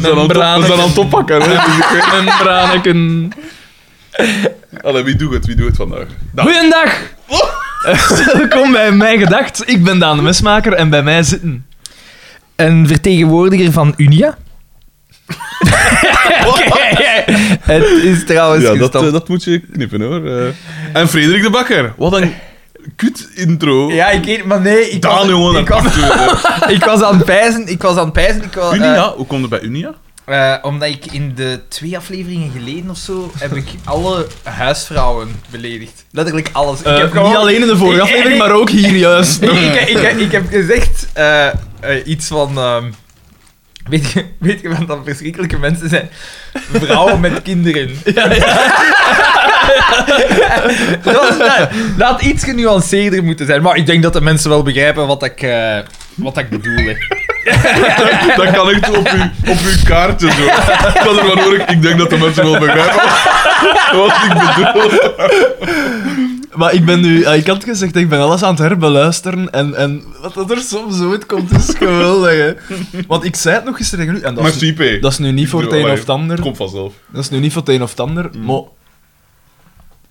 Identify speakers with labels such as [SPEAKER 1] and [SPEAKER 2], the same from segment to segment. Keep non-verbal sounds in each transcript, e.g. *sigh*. [SPEAKER 1] zijn aan het op- we zijn aan het oppakken. Hè? Dus ik weet-
[SPEAKER 2] Membraneken.
[SPEAKER 1] Allee, wie doet het? Wie doet het vandaag? Dag.
[SPEAKER 2] Goeiedag! *laughs* Welkom bij Mijn Gedacht. Ik ben Daan de Mesmaker en bij mij zitten...
[SPEAKER 3] Een vertegenwoordiger van Unia. het is trouwens
[SPEAKER 1] Ja, dat,
[SPEAKER 3] gestopt.
[SPEAKER 1] eh, dat moet je knippen hoor. Eh, En Frederik de Bakker. Wat een kut intro.
[SPEAKER 3] ja, ik weet maar nee. Ik
[SPEAKER 1] eh, Daan,
[SPEAKER 3] was,
[SPEAKER 1] jongen.
[SPEAKER 3] ik,
[SPEAKER 1] dat
[SPEAKER 3] was,
[SPEAKER 1] pakt u, eh.
[SPEAKER 3] *laughs* ik was aan het pijzen. Ik was aan het pijzen. Ik was, eh,
[SPEAKER 1] Unia, hoe komt het bij Unia? *laughs*
[SPEAKER 3] eh, omdat ik in de twee afleveringen geleden of zo, heb ik alle huisvrouwen beledigd. Letterlijk alles. ik heb
[SPEAKER 2] Eh, niet alleen in de vorige
[SPEAKER 3] Ik-
[SPEAKER 2] aflevering,
[SPEAKER 3] ik-
[SPEAKER 2] maar ook hier juist.
[SPEAKER 3] Ik, ik, ik, ik heb gezegd eh, eh, iets van. ehm, weet, je, weet je wat dan verschrikkelijke mensen zijn? Vrouwen met kinderen. *laughs* dat, was, dat, dat had iets genuanceerder moeten zijn. Maar ik denk dat de mensen wel begrijpen wat ik, eh, wat ik bedoel. hè.
[SPEAKER 1] Dat kan echt op uw, op uw kaartje zo. Dat er van hoor ik, ik denk dat de mensen wel begrijpen wat ik bedoel.
[SPEAKER 2] *laughs* Maar ik ben nu... ah, Ik had gezegd, ik ben alles aan het herbeluisteren en, en wat dat er soms uitkomt is geweldig, hè. Want ik zei het nog gisteren tegen u, en dat
[SPEAKER 1] Maar
[SPEAKER 2] is,
[SPEAKER 1] CP.
[SPEAKER 2] dat is nu niet voor het een of het ander.
[SPEAKER 1] Komt vanzelf.
[SPEAKER 2] Dat is nu niet voor het een of het ander,
[SPEAKER 1] Hmm.
[SPEAKER 2] maar...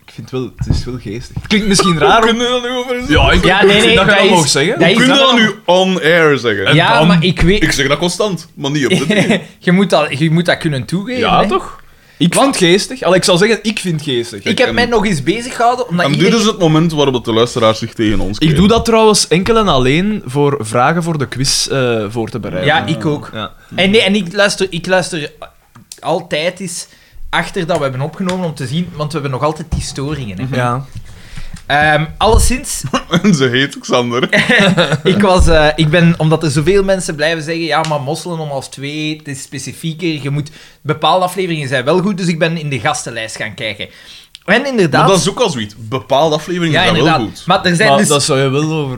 [SPEAKER 2] Ik vind het wel... Het is wel geestig. Het klinkt
[SPEAKER 3] *laughs*
[SPEAKER 2] misschien raar... om-
[SPEAKER 1] Kunnen we dat nu over
[SPEAKER 2] Ja, ik
[SPEAKER 3] Ja, nee,
[SPEAKER 2] *laughs*
[SPEAKER 3] nee,
[SPEAKER 2] dat
[SPEAKER 3] maar
[SPEAKER 2] kan ik
[SPEAKER 3] is-
[SPEAKER 2] mogen zeggen.
[SPEAKER 3] dat
[SPEAKER 1] Hoe kun je
[SPEAKER 3] is
[SPEAKER 1] dat
[SPEAKER 3] wel-
[SPEAKER 1] nu on-air zeggen?
[SPEAKER 3] ja,
[SPEAKER 2] dan-
[SPEAKER 3] maar ik weet.
[SPEAKER 1] Ik zeg dat constant, maar niet op *laughs* de ding.
[SPEAKER 3] *laughs* je, moet dat, je moet dat kunnen toegeven.
[SPEAKER 2] Ja,
[SPEAKER 3] hè.
[SPEAKER 2] toch? Ik
[SPEAKER 3] Want-
[SPEAKER 2] vind het geestig. Al, ik zal zeggen, ik vind het geestig.
[SPEAKER 3] Ik heb
[SPEAKER 1] en-
[SPEAKER 3] mij nog eens bezig gehouden. Omdat
[SPEAKER 1] En dit
[SPEAKER 3] iedereen-
[SPEAKER 1] is het moment waarop de luisteraars zich tegen ons
[SPEAKER 2] Ik
[SPEAKER 1] keren.
[SPEAKER 2] doe dat trouwens enkel en alleen voor vragen voor de quiz eh, voor te bereiden.
[SPEAKER 3] Ja, ik ook.
[SPEAKER 2] Ja.
[SPEAKER 3] En nee, en ik luister, ik luister altijd eens achter dat we hebben opgenomen om te zien, want we hebben nog altijd die storingen. Hè.
[SPEAKER 2] Ja.
[SPEAKER 3] Ehm, alleszins,
[SPEAKER 1] *laughs* En ze heet Xander.
[SPEAKER 3] ik, was, eh, ik ben, omdat er zoveel mensen blijven zeggen, ja, maar mosselen om half twee, het is specifieker, je moet, bepaalde afleveringen zijn wel goed, dus ik ben in de gastenlijst gaan kijken. En inderdaad...
[SPEAKER 1] Maar dat is ook al zoiets. Bepaalde afleveringen
[SPEAKER 3] ja,
[SPEAKER 1] zijn
[SPEAKER 3] inderdaad.
[SPEAKER 1] wel goed.
[SPEAKER 3] Maar er zijn
[SPEAKER 2] maar
[SPEAKER 3] dus...
[SPEAKER 2] dat zou je wel over...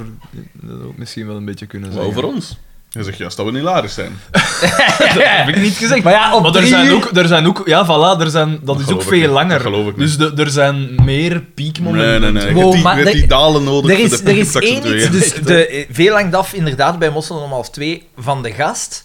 [SPEAKER 2] Dat ook misschien wel een beetje kunnen
[SPEAKER 1] Maar
[SPEAKER 2] zeggen.
[SPEAKER 1] over ons. Je zegt juist dat we hilarisch zijn.
[SPEAKER 2] Dat heb ik niet gezegd.
[SPEAKER 3] Maar ja, op
[SPEAKER 2] Maar er
[SPEAKER 3] drie
[SPEAKER 2] zijn
[SPEAKER 3] uur-
[SPEAKER 2] ook... Er zijn ook ja, voilà, er zijn, dat, is ook
[SPEAKER 1] geloof ik
[SPEAKER 2] veel
[SPEAKER 1] niet.
[SPEAKER 2] langer.
[SPEAKER 1] Dat geloof ik
[SPEAKER 2] dus
[SPEAKER 1] niet.
[SPEAKER 2] de- er zijn meer piekmomenten.
[SPEAKER 1] Nee, nee, nee. Je
[SPEAKER 3] Wow,
[SPEAKER 1] hebt die,
[SPEAKER 3] maar
[SPEAKER 1] je hebt
[SPEAKER 3] er-
[SPEAKER 1] die dalen nodig
[SPEAKER 3] Er
[SPEAKER 1] voor
[SPEAKER 3] is,
[SPEAKER 1] de
[SPEAKER 3] er is
[SPEAKER 1] piepsaccentuering.
[SPEAKER 3] één iets, dus de, eh, veel hangt af inderdaad bij Mosselen om half twee van de gast.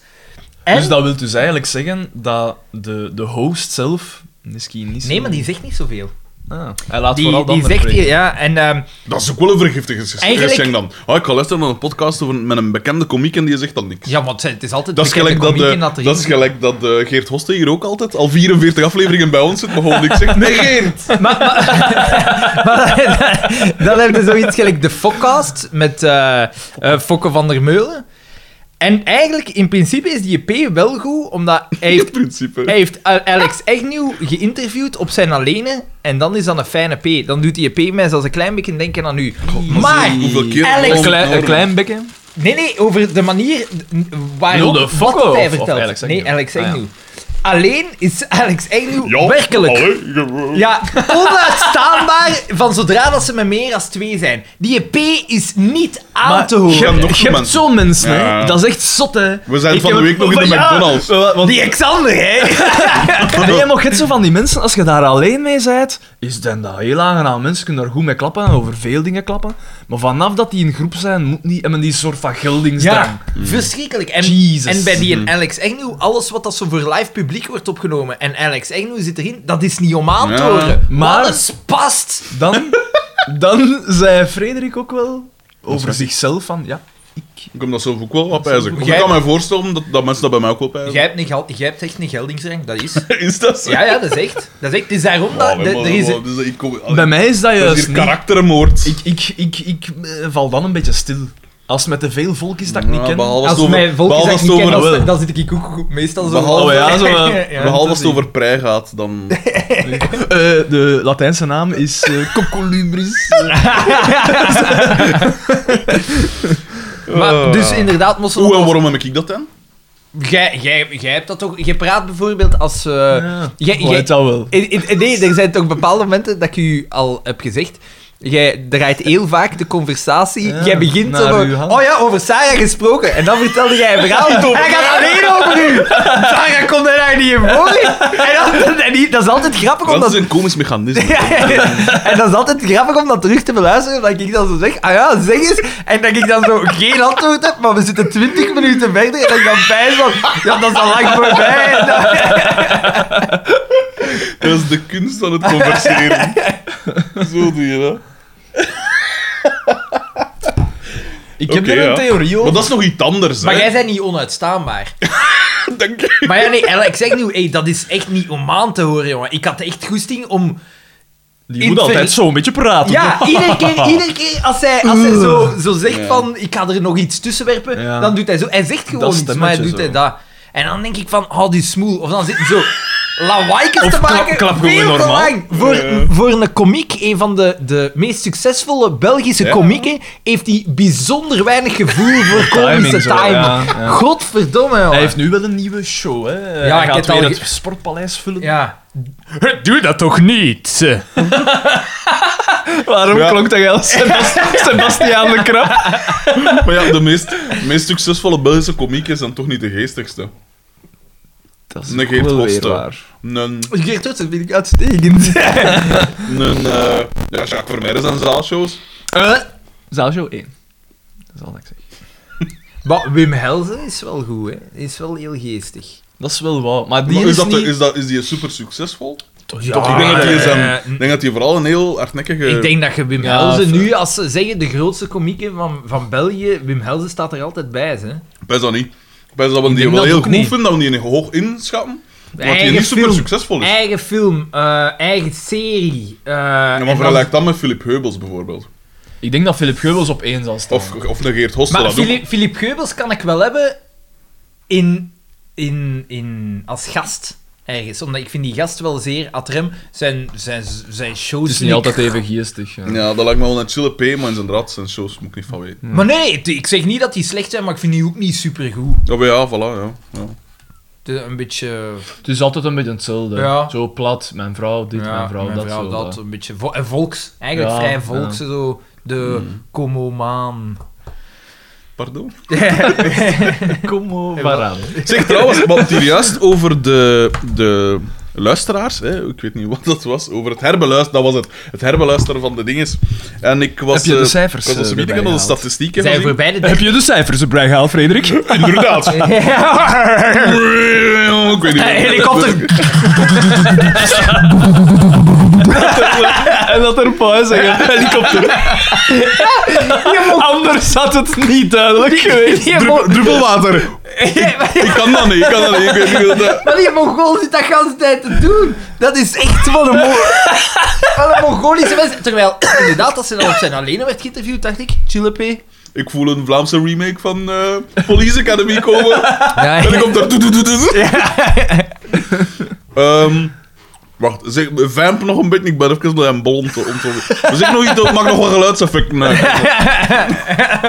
[SPEAKER 3] En,
[SPEAKER 2] Dus dat wil dus eigenlijk zeggen dat de, de host zelf misschien niet zo-
[SPEAKER 3] nee, maar die zegt niet zoveel.
[SPEAKER 2] Ah, hij laat
[SPEAKER 3] Die,
[SPEAKER 2] vooral de
[SPEAKER 3] die
[SPEAKER 2] anderen
[SPEAKER 3] zegt
[SPEAKER 2] spreken.
[SPEAKER 3] hier, ja, en ehm,
[SPEAKER 1] Dat is ook wel een vergiftigend
[SPEAKER 3] Eigenlijk-
[SPEAKER 1] geschenk dan. Ah, ik ga luisteren naar een podcast over, met een bekende komiek en die zegt dan niks.
[SPEAKER 3] ja, want het is altijd
[SPEAKER 1] Dat is
[SPEAKER 3] bekende
[SPEAKER 1] gelijk dat, eh,
[SPEAKER 3] komieken er
[SPEAKER 1] dat, is
[SPEAKER 3] is.
[SPEAKER 1] gelijk dat eh, Geert Hoste hier ook altijd al 44 afleveringen bij ons zit, maar gewoon niks zegt. Nee, Geert!
[SPEAKER 3] *laughs* *laughs* Maar, maar- maar *laughs* dan- dan heb je zoiets gelijk de Fokcast met eh, eh, Fokke van der Meulen. En eigenlijk, in principe is die EP wel goed, omdat
[SPEAKER 1] *laughs*
[SPEAKER 3] hij heeft
[SPEAKER 1] In principe.
[SPEAKER 3] Hij heeft A- Alex Agnew geïnterviewd op zijn alleen en dan is dat een fijne P. Dan doet die E P mij zelfs een klein beetje denken aan u. Maar,
[SPEAKER 1] Hoeveel keer
[SPEAKER 3] Alex-
[SPEAKER 1] Ron
[SPEAKER 2] Een klein, een
[SPEAKER 1] Noorden.
[SPEAKER 2] klein bekje.
[SPEAKER 3] nee, nee, over de manier
[SPEAKER 2] Bedoel
[SPEAKER 3] waarop
[SPEAKER 2] de Fokko
[SPEAKER 3] wat hij
[SPEAKER 2] of- of
[SPEAKER 3] vertelt.
[SPEAKER 2] Alex Agnew?
[SPEAKER 3] Nee, Alex
[SPEAKER 2] Ah, ja.
[SPEAKER 3] Agnew. Alleen is Alex Agnew
[SPEAKER 1] Ja,
[SPEAKER 3] werkelijk...
[SPEAKER 1] allee, je-
[SPEAKER 3] Ja, *laughs* onuitstaanbaar van zodra dat ze met meer als twee zijn. Die E P is niet aan
[SPEAKER 2] Maar
[SPEAKER 3] te horen.
[SPEAKER 1] je hebt nog
[SPEAKER 2] Ah, Je
[SPEAKER 1] zo'n
[SPEAKER 2] hebt
[SPEAKER 1] mensen.
[SPEAKER 2] zo'n mensen, hè.
[SPEAKER 1] Ja.
[SPEAKER 2] Dat is echt zot, hè.
[SPEAKER 1] We zijn
[SPEAKER 2] Ik
[SPEAKER 1] van de
[SPEAKER 2] heb-
[SPEAKER 1] week nog in de
[SPEAKER 2] van- *laughs* ja,
[SPEAKER 1] McDonald's.
[SPEAKER 2] wa- want
[SPEAKER 3] Die Xander,
[SPEAKER 2] *laughs*
[SPEAKER 3] hè?
[SPEAKER 2] Nee, maar het zo van die mensen, als je daar alleen mee bent, is dan dat heel aangenaam. Mensen kunnen daar goed mee klappen en over veel dingen klappen. Maar vanaf dat die in groep zijn, moet niet... Hebben die soort van geldingsdrang.
[SPEAKER 3] Ja, verschrikkelijk. En,
[SPEAKER 2] Jezus.
[SPEAKER 3] en bij die
[SPEAKER 2] Mm.
[SPEAKER 3] en Alex Agnew, alles wat dat zo voor live publiek wordt opgenomen en Alex Agnew zit erin, dat is niet om aan te
[SPEAKER 1] Ja.
[SPEAKER 3] horen.
[SPEAKER 2] Maar-
[SPEAKER 3] Maar alles past.
[SPEAKER 2] Dan, dan zei Frederik ook wel over zichzelf van... Ja,
[SPEAKER 1] Ik heb dat zelf ook wel wat pijzig. Want Ik
[SPEAKER 3] Jij-
[SPEAKER 1] kan mij voorstellen dat, dat mensen dat bij mij ook wel pijzen.
[SPEAKER 3] Jij hebt, een gel- jij hebt echt een geldingsrang, dat is.
[SPEAKER 1] *laughs* Is dat zo?
[SPEAKER 3] Ja, ja, dat is echt. Dat is echt. Het is daarom
[SPEAKER 1] Ja,
[SPEAKER 3] dat...
[SPEAKER 2] Oh,
[SPEAKER 1] maar-
[SPEAKER 3] de- er is,
[SPEAKER 1] maar- dus ik kom-
[SPEAKER 2] bij mij is dat
[SPEAKER 1] dat is
[SPEAKER 2] juist
[SPEAKER 1] hier
[SPEAKER 2] niet.
[SPEAKER 1] karaktermoord.
[SPEAKER 2] Ik, ik, ik, ik eh, val dan een beetje stil. Als het met te veel volk is dat ik niet
[SPEAKER 1] Ja,
[SPEAKER 2] ken... *laughs*
[SPEAKER 1] behalve
[SPEAKER 3] als
[SPEAKER 1] het over-
[SPEAKER 3] mijn volk
[SPEAKER 1] behalve
[SPEAKER 3] is
[SPEAKER 1] als
[SPEAKER 3] niet
[SPEAKER 1] het over-
[SPEAKER 3] kennen,
[SPEAKER 2] wel.
[SPEAKER 3] dan, dan zit ik ook goed- meestal zo...
[SPEAKER 1] Behalve-
[SPEAKER 2] Oh
[SPEAKER 3] *laughs*
[SPEAKER 2] ja, zo, eh,
[SPEAKER 3] Ja.
[SPEAKER 2] dat
[SPEAKER 1] Behalve als het
[SPEAKER 2] is
[SPEAKER 1] over prei gaat, dan...
[SPEAKER 2] Eh, de Latijnse naam is
[SPEAKER 1] *laughs*
[SPEAKER 2] eh Cocolubris.
[SPEAKER 3] *laughs*
[SPEAKER 2] Oh.
[SPEAKER 3] Maar, dus
[SPEAKER 1] Ah.
[SPEAKER 3] inderdaad, moest
[SPEAKER 1] Hoe en waarom heb ik dat dan?
[SPEAKER 3] Jij, jij, jij hebt dat toch... Je praat bijvoorbeeld als... eh, jij-
[SPEAKER 2] ja, Oh,
[SPEAKER 3] jij-
[SPEAKER 2] dat wel.
[SPEAKER 3] Eh, eh, Nee, er zijn toch bepaalde momenten dat ik u al heb gezegd. Jij draait heel vaak de conversatie.
[SPEAKER 2] Ja,
[SPEAKER 3] jij begint
[SPEAKER 2] naar uw
[SPEAKER 3] over.
[SPEAKER 2] hand.
[SPEAKER 3] Oh ja, over Sarah gesproken. En dan vertelde jij een
[SPEAKER 2] *laughs*
[SPEAKER 3] verhaal. Hij gaat alleen over u. Sarah komt er daar niet in voor.
[SPEAKER 2] *laughs*
[SPEAKER 3] En dan, en die- dat is altijd grappig
[SPEAKER 1] Dat
[SPEAKER 3] omdat.
[SPEAKER 1] is een komisch mechanisme.
[SPEAKER 3] *laughs* Ja, ja, ja. en dat is altijd grappig om dat terug te beluisteren, dat ik dan zo zeg, ah ja, zeg eens, en dat ik dan zo geen antwoord heb, maar we zitten 20 minuten verder en dat ik dan pijn van, ja, dat is al lang voorbij. En dan- *laughs*
[SPEAKER 1] Dat is de kunst van het converseren.
[SPEAKER 3] *laughs*
[SPEAKER 1] Zo doe je dat.
[SPEAKER 2] Ik heb
[SPEAKER 1] Oké,
[SPEAKER 2] er een
[SPEAKER 1] ja.
[SPEAKER 2] theorie
[SPEAKER 1] Maar
[SPEAKER 2] over.
[SPEAKER 1] dat is nog iets anders, hè? *laughs*
[SPEAKER 3] bent niet onuitstaanbaar.
[SPEAKER 1] Dank je.
[SPEAKER 3] Maar ja, nee, Ella, ik zeg nu, hey, dat is echt niet om aan te horen, jongen. Ik had echt goesting om...
[SPEAKER 2] Die moet altijd
[SPEAKER 3] Infinite-
[SPEAKER 2] zo'n beetje praten.
[SPEAKER 3] *laughs* Ja, iedere
[SPEAKER 2] *laughs*
[SPEAKER 3] keer, iedere keer als hij, als hij zo, zo zegt
[SPEAKER 1] Ja.
[SPEAKER 3] van, ik ga er nog iets tussen werpen,
[SPEAKER 2] Ja.
[SPEAKER 3] dan doet hij zo... Hij zegt gewoon iets, maar hij
[SPEAKER 2] stemmetje
[SPEAKER 3] doet
[SPEAKER 2] zo.
[SPEAKER 3] hij dat. En dan denk ik van, oh, die smoel. Of dan zit hij *laughs* zo lawaaiken
[SPEAKER 2] Of
[SPEAKER 3] te
[SPEAKER 2] klap-
[SPEAKER 3] maken.
[SPEAKER 2] klap gewoon
[SPEAKER 3] veel te
[SPEAKER 2] normaal.
[SPEAKER 3] lang. Voor,
[SPEAKER 1] Ja.
[SPEAKER 3] voor een komiek, een van de, de meest succesvolle Belgische
[SPEAKER 1] Ja.
[SPEAKER 3] komieken, heeft hij bijzonder weinig gevoel
[SPEAKER 2] *laughs*
[SPEAKER 3] voor
[SPEAKER 2] Timing
[SPEAKER 3] komische
[SPEAKER 2] zo,
[SPEAKER 3] timing.
[SPEAKER 2] ja, ja.
[SPEAKER 3] Godverdomme, jongen.
[SPEAKER 2] Hij heeft nu wel een nieuwe show, hè?
[SPEAKER 3] Ja,
[SPEAKER 2] Ja, Hij
[SPEAKER 3] ik
[SPEAKER 2] gaat
[SPEAKER 3] heb het
[SPEAKER 2] weer
[SPEAKER 3] al
[SPEAKER 2] het sportpaleis vullen.
[SPEAKER 3] Ja.
[SPEAKER 2] Doe dat toch niet? *laughs* Waarom
[SPEAKER 1] Ja.
[SPEAKER 2] klonk dat als Sebast-
[SPEAKER 3] *laughs*
[SPEAKER 2] Sebastiaan de Krap?
[SPEAKER 1] Maar ja, de meest, meest succesvolle Belgische komiek is dan toch niet de geestigste.
[SPEAKER 2] Dat
[SPEAKER 1] Een Geert Hoste. Een,
[SPEAKER 3] Geert Rutte vind ik *laughs* uitstekend.
[SPEAKER 1] een, eh ja, Jacques Vermeijden zijn zaalshows.
[SPEAKER 2] Zaalshow 1. Dat is al dat ik zeg.
[SPEAKER 3] Maar Wim Helzen is wel goed, hè. Is wel heel geestig.
[SPEAKER 2] Dat is wel wauw. Maar die
[SPEAKER 1] Maar
[SPEAKER 2] is,
[SPEAKER 1] is, dat, de-
[SPEAKER 2] niet...
[SPEAKER 1] is, dat, is die super succesvol?
[SPEAKER 3] Ja,
[SPEAKER 1] Toch, ik denk dat dus die, zijn,
[SPEAKER 3] eh,
[SPEAKER 1] ik denk dat die vooral een heel hardnekkige...
[SPEAKER 3] Ik denk dat je Wim
[SPEAKER 2] Ja,
[SPEAKER 3] Helzen
[SPEAKER 2] of-
[SPEAKER 3] nu, als ze zeggen de grootste komieken van, van België, Wim Helzen staat er altijd bij, hè.
[SPEAKER 1] Best dat niet. Ik Best dat we die
[SPEAKER 3] denk
[SPEAKER 1] wel
[SPEAKER 3] dat
[SPEAKER 1] heel
[SPEAKER 3] ook
[SPEAKER 1] goed
[SPEAKER 3] niet.
[SPEAKER 1] vinden, dat we die hoog inschatten. Maar dat die
[SPEAKER 3] Eigen
[SPEAKER 1] niet super
[SPEAKER 3] film.
[SPEAKER 1] succesvol is.
[SPEAKER 3] Eigen film, eh, eigen serie. eh,
[SPEAKER 1] Ja,
[SPEAKER 3] en
[SPEAKER 1] maar
[SPEAKER 3] dan-
[SPEAKER 1] vergelijk dat met Philip Heubels bijvoorbeeld.
[SPEAKER 2] Ik denk dat Philip Geubels op 1 zal staan.
[SPEAKER 1] Of, of een Geert Hoste.
[SPEAKER 3] maar
[SPEAKER 1] dat ook.
[SPEAKER 3] Philip, Philip Geubels kan ik wel hebben in, in, in, als gast ergens. Omdat ik vind die gast wel zeer atrem. Zijn, zijn, zijn shows...
[SPEAKER 2] het is
[SPEAKER 3] vind
[SPEAKER 2] niet
[SPEAKER 3] ik-
[SPEAKER 2] altijd even geestig. Ja.
[SPEAKER 1] Ja, dat lijkt me wel een chille P, maar in zijn draad zijn shows moet ik niet van weten.
[SPEAKER 3] Maar nee, nee, ik zeg niet dat die slecht zijn, maar ik vind die ook niet supergoed.
[SPEAKER 1] Ja, maar ja, voilà, ja. ja.
[SPEAKER 3] Het is Een beetje...
[SPEAKER 2] Het is altijd een beetje hetzelfde.
[SPEAKER 3] Ja.
[SPEAKER 2] Zo plat, mijn vrouw dit,
[SPEAKER 3] Ja,
[SPEAKER 2] mijn vrouw dat. zo,
[SPEAKER 3] dat,
[SPEAKER 2] dat.
[SPEAKER 3] een beetje vo- en volks, eigenlijk
[SPEAKER 2] Ja,
[SPEAKER 3] vrij
[SPEAKER 2] ja. Mm.
[SPEAKER 3] volks, zo de komomaan.
[SPEAKER 1] Pardon?
[SPEAKER 2] *laughs* Kom maar aan. *laughs*
[SPEAKER 1] Zeg trouwens, we hadden het hier juist over de, de luisteraars. Hè? Ik weet niet wat dat was. Over het herbeluisteren. Dat was het. Het herbeluisteren van de dinges. En ik was...
[SPEAKER 2] Heb je de
[SPEAKER 1] eh,
[SPEAKER 2] cijfers,
[SPEAKER 1] Ik was
[SPEAKER 2] eh,
[SPEAKER 1] als
[SPEAKER 2] erbij
[SPEAKER 1] meeting aan de
[SPEAKER 2] gehaald?
[SPEAKER 1] statistieken
[SPEAKER 3] Zijn
[SPEAKER 1] gezien.
[SPEAKER 3] *laughs* voorbij de
[SPEAKER 2] Heb je de cijfers erbij gehaald, Frederik?
[SPEAKER 1] Inderdaad. *laughs* ik weet niet.
[SPEAKER 3] helikopter.
[SPEAKER 2] *laughs* en dat er pauze *laughs* en helikopter. Anders had het niet *laughs* duidelijk geweest.
[SPEAKER 1] Druppel, druppelwater. Ik kan dat niet. Ik kan dat niet. Ik weet niet hoe dat...
[SPEAKER 3] Maar die Mongool zit dat de hele tijd te doen. Dat is echt wat een, Mo- *laughs* wat een Mongolische mensen. Terwijl, *clears throat* inderdaad, als ze dan op zijn alleen werd geïnterviewd, dacht ik, Chilepe.
[SPEAKER 1] Ik voel een Vlaamse remake van eh, Police Academy komen.
[SPEAKER 3] Ja,
[SPEAKER 1] En dan komt er... doe, doe, doe, doe, doe. Ehm, wacht, zeg, vamp nog een beetje. Ik ben even naar een bol om te... Om te dus ik nog iets, dat mag nog wel geluidseffecten uit.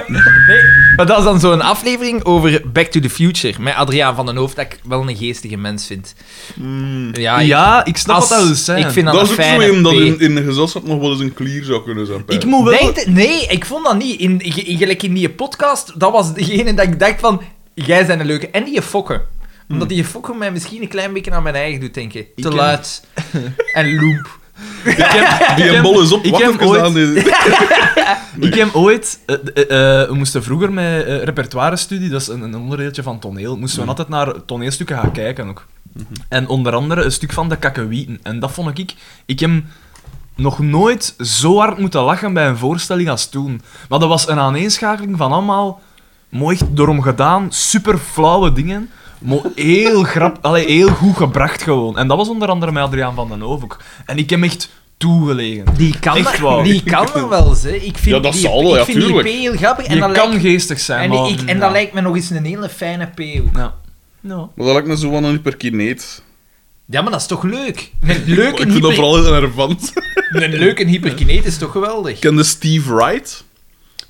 [SPEAKER 3] *laughs* Maar dat is dan zo'n aflevering over Back to the Future met Adriaan van den Hoofd, dat ik wel een geestige mens vind. Ja, ik-
[SPEAKER 2] Mm. Ah, Ja, ik snap
[SPEAKER 3] als-
[SPEAKER 2] wat dat wil zijn.
[SPEAKER 3] Ik vind dat,
[SPEAKER 1] Dat is
[SPEAKER 3] een
[SPEAKER 1] ook zo
[SPEAKER 3] fijne
[SPEAKER 1] een dat
[SPEAKER 3] P.
[SPEAKER 1] in, in een gezelschap nog wel eens een klier zou kunnen zijn.
[SPEAKER 2] Ik
[SPEAKER 1] pijs.
[SPEAKER 2] moet wel...
[SPEAKER 3] Denk het- nee, ik vond dat niet. In, in, in- gelijk in die podcast, dat was degene dat ik dacht van... Jij zijn een leuke. En die fokken. Omdat die fokken mij misschien een klein beetje aan mijn eigen doet denken. Te
[SPEAKER 2] ken-
[SPEAKER 1] *laughs*
[SPEAKER 3] luid. en loop.
[SPEAKER 1] Die een bol is op.
[SPEAKER 2] *laughs* ik
[SPEAKER 1] Wacht
[SPEAKER 2] heb
[SPEAKER 1] even
[SPEAKER 2] ooit- *laughs*
[SPEAKER 1] aan die-
[SPEAKER 2] Ik heb ooit... eh, eh, eh, we moesten vroeger met eh, repertoire-studie, dat is een, een onderdeeltje van toneel, moesten we altijd naar toneelstukken gaan kijken ook. En onder andere een stuk van de Kakkewieten. En dat vond ik... Ik heb nog nooit zo hard moeten lachen bij een voorstelling als toen. Maar dat was een aaneenschakeling van allemaal mooi doorom gedaan, super flauwe dingen. Maar heel, *laughs* grap, allee, heel goed gebracht gewoon. En dat was onder andere met Adriaan van den Hoof ook. En ik heb echt toegelegen.
[SPEAKER 3] Die kan,
[SPEAKER 2] Echt
[SPEAKER 3] er-
[SPEAKER 2] waar.
[SPEAKER 3] die kan er wel eens. hè. Ik vind
[SPEAKER 1] Ja, dat
[SPEAKER 3] die,
[SPEAKER 1] zal wel,
[SPEAKER 3] ik
[SPEAKER 1] ja,
[SPEAKER 3] vind die
[SPEAKER 1] tuurlijk.
[SPEAKER 3] P heel grappig. En,
[SPEAKER 2] Je
[SPEAKER 3] dat,
[SPEAKER 2] kan
[SPEAKER 3] lijkt,
[SPEAKER 2] geestig zijn,
[SPEAKER 3] en,
[SPEAKER 2] maar...
[SPEAKER 3] ik, en dat lijkt me nog eens een hele fijne P. ook.
[SPEAKER 2] Ja. No.
[SPEAKER 1] Maar dat lijkt me zo van een hyperkineet.
[SPEAKER 3] Ja, maar dat is toch leuk? Een leuke,
[SPEAKER 1] *laughs* Ik vind dat
[SPEAKER 3] hyper,
[SPEAKER 1] vooral heel relevant.
[SPEAKER 3] een leuke hyperkineet is toch geweldig?
[SPEAKER 1] Ken de Steve Wright?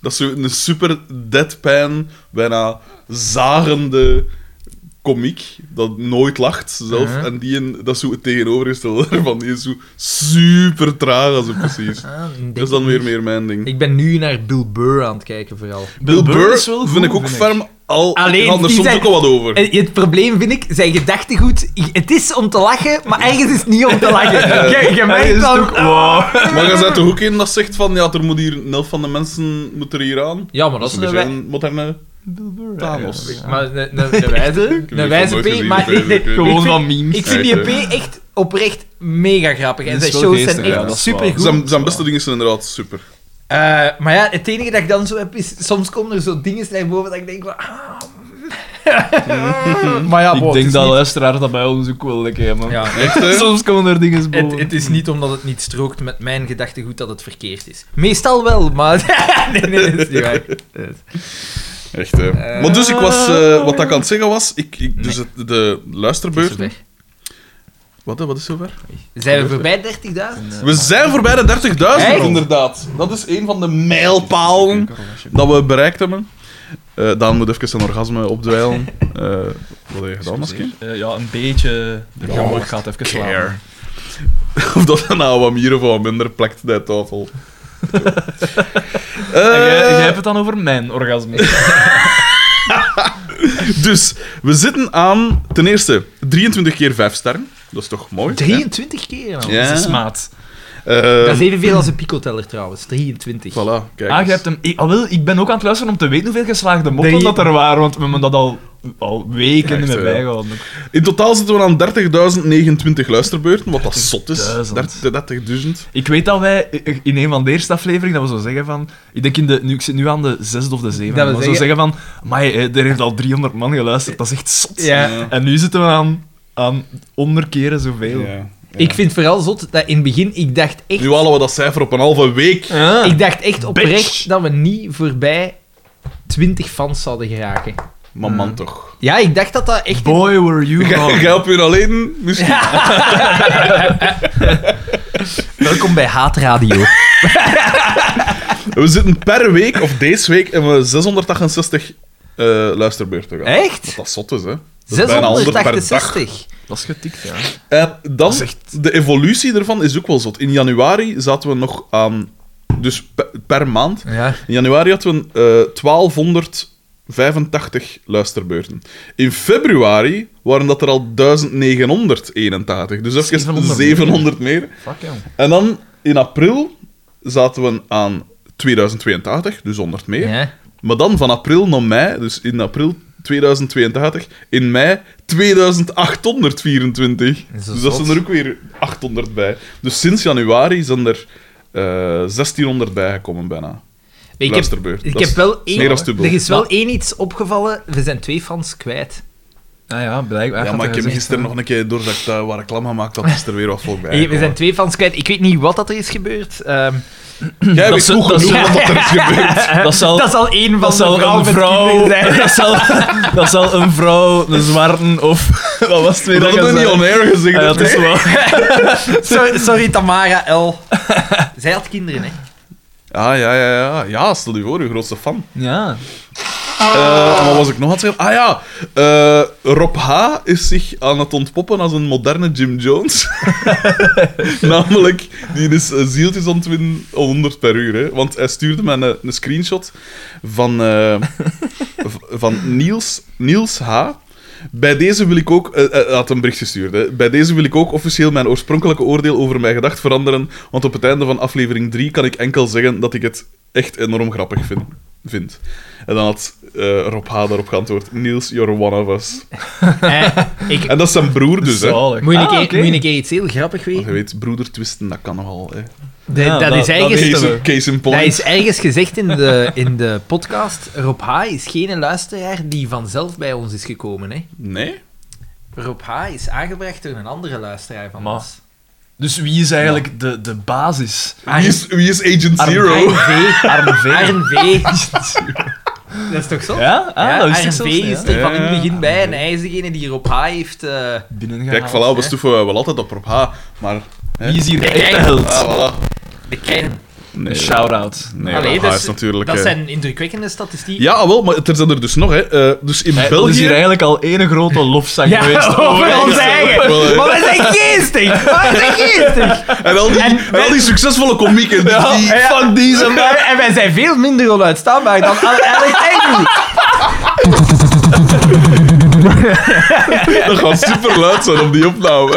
[SPEAKER 1] Dat is zo een super deadpan, bijna zagende komiek dat nooit lacht zelf.
[SPEAKER 3] Mhm.
[SPEAKER 1] En die een, dat is zo het tegenovergestelde daarvan. Die is zo super traag als het precies.
[SPEAKER 3] Ah, denk
[SPEAKER 1] Dat is dan
[SPEAKER 3] ik
[SPEAKER 1] weer
[SPEAKER 3] niet.
[SPEAKER 1] meer mijn ding.
[SPEAKER 3] Ik ben nu naar Bill Burr aan het kijken, vooral.
[SPEAKER 1] Bill Burr
[SPEAKER 2] is wel
[SPEAKER 1] vind
[SPEAKER 2] goed,
[SPEAKER 1] ik ook
[SPEAKER 2] vind
[SPEAKER 1] ferm. Al
[SPEAKER 3] Alleen,
[SPEAKER 1] gaan er
[SPEAKER 3] die
[SPEAKER 1] soms
[SPEAKER 3] zijn-
[SPEAKER 1] ook al wat over.
[SPEAKER 3] En het probleem vind ik, zijn gedachtegoed. Het is om te lachen, maar ergens is het niet om te lachen. Je, je
[SPEAKER 2] Eh, *laughs* Hij
[SPEAKER 3] merkt Ah.
[SPEAKER 2] is
[SPEAKER 3] dan...
[SPEAKER 2] ook- wow.
[SPEAKER 1] Maar je zet er ook in dat zegt van, ja, er moet hier een helft van de mensen moet er hier aan.
[SPEAKER 3] Ja, maar
[SPEAKER 1] Dat is een beetje een moderne Thanos.
[SPEAKER 2] Ja.
[SPEAKER 3] Maar een- *laughs* een een wijze,
[SPEAKER 1] heb
[SPEAKER 3] een
[SPEAKER 1] die
[SPEAKER 3] wijze
[SPEAKER 1] nog nooit
[SPEAKER 3] P,
[SPEAKER 1] gezien, dus
[SPEAKER 3] maar *laughs* ik,
[SPEAKER 1] eigenlijk,
[SPEAKER 3] ik
[SPEAKER 1] eh,
[SPEAKER 2] Gewoon
[SPEAKER 3] vind-
[SPEAKER 2] van memes.
[SPEAKER 3] ik vind die
[SPEAKER 1] Ja,
[SPEAKER 3] P echt oprecht mega grappig. En
[SPEAKER 2] Dat is
[SPEAKER 3] zijn
[SPEAKER 2] wel
[SPEAKER 3] shows zijn
[SPEAKER 2] geestig, ja, dat
[SPEAKER 3] echt
[SPEAKER 2] is waar.
[SPEAKER 3] supergoed.
[SPEAKER 1] Zijn, zijn beste dingen zijn inderdaad super.
[SPEAKER 3] Eh, maar ja, het enige dat ik dan zo heb is, soms komen er zo dingen naar boven dat ik denk van... ah, maar
[SPEAKER 2] *laughs*
[SPEAKER 3] ja,
[SPEAKER 2] Ik
[SPEAKER 3] wow, het
[SPEAKER 2] denk
[SPEAKER 3] is
[SPEAKER 2] dat
[SPEAKER 3] niet-
[SPEAKER 2] luisteraars dat bij ons ook wel lekker hebben.
[SPEAKER 3] Ja.
[SPEAKER 1] Echt, hè?
[SPEAKER 2] *laughs* Soms komen er dingen boven.
[SPEAKER 3] Het, het is niet omdat het niet strookt met mijn gedachtegoed dat het verkeerd is. Meestal wel, maar... *laughs* nee, nee, dat is niet
[SPEAKER 1] *laughs*
[SPEAKER 3] waar.
[SPEAKER 1] Echt, hè. Maar dus, ik was... eh, wat ik aan het zeggen was... Ik, ik, dus het- de
[SPEAKER 3] Het is
[SPEAKER 1] luisterbeurt...
[SPEAKER 3] weg.
[SPEAKER 1] Wat, hè, wat is zover?
[SPEAKER 3] Zijn we voorbij 30.000?
[SPEAKER 1] We zijn voorbij de 30.000,
[SPEAKER 3] Echt?
[SPEAKER 1] inderdaad. Dat is een van de mijlpalen dat we bereikt hebben. Eh Daan moet even zijn orgasme opdwijlen. Eh, wat heb je gedaan, misschien?
[SPEAKER 2] Eh, ja, een beetje. De gamma gaat even
[SPEAKER 1] care.
[SPEAKER 2] slaan.
[SPEAKER 1] Of dat er nou wat meer of wat minder plakt bij tafel. Eh,
[SPEAKER 2] En jij, jij hebt het dan over mijn orgasme.
[SPEAKER 1] Dus, we zitten aan ten eerste 23 keer 5 sterren. Dat is toch mooi? hè?
[SPEAKER 3] 23 keer al.
[SPEAKER 1] Ja.
[SPEAKER 2] Dat is maat.
[SPEAKER 1] Eh,
[SPEAKER 3] Dat is evenveel als een picoteller trouwens, 23.
[SPEAKER 1] Voilà, kijk.
[SPEAKER 2] Ah,
[SPEAKER 1] eens.
[SPEAKER 2] je hebt hem. Ik, ah, wel, ik ben ook aan het luisteren om te weten hoeveel geslaagde moppen
[SPEAKER 3] Nee.
[SPEAKER 2] dat er waren, want we hebben dat al, al weken
[SPEAKER 1] Echt,
[SPEAKER 2] niet meer
[SPEAKER 1] ja.
[SPEAKER 2] bijgehouden.
[SPEAKER 1] In totaal zitten we aan 30.029 luisterbeurten, wat dat zot is.
[SPEAKER 2] 30.000.
[SPEAKER 1] 30.000.
[SPEAKER 2] Ik weet dat wij eh, in een van de eerste afleveringen dat we zo zeggen van. Ik denk in de. Nu, ik zit nu aan de zesde of de zevende.
[SPEAKER 3] Dat
[SPEAKER 2] Dat
[SPEAKER 3] we
[SPEAKER 2] we zo
[SPEAKER 3] zeggen-
[SPEAKER 2] zeggen van. Maar er heeft al 300 man geluisterd, dat is echt zot.
[SPEAKER 3] Ja.
[SPEAKER 2] En nu zitten we aan, aan onderkeren zoveel.
[SPEAKER 3] Ik vind vooral zot dat in het begin, ik dacht echt,
[SPEAKER 1] Nu halen we dat cijfer op een halve week.
[SPEAKER 2] Ah.
[SPEAKER 3] ik dacht echt oprecht
[SPEAKER 2] Bitch.
[SPEAKER 3] dat we niet voorbij 20 fans zouden geraken.
[SPEAKER 1] Maar man, toch. *laughs*
[SPEAKER 3] Ja, ik dacht dat dat echt...
[SPEAKER 2] Boy, were you
[SPEAKER 1] Ga
[SPEAKER 2] wrong.
[SPEAKER 1] jij op je alleen? Misschien.
[SPEAKER 3] Welkom bij
[SPEAKER 1] *laughs*
[SPEAKER 3] Haatradio.
[SPEAKER 1] We zitten per week, of deze week, hebben we 668 eh, luisterbeurten gehad. Wat
[SPEAKER 3] Echt?
[SPEAKER 1] dat zot is, hè. Dat is bijna 100 per dag.
[SPEAKER 3] 668.
[SPEAKER 2] Dat is getikt, ja.
[SPEAKER 1] En dan,
[SPEAKER 2] is echt-
[SPEAKER 1] de evolutie ervan is ook wel zot. In januari zaten we nog aan... Dus pe- per maand
[SPEAKER 3] Ja.
[SPEAKER 1] In januari hadden we eh 1285 luisterbeurten. In februari waren dat er al 1981. Dus even 700 meer.
[SPEAKER 2] 700 Fuck, ja.
[SPEAKER 1] En dan in april zaten we aan 2082, dus 100 meer.
[SPEAKER 3] ja.
[SPEAKER 1] Maar dan van april naar mei, dus in april 2082, in mei 2824.
[SPEAKER 3] Is dat
[SPEAKER 1] dus dat
[SPEAKER 3] zot?
[SPEAKER 1] zijn er ook weer 800 bij. Dus sinds januari zijn er eh 1600 bijgekomen bijna.
[SPEAKER 3] Ik heb,
[SPEAKER 1] Luisterbeurt.
[SPEAKER 3] ik
[SPEAKER 1] Dat is-
[SPEAKER 3] heb wel
[SPEAKER 1] dat is meer
[SPEAKER 3] één...
[SPEAKER 1] dan dubbel.
[SPEAKER 3] Er is wel
[SPEAKER 2] Maar-
[SPEAKER 3] één iets opgevallen. We zijn twee fans kwijt.
[SPEAKER 2] Ah ja, blijkbaar.
[SPEAKER 1] Ja, maar ik heb gisteren nog een keer door dat ik daar waar reclame gemaakt had, is er weer wat volk bij.
[SPEAKER 3] we zijn twee fans kwijt. Ik weet niet wat dat er is gebeurd. Ehm,
[SPEAKER 1] Jij
[SPEAKER 2] Dat
[SPEAKER 1] weet
[SPEAKER 2] ze-
[SPEAKER 1] goed
[SPEAKER 2] dat
[SPEAKER 1] genoeg
[SPEAKER 3] *laughs* ze-
[SPEAKER 1] wat dat er is gebeurd.
[SPEAKER 2] Dat zal,
[SPEAKER 3] dat is al één van
[SPEAKER 2] dat
[SPEAKER 3] de
[SPEAKER 2] zal
[SPEAKER 3] vrouwen
[SPEAKER 2] een
[SPEAKER 3] met
[SPEAKER 2] vrouw...
[SPEAKER 3] kinderen zijn.
[SPEAKER 2] *laughs* Dat zal, dat zal een vrouw, een zwarte of... *laughs* Wat was het weer?
[SPEAKER 1] Dat
[SPEAKER 2] je
[SPEAKER 1] hebben we niet
[SPEAKER 2] zei?
[SPEAKER 1] on air gezegd.
[SPEAKER 2] Ah, ja, het
[SPEAKER 1] hè?
[SPEAKER 2] is wel... *laughs*
[SPEAKER 3] Sorry, sorry, Tamara L. Zij had kinderen, hè?
[SPEAKER 1] Ah, ja, ja, ja. Ja, stel je voor, je grootste fan.
[SPEAKER 2] Ja.
[SPEAKER 1] Eh, wat was ik nog aan het zeggen? Ah ja, eh, Rob H. is zich aan het ontpoppen als een moderne Jim Jones. *laughs* Namelijk, die is eh, zieltjes aan het winnen op 100 per uur. Hè? Want hij stuurde mij een, een screenshot van, eh, v- van Niels, Niels H. Bij deze wil ik ook... eh, eh, Hij had een bericht gestuurd. Hè. Bij deze wil ik ook officieel mijn oorspronkelijke oordeel over mijn gedacht veranderen. Want op het einde van aflevering 3 kan ik enkel zeggen dat ik het echt enorm grappig vind. vind. En dan had eh, Rob H. daarop geantwoord. Niels, you're one of us.
[SPEAKER 3] Eh, ik,
[SPEAKER 1] En dat is zijn broer dus, hè.
[SPEAKER 2] Zalig.
[SPEAKER 3] moet, je een
[SPEAKER 2] Ah,
[SPEAKER 3] keer,
[SPEAKER 2] oké.
[SPEAKER 3] moet je een keer iets heel grappig
[SPEAKER 1] Want je
[SPEAKER 3] weten?
[SPEAKER 1] weet, broeder twisten, dat kan nogal. Hè.
[SPEAKER 3] De-
[SPEAKER 2] Ja,
[SPEAKER 3] dat,
[SPEAKER 2] dat-
[SPEAKER 3] is
[SPEAKER 2] dat
[SPEAKER 3] ergens,
[SPEAKER 2] weten
[SPEAKER 1] Case,
[SPEAKER 2] we.
[SPEAKER 1] case in point.
[SPEAKER 3] dat is ergens gezegd in de, in de podcast. Rob H. is geen luisteraar die vanzelf bij ons is gekomen, hè?
[SPEAKER 1] Nee?
[SPEAKER 3] Rob H. is aangebracht door een andere luisteraar van
[SPEAKER 2] Maar-
[SPEAKER 3] ons.
[SPEAKER 2] Dus wie is eigenlijk de, de basis?
[SPEAKER 1] Wie is, wie is Agent Zero?
[SPEAKER 3] Arn V.
[SPEAKER 2] Arne *laughs* V.
[SPEAKER 3] Arn V. Dat is toch zo?
[SPEAKER 2] Ja? Ah, dat is
[SPEAKER 3] Arn
[SPEAKER 2] het
[SPEAKER 3] V
[SPEAKER 2] zo,
[SPEAKER 3] is
[SPEAKER 2] ja.
[SPEAKER 3] er van in het
[SPEAKER 1] Ja,
[SPEAKER 3] begin bij en hij is degene die Rob H. heeft... eh,
[SPEAKER 2] Binnengehaald.
[SPEAKER 1] *laughs* Kijk, voilà, we
[SPEAKER 2] hè.
[SPEAKER 1] stoeven wel altijd op Rob H. Maar... hè.
[SPEAKER 2] Wie is hier de echte held?
[SPEAKER 1] Ah, voilà.
[SPEAKER 3] bekend.
[SPEAKER 1] Nee.
[SPEAKER 2] Shout-out.
[SPEAKER 1] Nee,
[SPEAKER 3] Allee,
[SPEAKER 1] Allee,
[SPEAKER 3] dat, is-
[SPEAKER 1] is natuurlijk...
[SPEAKER 3] dat
[SPEAKER 1] eh,
[SPEAKER 3] zijn indrukwekkende statistieken.
[SPEAKER 1] Ja, ah, wel, maar er zijn er dus nog, hè. Eh, dus in
[SPEAKER 2] Hey, Dat is
[SPEAKER 1] België...
[SPEAKER 2] hier eigenlijk al één grote lofzang *laughs*
[SPEAKER 3] Ja, *laughs*
[SPEAKER 2] geweest.
[SPEAKER 3] over ons
[SPEAKER 1] Wel,
[SPEAKER 3] eigen.
[SPEAKER 1] hè.
[SPEAKER 3] Maar wij zijn geestig. Maar wij zijn geestig.
[SPEAKER 1] En al die, en al die succesvolle komieken die... die-
[SPEAKER 3] Fuck deze man. En wij zijn veel minder onuitstaanbaar dan Alec Agnew.
[SPEAKER 1] Dat gaat super luid zijn op die opname.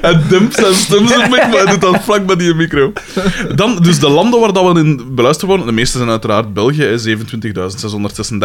[SPEAKER 1] En dumpt zijn stem zo mee, maar hij doet dat vlak bij die micro. Dan, dus de landen waar dat we in beluisterd worden, de meeste zijn uiteraard België, hè, 27.636.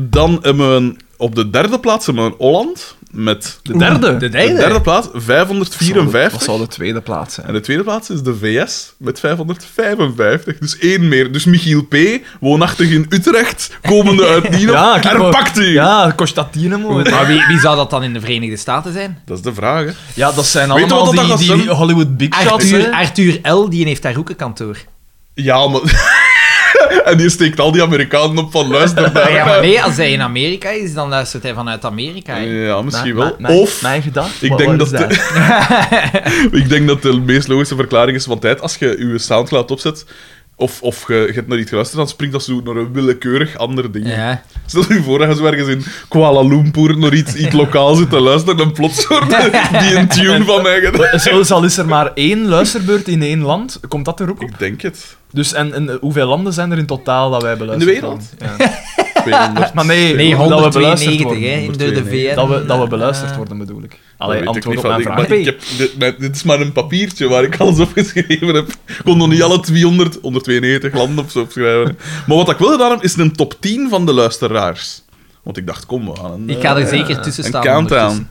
[SPEAKER 1] Dan hebben we een- op de derde plaats hebben we een Holland met
[SPEAKER 2] De derde.
[SPEAKER 3] De
[SPEAKER 1] de
[SPEAKER 3] derde.
[SPEAKER 1] derde plaats
[SPEAKER 2] Dat
[SPEAKER 1] 554.
[SPEAKER 2] zal de tweede plaats zijn.
[SPEAKER 1] En de tweede plaats is de VS met 555. Dus één meer. Dus Michiel P., woonachtig in Utrecht, komende
[SPEAKER 2] *laughs*
[SPEAKER 1] uit Nino,
[SPEAKER 2] Ja, kijk maar.
[SPEAKER 1] herpakt u.
[SPEAKER 2] Ja, Constantine mooi.
[SPEAKER 3] Maar wie, wie zou dat dan in de Verenigde Staten zijn?
[SPEAKER 1] Dat is de vraag, hè.
[SPEAKER 2] Ja, dat zijn
[SPEAKER 1] Weet je
[SPEAKER 2] allemaal
[SPEAKER 1] wat dat
[SPEAKER 2] die,
[SPEAKER 1] gaat
[SPEAKER 2] die
[SPEAKER 1] zijn?
[SPEAKER 2] Hollywood big shots.
[SPEAKER 3] Arthur,
[SPEAKER 2] hè.
[SPEAKER 3] Arthur L. die heeft daar ook een kantoor.
[SPEAKER 1] Ja, maar... *laughs* en die steekt al die Amerikanen op van luister daar.
[SPEAKER 3] Ja, maar nee, als hij in Amerika is, dan luistert hij vanuit Amerika. hè.
[SPEAKER 1] Ja, misschien
[SPEAKER 2] Mijn-
[SPEAKER 1] wel.
[SPEAKER 2] mijn-
[SPEAKER 1] of,
[SPEAKER 2] Mijn gedacht.
[SPEAKER 1] ik,
[SPEAKER 2] Wat-
[SPEAKER 1] denk
[SPEAKER 2] wat
[SPEAKER 1] dat
[SPEAKER 2] is
[SPEAKER 1] de, *laughs* ik denk dat de meest logische verklaring is van tijd. Als je je Soundcloud opzet, of, of je, je hebt naar iets geluisterd, dan springt dat zo naar een willekeurig ander ding.
[SPEAKER 3] Ja.
[SPEAKER 1] Stel je voor dat je zo ergens in Kuala Lumpur naar iets, iets lokaal zit te luisteren en plots hoort die een tune van mij. gedaan.
[SPEAKER 2] Zelfs al is er maar één luisterbeurt in één land, komt dat er ook op?
[SPEAKER 1] Ik denk het.
[SPEAKER 2] Dus en, en eh, hoeveel landen zijn er in totaal dat wij beluisteren?
[SPEAKER 1] In de wereld?
[SPEAKER 2] Ja.
[SPEAKER 1] 200.
[SPEAKER 2] Maar nee,
[SPEAKER 3] Nee,
[SPEAKER 2] dat we beluisterd
[SPEAKER 3] 192,
[SPEAKER 2] worden.
[SPEAKER 3] hè, door de Ah.
[SPEAKER 1] 192.
[SPEAKER 3] VN.
[SPEAKER 2] Dat we, dat we beluisterd worden, bedoel ik.
[SPEAKER 1] Dat
[SPEAKER 2] Allee,
[SPEAKER 1] weet ik
[SPEAKER 2] antwoord
[SPEAKER 1] niet
[SPEAKER 2] op
[SPEAKER 1] van
[SPEAKER 2] mijn
[SPEAKER 1] dingen,
[SPEAKER 2] vraag.
[SPEAKER 1] maar ik heb, dit, mijn- dit is maar een papiertje waar ik alles opgeschreven heb. Ik kon nog niet alle 200, 192 landen op zo opschrijven. Maar wat ik wil gedaan heb, is een top 10 van de luisteraars. Want ik dacht, kom, we gaan een,
[SPEAKER 3] Ik ga
[SPEAKER 1] eh,
[SPEAKER 3] er zeker tussen
[SPEAKER 1] een
[SPEAKER 3] staan.
[SPEAKER 1] countdown.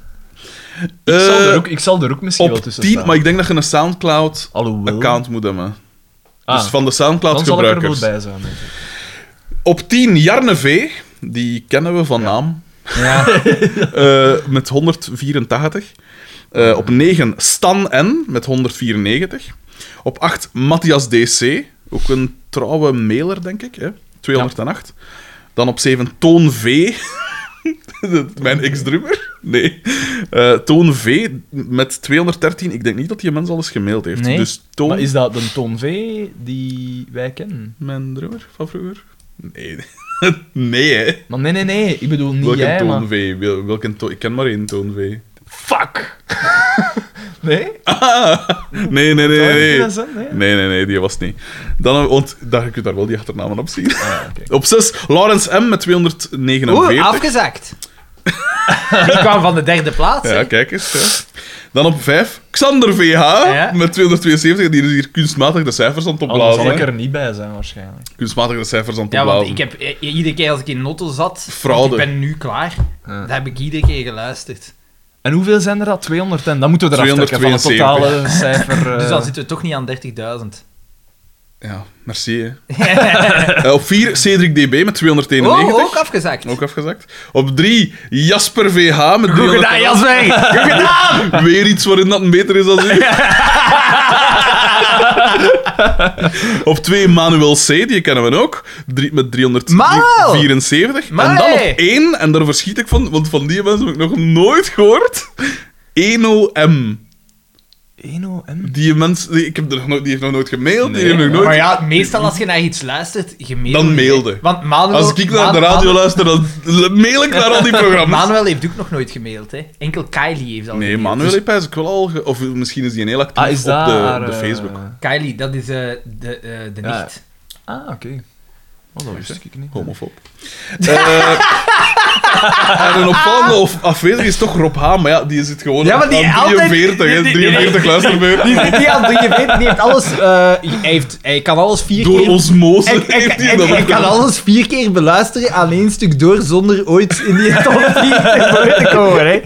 [SPEAKER 3] ondertussen.
[SPEAKER 2] Ik zal
[SPEAKER 1] Eh,
[SPEAKER 2] er ook, ik zal er ook misschien wel
[SPEAKER 1] op
[SPEAKER 2] tussen
[SPEAKER 1] 10,
[SPEAKER 2] staan.
[SPEAKER 1] maar ik denk dat je een Soundcloud-account
[SPEAKER 2] Alhoewel,
[SPEAKER 1] moet hebben.
[SPEAKER 2] Ah,
[SPEAKER 1] dus van de
[SPEAKER 2] dan zal ik er wel
[SPEAKER 1] Soundcloud-gebruikers.
[SPEAKER 2] bij zijn. denk ik.
[SPEAKER 1] Op 10, Jarne V. Die kennen we van naam.
[SPEAKER 3] Ja.
[SPEAKER 1] Eh, met 184. Eh, op 9 Stan N met 194. Op 8 Matthias DC, ook een trouwe mailer, denk ik. Hè? 208. Dan op 7 Toon V. *laughs* Dat- Mijn ex-drummer? Nee. Eh, Toon V met 213. Ik denk niet dat die mens al eens gemaild heeft.
[SPEAKER 3] Nee.
[SPEAKER 1] Dus Toon,
[SPEAKER 2] Maar is dat de Toon V die wij kennen?
[SPEAKER 1] mijn drummer van vroeger? Nee. *laughs* nee, hè.
[SPEAKER 2] Maar nee, nee, nee. Ik bedoel niet
[SPEAKER 1] Welke
[SPEAKER 2] jij,
[SPEAKER 1] Toon
[SPEAKER 2] maar...
[SPEAKER 1] V? Wel- welke Toon- Ik ken maar één Toon V. *laughs*
[SPEAKER 2] Fuck! nee? Oh,
[SPEAKER 1] Nee, nee, nee, nee. nee.
[SPEAKER 2] Dat is het, nee.
[SPEAKER 1] Nee, nee, nee, die was het niet. Dan, eh, want daar, je kunt daar wel die achternamen op zien.
[SPEAKER 2] Ah, oké.
[SPEAKER 1] Op 6, Lawrence M. met 249.
[SPEAKER 3] Oeh, *laughs* afgezakt. Die kwam van de derde plaats. hè.
[SPEAKER 1] ja, kijk eens. Ja. Dan op 5, Xander VH
[SPEAKER 3] Ja. Oh,
[SPEAKER 1] met 272. Die is hier kunstmatig de cijfers aan het
[SPEAKER 2] Anders zal
[SPEAKER 1] opblazen.
[SPEAKER 2] ik
[SPEAKER 1] hè.
[SPEAKER 2] er niet bij zijn, waarschijnlijk.
[SPEAKER 1] Kunstmatig de cijfers aan het
[SPEAKER 3] Ja, want
[SPEAKER 1] opblazen.
[SPEAKER 3] ik heb eh, iedere keer als ik in Notto zat, want
[SPEAKER 1] Fraude.
[SPEAKER 3] ik ben nu klaar,
[SPEAKER 2] Ja.
[SPEAKER 3] dat heb ik iedere keer geluisterd.
[SPEAKER 2] En hoeveel zijn er dat? 200 en dan moeten we eraf trekken van het
[SPEAKER 1] 272.
[SPEAKER 2] totale cijfer. eh.
[SPEAKER 3] *laughs* Dus dan zitten we toch niet aan *laughs* 30.000.
[SPEAKER 1] Ja, merci. Hè. Eh, op 4, Cedric DB met 291.
[SPEAKER 3] Oh, ook afgezakt.
[SPEAKER 1] Ook afgezakt. Op 3, Jasper VH met 300.
[SPEAKER 3] Jasmijn. Goed
[SPEAKER 1] *laughs*
[SPEAKER 3] gedaan.
[SPEAKER 1] Weer iets waarin dat beter is dan u. op 2 Manuel C, die kennen we ook. Drie, met
[SPEAKER 3] Manuel!
[SPEAKER 1] 374. En
[SPEAKER 3] Maar
[SPEAKER 1] dan
[SPEAKER 3] hey!
[SPEAKER 1] op 1, en daar verschiet ik van, want van die mensen heb ik nog nooit gehoord. Eno M.
[SPEAKER 2] 1OM?
[SPEAKER 1] Die mens, die, ik heb er nog, nooit- die heeft nog nooit gemaild, die heeft nog nooit...
[SPEAKER 3] Maar ja, meestal als je naar iets luistert, je mailt
[SPEAKER 1] Dan
[SPEAKER 3] niet, hè.
[SPEAKER 1] mailde.
[SPEAKER 3] Want Manuel...
[SPEAKER 1] Als ik naar de
[SPEAKER 3] Ma-
[SPEAKER 1] radio
[SPEAKER 3] Ma-
[SPEAKER 1] luister, dan mail ik naar al die programma's.
[SPEAKER 3] Manuel heeft ook nog nooit gemaild, hè. Enkel Kylie heeft al
[SPEAKER 1] Nee,
[SPEAKER 3] gemaild.
[SPEAKER 1] Manuel heeft hij wel al... ge- Of misschien is die een heel actief
[SPEAKER 2] Ah, is
[SPEAKER 1] op
[SPEAKER 2] dat
[SPEAKER 1] de,
[SPEAKER 2] haar,
[SPEAKER 1] op de
[SPEAKER 2] eh,
[SPEAKER 1] Facebook.
[SPEAKER 3] Kylie, dat is eh, de, eh, de
[SPEAKER 2] Ja.
[SPEAKER 3] nicht.
[SPEAKER 2] Ah, oké. Oh, dat wist ik niet.
[SPEAKER 1] Homofob. Eh, *laughs* en een opvallende of afwezig is toch Rob H. Maar ja, die zit gewoon
[SPEAKER 3] Ja, maar die
[SPEAKER 1] aan
[SPEAKER 3] altijd-
[SPEAKER 1] 43, hè.
[SPEAKER 3] die- die-
[SPEAKER 1] 43 luisterbeurten.
[SPEAKER 3] Die, die, aan drie- die, weet, die heeft alles... eh, hij heeft, hij kan alles vier
[SPEAKER 1] Door
[SPEAKER 3] keer...
[SPEAKER 1] osmose
[SPEAKER 3] Ik, ik,
[SPEAKER 1] heeft hij
[SPEAKER 3] ik,
[SPEAKER 1] dat
[SPEAKER 3] ik kan
[SPEAKER 1] gedaan.
[SPEAKER 3] alles vier keer beluisteren aan één stuk door zonder ooit in die top 4 *laughs* te komen. Hè.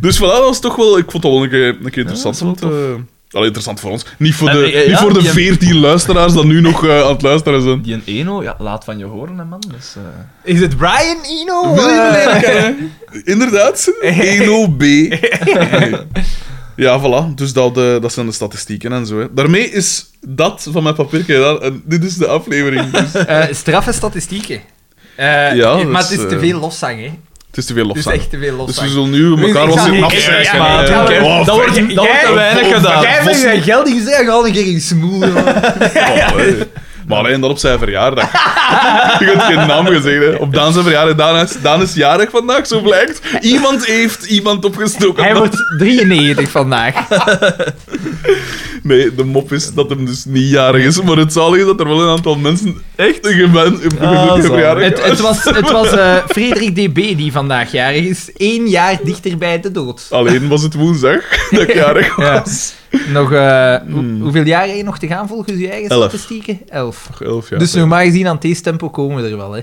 [SPEAKER 1] Dus voilà, dat was toch wel... Ik vond dat wel een keer, een keer interessant.
[SPEAKER 2] dat is wel
[SPEAKER 1] want, eh, allee, interessant voor ons. Niet voor
[SPEAKER 2] En,
[SPEAKER 1] de,
[SPEAKER 2] eh, ja,
[SPEAKER 1] niet voor de
[SPEAKER 2] die-
[SPEAKER 1] 14 luisteraars die nu nog eh, aan het luisteren zijn.
[SPEAKER 2] Die een Eno, ja, laat van je horen, hè, man. Dus, eh,
[SPEAKER 3] Is het Brian Eno?
[SPEAKER 1] Wil je me
[SPEAKER 3] Eh, *laughs*
[SPEAKER 1] leren kennen? Inderdaad, 1OB. Nee. Ja, voilà. Dus dat, eh, dat zijn de statistieken en zo. Hè. Daarmee is dat van mijn papiertje gedaan. En dit is de
[SPEAKER 3] *laughs*
[SPEAKER 1] aflevering. Dus.
[SPEAKER 3] eh, straffe statistieken. Eh,
[SPEAKER 1] Ja,
[SPEAKER 3] maar
[SPEAKER 1] dus,
[SPEAKER 3] het is te
[SPEAKER 1] eh,
[SPEAKER 3] veel lofzang, hè.
[SPEAKER 1] Het is te veel
[SPEAKER 3] Het is
[SPEAKER 1] lofzang.
[SPEAKER 3] echt te veel los.
[SPEAKER 1] Dus we zullen nu
[SPEAKER 3] Dus
[SPEAKER 1] elkaar
[SPEAKER 3] ik
[SPEAKER 1] wat
[SPEAKER 3] zal
[SPEAKER 1] zitten
[SPEAKER 3] niet-
[SPEAKER 1] afzeiken.
[SPEAKER 3] Ja, ja, ja,
[SPEAKER 1] Eh,
[SPEAKER 3] ja.
[SPEAKER 1] wow,
[SPEAKER 2] Dat wordt,
[SPEAKER 1] fuck.
[SPEAKER 2] dat wordt te
[SPEAKER 3] Jij-
[SPEAKER 2] weinig
[SPEAKER 1] Jij-
[SPEAKER 2] gedaan.
[SPEAKER 3] Jij bent zijn geld niet gezegd, al een keer in smoel.
[SPEAKER 1] Oh, eh. Maar alleen dat op zijn
[SPEAKER 3] *laughs*
[SPEAKER 1] verjaardag. Ik had geen naam gezegd. Hè. Op Daan zijn verjaardag. Daan is, Daan is jarig vandaag, zo blijkt. Iemand heeft iemand opgestoken.
[SPEAKER 3] Hij wordt 93 vandaag.
[SPEAKER 1] Nee, de mop is dat hem dus niet jarig is. Maar het zalige is dat er wel een aantal mensen echt een gewen- een gelukkige
[SPEAKER 2] zalig.
[SPEAKER 1] verjaardag
[SPEAKER 3] Ah, Het, het was, het *laughs* was eh, Frederik DB die vandaag jarig is. Eén jaar dichter bij de dood.
[SPEAKER 1] Alleen was het woensdag
[SPEAKER 3] *laughs*
[SPEAKER 1] dat ik jarig was.
[SPEAKER 3] Ja. Nog, eh, hoe- hoeveel jaar heb je nog te gaan volgens je eigen
[SPEAKER 1] Hmm. Elf.
[SPEAKER 3] statistieken? Elf.
[SPEAKER 1] Nog elf jaar.
[SPEAKER 3] dus normaal gezien aan deze tempo komen we er wel. Hè.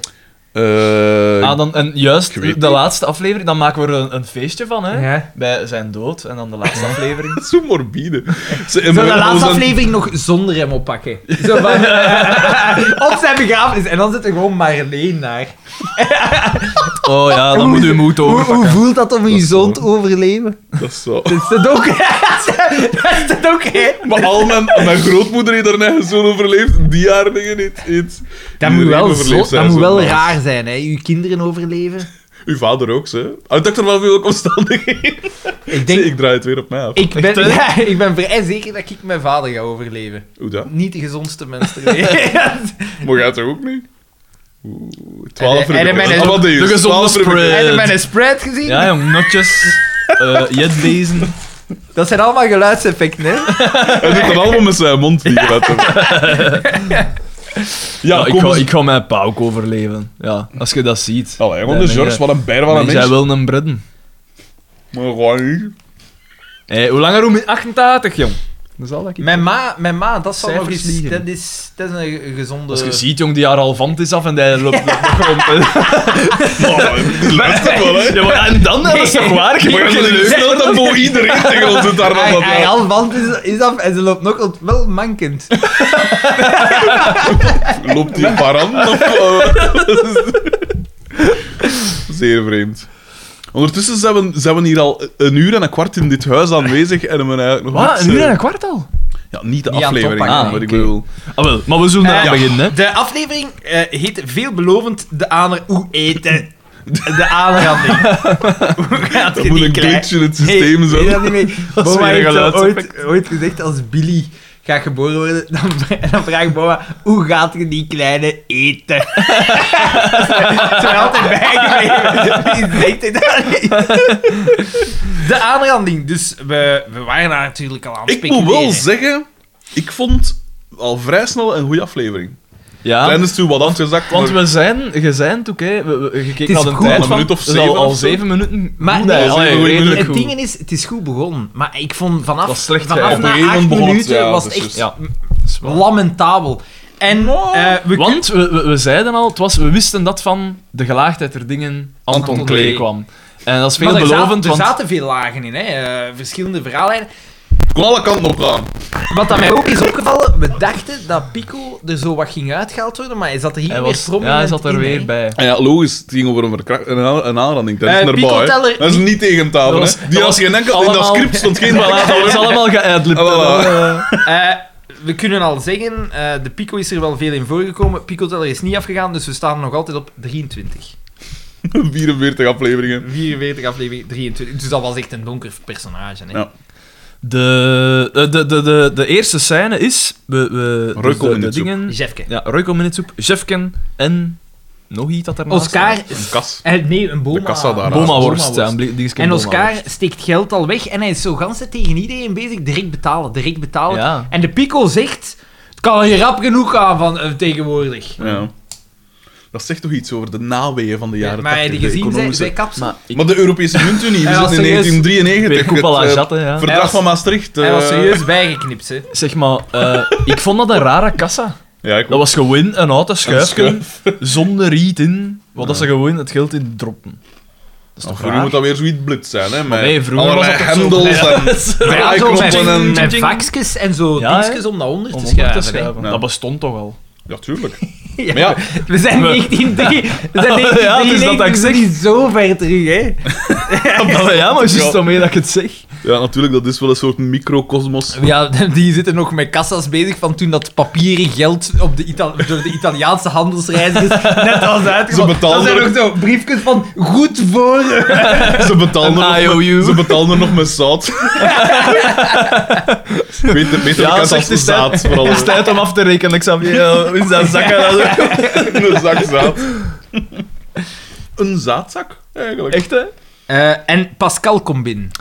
[SPEAKER 1] Eh,
[SPEAKER 2] Ah, dan, en juist
[SPEAKER 1] Ik weet
[SPEAKER 2] de laatste aflevering, dan maken we er een, een feestje van, hè?
[SPEAKER 3] Ja.
[SPEAKER 2] Bij zijn dood en dan de laatste aflevering.
[SPEAKER 1] dat is zo morbide. Ze, en
[SPEAKER 3] Zo
[SPEAKER 1] we-
[SPEAKER 3] de
[SPEAKER 1] we
[SPEAKER 3] laatste
[SPEAKER 1] zijn-
[SPEAKER 3] aflevering nog zonder hem *laughs* oppakken. Zo van, eh, op zijn begrafenis. En dan zit er gewoon Marleen naar.
[SPEAKER 2] Oh ja, dan moet u moed
[SPEAKER 3] Hoe,
[SPEAKER 2] overpakken.
[SPEAKER 3] hoe voelt dat om uw
[SPEAKER 1] is
[SPEAKER 3] zoon te overleven? *laughs*
[SPEAKER 1] Dat is zo.
[SPEAKER 3] Dat is dat ook? *laughs* dat is dat ook, hè?
[SPEAKER 1] Maar al mijn, mijn grootmoeder heeft haar eigen zoon overleefd. Die haar dingen niet. niet.
[SPEAKER 3] Dat moet
[SPEAKER 1] Iedereen
[SPEAKER 3] wel,
[SPEAKER 1] overleeft
[SPEAKER 3] zo,
[SPEAKER 1] zijn
[SPEAKER 3] dat moet
[SPEAKER 1] zoon.
[SPEAKER 3] wel raar zijn, hè? Uw kinderen overleven.
[SPEAKER 1] Uw vader ook, ze. Uitdacht er wel veel omstandigheden.
[SPEAKER 3] Ik
[SPEAKER 1] Zie,
[SPEAKER 3] denk...
[SPEAKER 1] Ik draai het weer op mij af.
[SPEAKER 3] Ik ben,
[SPEAKER 2] Echt, hè?
[SPEAKER 3] *laughs* ja, ik ben vrij zeker dat ik mijn vader ga overleven.
[SPEAKER 1] Hoe dat?
[SPEAKER 3] Niet de gezondste mens
[SPEAKER 2] *laughs*
[SPEAKER 3] ter wereld.
[SPEAKER 1] Maar jij toch ook niet? Oeh,
[SPEAKER 3] En-
[SPEAKER 1] 12
[SPEAKER 3] en- en- en-
[SPEAKER 1] Allemaal
[SPEAKER 2] de
[SPEAKER 1] dingen.
[SPEAKER 2] gezonde
[SPEAKER 1] 12 rubrieken.
[SPEAKER 2] spread.
[SPEAKER 3] Heb je mijn spread gezien?
[SPEAKER 2] Eh, Ja, jong, notjes, eh jetbezen.
[SPEAKER 3] Dat zijn allemaal geluidseffecten, hè?
[SPEAKER 2] *laughs*
[SPEAKER 1] Hij doet dat allemaal met zijn mond. Die ja, ja
[SPEAKER 2] Ja, ik,
[SPEAKER 1] kom
[SPEAKER 2] ga,
[SPEAKER 1] eens.
[SPEAKER 2] ik ga mijn pauk overleven. Ja, als je dat ziet.
[SPEAKER 1] Allee, want de
[SPEAKER 2] Nee,
[SPEAKER 1] George,
[SPEAKER 2] nee,
[SPEAKER 1] wat een beer, wat een
[SPEAKER 2] Nee,
[SPEAKER 1] mens.
[SPEAKER 2] zij wil een bredden.
[SPEAKER 1] Maar gewoon niet.
[SPEAKER 2] Hé, hoe langer hoe meer? 88, jong. Dat is al dat ik...
[SPEAKER 3] Mijn ma, mijn ma dat, zal nog
[SPEAKER 2] Cijfers
[SPEAKER 3] eens,
[SPEAKER 2] liegen.
[SPEAKER 3] dat, is, dat is een gezonde...
[SPEAKER 2] Als je ziet, jong, die haar alvant is af en die loopt loopt nog rond. hè. *laughs*
[SPEAKER 1] Oh, die luistert wel, hè.
[SPEAKER 2] Ja, maar en dan? Dat is toch waar? Je
[SPEAKER 1] Maar
[SPEAKER 2] hebt
[SPEAKER 1] je
[SPEAKER 2] geen
[SPEAKER 1] moet
[SPEAKER 2] neus
[SPEAKER 1] snel dat voor iedereen tegen ons het daar
[SPEAKER 3] Haar-
[SPEAKER 1] nog wat
[SPEAKER 3] haar hand is, is af en ze loopt nog wel- wel mankend.
[SPEAKER 1] Loopt die een paar handen of wat? *laughs* Zeer vreemd. Ondertussen zijn we, zijn we hier al een uur en een kwart in dit huis aanwezig en hebben we eigenlijk nog
[SPEAKER 2] Wat?
[SPEAKER 1] niks,
[SPEAKER 2] Een uur
[SPEAKER 1] eh,
[SPEAKER 2] en Ah, een kwart al?
[SPEAKER 1] Ja, niet de
[SPEAKER 3] Niet aan het
[SPEAKER 1] aflevering,
[SPEAKER 3] oppakken,
[SPEAKER 1] maar ik
[SPEAKER 3] nee, oké.
[SPEAKER 1] bedoel...
[SPEAKER 2] Ah, wel, maar we zullen
[SPEAKER 3] Eh,
[SPEAKER 2] eraan
[SPEAKER 3] ja.
[SPEAKER 2] beginnen, hè.
[SPEAKER 3] De aflevering eh, heet veelbelovend De Aner... Oeh,
[SPEAKER 2] *laughs*
[SPEAKER 3] eten. De aanranding. Hoe gaat
[SPEAKER 1] Dat
[SPEAKER 3] je
[SPEAKER 1] moet
[SPEAKER 3] die
[SPEAKER 1] een
[SPEAKER 3] klein-
[SPEAKER 1] glitch in het systeem
[SPEAKER 3] nee,
[SPEAKER 1] zijn.
[SPEAKER 3] Nee, *laughs* dat niet mee. Boma
[SPEAKER 2] weer een
[SPEAKER 3] heeft zo ooit,
[SPEAKER 2] geluidseffect.
[SPEAKER 3] ooit gezegd als Billy gaat geboren worden, dan, *laughs* dan vraagt Boma, hoe gaat je die kleine eten? *laughs* Ze zijn altijd bijgebleven. *laughs* Wie zegt dit dan niet? De aanranding. Dus we, we waren daar natuurlijk al aan het
[SPEAKER 1] Ik moet wel zeggen, ik vond al vrij snel een goede aflevering.
[SPEAKER 2] Ja.
[SPEAKER 1] Tijdens toen wat afgezakt.
[SPEAKER 2] Want
[SPEAKER 1] maar-
[SPEAKER 2] we zijn, je zijn ook, hè, we, we, je keek
[SPEAKER 3] is
[SPEAKER 2] naar de
[SPEAKER 3] goed.
[SPEAKER 2] tijd
[SPEAKER 1] Al een
[SPEAKER 2] van...
[SPEAKER 1] minuut of
[SPEAKER 2] dat is
[SPEAKER 1] zeven
[SPEAKER 2] al, al
[SPEAKER 1] of zo.
[SPEAKER 2] zeven minuten.
[SPEAKER 3] Maar
[SPEAKER 2] goed,
[SPEAKER 3] nee,
[SPEAKER 2] hè.
[SPEAKER 1] al
[SPEAKER 2] Allee,
[SPEAKER 1] zeven minuten
[SPEAKER 2] redelijk
[SPEAKER 3] Het
[SPEAKER 2] goed.
[SPEAKER 3] ding is, het is goed begonnen, maar ik vond vanaf,
[SPEAKER 2] Het was slecht,
[SPEAKER 3] vanaf
[SPEAKER 2] ja.
[SPEAKER 1] Op een
[SPEAKER 3] na
[SPEAKER 1] gegeven
[SPEAKER 3] acht
[SPEAKER 1] moment begon het,
[SPEAKER 3] minuten
[SPEAKER 1] ja,
[SPEAKER 3] was
[SPEAKER 1] dat
[SPEAKER 3] het
[SPEAKER 1] is
[SPEAKER 3] echt
[SPEAKER 1] juist.
[SPEAKER 3] m- lamentabel. En eh, we kunnen-
[SPEAKER 2] Want we, we, we zeiden al, het was, we wisten dat van de gelaagdheid der dingen Anton,
[SPEAKER 3] Anton
[SPEAKER 2] Klee
[SPEAKER 3] Klee.
[SPEAKER 2] kwam. En dat is
[SPEAKER 3] maar er
[SPEAKER 2] veelbelovend,
[SPEAKER 3] zaten, er
[SPEAKER 2] want...
[SPEAKER 3] zaten veel lagen in, hè? eh, verschillende verhaallijnen.
[SPEAKER 1] kon alle kanten op gaan.
[SPEAKER 3] Wat dat mij ook is opgevallen, we dachten dat Pico er zo wat ging uitgehaald worden, maar hij zat er hier
[SPEAKER 2] Hij,
[SPEAKER 3] weer
[SPEAKER 2] was,
[SPEAKER 3] prominent
[SPEAKER 2] ja, hij zat er
[SPEAKER 3] in,
[SPEAKER 2] weer
[SPEAKER 3] hè.
[SPEAKER 2] bij.
[SPEAKER 1] En Ah ja, logisch, het ging over een, verkracht- een, aan- een aanranding. Dat is
[SPEAKER 3] Eh,
[SPEAKER 1] normaal, hè.
[SPEAKER 3] Piekelteller-
[SPEAKER 1] Dat is niet tegen hem
[SPEAKER 2] Dat
[SPEAKER 1] tafel, hè.
[SPEAKER 2] was-
[SPEAKER 1] Die
[SPEAKER 2] dat
[SPEAKER 1] had
[SPEAKER 2] was
[SPEAKER 1] geen enkel... In dat
[SPEAKER 2] allemaal-
[SPEAKER 1] script stond geen
[SPEAKER 2] *laughs* Voilà,
[SPEAKER 1] balaat.
[SPEAKER 2] dat was allemaal geadlipt.
[SPEAKER 1] Ah, voilà.
[SPEAKER 3] Eh, we kunnen al zeggen, eh, de Pico is er wel veel in voorgekomen. Pico teller is niet afgegaan, dus we staan nog altijd op 23.
[SPEAKER 1] *laughs* 44 afleveringen.
[SPEAKER 3] 44 aflevering 23. Dus dat was echt een donker personage. Hè.
[SPEAKER 1] Ja.
[SPEAKER 2] De, de, de, de, de eerste scène is... We, we,
[SPEAKER 1] Roy
[SPEAKER 2] dus
[SPEAKER 1] komt
[SPEAKER 2] de,
[SPEAKER 1] in
[SPEAKER 2] de
[SPEAKER 1] het soep.
[SPEAKER 2] dingen...
[SPEAKER 3] Jeffke.
[SPEAKER 2] Ja, Royco Minutsoep, Jeffken en... Nog iets dat ernaast
[SPEAKER 3] Oscar.
[SPEAKER 1] Een kas.
[SPEAKER 3] eh, nee, een boma.
[SPEAKER 1] De kassa daar.
[SPEAKER 2] Boma-worst.
[SPEAKER 3] Boma-worst.
[SPEAKER 2] ja, een blik- die is geen
[SPEAKER 3] En
[SPEAKER 2] Boma-worst.
[SPEAKER 3] Oscar steekt geld al weg en hij is zo gans de tegen iedereen bezig. Direct betalen, direct betalen.
[SPEAKER 2] Ja.
[SPEAKER 3] En de Pico zegt: Het kan hier rap genoeg gaan van eh, tegenwoordig.
[SPEAKER 1] Ja. Dat zegt toch iets over de naweeën van de jaren
[SPEAKER 3] maar heb
[SPEAKER 1] 80. de
[SPEAKER 3] je gezien zijn,
[SPEAKER 1] economische-
[SPEAKER 3] zijn kapsel?
[SPEAKER 2] Maar ik
[SPEAKER 1] Maar de Europese muntunie, we
[SPEAKER 3] Hij was
[SPEAKER 1] zitten in
[SPEAKER 3] serieus-
[SPEAKER 1] 1993.
[SPEAKER 2] Weer koep à la
[SPEAKER 1] Het, eh,
[SPEAKER 2] jatte, ja.
[SPEAKER 1] Verdrag
[SPEAKER 3] Hij was-
[SPEAKER 1] van Maastricht.
[SPEAKER 3] Hij was
[SPEAKER 1] eh,
[SPEAKER 3] serieus
[SPEAKER 1] *laughs*
[SPEAKER 3] bijgeknipt, hè?
[SPEAKER 2] Zeg maar, eh, ik vond dat een rare kassa.
[SPEAKER 1] Ja, ik
[SPEAKER 2] Dat was gewoon een auto
[SPEAKER 1] Een
[SPEAKER 2] schuifje, zonder riet in, wat dat ze gewoon het geld in droppen. Dat is toch
[SPEAKER 1] Vroeger moet
[SPEAKER 2] raar?
[SPEAKER 1] dat weer zoiets blitz zijn, hè? Met
[SPEAKER 2] nee, vroeger
[SPEAKER 1] allerlei
[SPEAKER 2] was dat toch zo-
[SPEAKER 1] hendels en
[SPEAKER 3] Maar ja, zo met,
[SPEAKER 1] draaiknoppen en...
[SPEAKER 2] Ching,
[SPEAKER 3] met
[SPEAKER 2] ching.
[SPEAKER 3] vakjes en zo
[SPEAKER 2] Ja, hè?
[SPEAKER 3] dingetjes om naar onder
[SPEAKER 2] Om
[SPEAKER 3] te
[SPEAKER 2] onder te
[SPEAKER 3] schuiven. hè.
[SPEAKER 2] schuiven.
[SPEAKER 1] Ja.
[SPEAKER 2] Dat bestond toch al. *laughs*
[SPEAKER 1] Ja, tuurlijk. Maar ja,
[SPEAKER 3] We zijn
[SPEAKER 2] We-
[SPEAKER 3] 1903. We *laughs* zijn 1903.
[SPEAKER 2] Ja, het is dat dat ik
[SPEAKER 3] we zijn niet zo ver terug, hè.
[SPEAKER 2] *laughs* ja, maar juist
[SPEAKER 1] Ja.
[SPEAKER 2] daarmee dat ik het zeg.
[SPEAKER 1] ja, natuurlijk, dat is wel een soort microcosmos.
[SPEAKER 3] Ja, *laughs* die zitten nog met kassas bezig van toen dat papieren geld op de Ita- door de Italiaanse
[SPEAKER 1] *laughs*
[SPEAKER 3] handelsreizigers net was
[SPEAKER 1] Ze
[SPEAKER 3] uitgevallen. Dan
[SPEAKER 1] betaalden
[SPEAKER 3] zijn er
[SPEAKER 1] er-
[SPEAKER 3] nog zo briefjes van goed voor...
[SPEAKER 1] Ze betalen,
[SPEAKER 2] Een
[SPEAKER 1] er nog
[SPEAKER 2] IOU.
[SPEAKER 1] met, ze betalen er nog met
[SPEAKER 2] *laughs*
[SPEAKER 1] zaad. Beter, beter
[SPEAKER 2] Ja,
[SPEAKER 1] bekend
[SPEAKER 2] zegt
[SPEAKER 1] als
[SPEAKER 2] de stem.
[SPEAKER 1] zaad, vooral.
[SPEAKER 2] Het is tijd om af te rekenen. Ik zou ja, in zijn zakken.
[SPEAKER 1] *laughs* Een zak zaad. Een zaadzak, eigenlijk.
[SPEAKER 2] Echt, hè?
[SPEAKER 3] Eh, en Pascal komt binnen.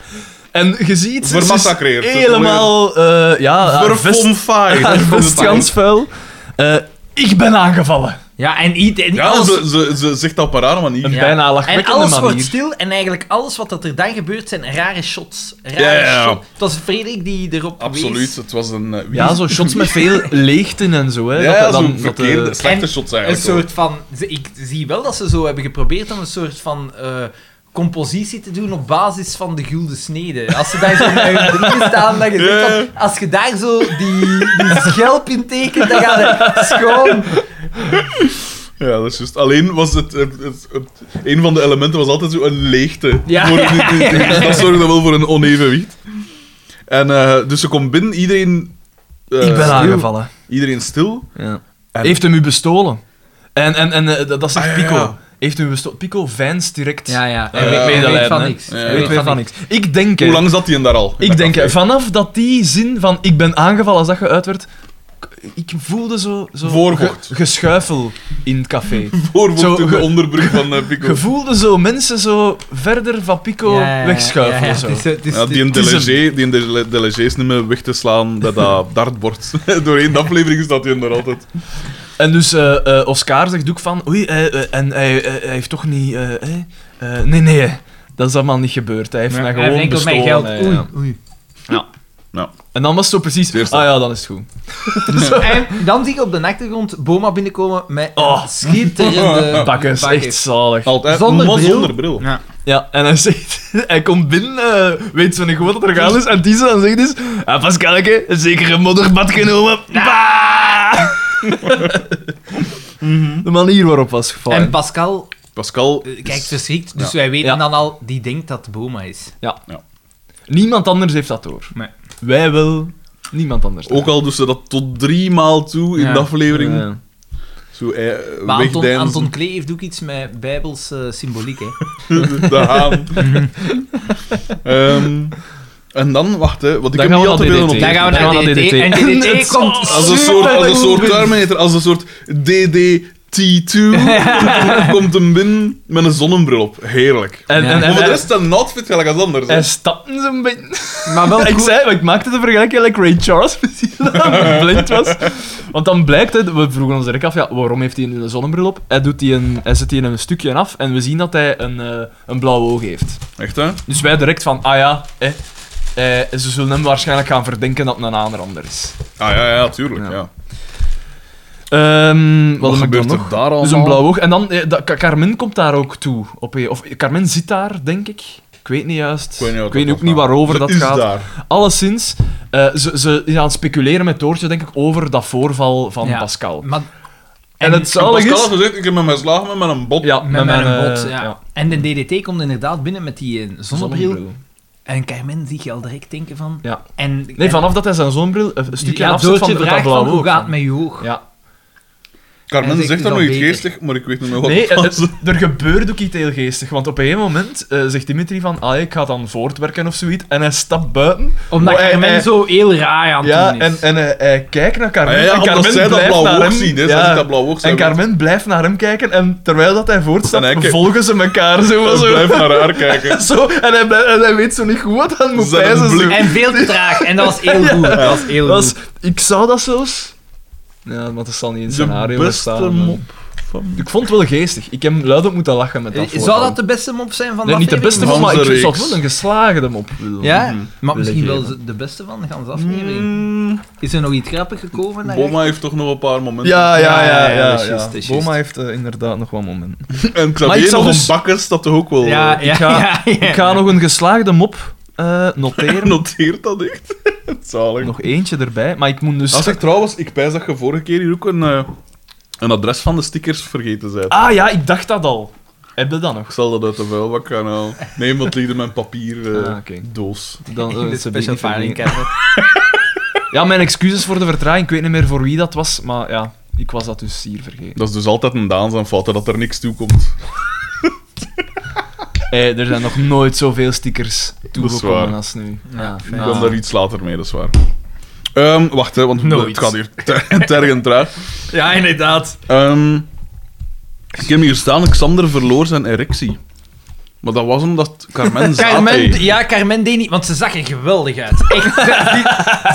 [SPEAKER 2] En je ziet... ze is
[SPEAKER 1] Vermassacreerd.
[SPEAKER 2] Helemaal... eh ja, haar vest,
[SPEAKER 1] Verfomfaai.
[SPEAKER 2] *laughs* haar vest gans vuil. Dus Eh, ik ben aangevallen.
[SPEAKER 3] Ja, en, iet- en
[SPEAKER 1] Ja,
[SPEAKER 3] alles...
[SPEAKER 1] ze, ze, ze zegt dat op een rare manier.
[SPEAKER 2] Een bijna
[SPEAKER 3] En
[SPEAKER 2] lachwekkende
[SPEAKER 3] alles wordt
[SPEAKER 2] manier.
[SPEAKER 3] stil en eigenlijk alles wat dat er dan gebeurt zijn rare shots. Rare
[SPEAKER 1] Ja, ja, ja.
[SPEAKER 3] shots. Het was Frederik die erop
[SPEAKER 1] Absoluut,
[SPEAKER 3] wees.
[SPEAKER 1] het was een... eh, wie-
[SPEAKER 2] Ja, zo shots met *laughs* veel leegten en zo, hè.
[SPEAKER 1] Ja, ja,
[SPEAKER 2] dat-
[SPEAKER 1] zo'n
[SPEAKER 2] dan- dat, eh,
[SPEAKER 1] verkeerde, slechte
[SPEAKER 3] en
[SPEAKER 1] shots
[SPEAKER 3] Een
[SPEAKER 1] eigenlijk.
[SPEAKER 3] soort van... ze- Ik zie wel dat ze zo hebben geprobeerd om een soort van... eh, compositie te doen op basis van de gulden snede. Als ze daar zo met
[SPEAKER 2] *laughs*
[SPEAKER 3] hun drieën staan, dan je zegt van, Als je daar zo die, die schelp in tekent, dan gaat het schoon.
[SPEAKER 1] Ja, dat is juist. Alleen was het, het, het- het- Een van de elementen was altijd zo een leegte.
[SPEAKER 3] Ja.
[SPEAKER 1] Voor- Dus dat zorgde wel voor een onevenwicht. En eh, dus ze komt binnen, iedereen... eh,
[SPEAKER 2] ik ben
[SPEAKER 1] stil.
[SPEAKER 2] aangevallen.
[SPEAKER 1] Iedereen stil.
[SPEAKER 2] Ja.
[SPEAKER 1] En-
[SPEAKER 2] Heeft hem u bestolen? En, en, en eh, dat, dat zegt
[SPEAKER 1] Ah, ja,
[SPEAKER 2] Pico.
[SPEAKER 1] ja.
[SPEAKER 2] Heeft hem u bestolen? Pico veinst direct.
[SPEAKER 3] Ja, ja.
[SPEAKER 2] Eh,
[SPEAKER 3] Hij weet- weet,
[SPEAKER 2] medelijden,
[SPEAKER 3] van
[SPEAKER 2] hè.
[SPEAKER 3] niks.
[SPEAKER 1] Ja, ja.
[SPEAKER 3] Hij
[SPEAKER 2] Weet weer van niks. Ik denk, hè,
[SPEAKER 1] Hoe lang zat hij in daar al?
[SPEAKER 2] ik denk eh, hè, vanaf dat die zin van ik ben aangevallen als dat geuit werd, k- ik voelde zo, zo
[SPEAKER 1] Voorwoord.
[SPEAKER 2] geschuifel in het
[SPEAKER 1] *laughs*
[SPEAKER 2] café.
[SPEAKER 1] Voor
[SPEAKER 2] Zo,
[SPEAKER 1] in de
[SPEAKER 2] ge-
[SPEAKER 1] onderbrug van eh, Pico.
[SPEAKER 2] Je voelde zo mensen zo verder van Pico
[SPEAKER 3] Ja, ja, ja.
[SPEAKER 2] wegschuiven.
[SPEAKER 3] Ja, ja,
[SPEAKER 2] zo.
[SPEAKER 3] het is- het is-
[SPEAKER 1] Ja, die een
[SPEAKER 2] het is hem.
[SPEAKER 1] delegé, die een dele- delegé is niet meer weg te slaan bij
[SPEAKER 2] *laughs*
[SPEAKER 1] dat dartbord. *laughs* Doorheen de aflevering staat hij er altijd.
[SPEAKER 2] En dus eh, eh, Oscar zegt ook van, oei, eh, eh, en hij, eh, hij heeft toch niet... eh, eh, eh, nee, nee, dat is allemaal niet gebeurd. Hij heeft mij
[SPEAKER 3] Hij
[SPEAKER 2] gewoon
[SPEAKER 3] heeft enkel mijn
[SPEAKER 2] bestolen.
[SPEAKER 3] geld.
[SPEAKER 2] hè,
[SPEAKER 3] Oei,
[SPEAKER 2] ja.
[SPEAKER 3] oei.
[SPEAKER 2] En dan was het zo precies,
[SPEAKER 1] Het eerste.
[SPEAKER 2] ah ja, dan is het goed.
[SPEAKER 3] Dus En dan zie ik op de achtergrond Boma binnenkomen met een
[SPEAKER 2] Oh. *laughs*
[SPEAKER 3] schitterende
[SPEAKER 2] Bakkes, echt zalig.
[SPEAKER 1] Altijd.
[SPEAKER 3] Zonder
[SPEAKER 1] maar
[SPEAKER 3] bril.
[SPEAKER 1] Zonder bril.
[SPEAKER 3] Ja.
[SPEAKER 2] Ja, en hij *laughs* zegt, hij komt binnen, eh, weet zo niet goed wat er gaande is, en die dan zegt dus, ah, Pascalke, zeker een modderbad
[SPEAKER 3] *laughs*
[SPEAKER 2] genomen. Bah! *laughs* De manier waarop was gevallen.
[SPEAKER 3] Mhm. En Pascal
[SPEAKER 1] Pascal
[SPEAKER 3] eh,
[SPEAKER 1] is-
[SPEAKER 3] kijkt verschrikt, dus
[SPEAKER 1] Ja.
[SPEAKER 3] wij weten
[SPEAKER 2] Ja.
[SPEAKER 3] dan al, die denkt dat het Boma is.
[SPEAKER 2] Niemand anders heeft dat door.
[SPEAKER 3] Nee.
[SPEAKER 2] Wij wel, niemand anders.
[SPEAKER 1] Ook al dus ze dat tot drie maal toe in
[SPEAKER 3] Ja.
[SPEAKER 1] de aflevering.
[SPEAKER 2] Ja.
[SPEAKER 1] Zo eh,
[SPEAKER 3] Maar Anton,
[SPEAKER 1] wegdeinzen. *laughs*
[SPEAKER 3] Anton Klee heeft ook iets met bijbelse symboliek, hè.
[SPEAKER 1] de haan. Ehm, en dan, wacht hè, want ik
[SPEAKER 2] Dan gaan
[SPEAKER 1] heb
[SPEAKER 2] we
[SPEAKER 1] niet al te
[SPEAKER 2] naar
[SPEAKER 1] veel
[SPEAKER 2] DDT.
[SPEAKER 1] op.
[SPEAKER 2] Dan gaan we naar DDT.
[SPEAKER 1] *laughs*
[SPEAKER 3] En
[SPEAKER 2] Het
[SPEAKER 3] DDT
[SPEAKER 2] is
[SPEAKER 3] komt
[SPEAKER 2] als
[SPEAKER 1] Als een soort, als een soort
[SPEAKER 3] supergoed.
[SPEAKER 1] Terminator, als een soort
[SPEAKER 3] *laughs*
[SPEAKER 1] DDT2 komt hem binnen met een zonnebril op. Heerlijk.
[SPEAKER 2] En,
[SPEAKER 3] Ja.
[SPEAKER 2] en, en
[SPEAKER 1] Over de
[SPEAKER 2] hij,
[SPEAKER 1] rest een outfit gelijk als anders. hè.
[SPEAKER 2] hij stapte zo'n beetje.
[SPEAKER 3] Maar wel
[SPEAKER 2] *laughs* ik
[SPEAKER 3] goed.
[SPEAKER 2] zei, maar ik maakte de vergelijking like Ray Charles *laughs* precies, dat hij blind was. Want dan blijkt, hè, we vroegen ons direct af, ja, waarom heeft hij nu een zonnebril op? Hij, doet die een, hij zet die een stukje af en we zien dat hij een, eh, een blauw oog heeft.
[SPEAKER 1] Echt hè?
[SPEAKER 2] Dus wij direct van, ah ja, hè, eh, ze zullen hem waarschijnlijk gaan verdenken dat het een aanrander is.
[SPEAKER 1] Ah ja, ja,
[SPEAKER 2] Ja.
[SPEAKER 1] tuurlijk. Ja.
[SPEAKER 2] Ehm, wat
[SPEAKER 1] Wat
[SPEAKER 2] heb ik dan
[SPEAKER 1] gebeurt
[SPEAKER 2] nog?
[SPEAKER 1] er daar al?
[SPEAKER 2] Dus een blauw oog. En dan, eh, dat- Ka- Carmen komt daar ook toe. Op, een- of eh, Carmen zit daar, denk ik. Ik weet niet juist.
[SPEAKER 1] Ik weet, niet wat dat
[SPEAKER 2] ook niet
[SPEAKER 1] gaat.
[SPEAKER 2] waarover
[SPEAKER 1] Ze
[SPEAKER 2] dat
[SPEAKER 1] is
[SPEAKER 2] gaat.
[SPEAKER 1] Daar.
[SPEAKER 2] Alleszins, eh, ze, ze is aan het speculeren met Toortje, denk ik, over dat voorval van
[SPEAKER 3] Ja.
[SPEAKER 2] Pascal.
[SPEAKER 3] Maar,
[SPEAKER 2] En, het
[SPEAKER 1] En
[SPEAKER 2] zalig
[SPEAKER 1] Pascal
[SPEAKER 2] is...
[SPEAKER 1] had gezegd, ik heb met mijn slagen met mijn bot.
[SPEAKER 2] Ja,
[SPEAKER 3] met, mijn
[SPEAKER 2] eh,
[SPEAKER 3] bot, ja. En de DDT komt inderdaad binnen met die eh, zonnebril.
[SPEAKER 2] zonnebril.
[SPEAKER 3] En Carmen zie je al direct denken van...
[SPEAKER 2] Ja.
[SPEAKER 3] En,
[SPEAKER 2] Nee, vanaf dat hij zijn zonnebril eh, een stukje
[SPEAKER 3] ja,
[SPEAKER 2] afzet van
[SPEAKER 3] Doortje
[SPEAKER 2] dat
[SPEAKER 3] vraagt
[SPEAKER 2] blauwe
[SPEAKER 3] van, hoe
[SPEAKER 2] oog.
[SPEAKER 3] gaat het met je oog?
[SPEAKER 2] Ja.
[SPEAKER 1] Carmen
[SPEAKER 3] Hij
[SPEAKER 1] zegt,
[SPEAKER 3] zegt,
[SPEAKER 1] dat
[SPEAKER 3] is
[SPEAKER 1] nog
[SPEAKER 3] al
[SPEAKER 1] iets
[SPEAKER 3] beter.
[SPEAKER 1] geestig, maar ik weet niet meer wat
[SPEAKER 2] Nee,
[SPEAKER 1] het was.
[SPEAKER 2] het- er gebeurde ook iets heel geestig. Want op een gegeven moment eh, zegt Dimitri van, ah, ik ga dan voortwerken of zoiets. En hij stapt buiten.
[SPEAKER 3] Omdat
[SPEAKER 2] Maar hij-
[SPEAKER 3] Carmen
[SPEAKER 2] hij-
[SPEAKER 3] zo heel raar aan het
[SPEAKER 2] Oh, eh, Ja,
[SPEAKER 3] doen is.
[SPEAKER 2] en, en hij, hij kijkt naar
[SPEAKER 1] Ah,
[SPEAKER 2] Carmen.
[SPEAKER 1] ja, ja,
[SPEAKER 2] en
[SPEAKER 1] omdat
[SPEAKER 2] Carmen
[SPEAKER 1] zij dat
[SPEAKER 2] blijft
[SPEAKER 1] blauw
[SPEAKER 2] naar
[SPEAKER 1] oog
[SPEAKER 2] hem.
[SPEAKER 1] zien. Hè.
[SPEAKER 2] Ja.
[SPEAKER 1] Zij ziet dat blauw oog. zij
[SPEAKER 2] En
[SPEAKER 1] *laughs*
[SPEAKER 2] Carmen blijft naar hem kijken. En terwijl dat hij
[SPEAKER 1] En
[SPEAKER 2] voortstapt,
[SPEAKER 1] hij kijkt-
[SPEAKER 2] volgen ze elkaar zo.
[SPEAKER 1] Ze
[SPEAKER 2] zo.
[SPEAKER 1] blijft naar haar kijken.
[SPEAKER 2] *laughs* Zo, en hij, blij- en hij weet zo niet goed wat hij moet
[SPEAKER 1] Zijn
[SPEAKER 2] pijzen.
[SPEAKER 1] blik.
[SPEAKER 2] zo.
[SPEAKER 3] *laughs* En veel te traag. En dat was heel goed. Dat was heel
[SPEAKER 2] Dat
[SPEAKER 3] goed.
[SPEAKER 2] is- ik zou dat zelfs... Ja, want dat zal niet in het
[SPEAKER 1] De
[SPEAKER 2] scenario
[SPEAKER 1] beste
[SPEAKER 2] staan.
[SPEAKER 1] mop.
[SPEAKER 2] Ik vond het wel geestig. Ik heb luid op moeten lachen met dat
[SPEAKER 3] Eh, Zou
[SPEAKER 2] voorval.
[SPEAKER 3] dat de beste mop zijn van
[SPEAKER 2] Nee,
[SPEAKER 3] de
[SPEAKER 2] niet de beste
[SPEAKER 3] aflevering?
[SPEAKER 2] mop,
[SPEAKER 1] Van
[SPEAKER 2] maar
[SPEAKER 1] de
[SPEAKER 2] ik
[SPEAKER 1] reeks.
[SPEAKER 2] zou wel een geslaagde mop willen.
[SPEAKER 3] Ja, maar misschien wel
[SPEAKER 2] Legeren.
[SPEAKER 3] de beste van de ganse aflevering.
[SPEAKER 1] Mm.
[SPEAKER 3] Is er nog iets grappigs gekomen? daar?
[SPEAKER 1] Boma heeft toch nog een paar momenten.
[SPEAKER 2] Ja, ja,
[SPEAKER 3] Ja,
[SPEAKER 2] ja.
[SPEAKER 3] ja,
[SPEAKER 2] ja,
[SPEAKER 3] dat
[SPEAKER 2] ja,
[SPEAKER 3] is juist, dat is
[SPEAKER 2] Boma
[SPEAKER 3] juist.
[SPEAKER 2] heeft eh, inderdaad nog wat momenten.
[SPEAKER 1] En
[SPEAKER 2] Maar ik
[SPEAKER 1] Xavier
[SPEAKER 2] zal
[SPEAKER 1] nog
[SPEAKER 2] dus-
[SPEAKER 1] een bakkers, dat toch ook wel...
[SPEAKER 3] Ja,
[SPEAKER 1] eh,
[SPEAKER 3] ja,
[SPEAKER 2] ga-
[SPEAKER 3] ja, ja.
[SPEAKER 2] Ik ga nog een geslaagde mop eh, noteren. *laughs*
[SPEAKER 1] *laughs* Noteert dat echt? *laughs* Zalig.
[SPEAKER 2] Nog eentje erbij, maar ik moet dus...
[SPEAKER 1] Als ik trouwens, ik pijs dat je vorige keer hier ook een, eh, een adres van de stickers vergeten zijn.
[SPEAKER 2] Ah ja, ik dacht dat al. Heb je dat nog?
[SPEAKER 1] Ik zal dat uit de vuilbak gaan halen. Nee, want het ligt in mijn papier eh,
[SPEAKER 2] Ah, oké.
[SPEAKER 1] doos.
[SPEAKER 2] *laughs* Dan, eh, ze
[SPEAKER 3] de
[SPEAKER 2] ben ik
[SPEAKER 3] special
[SPEAKER 2] niet vergeten.
[SPEAKER 3] filing cabinet.
[SPEAKER 2] Ja, mijn excuses voor de vertraging. Ik weet niet meer voor wie dat was, maar ja, ik was dat dus hier vergeten.
[SPEAKER 1] Dat is dus altijd een Daan zijn fout, hè, dat er niks toe komt.
[SPEAKER 2] Eh, er zijn nog nooit zoveel stickers
[SPEAKER 1] waar.
[SPEAKER 2] toegekomen als nu. Ja,
[SPEAKER 1] Ik
[SPEAKER 2] nou.
[SPEAKER 3] Ah.
[SPEAKER 1] kwam daar iets later mee, dat is waar. Ehm, wacht, hè, want
[SPEAKER 3] Nooit.
[SPEAKER 1] het gaat hier *laughs* ter- tergen traag.
[SPEAKER 3] Ja, inderdaad.
[SPEAKER 1] Ehm, ik heb hier staan, Xander verloor zijn erectie. Maar dat was omdat
[SPEAKER 3] *laughs*
[SPEAKER 1] Carmen zaad
[SPEAKER 3] Carmen,
[SPEAKER 1] deed.
[SPEAKER 3] ja, Carmen deed niet, want ze zag er geweldig uit. Echt. die-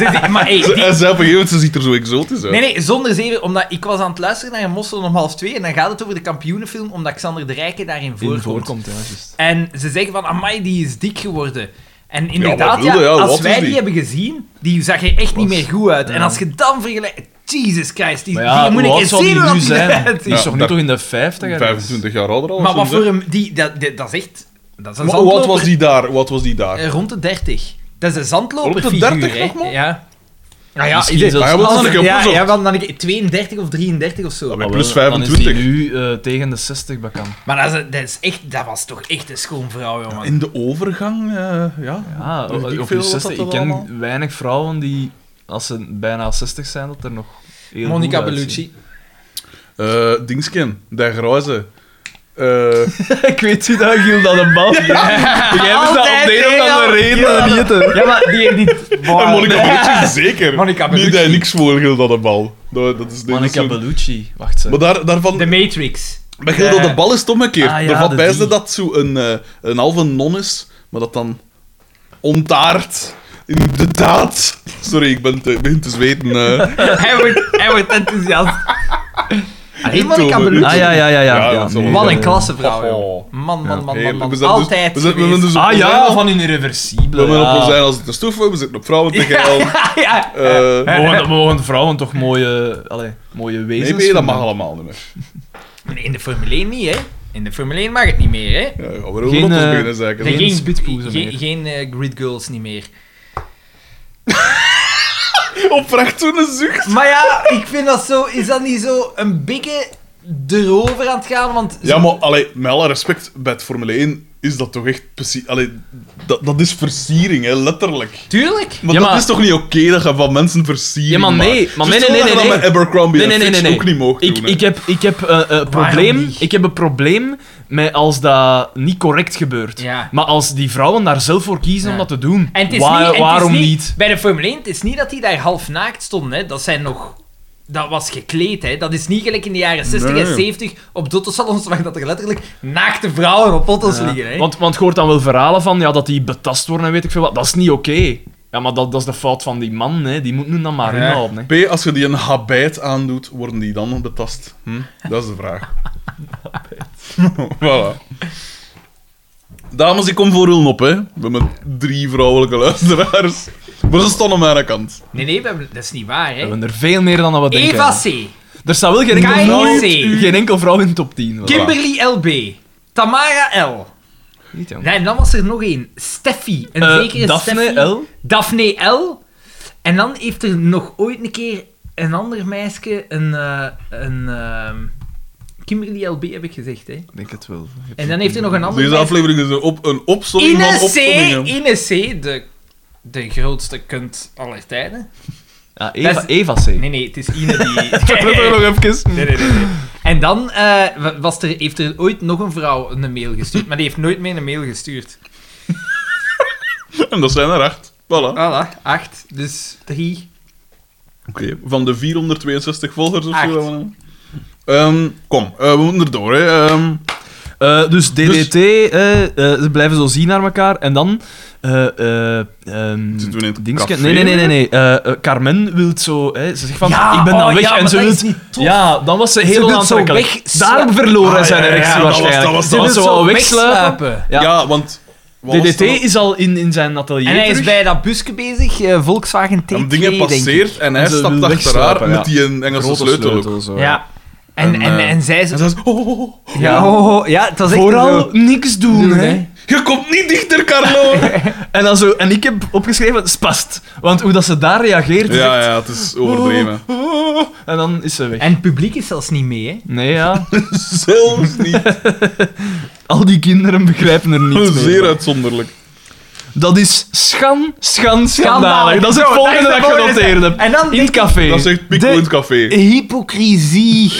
[SPEAKER 3] die- die- maar hey,
[SPEAKER 1] Ze-
[SPEAKER 3] die-
[SPEAKER 1] En zij op een gegeven moment, ze ziet er zo exotisch uit.
[SPEAKER 3] Nee, nee, zonder zeven, omdat ik was aan het luisteren naar een mossel om half twee en dan gaat het over de kampioenenfilm, omdat Xander de Rijke daarin
[SPEAKER 2] In
[SPEAKER 3] voorkomt.
[SPEAKER 2] voorkomt, ja, juist.
[SPEAKER 3] En ze zeggen van, amai, die is dik geworden. En inderdaad,
[SPEAKER 1] wat wilde,
[SPEAKER 3] ja,
[SPEAKER 1] ja, wat
[SPEAKER 3] als
[SPEAKER 1] is
[SPEAKER 3] wij die,
[SPEAKER 1] die?
[SPEAKER 3] hebben gezien, die zag er echt niet meer goed uit. En
[SPEAKER 2] Ja.
[SPEAKER 3] als je dan vergelijkt... Jesus Christ, die,
[SPEAKER 2] Maar ja,
[SPEAKER 3] die moet ik
[SPEAKER 2] hoe
[SPEAKER 3] eens
[SPEAKER 2] oud zal
[SPEAKER 3] *laughs* zien
[SPEAKER 2] die
[SPEAKER 3] hoe
[SPEAKER 2] nu
[SPEAKER 3] dat die
[SPEAKER 2] zijn?
[SPEAKER 3] eruit
[SPEAKER 2] Die
[SPEAKER 3] ziet.
[SPEAKER 2] is
[SPEAKER 1] Ja,
[SPEAKER 2] toch nu
[SPEAKER 1] daar-
[SPEAKER 2] toch in de 50 ergens?
[SPEAKER 1] 25 jaar ouder al.
[SPEAKER 3] Maar wat
[SPEAKER 1] sinds, hè.
[SPEAKER 3] voor een... Die, dat, dat, dat is echt... Dat is een
[SPEAKER 1] Wa- hoe oud
[SPEAKER 3] zandloper.
[SPEAKER 1] was die daar? Wat was die daar?
[SPEAKER 3] Eh, Rond de 30. Dat is een zandloper
[SPEAKER 1] Rond de 30
[SPEAKER 3] figuur, hè.
[SPEAKER 1] nog maar?
[SPEAKER 3] Ja. Nou ja,
[SPEAKER 2] Misschien
[SPEAKER 3] ik-
[SPEAKER 2] zelfs-
[SPEAKER 1] Ah, ja, wat
[SPEAKER 3] als-
[SPEAKER 1] dan ik heb
[SPEAKER 3] ja,
[SPEAKER 1] opgezocht.
[SPEAKER 3] ja, want dan ik 32 of 33 of zo.
[SPEAKER 1] Ja,
[SPEAKER 2] Ah, wel,
[SPEAKER 1] Plus
[SPEAKER 2] Dan
[SPEAKER 1] 25.
[SPEAKER 2] is die nu eh, tegen de 60 bekend.
[SPEAKER 3] Maar dat, is, dat, is echt, dat was toch echt een schoon vrouw, jongen.
[SPEAKER 1] In de overgang, eh, ja.
[SPEAKER 2] Ah,
[SPEAKER 1] Weet ik
[SPEAKER 2] op
[SPEAKER 1] veel
[SPEAKER 2] je
[SPEAKER 1] wat
[SPEAKER 2] 60.
[SPEAKER 1] dat
[SPEAKER 2] Ik ken
[SPEAKER 1] allemaal-
[SPEAKER 2] weinig vrouwen die, als ze bijna 60 zijn, dat er nog heel
[SPEAKER 3] Monica
[SPEAKER 2] goed uitzien.
[SPEAKER 3] Bellucci.
[SPEAKER 1] Eh Dingsken, der Grijze. Eh,
[SPEAKER 3] Ah,
[SPEAKER 2] *laughs* ik weet niet dat Giel dat een
[SPEAKER 1] *laughs*
[SPEAKER 2] bal Jij hebt dat
[SPEAKER 3] Altijd
[SPEAKER 2] op de een of andere
[SPEAKER 3] tegen-
[SPEAKER 2] reden
[SPEAKER 3] Ja,
[SPEAKER 2] aan
[SPEAKER 3] maar-
[SPEAKER 2] het eten.
[SPEAKER 3] Ja, maar die heeft niet...
[SPEAKER 1] en
[SPEAKER 3] Wow.
[SPEAKER 1] Monica Bellucci, zeker.
[SPEAKER 3] Monica
[SPEAKER 1] Niet dat
[SPEAKER 3] Bellucci.
[SPEAKER 1] hij niks voorhield aan de bal. Dat, dat is, dat is
[SPEAKER 2] Monica
[SPEAKER 1] zo-
[SPEAKER 2] Bellucci. Wacht,
[SPEAKER 1] Maar
[SPEAKER 2] ze.
[SPEAKER 1] daar, daarvan...
[SPEAKER 3] De Matrix.
[SPEAKER 1] Bij Gilda
[SPEAKER 3] Eh,
[SPEAKER 1] de bal is het omgekeerd.
[SPEAKER 2] ah ja,
[SPEAKER 1] Daarvan
[SPEAKER 2] de
[SPEAKER 1] bijzde
[SPEAKER 2] die.
[SPEAKER 1] dat zo een, eh, een halve non is, maar dat dan ontaart. Inderdaad. Sorry, ik ben te, begin te zweten. *laughs* eh.
[SPEAKER 3] *laughs* hij, wordt, hij wordt enthousiast. Ah, Allee, Monica
[SPEAKER 1] Tover.
[SPEAKER 3] Bellucci.
[SPEAKER 2] Ah, ja, ja, ja. ja,
[SPEAKER 1] Ja,
[SPEAKER 2] ja,
[SPEAKER 1] dat zal wel.
[SPEAKER 3] Wat
[SPEAKER 2] eh,
[SPEAKER 3] een klassevrouw,
[SPEAKER 1] Oh.
[SPEAKER 3] joh. Man, man, man, man,
[SPEAKER 1] Heerlijk.
[SPEAKER 3] man.
[SPEAKER 1] We zijn dus-
[SPEAKER 3] Altijd
[SPEAKER 1] we zijn- we zijn
[SPEAKER 3] geweest.
[SPEAKER 1] dus op
[SPEAKER 2] Ah ja,
[SPEAKER 1] rozijn-
[SPEAKER 2] van een irreversibele.
[SPEAKER 1] We zijn op
[SPEAKER 2] ja.
[SPEAKER 1] rozijn als het te stoeven, we zitten op vrouwen te
[SPEAKER 2] *laughs*
[SPEAKER 1] geil.
[SPEAKER 3] Ja, *laughs* ja.
[SPEAKER 1] Eh,
[SPEAKER 2] We mogen, we mogen vrouwen toch mooie, allee, mooie wezens
[SPEAKER 1] nee, nee, dat
[SPEAKER 2] vinden.
[SPEAKER 1] mag allemaal niet meer.
[SPEAKER 3] Nee, in de Formule 1 niet, hè. In de Formule 1 mag het niet meer, hè.
[SPEAKER 1] Ja, we gaan weer over
[SPEAKER 2] Geen,
[SPEAKER 1] rotters
[SPEAKER 2] eh,
[SPEAKER 1] beginnen zeiken.
[SPEAKER 2] geen
[SPEAKER 1] hè.
[SPEAKER 2] spitpoezen
[SPEAKER 3] geen,
[SPEAKER 2] meer.
[SPEAKER 3] geen eh, grid girls niet meer.
[SPEAKER 1] Oprecht zo'n zucht.
[SPEAKER 3] Maar ja, ik vind dat zo... Is dat niet zo een beetje erover aan het gaan? Want
[SPEAKER 1] Ja, maar allee, met alle respect, bij het Formule 1 is dat toch echt precies... Allee, dat, dat is versiering, hè, letterlijk.
[SPEAKER 3] Tuurlijk.
[SPEAKER 1] Maar
[SPEAKER 2] Ja,
[SPEAKER 1] dat
[SPEAKER 2] maar-
[SPEAKER 1] is toch niet oké dat je van mensen versiering
[SPEAKER 2] Ja, maar nee,
[SPEAKER 1] maakt?
[SPEAKER 2] maar
[SPEAKER 1] Zo
[SPEAKER 2] nee, nee,
[SPEAKER 1] stel dat
[SPEAKER 2] nee,
[SPEAKER 1] je dat
[SPEAKER 2] nee.
[SPEAKER 1] met Abercrombie
[SPEAKER 2] Nee, nee,
[SPEAKER 1] en
[SPEAKER 2] nee, nee,
[SPEAKER 1] Fitch
[SPEAKER 2] nee.
[SPEAKER 1] ook niet mocht
[SPEAKER 2] Ik,
[SPEAKER 1] doen.
[SPEAKER 2] ik heb, ik, heb, eh, eh, probleem,
[SPEAKER 3] niet?
[SPEAKER 2] ik heb een probleem met als dat niet correct gebeurt.
[SPEAKER 3] Ja.
[SPEAKER 2] Maar als die vrouwen daar zelf voor kiezen om
[SPEAKER 3] Ja.
[SPEAKER 2] dat te doen,
[SPEAKER 3] En het is
[SPEAKER 2] waar-
[SPEAKER 3] niet, en het is
[SPEAKER 2] waarom niet?
[SPEAKER 3] Bij de Formule 1, het is niet dat die daar half naakt stonden. Hè. Dat zijn nog... Dat was gekleed, hè. Dat is niet gelijk in de jaren 60
[SPEAKER 1] Nee.
[SPEAKER 3] en 70 op dottosalons, waar dat er letterlijk naakte vrouwen op foto's liggen, hè.
[SPEAKER 2] Want, want je hoort dan wel verhalen van ja, dat die betast worden en weet ik veel wat. Dat is niet oké. Ja, maar dat, dat is de fout van die man, hè. die moet nu dan maar
[SPEAKER 3] Ja.
[SPEAKER 2] inhalen. Hè.
[SPEAKER 1] P, als je die een habit aandoet, worden die dan betast? Hm? Dat is de vraag. *laughs* voilà. Dames, ik kom voor hun op, hè. We hebben drie vrouwelijke luisteraars. Maar ze staan aan mijn kant.
[SPEAKER 3] Nee, nee, we hebben- dat is niet waar,
[SPEAKER 2] We
[SPEAKER 3] hè.
[SPEAKER 2] hebben er veel meer dan dat we denken.
[SPEAKER 3] Eva C.
[SPEAKER 2] Er staat wel geen enkel,
[SPEAKER 3] Kai
[SPEAKER 2] vrouw,
[SPEAKER 3] C.
[SPEAKER 2] geen enkel vrouw in de top 10. wel.
[SPEAKER 3] Kimberly LB. Tamara L.
[SPEAKER 2] Niet, jong.
[SPEAKER 3] Nee, en dan was er nog één. Steffi. Een
[SPEAKER 2] Eh,
[SPEAKER 3] zekere
[SPEAKER 2] Daphne
[SPEAKER 3] Steffi.
[SPEAKER 2] L.
[SPEAKER 3] Daphne L. En dan heeft er nog ooit een keer een ander meisje, een... eh, een ehm, Kimberly LB heb ik gezegd, hè.
[SPEAKER 2] Ik denk het wel.
[SPEAKER 3] En dan heeft er nog een ander
[SPEAKER 1] Deze
[SPEAKER 3] meisje...
[SPEAKER 1] aflevering is een, op, een opzomming
[SPEAKER 3] Ine
[SPEAKER 1] van
[SPEAKER 3] C.
[SPEAKER 1] opzommingen.
[SPEAKER 3] Ine C. De, de grootste kunt aller tijden.
[SPEAKER 2] Ja, Eva,
[SPEAKER 3] Dat is-
[SPEAKER 2] Eva C. *laughs*
[SPEAKER 3] Nee, nee, het is
[SPEAKER 1] *laughs*
[SPEAKER 3] Ine die...
[SPEAKER 2] nog even.
[SPEAKER 3] Nee, nee, nee, nee. En dan eh, wa- was er, heeft er ooit nog een vrouw een mail gestuurd, maar die heeft nooit meer een mail gestuurd.
[SPEAKER 1] En dat zijn er acht. Voilà.
[SPEAKER 3] Voilà, acht, dus drie.
[SPEAKER 1] Oké, van de 462 volgers of
[SPEAKER 3] Acht.
[SPEAKER 1] zo. dat we hebben. Ehm, kom, eh, we moeten erdoor, hè. Ehm,
[SPEAKER 2] Eh, dus DDT, eh, eh, ze blijven zo zien naar elkaar. En dan. eh, eh, ehm,
[SPEAKER 1] Zitten we in het
[SPEAKER 2] dingske-
[SPEAKER 1] café
[SPEAKER 2] Nee, nee, nee, nee. nee. Eh, eh, Carmen wil zo. hè, ze zegt van:
[SPEAKER 3] Ja,
[SPEAKER 2] Ik ben dan
[SPEAKER 3] oh,
[SPEAKER 2] weg.
[SPEAKER 3] ja,
[SPEAKER 2] en
[SPEAKER 3] maar
[SPEAKER 2] ze
[SPEAKER 3] dat
[SPEAKER 2] wil.
[SPEAKER 3] is niet tof.
[SPEAKER 2] Ja, dan was ze
[SPEAKER 3] wil
[SPEAKER 2] heel
[SPEAKER 3] zo
[SPEAKER 2] aantrekkelijk.
[SPEAKER 3] wegsla-
[SPEAKER 2] Daar verloor hij
[SPEAKER 1] Ah,
[SPEAKER 2] zijn
[SPEAKER 1] ja, ja, ja,
[SPEAKER 2] erectie
[SPEAKER 1] dat was-
[SPEAKER 2] waarschijnlijk.
[SPEAKER 1] dat was-
[SPEAKER 2] Ze
[SPEAKER 1] dat
[SPEAKER 2] wil
[SPEAKER 1] was
[SPEAKER 2] zo wegsluipen.
[SPEAKER 3] wegsluipen.
[SPEAKER 1] ja.
[SPEAKER 2] Ja.
[SPEAKER 1] want... wat was
[SPEAKER 2] DDT
[SPEAKER 1] dat?
[SPEAKER 2] is al in, in zijn atelier.
[SPEAKER 3] En hij is
[SPEAKER 2] terug.
[SPEAKER 3] bij dat busje bezig, eh, Volkswagen T2,
[SPEAKER 1] En dingen
[SPEAKER 3] denk ik.
[SPEAKER 1] passeert en hij
[SPEAKER 2] En ze
[SPEAKER 1] stapt
[SPEAKER 2] wil
[SPEAKER 1] achter haar
[SPEAKER 2] wegsluipen,
[SPEAKER 1] met
[SPEAKER 2] ja.
[SPEAKER 1] die een Engelse
[SPEAKER 2] Grote
[SPEAKER 1] sleutel. ook.
[SPEAKER 2] zo.
[SPEAKER 3] Ja. En, en,
[SPEAKER 1] En,
[SPEAKER 3] en,
[SPEAKER 1] eh,
[SPEAKER 3] zij
[SPEAKER 1] En
[SPEAKER 3] zo...
[SPEAKER 1] ze zegt, oh, oh, oh,
[SPEAKER 3] Ja, ho, ho, ho. ja, het was echt
[SPEAKER 2] Vooral
[SPEAKER 3] zo.
[SPEAKER 2] niks doen,
[SPEAKER 3] Doen,
[SPEAKER 2] hè.
[SPEAKER 3] hè.
[SPEAKER 1] je komt niet dichter, Carlo!
[SPEAKER 2] En, dan zo, en ik heb opgeschreven, spast. Want hoe dat ze daar reageert, is echt-
[SPEAKER 1] ja, ja, het is overdreven.
[SPEAKER 2] Oh, oh, oh. en dan is ze weg.
[SPEAKER 3] En het publiek is zelfs niet mee, hè?
[SPEAKER 2] Nee, ja. *laughs*
[SPEAKER 1] Zelfs *laughs* niet.
[SPEAKER 2] Al die kinderen begrijpen er niets meer
[SPEAKER 1] Zeer
[SPEAKER 2] van.
[SPEAKER 1] uitzonderlijk.
[SPEAKER 2] Dat is schan, schan,
[SPEAKER 3] Schandalig.
[SPEAKER 2] schandalig. Dat is het
[SPEAKER 3] Zo,
[SPEAKER 2] volgende
[SPEAKER 3] dat
[SPEAKER 2] dat
[SPEAKER 3] is
[SPEAKER 2] ik
[SPEAKER 3] de volgende.
[SPEAKER 2] genoteerd heb.
[SPEAKER 3] En dan
[SPEAKER 2] In het
[SPEAKER 3] denk ik-
[SPEAKER 2] café.
[SPEAKER 1] Dat zegt Pico
[SPEAKER 3] De-
[SPEAKER 1] in het café.
[SPEAKER 3] *laughs* Hypocrisie.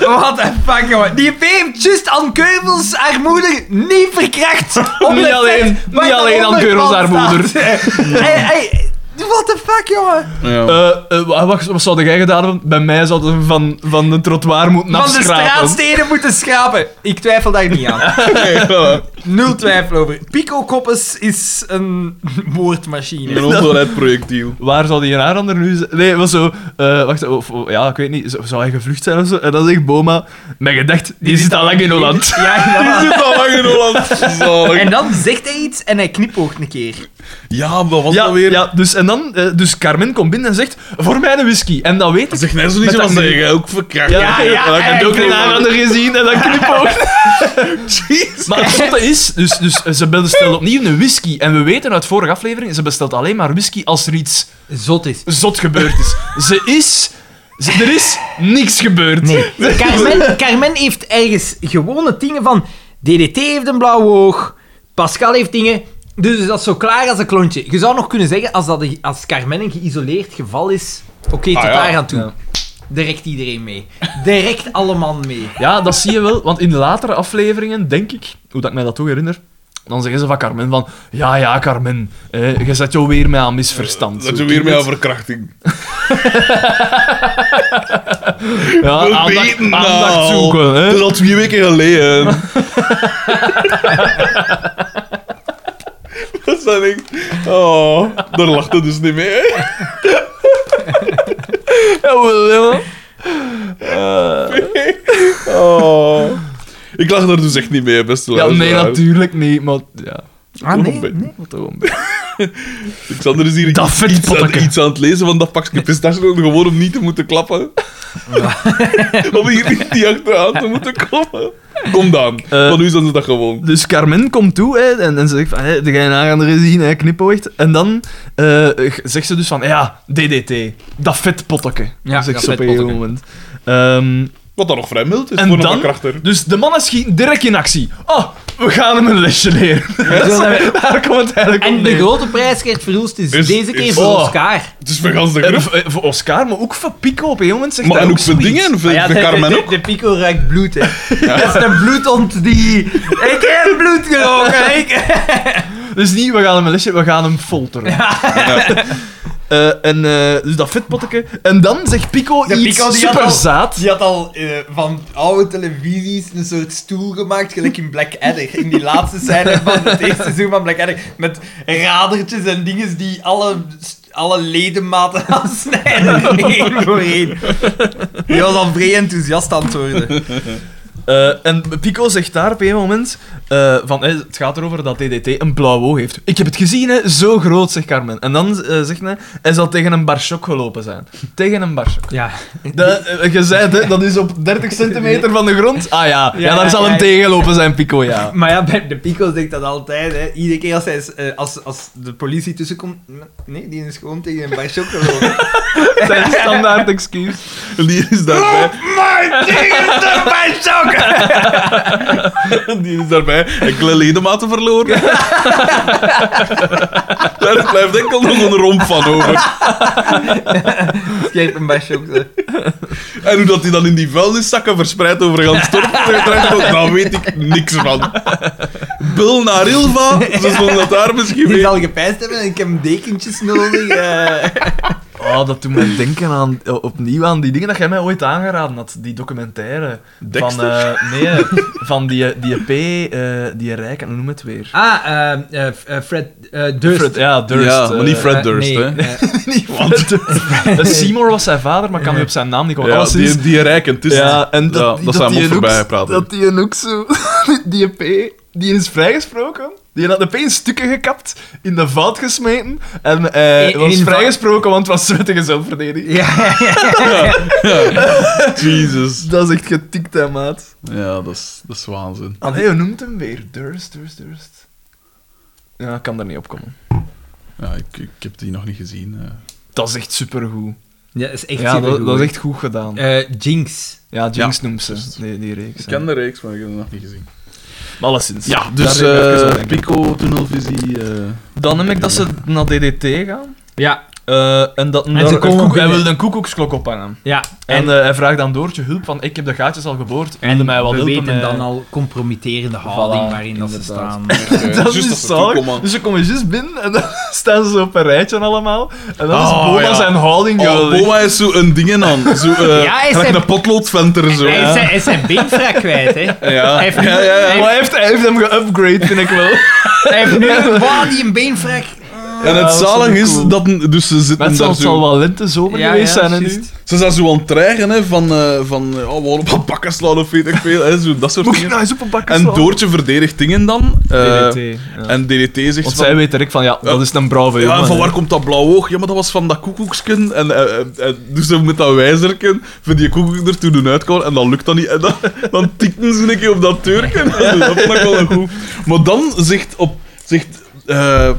[SPEAKER 3] What the fuck, jongen. Die P heeft just aan Keuvels, haar moeder, niet verkracht.
[SPEAKER 2] *laughs*
[SPEAKER 3] Op
[SPEAKER 2] Niet
[SPEAKER 3] het
[SPEAKER 2] alleen-
[SPEAKER 3] feit waar
[SPEAKER 2] niet
[SPEAKER 3] dat
[SPEAKER 2] alleen aan
[SPEAKER 3] onder
[SPEAKER 2] Keuvels,
[SPEAKER 3] van
[SPEAKER 2] haar
[SPEAKER 3] staat.
[SPEAKER 2] moeder.
[SPEAKER 3] hey, hey, what the fuck, jongen.
[SPEAKER 1] Ja. *laughs*
[SPEAKER 2] Eh, eh, wa- wacht, wat zou jij gedaan hebben? Bij mij zouden we van, van de trottoir moeten
[SPEAKER 3] Van de
[SPEAKER 2] afschrapen.
[SPEAKER 3] straatsteden moeten schrapen. Ik twijfel daar niet
[SPEAKER 2] *laughs*
[SPEAKER 3] aan.
[SPEAKER 1] Nee, voilà.
[SPEAKER 3] Nul twijfel over. Pico Koppes is een moordmachine.
[SPEAKER 1] Een onbereid projectiel.
[SPEAKER 2] Waar zou die aanrander nu zijn? Nee, was zo... eh, wacht, of, of- ja, ik weet niet. Zou zou hij gevlucht zijn of zo? Eh, En dan zegt Boma... Mijn gedacht, die, zit al lang in Holland.
[SPEAKER 3] Ja,
[SPEAKER 1] Die
[SPEAKER 3] ja.
[SPEAKER 2] *laughs*
[SPEAKER 1] zit al lang in Holland. Zalig.
[SPEAKER 3] En dan zegt hij iets en hij knipoogt een keer.
[SPEAKER 1] Ja, maar wat was
[SPEAKER 2] Ja,
[SPEAKER 1] dat weer?
[SPEAKER 2] ja dus, en dan, eh, dus Carmen komt binnen en zegt... Voor mij een whisky. En dat weet ik.
[SPEAKER 1] Zeg net zo niet
[SPEAKER 2] Met
[SPEAKER 1] zoals
[SPEAKER 2] dat
[SPEAKER 1] zeggen,
[SPEAKER 2] nu-
[SPEAKER 1] ook verkracht.
[SPEAKER 2] Ja,
[SPEAKER 3] ja,
[SPEAKER 2] en ik heb ook
[SPEAKER 3] ja,
[SPEAKER 2] een
[SPEAKER 3] ja.
[SPEAKER 2] aanrander gezien en dan *laughs* knipoogt. maar het zotte is, dus, dus ze bestelt opnieuw een whisky. En we weten uit vorige aflevering, ze bestelt alleen maar whisky als er iets
[SPEAKER 3] Zot is.
[SPEAKER 2] zot gebeurd is. Ze is... ze- er is niks gebeurd.
[SPEAKER 3] Nee. *laughs* Carmen, Carmen heeft ergens gewone dingen van... DDT heeft een blauw oog, Pascal heeft dingen... Dus dat is zo klaar als een klontje. Je zou nog kunnen zeggen, als, dat een- als Carmen een geïsoleerd geval is... Oké, tot
[SPEAKER 1] Ah, ja.
[SPEAKER 3] daar aan toe.
[SPEAKER 2] Ja.
[SPEAKER 3] Direct iedereen mee. Direct alle man mee.
[SPEAKER 2] Ja, dat zie je wel, want in de latere afleveringen, denk ik, hoe dat ik mij dat toch herinner, dan zeggen ze van Carmen van... Ja, ja, Carmen, eh, je zet jou weer met aan misverstand.
[SPEAKER 1] Dat je
[SPEAKER 2] Zo
[SPEAKER 1] weer
[SPEAKER 2] klinkt
[SPEAKER 1] met een
[SPEAKER 2] het.
[SPEAKER 1] verkrachting.
[SPEAKER 2] Ja,
[SPEAKER 1] We
[SPEAKER 2] Ah, aandacht,
[SPEAKER 1] weten dat
[SPEAKER 2] aandacht
[SPEAKER 1] al.
[SPEAKER 2] zoeken, hè.
[SPEAKER 1] Dat is al twee weken
[SPEAKER 2] *laughs*
[SPEAKER 1] geleden. dat is dan echt... Oh, daar lacht het dus niet mee, hè?
[SPEAKER 2] Jawel, jawel.
[SPEAKER 1] Oh. Ik lach daar dus echt niet mee, beste
[SPEAKER 2] Ja, nee,
[SPEAKER 1] luisteraar.
[SPEAKER 2] natuurlijk niet, maar... Ja,
[SPEAKER 3] Ah,
[SPEAKER 1] nee, nee.
[SPEAKER 2] wat toch een beetje.
[SPEAKER 1] Xander is hier
[SPEAKER 2] Dat
[SPEAKER 1] iets,
[SPEAKER 2] vet
[SPEAKER 1] iets aan,
[SPEAKER 2] potteke.
[SPEAKER 1] iets aan het lezen van dat pakje pistache, gewoon om niet te moeten klappen. *laughs* om hier niet die achteraan te moeten komen. Kom dan,
[SPEAKER 2] Eh.
[SPEAKER 1] want nu zijn ze dat gewoon.
[SPEAKER 2] Dus Carmen komt toe hè, en, en ze zegt van, hè, de gein aangaande gezien, hè, knipoogt. En dan eh, g- zegt ze dus van, ja, DDT, dat vet potteke.
[SPEAKER 3] Ja,
[SPEAKER 2] zegt
[SPEAKER 3] dat
[SPEAKER 2] ze op een gegeven
[SPEAKER 3] vetpotteke.
[SPEAKER 2] moment. Ehm,
[SPEAKER 1] Wat dan nog vrij mild is
[SPEAKER 2] en
[SPEAKER 1] voor een
[SPEAKER 2] dan,
[SPEAKER 1] krachter.
[SPEAKER 2] dus de mannen schieten direct in actie. Oh, we gaan hem een lesje leren.
[SPEAKER 3] *laughs* Ja, zo hebben
[SPEAKER 2] Daar komt het eigenlijk op
[SPEAKER 3] En de
[SPEAKER 2] neer.
[SPEAKER 3] grote prijs, Gert Verhulst, is,
[SPEAKER 1] Is-
[SPEAKER 3] deze keer
[SPEAKER 1] Dus is-
[SPEAKER 3] voor
[SPEAKER 2] oh.
[SPEAKER 3] Oscar.
[SPEAKER 1] Het is voor gans de
[SPEAKER 2] En
[SPEAKER 1] *laughs* groep.
[SPEAKER 2] voor- eh, voor Oscar, maar ook voor Pico op een gegeven moment zegt
[SPEAKER 1] Maar
[SPEAKER 2] hij
[SPEAKER 1] en ook
[SPEAKER 2] ook
[SPEAKER 1] voor
[SPEAKER 2] zoiets.
[SPEAKER 1] dingen, voor,
[SPEAKER 3] Maar ja,
[SPEAKER 1] *laughs* voor
[SPEAKER 3] de,
[SPEAKER 1] Carmen
[SPEAKER 3] de,
[SPEAKER 1] ook.
[SPEAKER 3] de pico ruikt bloed, hè. Dat is de bloedhond die... Ik heb bloed geroken. Ik...
[SPEAKER 2] Dus niet, we gaan hem een lesje, we gaan hem
[SPEAKER 3] *laughs*
[SPEAKER 2] folteren.
[SPEAKER 1] Ja.
[SPEAKER 2] Eh, en, eh, dus dat vetpotteke. En dan zegt Pico
[SPEAKER 3] De
[SPEAKER 2] iets
[SPEAKER 3] Pico die had al-
[SPEAKER 2] superzaad.
[SPEAKER 3] Die had al eh, van oude televisies een soort stoel gemaakt, gelijk in Blackadder. In die laatste scène van het eerste seizoen van Blackadder. Met radertjes en dingen die alle, alle ledematen *laughs* afsnijden. Eén voor één. Die was al vrij enthousiast aan het worden.
[SPEAKER 2] Eh, en Pico zegt daar op een moment eh, van, hè, het gaat erover dat DDT een blauw oog heeft. Ik heb het gezien, hè, zo groot, zegt Carmen. En dan eh, zegt hij, hij zal tegen een barschok gelopen zijn. Tegen een barschok.
[SPEAKER 3] Ja.
[SPEAKER 2] Dat, eh, je zei het, hè, dat is op 30 centimeter van de grond. Ah ja, ja,
[SPEAKER 3] Ja,
[SPEAKER 2] daar zal
[SPEAKER 3] ja,
[SPEAKER 2] hem
[SPEAKER 3] ja.
[SPEAKER 2] tegenlopen zijn, Pico, ja.
[SPEAKER 3] Maar ja, bij de Pico's denkt dat altijd. Hè. Iedere keer als, hij, is, eh, als, als de politie tussenkomt. Nee, die is gewoon tegen een bar chocolade.
[SPEAKER 2] Zijn standaard excuus.
[SPEAKER 1] Die is daarbij.
[SPEAKER 3] maar tegen *laughs* de bar chocolade!
[SPEAKER 1] Die is daarbij. Enkele ledematen *laughs* verloren. Daar blijft enkel nog een romp van over.
[SPEAKER 3] Geef een eh. bar chocolade.
[SPEAKER 1] En hoe dat die dan in die vuilniszakken verspreid over gaan *laughs* storten, daar weet ik niks van. Bul naar Ilva, ze zullen dat daar misschien
[SPEAKER 3] Die
[SPEAKER 1] weer...
[SPEAKER 3] zal gepijst hebben en ik heb dekentjes nodig. eh.
[SPEAKER 2] Oh, dat doet mij denken aan, eh, opnieuw aan die dingen dat jij mij ooit aangeraden had. Die documentaire. Van,
[SPEAKER 1] Dexter?
[SPEAKER 2] eh, nee, eh, van die, die P, eh, die rijke, hoe noem het weer?
[SPEAKER 3] *laughs* Ah, eh, eh, F- eh, Fred eh, Durst.
[SPEAKER 2] Fred, ja, Durst.
[SPEAKER 1] ja, maar niet
[SPEAKER 2] *laughs* eh,
[SPEAKER 1] Fred
[SPEAKER 3] eh,
[SPEAKER 1] Durst,
[SPEAKER 3] nee,
[SPEAKER 1] hè.
[SPEAKER 3] eh, *laughs*
[SPEAKER 2] niet Fred Durst. Eh, Seymour was zijn vader, maar ik kan niet op zijn naam niet komen.
[SPEAKER 1] Ja,
[SPEAKER 2] Alleszins-
[SPEAKER 1] die, die rijken, het is
[SPEAKER 2] ja, en dat,
[SPEAKER 1] Ja, dat,
[SPEAKER 2] die- dat
[SPEAKER 1] zijn we
[SPEAKER 2] die
[SPEAKER 1] ook
[SPEAKER 2] een ook-
[SPEAKER 1] voorbij praten.
[SPEAKER 2] Dat die een ook zo... *laughs* Die P, die is vrijgesproken. Die had de P in stukken gekapt, in de fout gesmeten. En eh
[SPEAKER 3] In-
[SPEAKER 2] was
[SPEAKER 3] in-
[SPEAKER 2] vrijgesproken, want het was zwettige zelfverdediging.
[SPEAKER 3] ja,
[SPEAKER 1] *laughs* Jezus.
[SPEAKER 2] Dat is echt getikt, hè, maat.
[SPEAKER 1] Ja, dat is, dat is waanzin.
[SPEAKER 2] Ah, nee, hoe noemt hem weer? Durst, Durst, Durst. Ja, ik kan daar niet op komen.
[SPEAKER 1] Ja, ik, ik heb die nog niet gezien. eh.
[SPEAKER 2] Dat is echt supergoed.
[SPEAKER 3] Ja, dat is echt
[SPEAKER 2] Ja, dat,
[SPEAKER 3] supergoed.
[SPEAKER 2] dat is echt goed gedaan.
[SPEAKER 3] Eh, Jinx.
[SPEAKER 2] Ja, Jinx noemt ze, die, die reeks.
[SPEAKER 1] Ik ken de reeks, maar ik heb het nog niet gezien.
[SPEAKER 2] Maar alleszins.
[SPEAKER 1] Ja, dus
[SPEAKER 2] Daar heb ik even aan
[SPEAKER 1] eh,
[SPEAKER 2] denken.
[SPEAKER 1] Pico, tunnelvisie... eh
[SPEAKER 2] Dan neem ik dat ze naar DDT gaan.
[SPEAKER 3] Ja,
[SPEAKER 2] eh, en dat, en
[SPEAKER 3] ze komen
[SPEAKER 2] hij
[SPEAKER 3] binnen.
[SPEAKER 2] wil een koekoeksklok ophangen.
[SPEAKER 3] ja.
[SPEAKER 2] En, eh, hij vraagt aan Doortje hulp van ik heb de gaatjes al geboord. En mij wel
[SPEAKER 3] we
[SPEAKER 2] helpen
[SPEAKER 3] weten
[SPEAKER 2] met-
[SPEAKER 3] dan al compromitterende houding
[SPEAKER 2] Voilà,
[SPEAKER 3] waarin dat ze
[SPEAKER 2] inderdaad. *laughs*
[SPEAKER 3] staan.
[SPEAKER 2] Dat
[SPEAKER 1] juist
[SPEAKER 2] is
[SPEAKER 1] als
[SPEAKER 2] dus
[SPEAKER 1] ze toekomen.
[SPEAKER 2] zalig. Dus ze komen juist binnen en dan *laughs* staan ze zo op een rijtje allemaal. En dan is
[SPEAKER 1] Oh,
[SPEAKER 2] Boma
[SPEAKER 1] ja.
[SPEAKER 2] zijn houding
[SPEAKER 1] Oh,
[SPEAKER 2] geweldig.
[SPEAKER 1] Boma is zo een dingen aan. Zo, eh
[SPEAKER 3] Ja, hij is
[SPEAKER 1] gelijk
[SPEAKER 3] een-
[SPEAKER 1] een potloodventer zo.
[SPEAKER 3] Hij is
[SPEAKER 1] Ja.
[SPEAKER 3] zijn- hij is zijn beenvraag kwijt, hè.
[SPEAKER 2] *laughs*
[SPEAKER 1] Ja.
[SPEAKER 3] Hij heeft
[SPEAKER 1] Ja,
[SPEAKER 3] nu-
[SPEAKER 1] ja, ja.
[SPEAKER 2] Maar hij heeft, hij heeft hem geupgrade, vind ik wel.
[SPEAKER 1] *laughs*
[SPEAKER 3] Hij heeft nu een waar die een beenvraag...
[SPEAKER 1] En
[SPEAKER 2] dat
[SPEAKER 1] het
[SPEAKER 2] is
[SPEAKER 1] zalig
[SPEAKER 2] wel
[SPEAKER 1] is
[SPEAKER 2] cool.
[SPEAKER 1] dat... Dus ze zitten
[SPEAKER 2] Het zal,
[SPEAKER 1] daar
[SPEAKER 2] het zal
[SPEAKER 1] zo...
[SPEAKER 2] wel lente zomer
[SPEAKER 3] Ja,
[SPEAKER 2] geweest
[SPEAKER 3] ja,
[SPEAKER 2] zijn. hè, nu.
[SPEAKER 3] juist.
[SPEAKER 1] Ze zijn zo aan het dreigen, hè, van... eh, van eh, oh, we gaan op een bakken slaan of weet ik veel. Hè, zo, dat soort
[SPEAKER 2] Moet je
[SPEAKER 1] dingen.
[SPEAKER 2] nou eens op een bakje
[SPEAKER 1] En
[SPEAKER 2] slaan?
[SPEAKER 1] Doortje verdedigt dingen dan. eh,
[SPEAKER 2] DDT, ja.
[SPEAKER 1] En DDT zegt
[SPEAKER 2] Want
[SPEAKER 1] van...
[SPEAKER 2] zij weten ik van ja, dat is een brave
[SPEAKER 1] Ja,
[SPEAKER 2] jongen.
[SPEAKER 1] en van
[SPEAKER 2] hè.
[SPEAKER 1] waar komt dat blauw oog? Ja, maar dat was van dat koekoeksken. En, eh, eh, eh, dus ze met dat wijzerken van die koekoek er toen doen uitkomen. En dan lukt dat niet. En dan, dan tikten ze een keer op dat deurken. Dat vond ik wel een goed. Maar dan zegt... Op, zegt eh,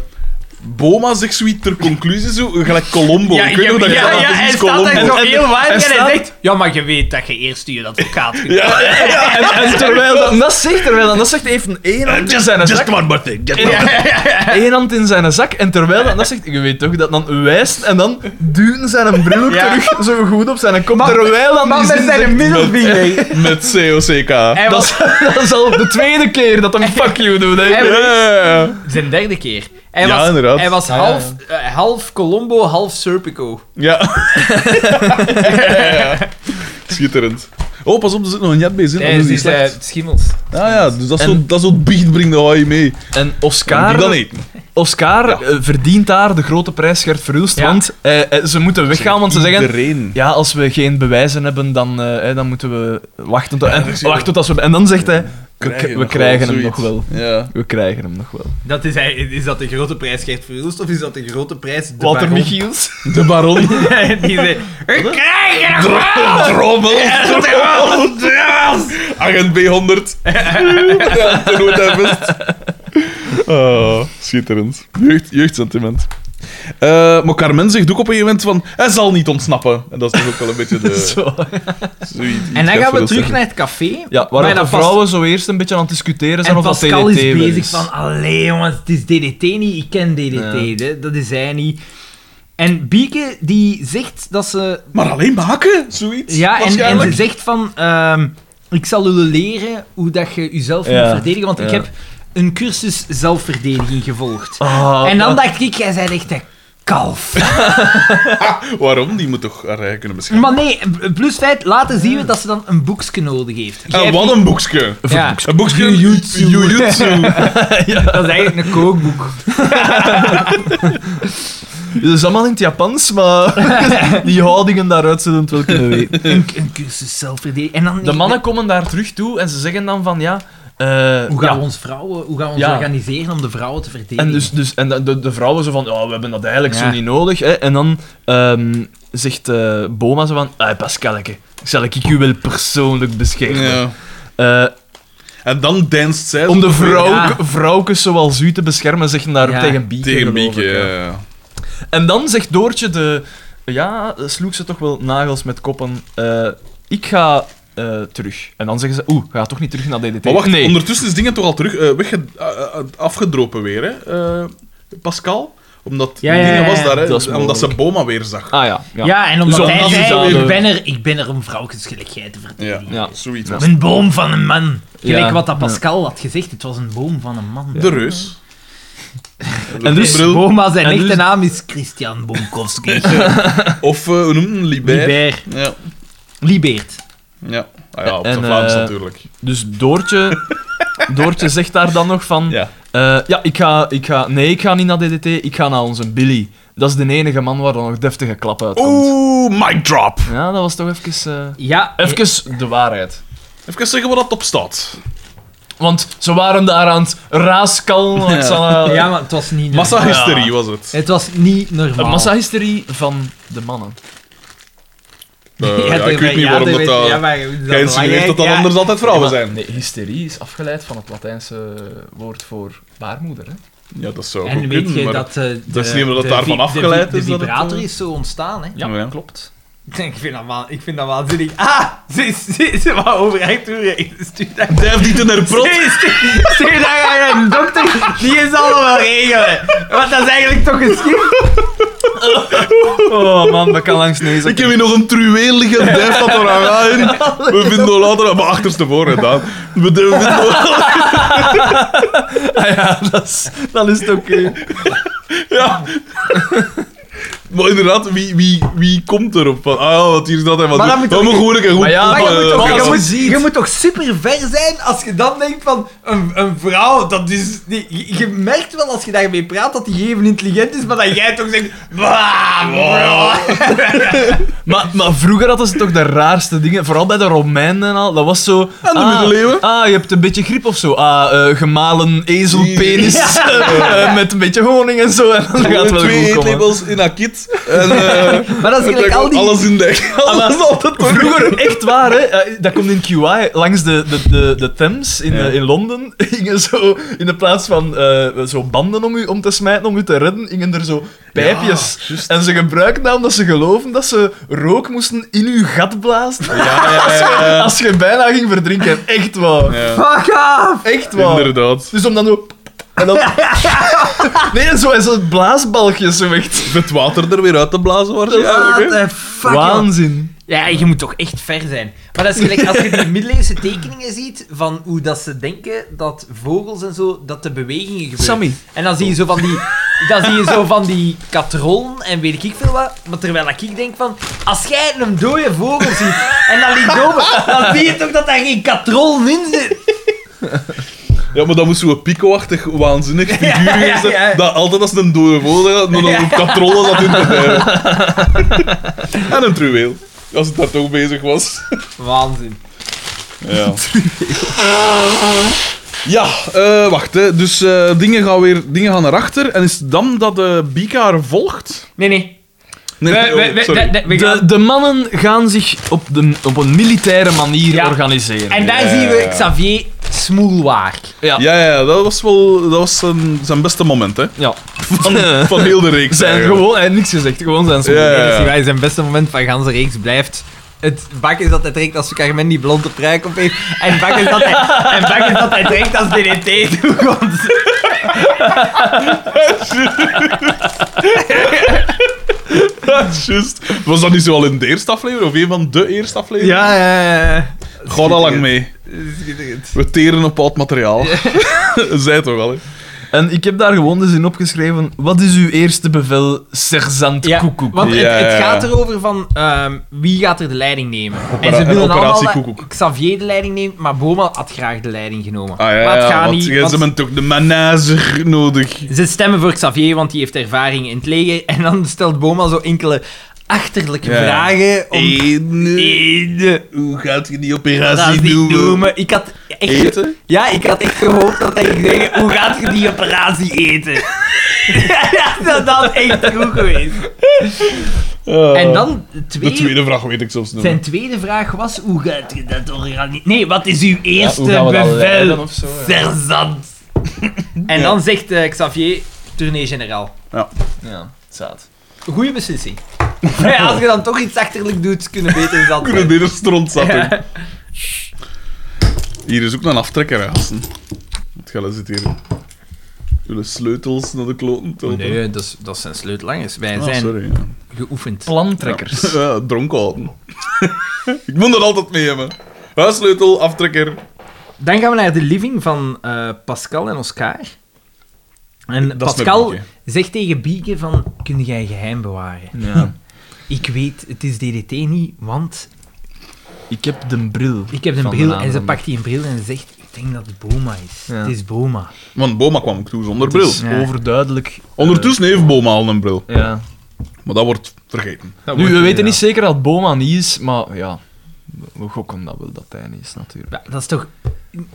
[SPEAKER 1] Boma zegt zoiets ter conclusie, zo, gelijk Colombo. ik weet niet hoe dat gaat, dat is
[SPEAKER 3] hij
[SPEAKER 1] iets
[SPEAKER 3] staat
[SPEAKER 1] Colombo.
[SPEAKER 3] daar zo
[SPEAKER 2] En-
[SPEAKER 3] heel waard en,
[SPEAKER 2] en staat-
[SPEAKER 3] hij zegt... Ja, maar je weet dat je eerst je advocaat kunt.
[SPEAKER 2] En, en terwijl dat, dat zegt, terwijl dat, dat zegt, hij heeft een één hand in zijn zak.
[SPEAKER 1] one more thing. just one more
[SPEAKER 2] Eén hand in zijn zak. En terwijl dat, dat zegt, je weet toch, dat dan wijst en dan duwt zijn bril ook
[SPEAKER 3] Ja.
[SPEAKER 2] terug zo goed op zijn kop. Terwijl dan die zin zegt-
[SPEAKER 3] middelvinger.
[SPEAKER 1] thing. *laughs* Met COCK. Ja,
[SPEAKER 3] Hij
[SPEAKER 2] *laughs* Dat
[SPEAKER 3] was
[SPEAKER 2] is, dat is al de tweede keer dat hem fuck you doet. hè.
[SPEAKER 3] Hij-
[SPEAKER 1] ja, ja.
[SPEAKER 3] zijn derde keer. Hij
[SPEAKER 1] Ja,
[SPEAKER 3] was,
[SPEAKER 1] inderdaad.
[SPEAKER 3] Hij was
[SPEAKER 2] Ja, ja, ja.
[SPEAKER 3] half, eh, half Colombo, half Serpico.
[SPEAKER 1] Ja. Schitterend. Oh, pas op, er zit nog een jet bij zin.
[SPEAKER 3] Nee,
[SPEAKER 1] anders
[SPEAKER 3] het
[SPEAKER 1] is die
[SPEAKER 3] is
[SPEAKER 1] slecht.
[SPEAKER 3] eh, schimmels.
[SPEAKER 1] Ah ja, dus dat is
[SPEAKER 2] En-
[SPEAKER 1] zo- dat is wat biecht brengt de haai mee.
[SPEAKER 2] En
[SPEAKER 1] Moet
[SPEAKER 2] Oscar,
[SPEAKER 1] ik dan eten?
[SPEAKER 2] Oscar eh, verdient daar de grote prijs Gert Verhulst,
[SPEAKER 3] Ja.
[SPEAKER 2] want eh, eh, ze moeten weggaan, want ze zeggen...
[SPEAKER 1] Iedereen.
[SPEAKER 2] Ja, als we geen bewijzen hebben, dan, eh, hè, dan moeten we wachten tot, en,
[SPEAKER 1] dat is heel-
[SPEAKER 2] wachten tot als we... En dan zegt hij, we, k- we
[SPEAKER 1] nog
[SPEAKER 2] krijgen
[SPEAKER 1] wel,
[SPEAKER 2] hem nog
[SPEAKER 1] zoiets.
[SPEAKER 2] wel.
[SPEAKER 1] Ja.
[SPEAKER 2] We krijgen hem nog wel.
[SPEAKER 3] Dat is, hij- is dat de grote prijs Gert Verhulst of is dat de grote prijs de
[SPEAKER 2] Walter
[SPEAKER 3] Baron?
[SPEAKER 2] Michiels.
[SPEAKER 1] De baron.
[SPEAKER 3] *laughs* Die zei, we krijgen hem wel!
[SPEAKER 1] Drommel. Agent B100. Ja, toen wordt hij best. Oh, schitterend. Jeugd, jeugdsentiment. Eh, maar Carmen zegt ook op een gegeven moment van... Hij zal niet ontsnappen. En dat is toch ook wel een beetje
[SPEAKER 2] *laughs*
[SPEAKER 1] de...
[SPEAKER 2] Zo.
[SPEAKER 1] zoiets- iets
[SPEAKER 3] En dan gaan we
[SPEAKER 1] Gert
[SPEAKER 3] terug
[SPEAKER 1] Verhulst,
[SPEAKER 3] naar het café.
[SPEAKER 2] Ja,
[SPEAKER 3] Maar
[SPEAKER 2] waar
[SPEAKER 3] dat
[SPEAKER 2] de vrouwen zo eerst een beetje aan het discussiëren zijn
[SPEAKER 3] En
[SPEAKER 2] of dat DDT
[SPEAKER 3] Pascal is
[SPEAKER 2] wel
[SPEAKER 3] bezig van, allee jongens, het is DDT niet, ik ken DDT, hè, dat is hij niet. En Bieke, die zegt dat ze...
[SPEAKER 1] hè. Maar alleen maken, zoiets.
[SPEAKER 3] Ja, en, en
[SPEAKER 1] waarschijnlijk.
[SPEAKER 3] ze zegt van, ehm, ik zal jullie leren hoe dat je jezelf
[SPEAKER 2] Ja,
[SPEAKER 3] moet verdedigen, want ik
[SPEAKER 2] ja.
[SPEAKER 3] heb een cursus zelfverdediging gevolgd.
[SPEAKER 2] Ah,
[SPEAKER 3] en dan
[SPEAKER 2] dat-
[SPEAKER 3] dacht ik, jij bent echt een kalf.
[SPEAKER 1] Waarom? Die moet toch haar eigen kunnen beschermen.
[SPEAKER 3] maar nee, plus feit, later zien we dat ze dan een boekje nodig heeft.
[SPEAKER 2] Ah,
[SPEAKER 3] Jij
[SPEAKER 1] En
[SPEAKER 3] hebt
[SPEAKER 1] Ah, wat een boekje.
[SPEAKER 3] niet- Ja,
[SPEAKER 1] Een boekje...
[SPEAKER 3] Jujutsu. *laughs*
[SPEAKER 1] Jujutsu.
[SPEAKER 3] dat is eigenlijk een kookboek.
[SPEAKER 2] Het is allemaal in het Japans, maar *laughs* die houdingen daaruit zullen het wel kunnen weten.
[SPEAKER 3] Een, een cursus zelfverdediging. En dan
[SPEAKER 2] De mannen komen daar terug toe en ze zeggen dan van ja... eh,
[SPEAKER 3] Hoe gaan
[SPEAKER 2] ja.
[SPEAKER 3] we ons vrouwen, hoe gaan we ons
[SPEAKER 2] Ja.
[SPEAKER 3] organiseren om de vrouwen te verdedigen?
[SPEAKER 2] En, dus, dus, en de- de, de vrouwen zo van, ja, we hebben dat eigenlijk
[SPEAKER 3] Ja.
[SPEAKER 2] zo niet nodig. Hè. En dan ehm, zegt eh, Boma zo van, ah, Pascalke, zal ik u wel persoonlijk beschermen.
[SPEAKER 1] Ja.
[SPEAKER 2] Eh,
[SPEAKER 1] En dan danst zij...
[SPEAKER 2] om de vrouw,
[SPEAKER 3] Ja.
[SPEAKER 2] vrouwkes zoals u te beschermen, zeggen daar
[SPEAKER 3] Ja.
[SPEAKER 2] tegen Bieke.
[SPEAKER 1] Tegen
[SPEAKER 2] geloof ik,
[SPEAKER 1] Mieke,
[SPEAKER 2] ja.
[SPEAKER 1] ja. ja.
[SPEAKER 2] En dan zegt Doortje de... Ja, eh, sloeg ze toch wel nagels met koppen. eh, ik ga eh, terug. En dan zeggen ze, oeh, ga toch niet terug naar DDT.
[SPEAKER 1] Maar wacht,
[SPEAKER 2] nee.
[SPEAKER 1] ondertussen is dingen toch al terug eh, wegge- eh, eh, afgedropen weer, hè? eh, Pascal? Omdat
[SPEAKER 3] Ja, ja,
[SPEAKER 1] dingen
[SPEAKER 3] ja, ja.
[SPEAKER 1] was daar, hè?
[SPEAKER 2] Dat is
[SPEAKER 1] omdat ze
[SPEAKER 2] mogelijk.
[SPEAKER 1] Boma weer zag.
[SPEAKER 2] Ah ja. Ja.
[SPEAKER 3] ja. en omdat
[SPEAKER 2] Zo,
[SPEAKER 3] hij
[SPEAKER 2] dat is
[SPEAKER 3] zei,
[SPEAKER 2] dan
[SPEAKER 3] ik
[SPEAKER 2] de-
[SPEAKER 3] ben, er, ik ben er om vrouwensgelijkheid te
[SPEAKER 1] Ja,
[SPEAKER 3] verdedigen.
[SPEAKER 2] Ja.
[SPEAKER 1] zoiets.
[SPEAKER 2] Ja.
[SPEAKER 1] was.
[SPEAKER 3] Een boom van een man. Gelijk
[SPEAKER 2] Ja.
[SPEAKER 3] wat dat Pascal had gezegd, het was een boom van een man.
[SPEAKER 1] De reus.
[SPEAKER 2] En dus
[SPEAKER 1] Bril. *laughs*
[SPEAKER 3] Boma, zijn
[SPEAKER 2] En
[SPEAKER 3] echte
[SPEAKER 2] dus-
[SPEAKER 3] naam is Christian Bomkowski.
[SPEAKER 1] Of, eh, hoe noemt hem? Liber.
[SPEAKER 3] *laughs* Liber.
[SPEAKER 1] Ja.
[SPEAKER 3] Liebeert.
[SPEAKER 1] Ja. Ah, ja, op
[SPEAKER 2] En,
[SPEAKER 1] zijn Vlaams
[SPEAKER 2] eh,
[SPEAKER 1] natuurlijk.
[SPEAKER 2] Dus *laughs* Doortje, Doortje zegt daar dan nog van...
[SPEAKER 1] Ja.
[SPEAKER 2] eh, ja, ik ga, ik ga... Nee, ik ga niet naar DDT, ik ga naar onze Billy. Dat is de enige man waar dan nog deftige klap uitkomt.
[SPEAKER 1] Oeh, mic drop.
[SPEAKER 2] Ja, dat was toch even... eh,
[SPEAKER 3] Ja,
[SPEAKER 2] even de waarheid.
[SPEAKER 1] Even zeggen wat dat op staat.
[SPEAKER 2] Want ze waren daar aan het *laughs* raaskallen. want ze
[SPEAKER 3] eh,
[SPEAKER 2] hadden-
[SPEAKER 3] ja, maar het was niet normaal.
[SPEAKER 1] Massahysterie was het.
[SPEAKER 3] Het was niet normaal.
[SPEAKER 2] Een massahysterie van de mannen.
[SPEAKER 1] Eh, ja, ik weet niet waarom dat...
[SPEAKER 3] Ja,
[SPEAKER 1] dat
[SPEAKER 3] maar dat
[SPEAKER 1] Jij insinueert dat dat
[SPEAKER 3] ja.
[SPEAKER 1] anders altijd vrouwen zijn.
[SPEAKER 2] Nee, hysterie is afgeleid van het Latijnse eh, woord voor baarmoeder. Hè?
[SPEAKER 1] Ja, dat zou
[SPEAKER 3] En
[SPEAKER 1] goed
[SPEAKER 3] weet
[SPEAKER 1] kunnen,
[SPEAKER 3] je
[SPEAKER 1] maar...
[SPEAKER 3] dat eh, de,
[SPEAKER 1] dat is niet omdat
[SPEAKER 3] de
[SPEAKER 1] daarvan
[SPEAKER 3] vi- de vi-
[SPEAKER 1] afgeleid is
[SPEAKER 3] De
[SPEAKER 1] dat het,
[SPEAKER 3] vibrator
[SPEAKER 1] eh,
[SPEAKER 3] is zo ontstaan, hè.
[SPEAKER 1] Ja.
[SPEAKER 2] klopt.
[SPEAKER 3] Ik vind dat, wa- ik vind dat waanzinnig. Ah, *laughs* ze, ze, ze wou overeind toereen. Stuur daar...
[SPEAKER 1] Dijf niet in haar
[SPEAKER 3] *laughs*
[SPEAKER 1] prot.
[SPEAKER 3] Nee, stuur, stuur daar aan een dokter. Die is allemaal wel regelen. Want dat is eigenlijk toch geschikt.
[SPEAKER 2] Oh man, dat *laughs* kan langs neus.
[SPEAKER 1] Ik heb hier nog een truweel liggen, dijf dat er aan
[SPEAKER 3] *laughs*
[SPEAKER 1] in. We vinden al later dat we achterstevoren gedaan. We de- we vinden wel- *laughs*
[SPEAKER 2] Ah ja, dat is, dan is het eh. oké.
[SPEAKER 1] Ja. Maar inderdaad, wie, wie, wie komt erop? Van, ah ja, wat hier staat en wat
[SPEAKER 3] Maar
[SPEAKER 1] doen. We
[SPEAKER 3] dat moet ook-
[SPEAKER 1] mogen gewoon een keer goed
[SPEAKER 2] Maar ja,
[SPEAKER 3] Maar je
[SPEAKER 1] poppen,
[SPEAKER 3] moet, toch,
[SPEAKER 1] eh,
[SPEAKER 2] maar
[SPEAKER 3] je,
[SPEAKER 2] als je
[SPEAKER 3] moet,
[SPEAKER 2] ziet-
[SPEAKER 3] je moet toch super ver zijn als je dan denkt van een, een vrouw, dat is. die- je, je merkt wel als je daarmee praat dat die even intelligent is, maar dat jij toch zegt. "Bah, bah."
[SPEAKER 2] Maar, maar vroeger hadden ze toch de raarste dingen, vooral bij de Romeinen en al. Dat was zo.
[SPEAKER 1] Aan de middeleeuwen.
[SPEAKER 2] Ah, je hebt een beetje griep of zo. Ah, eh, gemalen ezelpenis *laughs* eh, met een beetje honing en zo. En dan gaat het wel
[SPEAKER 1] twee
[SPEAKER 2] goed komen.
[SPEAKER 1] eetlabels in
[SPEAKER 3] *laughs*
[SPEAKER 1] akit. En eh,
[SPEAKER 3] Maar dat is gelijk al die.
[SPEAKER 1] alles in de echt.
[SPEAKER 2] maar-
[SPEAKER 1] Alles altijd toch.
[SPEAKER 2] Ah, Vroeger, echt waar, hè? eh, Dat komt in QI, langs de, de, de, de Thames in,
[SPEAKER 1] Ja.
[SPEAKER 2] eh, in Londen. *laughs* Gingen zo, in de plaats van eh, zo banden om u om te smijten, om u te redden, gingen er zo pijpjes. en ze gebruikten dat omdat ze geloven dat ze rook moesten in uw gat blazen.
[SPEAKER 1] Ja, ja, ja, ja.
[SPEAKER 2] *laughs* Als je bijna ging verdrinken, echt waar.
[SPEAKER 1] Ja,
[SPEAKER 3] Fuck off!
[SPEAKER 2] Echt waar.
[SPEAKER 1] Inderdaad.
[SPEAKER 2] Dus om dan zo... En
[SPEAKER 1] *laughs*
[SPEAKER 2] dan... Nee, en zo en zo blaasbalkjes zo echt.
[SPEAKER 1] Het water er weer uit te blazen waarschijnlijk. hè.
[SPEAKER 3] What the fuck, joh.
[SPEAKER 2] Waanzin.
[SPEAKER 3] Ja, je moet toch echt ver zijn. Maar dat is gelijk als je die middeleeuwse tekeningen ziet van hoe dat ze denken dat vogels en zo, dat de bewegingen gebeuren.
[SPEAKER 2] Sammy.
[SPEAKER 3] En dan zie je zo van die, dan zie je zo van die katrollen en weet ik veel wat. Maar terwijl ik denk van, als jij een dode vogel ziet en dat ligt dood, dan zie je toch dat daar geen katrollen in zit.
[SPEAKER 1] Ja, maar dat moest zo'n pico-achtig waanzinnig figuur
[SPEAKER 3] Ja, ja, ja.
[SPEAKER 1] zijn. Dat altijd als een dode vogel had, dan een katrollen zat in te
[SPEAKER 3] *laughs*
[SPEAKER 1] bijten. en een truweel. Als het daar toch bezig was.
[SPEAKER 3] Waanzin.
[SPEAKER 1] Ja. *laughs* Ja, eh, wacht. Hè. Dus eh, dingen, gaan weer, dingen gaan naar achter. En is het dan dat de Bika haar volgt?
[SPEAKER 3] Nee, nee.
[SPEAKER 1] Nee,
[SPEAKER 3] We- we-
[SPEAKER 1] oh,
[SPEAKER 3] we-
[SPEAKER 1] sorry.
[SPEAKER 3] de- de- we gaan-
[SPEAKER 2] De, de mannen gaan zich op, de, op een militaire manier
[SPEAKER 3] Ja.
[SPEAKER 2] organiseren.
[SPEAKER 3] En daar
[SPEAKER 1] Ja,
[SPEAKER 3] zien
[SPEAKER 1] ja,
[SPEAKER 3] we
[SPEAKER 1] ja.
[SPEAKER 3] Xavier Smoelwaar.
[SPEAKER 2] Ja. ja.
[SPEAKER 1] Ja, ja, dat was wel dat was zijn, zijn beste moment, hè.
[SPEAKER 2] Van,
[SPEAKER 1] Van heel de reeks.
[SPEAKER 2] zijn
[SPEAKER 1] eigenlijk.
[SPEAKER 2] gewoon... Hij heeft niks gezegd. Gewoon zijn ze.
[SPEAKER 1] Ja, ja, ja.
[SPEAKER 3] Messi bij zijn beste moment van ganse reeks blijft. Het bak is dat hij trekt als Carmen die blonde pruik op heeft. En bak is dat hij, en bak is dat hij trekt als *laughs* DDT toekomt.
[SPEAKER 1] *laughs* Ja, juist. Was dat niet zo al in de eerste aflevering? Of een van de eerste afleveringen?
[SPEAKER 3] ja, ja.
[SPEAKER 1] Ga daar lang mee.
[SPEAKER 3] Schitterend.
[SPEAKER 1] We teren op oud materiaal. *laughs* Zij toch wel, hè?
[SPEAKER 2] En ik heb daar gewoon dus in opgeschreven... Wat is uw eerste bevel, sergeant
[SPEAKER 3] Ja,
[SPEAKER 2] Koekoek?
[SPEAKER 3] want
[SPEAKER 1] Ja,
[SPEAKER 3] het,
[SPEAKER 1] ja, ja.
[SPEAKER 3] het gaat erover van ehm, wie gaat er de leiding nemen. en ze
[SPEAKER 1] en
[SPEAKER 3] willen
[SPEAKER 1] operatie
[SPEAKER 3] allemaal dat
[SPEAKER 1] Koekoek.
[SPEAKER 3] Xavier de leiding neemt, maar Boma had graag de leiding genomen.
[SPEAKER 1] Ah ja,
[SPEAKER 3] maar het
[SPEAKER 1] ja,
[SPEAKER 3] gaat
[SPEAKER 1] want
[SPEAKER 3] niet,
[SPEAKER 1] jij
[SPEAKER 3] want
[SPEAKER 1] ze hebben toch de manage nodig.
[SPEAKER 3] Ze stemmen voor Xavier, want die heeft ervaring in het leger. En dan stelt Boma zo enkele achterlijke
[SPEAKER 1] Ja.
[SPEAKER 3] vragen om... Ede.
[SPEAKER 1] Hoe gaat je die
[SPEAKER 3] Dat
[SPEAKER 1] operatie
[SPEAKER 3] niet noemen. Ik had echt...
[SPEAKER 1] Eten?
[SPEAKER 3] Ja, ik had echt gehoopt dat hij ging zeggen, hoe gaat je die operatie eten? *laughs* Ja, dat had echt goed geweest.
[SPEAKER 1] Eh,
[SPEAKER 3] En dan,
[SPEAKER 1] De
[SPEAKER 3] twee,
[SPEAKER 1] tweede vraag weet ik zelfs nog.
[SPEAKER 3] zijn tweede vraag was, hoe gaat je dat organiseren? Nee, wat is uw
[SPEAKER 2] hoe
[SPEAKER 3] eerste
[SPEAKER 2] gaan we dat leiden
[SPEAKER 3] bevel,
[SPEAKER 2] of zo, ja.
[SPEAKER 3] sergeant? *laughs* En dan zegt eh, Xavier, tournee-generaal.
[SPEAKER 2] Ja, zaad.
[SPEAKER 3] Goeie
[SPEAKER 2] *laughs*
[SPEAKER 3] beslissing. Ja, als je dan toch iets achterlijk doet, kunnen beter dan...
[SPEAKER 1] Kunnen dit een stront
[SPEAKER 3] *laughs*
[SPEAKER 1] zaten?
[SPEAKER 3] Ja.
[SPEAKER 1] Hier is ook nog een aftrekker, hè, gasten. Het gaat zit hier. Jullie sleutels naar de kloten te openen.
[SPEAKER 3] Nee, dat, is- dat zijn sleutelangers. *laughs* Wij
[SPEAKER 1] Ah,
[SPEAKER 3] zijn
[SPEAKER 1] sorry. Ja.
[SPEAKER 3] geoefend.
[SPEAKER 2] Plantrekkers.
[SPEAKER 1] Ja, dronken houden. *laughs* ik moet dat altijd mee hebben. Huissleutel, aftrekker.
[SPEAKER 3] Dan gaan we naar de living van eh, Pascal en Oscar. En
[SPEAKER 1] is
[SPEAKER 3] Pascal
[SPEAKER 1] met Bieke.
[SPEAKER 3] zegt tegen Bieke van, kun jij een geheim bewaren?
[SPEAKER 2] Ja.
[SPEAKER 3] Ik weet, het is DDT niet, want
[SPEAKER 2] Ik heb de bril.
[SPEAKER 3] ik heb een
[SPEAKER 2] van de
[SPEAKER 3] bril. En ze
[SPEAKER 2] naderhand.
[SPEAKER 3] pakt die een bril en ze zegt, ik denk dat het Boma is.
[SPEAKER 2] Ja.
[SPEAKER 3] Het is Boma.
[SPEAKER 1] Want Boma kwam ook toe zonder
[SPEAKER 2] Het
[SPEAKER 1] bril.
[SPEAKER 2] is
[SPEAKER 3] Ja.
[SPEAKER 2] overduidelijk.
[SPEAKER 1] Ondertussen heeft Boma al een bril.
[SPEAKER 2] eh, ja.
[SPEAKER 1] Maar dat wordt vergeten.
[SPEAKER 3] Nou,
[SPEAKER 2] Nu, we weten niet zeker dat Boma niet is, maar ja. We gokken dat wel dat hij niet is, natuurlijk.
[SPEAKER 3] Ja, dat is toch...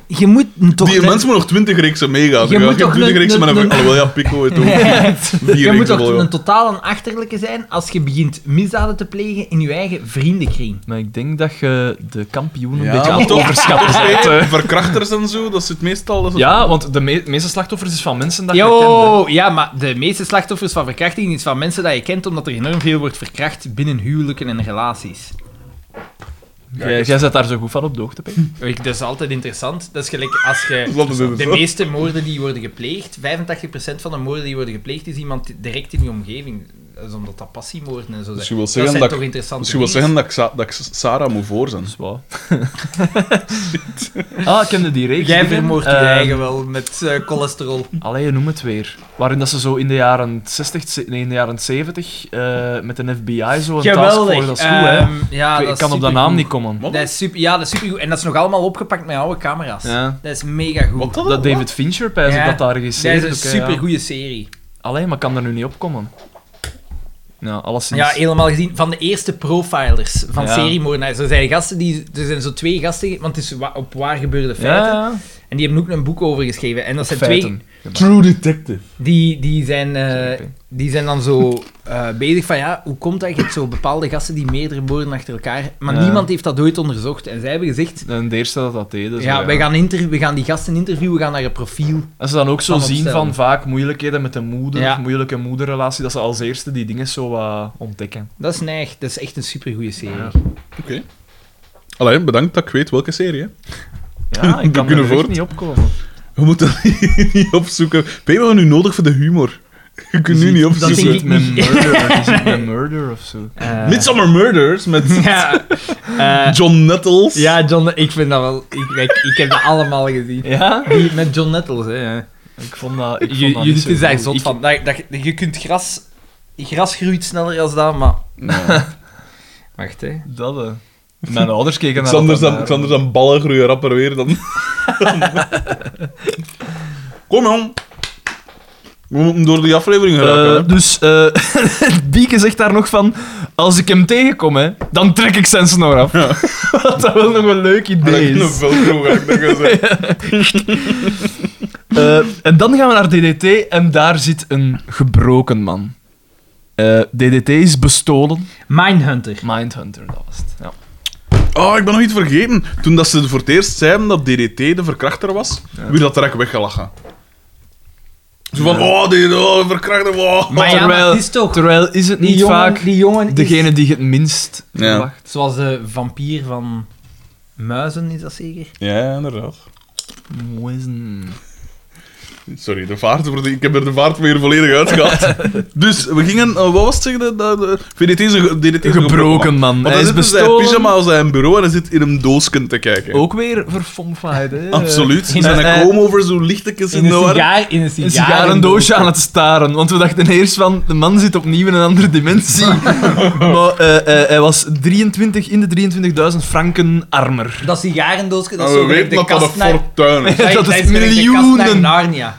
[SPEAKER 3] Je moet toch...
[SPEAKER 1] Die
[SPEAKER 3] *laughs*
[SPEAKER 1] mensen moeten nog 20 reeksen meegaan.
[SPEAKER 3] Je
[SPEAKER 1] Je
[SPEAKER 3] moet
[SPEAKER 1] moet
[SPEAKER 3] toch
[SPEAKER 1] 20
[SPEAKER 3] een-
[SPEAKER 1] reeksen, maar dan
[SPEAKER 3] een-
[SPEAKER 1] heb ik alweer ja, Pico
[SPEAKER 3] *laughs*
[SPEAKER 1] het ook. Vier
[SPEAKER 3] je moet
[SPEAKER 1] reeksen
[SPEAKER 3] toch
[SPEAKER 1] wel, ja.
[SPEAKER 3] een totaal een achterlijke zijn als je begint misdaden te plegen in je eigen vriendenkring.
[SPEAKER 2] Maar ik denk dat je de kampioen een
[SPEAKER 1] Ja,
[SPEAKER 2] beetje aan
[SPEAKER 1] maar
[SPEAKER 2] het
[SPEAKER 1] toch-
[SPEAKER 2] overschatten bent, hè.
[SPEAKER 1] Eh, Verkrachters en zo, dat zit meestal... Dat is-
[SPEAKER 2] Ja, want de me- meeste slachtoffers is van mensen dat je kende.
[SPEAKER 3] Yo, ja, maar de meeste slachtoffers van verkrachting is van mensen dat je kent, omdat er enorm veel wordt verkracht binnen huwelijken en relaties.
[SPEAKER 2] Jij, jij zet daar zo goed van op de hoogte, Pim.
[SPEAKER 3] Weet je, Dat is altijd interessant. Dat is gelijk als
[SPEAKER 1] Dat is
[SPEAKER 3] je...
[SPEAKER 1] altijd zo.
[SPEAKER 3] De meeste moorden die worden gepleegd, 85% van de moorden die worden gepleegd, is iemand direct in je omgeving. Dat is omdat dat passiemoorden en zo zijn.
[SPEAKER 1] Dus je wil
[SPEAKER 3] dat
[SPEAKER 1] zeggen
[SPEAKER 3] zijn
[SPEAKER 1] dat,
[SPEAKER 3] toch
[SPEAKER 1] ik-
[SPEAKER 3] interessante
[SPEAKER 1] dus je wil
[SPEAKER 3] dingen.
[SPEAKER 1] zeggen dat ik, Sa- dat ik Sarah moet voor zijn.
[SPEAKER 2] Dat is
[SPEAKER 3] *laughs*
[SPEAKER 2] waar. ah, ik kende die reeks.
[SPEAKER 3] Jij
[SPEAKER 2] niet meer.
[SPEAKER 3] vermoordt je
[SPEAKER 2] Eh,
[SPEAKER 3] eigen wel met eh, cholesterol.
[SPEAKER 2] Allee, noem het weer. Waarin dat ze zo in de jaren 60, ze- nee, in de jaren 70 eh, met een FBI zo een taskforce... Dat is goed, hè.
[SPEAKER 3] Ehm, ja,
[SPEAKER 2] ik
[SPEAKER 3] dat
[SPEAKER 2] ik
[SPEAKER 3] is
[SPEAKER 2] kan op dat
[SPEAKER 3] supergoed.
[SPEAKER 2] naam niet komen.
[SPEAKER 1] Wat?
[SPEAKER 3] Dat is super, ja, dat is supergoed. En dat is nog allemaal opgepakt met oude camera's.
[SPEAKER 2] Ja.
[SPEAKER 3] Dat is mega goed.
[SPEAKER 1] Wat
[SPEAKER 2] Dat David Fincher, pijs ik
[SPEAKER 3] Ja.
[SPEAKER 2] dat daar
[SPEAKER 3] Dat is
[SPEAKER 2] regisseert.
[SPEAKER 3] een
[SPEAKER 2] ook, hè, ja.
[SPEAKER 3] supergoeie serie.
[SPEAKER 2] Allee, maar kan er nu niet op komen. Ja, alleszins.
[SPEAKER 3] Ja, helemaal gezien. Van de eerste profilers van
[SPEAKER 2] Ja.
[SPEAKER 3] seriemoordenaars. Er zijn, gasten die, er zijn zo twee gasten, want het is wa- op waar gebeurde feiten.
[SPEAKER 2] Ja,
[SPEAKER 3] En die hebben ook een boek over geschreven. En dat zijn twee...
[SPEAKER 2] feiten.
[SPEAKER 1] True Detective.
[SPEAKER 3] Die, die, zijn, eh,
[SPEAKER 2] Sorry, Pim.
[SPEAKER 3] die zijn dan zo eh, bezig van, ja, hoe komt dat? Je hebt zo bepaalde gasten die meerdere moorden achter elkaar... Maar
[SPEAKER 2] Ja.
[SPEAKER 3] niemand heeft dat ooit onderzocht. En zij hebben gezegd...
[SPEAKER 2] En de eerste dat dat deed. Dus
[SPEAKER 3] ja, wij gaan, interview- we gaan die gasten interviewen, we gaan naar een profiel.
[SPEAKER 2] En ze dan ook zo
[SPEAKER 3] Van
[SPEAKER 2] zien
[SPEAKER 3] opstellen.
[SPEAKER 2] van vaak moeilijkheden met de moeder,
[SPEAKER 3] Ja.
[SPEAKER 2] moeilijke moederrelatie, dat ze als eerste die dingen zo wat ontdekken.
[SPEAKER 3] Dat is neig. Dat is echt een supergoeie serie.
[SPEAKER 2] Ja.
[SPEAKER 1] Oké. Allee, bedankt dat ik weet welke serie, hè.
[SPEAKER 2] Ja, ik
[SPEAKER 1] We
[SPEAKER 2] kan er
[SPEAKER 1] kunnen
[SPEAKER 2] echt
[SPEAKER 1] voort.
[SPEAKER 2] niet opkomen.
[SPEAKER 1] We moeten *laughs* dat niet opzoeken. Ben je wel nu nodig voor de humor? *laughs* Je kunt nu niet
[SPEAKER 2] Dat is
[SPEAKER 1] opzoeken.
[SPEAKER 2] niet
[SPEAKER 3] ik
[SPEAKER 2] met
[SPEAKER 3] niet.
[SPEAKER 2] murder, is het met murder of zo.
[SPEAKER 3] Eh,
[SPEAKER 1] Midsummer Murders
[SPEAKER 2] *laughs*
[SPEAKER 1] met
[SPEAKER 3] *laughs* Ja,
[SPEAKER 1] *laughs*
[SPEAKER 3] eh,
[SPEAKER 1] John Nettles.
[SPEAKER 3] ja, John, ik vind dat wel... Ik, ik, ik heb dat allemaal gezien.
[SPEAKER 2] Ja?
[SPEAKER 3] Die met John Nettles, hè. ja.
[SPEAKER 2] Ik vond dat... Ik
[SPEAKER 3] Je,
[SPEAKER 2] vond dat
[SPEAKER 3] je
[SPEAKER 2] niet zo
[SPEAKER 3] is daar
[SPEAKER 2] goed.
[SPEAKER 3] zot
[SPEAKER 2] Ik-
[SPEAKER 3] van. Dat, dat, je kunt gras... Gras groeit sneller dan dat, maar...
[SPEAKER 1] Nou,
[SPEAKER 3] Wacht, hè.
[SPEAKER 2] Dat, eh. Mijn ouders keken naar
[SPEAKER 1] Xander
[SPEAKER 2] dat
[SPEAKER 1] zijn,
[SPEAKER 2] daar.
[SPEAKER 1] Xander zijn ballen groeien rapper weer dan... Kom, jong. We moeten door die aflevering geraken,
[SPEAKER 2] Eh, dus eh *laughs* Bieke zegt daar nog van, als ik hem tegenkom, hè, dan trek ik zijn snor af. Wat *laughs* dat wel nog een leuk
[SPEAKER 1] hè.
[SPEAKER 2] idee
[SPEAKER 1] Dat
[SPEAKER 2] is.
[SPEAKER 1] is een velcro, ga ik denken, zo.
[SPEAKER 2] Eh, en dan gaan we naar DDT en daar zit een gebroken man. Eh, DDT is bestolen.
[SPEAKER 3] Mindhunter.
[SPEAKER 2] Mindhunter, dat was het. Ja.
[SPEAKER 1] Oh, ik ben nog iets vergeten. Toen dat ze voor het eerst zeiden dat DDT de verkrachter was, werd dat direct weggelachen. Zo van, oh, die oh, verkrachter, wow.
[SPEAKER 3] Maar ja, maar
[SPEAKER 2] terwijl,
[SPEAKER 3] het is toch-
[SPEAKER 2] terwijl is het niet vaak
[SPEAKER 3] die jongen
[SPEAKER 2] degene die het minst
[SPEAKER 1] Ja.
[SPEAKER 2] verwacht.
[SPEAKER 3] Zoals de vampier van muizen, is dat zeker?
[SPEAKER 1] Ja, inderdaad.
[SPEAKER 2] Moizen.
[SPEAKER 1] Sorry, de vaart, voor de- ik heb er de vaart weer volledig uitgehaald. *laughs* dus we gingen, eh, wat was het zeggen? Dat, dat, VDT is een, ge- DDT is een
[SPEAKER 2] Gebroken man.
[SPEAKER 1] Want
[SPEAKER 2] Hij
[SPEAKER 1] hij
[SPEAKER 2] is
[SPEAKER 1] zit in zijn
[SPEAKER 2] bestolen.
[SPEAKER 1] pyjama op zijn bureau en hij zit in een doosken te kijken.
[SPEAKER 2] Ook weer verfomfaaid, hè.
[SPEAKER 1] Absoluut.
[SPEAKER 2] In
[SPEAKER 1] Zijn een comb over zo'n lichtekens in
[SPEAKER 3] In
[SPEAKER 1] de
[SPEAKER 3] een
[SPEAKER 1] war.
[SPEAKER 3] sigaar, in een
[SPEAKER 2] een sigarendoosje aan het staren. Want we dachten eerst van, de man zit opnieuw in een andere dimensie.
[SPEAKER 1] *laughs*
[SPEAKER 2] maar eh, eh, hij was 23, in de 23.000 franken armer.
[SPEAKER 3] Dat sigarendoosje,
[SPEAKER 1] En
[SPEAKER 3] dat
[SPEAKER 1] Nou,
[SPEAKER 3] is
[SPEAKER 1] we
[SPEAKER 3] zo gelijk
[SPEAKER 1] weten dat *laughs*
[SPEAKER 3] de
[SPEAKER 1] dat
[SPEAKER 3] kast
[SPEAKER 1] een
[SPEAKER 3] naar...
[SPEAKER 1] fortuin
[SPEAKER 3] *laughs*
[SPEAKER 1] is.
[SPEAKER 2] Dat is
[SPEAKER 3] gelijk de kast
[SPEAKER 2] miljoenen.
[SPEAKER 3] naar Narnia.
[SPEAKER 1] Ja.
[SPEAKER 3] *laughs*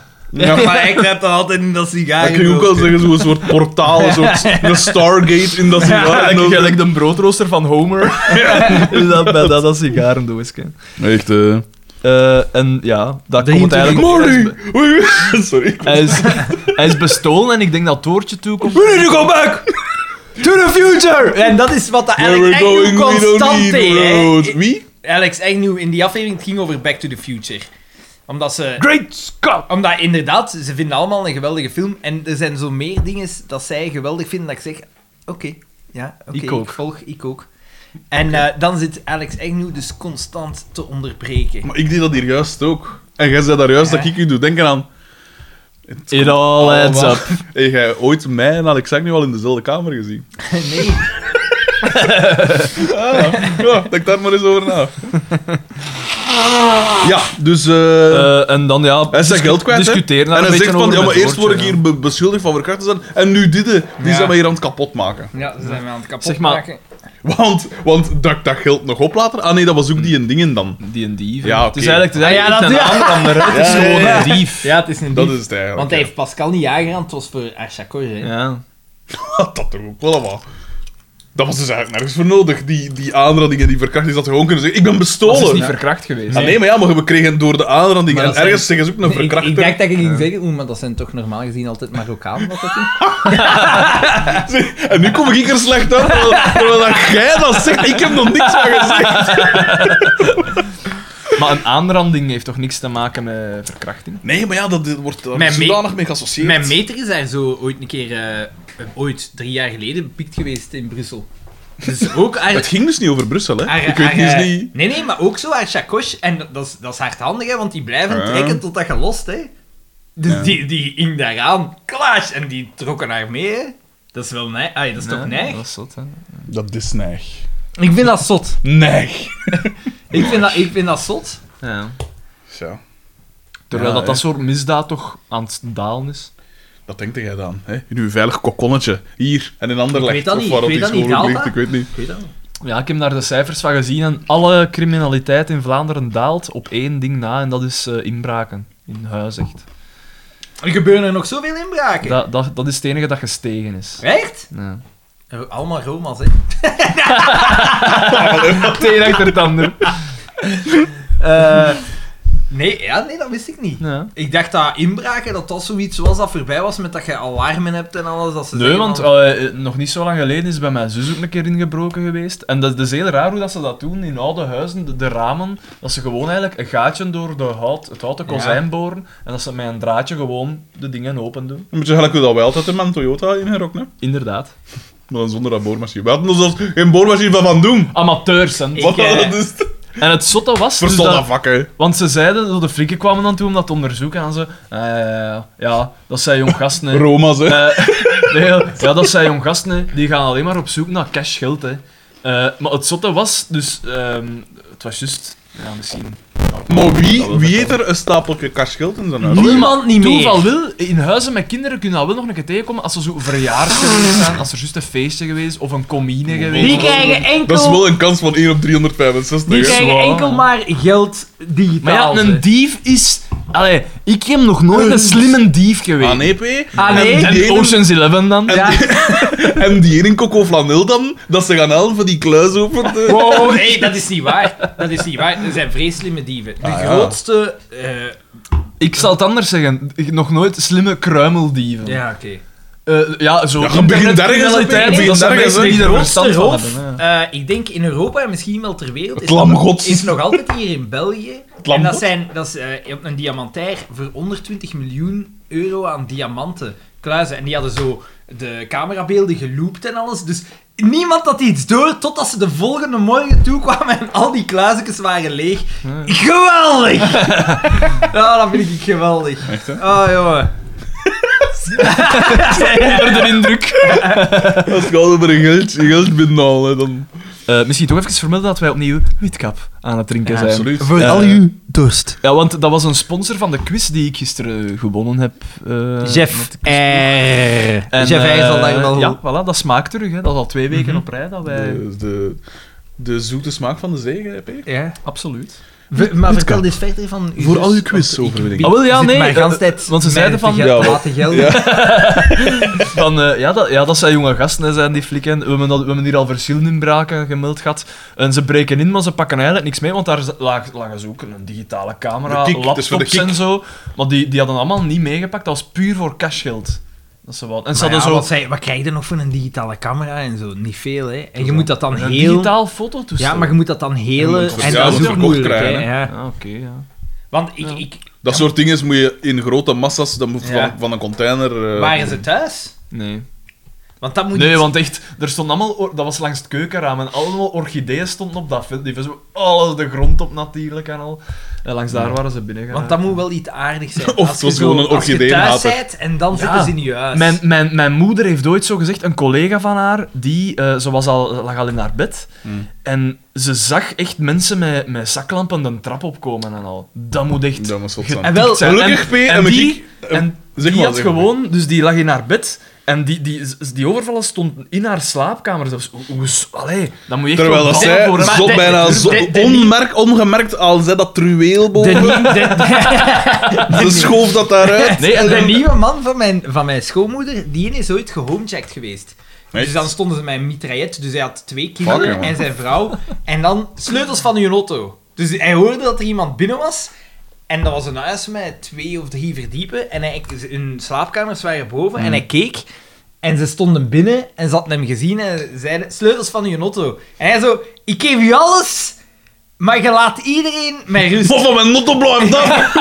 [SPEAKER 3] Maar ik heb dat altijd in dat
[SPEAKER 1] Dan kun je ook al
[SPEAKER 3] sigarendoosje.
[SPEAKER 1] zeggen, zo'n soort portaal, een soort een Stargate in dat sigaar. En
[SPEAKER 2] Gelijk-
[SPEAKER 1] dan-
[SPEAKER 2] Gelijk de broodrooster van Homer. *laughs* Is dat bij dat, dat sigarendoosje.
[SPEAKER 1] Echt, eh.
[SPEAKER 2] Eh, en ja, dat komt
[SPEAKER 3] 23
[SPEAKER 2] eigenlijk... op- Hij is,
[SPEAKER 1] Marty! Oei, oei. Sorry.
[SPEAKER 2] hij, is, hij is bestolen en ik denk dat Toortje toekomt.
[SPEAKER 1] We need to go back!
[SPEAKER 2] To the future!
[SPEAKER 3] En dat is wat de
[SPEAKER 1] Where
[SPEAKER 3] Alex
[SPEAKER 1] we're
[SPEAKER 3] Agnew
[SPEAKER 1] going, we don't
[SPEAKER 3] constant
[SPEAKER 1] need
[SPEAKER 3] deed.
[SPEAKER 1] roads.
[SPEAKER 3] hè.
[SPEAKER 1] Wie?
[SPEAKER 3] Alex Agnew, in die aflevering, het ging over Back to the Future. Omdat ze...
[SPEAKER 2] Great Scott!
[SPEAKER 3] Omdat inderdaad, ze vinden allemaal een geweldige film. En er zijn zo meer dingen dat zij geweldig vinden dat ik zeg: Oké, ja, oké,
[SPEAKER 2] Ik ook.
[SPEAKER 3] volg, ik ook. En eh, dan zit Alex Agnew dus constant te
[SPEAKER 2] *laughs*
[SPEAKER 3] onderbreken.
[SPEAKER 1] Maar ik deed dat hier juist ook. En jij zei daar juist
[SPEAKER 3] Ja.
[SPEAKER 1] dat ik u doe denken aan...
[SPEAKER 2] It all
[SPEAKER 1] Oh,
[SPEAKER 2] adds up.
[SPEAKER 1] Heb jij ooit mij en Alex nu al in dezelfde kamer gezien? *laughs*
[SPEAKER 3] nee,
[SPEAKER 1] Ah, ja, denk daar maar eens over
[SPEAKER 2] *laughs*
[SPEAKER 1] na. Ja, dus... eh,
[SPEAKER 2] Eh, en dan ja...
[SPEAKER 1] hij is zijn geld kwijt, hè?
[SPEAKER 2] Discuteer daar
[SPEAKER 1] En
[SPEAKER 2] een
[SPEAKER 1] hij
[SPEAKER 2] beetje
[SPEAKER 1] zegt van,
[SPEAKER 2] over
[SPEAKER 1] ja, maar
[SPEAKER 2] met
[SPEAKER 1] eerst word ik
[SPEAKER 2] Toortje,
[SPEAKER 1] hier be- beschuldigd van verkracht te zijn, en nu dit, die
[SPEAKER 3] Ja.
[SPEAKER 1] zijn we hier aan het kapot maken.
[SPEAKER 3] ja, ze zijn we aan het kapot
[SPEAKER 2] Zeg maar-
[SPEAKER 3] maken.
[SPEAKER 1] Want, want dat, dat geld nog oplater? Ah nee, dat was ook die een dingen dan.
[SPEAKER 2] Die een dief. hè.
[SPEAKER 1] Ja,
[SPEAKER 2] Het is
[SPEAKER 1] oké.
[SPEAKER 2] eigenlijk, het is
[SPEAKER 3] Ah, *laughs* ja,
[SPEAKER 2] eigenlijk
[SPEAKER 3] dat-
[SPEAKER 2] niet een aanrander. hè. Het is
[SPEAKER 1] Ja, ja,
[SPEAKER 2] gewoon
[SPEAKER 1] ja.
[SPEAKER 2] een dief.
[SPEAKER 3] Ja, het is een
[SPEAKER 1] Dat
[SPEAKER 3] dief.
[SPEAKER 1] is het eigenlijk.
[SPEAKER 3] Want hij
[SPEAKER 1] *laughs*
[SPEAKER 3] heeft Pascal niet aangerand, het was voor Archacor. Hè.
[SPEAKER 2] Ja.
[SPEAKER 1] ja. dat toch ook wel wat. Dat was dus eigenlijk nergens voor nodig. Die, die aanranding en die verkrachting, dat ze gewoon kunnen zeggen: Ik ben
[SPEAKER 2] Dat is
[SPEAKER 1] bestolen.
[SPEAKER 2] niet verkracht geweest.
[SPEAKER 1] Ah, nee, maar ja, maar we kregen door de aanranding.
[SPEAKER 4] Maar
[SPEAKER 1] En
[SPEAKER 4] dat zijn-
[SPEAKER 1] ergens zeggen ze ook een
[SPEAKER 4] ik,
[SPEAKER 1] verkrachter.
[SPEAKER 4] ik dacht dat ik ging zeggen, oeh, maar dat zijn toch normaal gezien altijd Marokkanen wat dat doen?
[SPEAKER 1] *laughs* Zeg, En nu kom ik er slecht uit, terwijl- terwijl dat jij dat zegt. Ik heb nog niks van gezegd.
[SPEAKER 2] Maar een aanranding heeft toch niks te maken met verkrachting?
[SPEAKER 1] Nee, maar ja, dat eh, wordt daar
[SPEAKER 3] Mijn me-
[SPEAKER 1] zodanig mee geassocieerd.
[SPEAKER 3] Mijn meter is daar zo ooit een keer, eh, ooit drie jaar geleden, bepikt geweest in Brussel. Dus
[SPEAKER 2] *laughs*
[SPEAKER 3] ook haar,
[SPEAKER 1] Het ging dus niet over Brussel, hè?
[SPEAKER 3] haar-
[SPEAKER 1] ik weet
[SPEAKER 3] haar,
[SPEAKER 1] niet
[SPEAKER 3] eh,
[SPEAKER 1] eens niet.
[SPEAKER 3] Nee, nee, maar ook zo haar chacoche. En dat- dat is, dat is hardhandig, hè, want die blijven
[SPEAKER 1] Ja.
[SPEAKER 3] trekken totdat je lost, hè. Dus die, die ging daaraan, klaas, en die trokken haar mee, hè. Dat is wel nee, ai, dat is toch neig?
[SPEAKER 2] Dat is zot, hè.
[SPEAKER 1] Dat is neig.
[SPEAKER 4] Ik vind dat zot.
[SPEAKER 1] Neig.
[SPEAKER 3] Ik vind dat, ik vind dat zot.
[SPEAKER 2] Ja.
[SPEAKER 1] Zo.
[SPEAKER 2] Terwijl
[SPEAKER 1] Ja,
[SPEAKER 2] dat, dat
[SPEAKER 1] hè.
[SPEAKER 2] soort misdaad toch aan het dalen is.
[SPEAKER 1] Dat denkt jij dan, hè? In uw veilig kokonnetje. Hier. En in ander
[SPEAKER 3] Ik weet dat
[SPEAKER 1] Of
[SPEAKER 3] niet,
[SPEAKER 1] waar
[SPEAKER 3] ik weet
[SPEAKER 1] iets
[SPEAKER 3] dat niet,
[SPEAKER 1] gewoon ook
[SPEAKER 3] daalt
[SPEAKER 1] ligt,
[SPEAKER 3] dat?
[SPEAKER 1] ik weet niet.
[SPEAKER 3] Ik weet dat niet.
[SPEAKER 2] Ja, ik heb daar de cijfers van gezien en alle criminaliteit in Vlaanderen daalt op één ding na en dat is eh, inbraken in huis echt.
[SPEAKER 3] Er gebeuren er nog zoveel inbraken.
[SPEAKER 2] Dat, dat, dat is het enige dat gestegen is.
[SPEAKER 3] Echt?
[SPEAKER 2] Ja. *laughs*
[SPEAKER 3] Eh, Allemaal Roma's, hè.
[SPEAKER 2] Het een achter het
[SPEAKER 1] *laughs*
[SPEAKER 2] ander.
[SPEAKER 3] Eh, nee, ja, nee, dat wist ik niet.
[SPEAKER 2] Ja.
[SPEAKER 3] Ik dacht dat inbraken, dat dat zoiets was dat voorbij was met dat je alarmen hebt en alles. Dat ze
[SPEAKER 2] Nee,
[SPEAKER 3] zeggen
[SPEAKER 2] want
[SPEAKER 3] van-
[SPEAKER 2] eh, eh, nog niet zo lang geleden is bij mijn zus ook een keer ingebroken geweest. En dat, dat is heel raar hoe dat ze dat doen in oude huizen, de, de ramen. Dat ze gewoon eigenlijk een gaatje door de hout, het houten
[SPEAKER 3] Ja.
[SPEAKER 2] kozijn boren. En dat ze met een draadje gewoon de dingen open doen.
[SPEAKER 1] Een beetje gelijk hoe dat wij altijd hebben aan Toyota in Herok, hè?
[SPEAKER 2] Inderdaad.
[SPEAKER 1] Maar dan zonder dat boormachine. We hadden er zelfs geen boormachine van van doen.
[SPEAKER 2] Amateurs, hè.
[SPEAKER 3] Ik,
[SPEAKER 1] Wat
[SPEAKER 3] eh,
[SPEAKER 1] dat is.
[SPEAKER 2] En het zotte was... dus
[SPEAKER 1] Verstond
[SPEAKER 2] dat-
[SPEAKER 1] dat vak, hè?
[SPEAKER 2] Want ze zeiden, zo de frikken kwamen dan toe om dat te onderzoeken. En ze... eh, ja, dat zijn jong
[SPEAKER 3] *laughs*
[SPEAKER 2] gasten, hè.
[SPEAKER 1] Roma's, hè?
[SPEAKER 2] Eh, *laughs* nee, ja, dat zijn jong gasten, hè. die gaan alleen maar op zoek naar cash geld. Hè. Eh, maar het zotte was, dus ehm, het was juist, ja, misschien.
[SPEAKER 1] Maar wie, wie eet er een stapeltje karschild in zijn huis?
[SPEAKER 4] Niemand niet meer.
[SPEAKER 2] Toeval wil, in huizen met kinderen kunnen dat wel nog een keer tegenkomen als ze zo verjaardag geweest zijn, als er juist een feestje geweest of een commune geweest.
[SPEAKER 4] Die krijgen
[SPEAKER 1] Dat is wel
[SPEAKER 4] enkel,
[SPEAKER 1] een kans van 1 op 365.
[SPEAKER 4] die
[SPEAKER 1] hè?
[SPEAKER 4] krijgen
[SPEAKER 2] zwaar.
[SPEAKER 4] enkel maar geld
[SPEAKER 2] Maar ja,
[SPEAKER 4] digitaal.
[SPEAKER 2] een
[SPEAKER 4] zeg.
[SPEAKER 2] dief is. Allee, ik heb nog nooit een slimme dief geweest.
[SPEAKER 1] Ah, nee, P.
[SPEAKER 4] Ah nee?
[SPEAKER 1] Die
[SPEAKER 2] En
[SPEAKER 1] ene-
[SPEAKER 2] Ocean's Eleven dan?
[SPEAKER 4] Ja.
[SPEAKER 2] *laughs*
[SPEAKER 1] En die ene in Coco Flanel dan, dat ze gaan helpen die kluis open te...
[SPEAKER 3] Oh, nee, dat is niet waar. Dat is niet waar. Er zijn vreselijke dieven. De
[SPEAKER 1] Ah, ja.
[SPEAKER 3] grootste... eh,
[SPEAKER 2] Ik zal het anders zeggen. Ik- Nog nooit slimme kruimeldieven.
[SPEAKER 3] ja, oké.
[SPEAKER 2] Eh, ja, zo.
[SPEAKER 1] Ja, je begint
[SPEAKER 2] internetcriminaliteit,
[SPEAKER 1] ergens op, je begint
[SPEAKER 2] dat zijn
[SPEAKER 1] ergens,
[SPEAKER 2] mensen
[SPEAKER 1] hè.
[SPEAKER 2] die er
[SPEAKER 3] grootste
[SPEAKER 2] verstand van
[SPEAKER 3] roof,
[SPEAKER 2] hebben, hè.
[SPEAKER 3] eh, ik denk in Europa en misschien wel ter wereld, is,
[SPEAKER 1] lam
[SPEAKER 3] nog,
[SPEAKER 1] gods.
[SPEAKER 3] is nog altijd hier in België.
[SPEAKER 1] lam
[SPEAKER 3] En dat,
[SPEAKER 1] gods?
[SPEAKER 3] zijn, dat is eh, op een diamantair voor 120 miljoen euro aan diamanten kluizen. En die hadden zo de camerabeelden geloopt en alles. Dus niemand had iets door totdat ze de volgende morgen toekwamen en al die kluizetjes waren leeg. Geweldig! ja, dat vind ik geweldig.
[SPEAKER 1] Echt, hè?
[SPEAKER 3] Oh, jongen.
[SPEAKER 2] Onder de indruk.
[SPEAKER 1] Als je al over een geld, een geld binnenhaal, hè,
[SPEAKER 2] *laughs*
[SPEAKER 1] dan...
[SPEAKER 2] Eh, misschien toch even vermelden dat wij opnieuw witkap aan het drinken zijn.
[SPEAKER 1] Absoluut.
[SPEAKER 2] Eh,
[SPEAKER 4] dorst.
[SPEAKER 2] Ja, want dat was een sponsor van de quiz die ik gisteren eh, gewonnen heb. eh,
[SPEAKER 4] Jeff
[SPEAKER 2] met-
[SPEAKER 4] R. Jeff
[SPEAKER 2] eh,
[SPEAKER 4] R zal daar wel...
[SPEAKER 2] Ja, voilà, dat smaakt terug. Hè. Dat is al twee weken op rij dat wij...
[SPEAKER 3] Eh.
[SPEAKER 1] De, de, de zoete smaak van de zee, hè, P.
[SPEAKER 3] Ja.
[SPEAKER 2] Absoluut.
[SPEAKER 3] Ver- maar vertel dit verder van... uw
[SPEAKER 1] Voor
[SPEAKER 3] zus,
[SPEAKER 1] al uw
[SPEAKER 3] want
[SPEAKER 1] quizoverwinningen.
[SPEAKER 3] ik-
[SPEAKER 2] Ah, wel, ja,
[SPEAKER 3] zit
[SPEAKER 2] nee,
[SPEAKER 3] maar
[SPEAKER 2] eh,
[SPEAKER 3] gans tijd
[SPEAKER 2] want ze
[SPEAKER 3] met
[SPEAKER 2] zeiden
[SPEAKER 3] te
[SPEAKER 2] van-
[SPEAKER 3] geld-
[SPEAKER 1] Ja, wel.
[SPEAKER 3] laten gelden.
[SPEAKER 1] Ja.
[SPEAKER 2] Van, eh, ja, dat, ja, dat zijn jonge gasten, hè, zijn die flikken. We hebben, dat- we hebben hier al verschillende inbraken gemeld gehad. En ze breken in, maar ze pakken eigenlijk niks mee, want daar z- lag, lagen ze ook een digitale camera,
[SPEAKER 1] De kick,
[SPEAKER 3] dus
[SPEAKER 1] het is voor de
[SPEAKER 2] laptops
[SPEAKER 1] kick.
[SPEAKER 2] en zo. Maar die, die hadden allemaal niet meegepakt. Dat was puur voor cashgeld. Dat ze wel. En ze
[SPEAKER 3] Maar ja,
[SPEAKER 2] hadden
[SPEAKER 3] wat,
[SPEAKER 2] zo
[SPEAKER 3] zei- wat krijg je nog voor een digitale camera en zo? Niet veel, hè? En je
[SPEAKER 2] Zo.
[SPEAKER 3] moet dat dan
[SPEAKER 2] een
[SPEAKER 3] heel...
[SPEAKER 2] digitaal fototoestel.
[SPEAKER 3] Ja, maar je moet dat dan heel...
[SPEAKER 1] Je moet het voor
[SPEAKER 3] En dat is
[SPEAKER 1] jou
[SPEAKER 3] ook
[SPEAKER 1] verkocht
[SPEAKER 3] moeilijk, hè?
[SPEAKER 1] krijgen,
[SPEAKER 3] Ja.
[SPEAKER 2] Ah, oké, ja.
[SPEAKER 3] Want ik...
[SPEAKER 2] Ja.
[SPEAKER 3] ik
[SPEAKER 1] Dat soort dingen moet je in grote massa's dan moet
[SPEAKER 3] Ja.
[SPEAKER 1] van, van een container... eh,
[SPEAKER 3] waren ze thuis?
[SPEAKER 2] Nee.
[SPEAKER 3] Want dat moet
[SPEAKER 2] Nee,
[SPEAKER 3] iets-
[SPEAKER 2] want echt, er stond allemaal, or- dat was langs het keukenraam en allemaal orchideeën stonden op dat veld. Die was zo alles de grond op natuurlijk en al. En langs daar waren ze binnen
[SPEAKER 3] Want dat moet wel iets aardigs zijn.
[SPEAKER 1] Of
[SPEAKER 3] Als
[SPEAKER 1] het
[SPEAKER 3] je
[SPEAKER 1] was
[SPEAKER 3] zo-
[SPEAKER 1] gewoon een
[SPEAKER 3] Als je thuis
[SPEAKER 1] orchideeënhater.
[SPEAKER 3] bent en dan
[SPEAKER 2] Ja.
[SPEAKER 3] zitten ze in je huis.
[SPEAKER 2] Mijn, mijn, mijn moeder heeft ooit zo gezegd, een collega van haar, die eh, ze was al, lag al in haar bed.
[SPEAKER 1] Hmm.
[SPEAKER 2] En ze zag echt mensen met, met zaklampen de trap opkomen en al. Dat moet echt.
[SPEAKER 1] Dat moet zot zijn.
[SPEAKER 2] getikt
[SPEAKER 3] wel,
[SPEAKER 2] zijn.
[SPEAKER 1] Gelukkig, P. En, met
[SPEAKER 2] die,
[SPEAKER 1] ik- eh,
[SPEAKER 2] en
[SPEAKER 1] zeg
[SPEAKER 2] die
[SPEAKER 1] maar,
[SPEAKER 2] had
[SPEAKER 1] zeg maar.
[SPEAKER 2] gewoon, dus die lag in haar bed. En die, die, die overvallen stond in haar slaapkamer. zelfs. Hoe- hoe is- allee, dan moet je echt
[SPEAKER 1] Terwijl
[SPEAKER 2] wel
[SPEAKER 1] dat
[SPEAKER 2] ballen
[SPEAKER 1] zij
[SPEAKER 2] voor hebben.
[SPEAKER 1] zo
[SPEAKER 3] de-
[SPEAKER 1] bijna
[SPEAKER 3] de-
[SPEAKER 1] zo
[SPEAKER 3] de- de-
[SPEAKER 1] onmerk, ongemerkt al zij dat truweel
[SPEAKER 3] De,
[SPEAKER 1] boven.
[SPEAKER 3] nie-
[SPEAKER 2] *laughs*
[SPEAKER 3] de-
[SPEAKER 1] *laughs* Ze schoof
[SPEAKER 3] *laughs*
[SPEAKER 1] dat daaruit.
[SPEAKER 2] Nee, en
[SPEAKER 3] de
[SPEAKER 2] dan,
[SPEAKER 3] nieuwe man van mijn, van mijn schoonmoeder, die is ooit gehomejacked geweest.
[SPEAKER 1] Echt?
[SPEAKER 3] Dus dan stonden ze met een mitraillet. Dus hij had twee
[SPEAKER 1] Fuck,
[SPEAKER 3] kinderen
[SPEAKER 1] jongen.
[SPEAKER 3] en zijn vrouw. En dan sleutels van hun auto. Dus hij hoorde dat er iemand binnen was. En dat was een huis met twee of drie verdiepen. En hij, hun slaapkamers waren boven. En hij keek. En ze stonden binnen en ze hadden hem gezien en zeiden... Sleutels van uw auto. En hij zo... Ik geef u alles, maar je laat iedereen met rust.
[SPEAKER 1] *laughs*
[SPEAKER 3] *laughs*
[SPEAKER 1] Wat van mijn notto blijft af!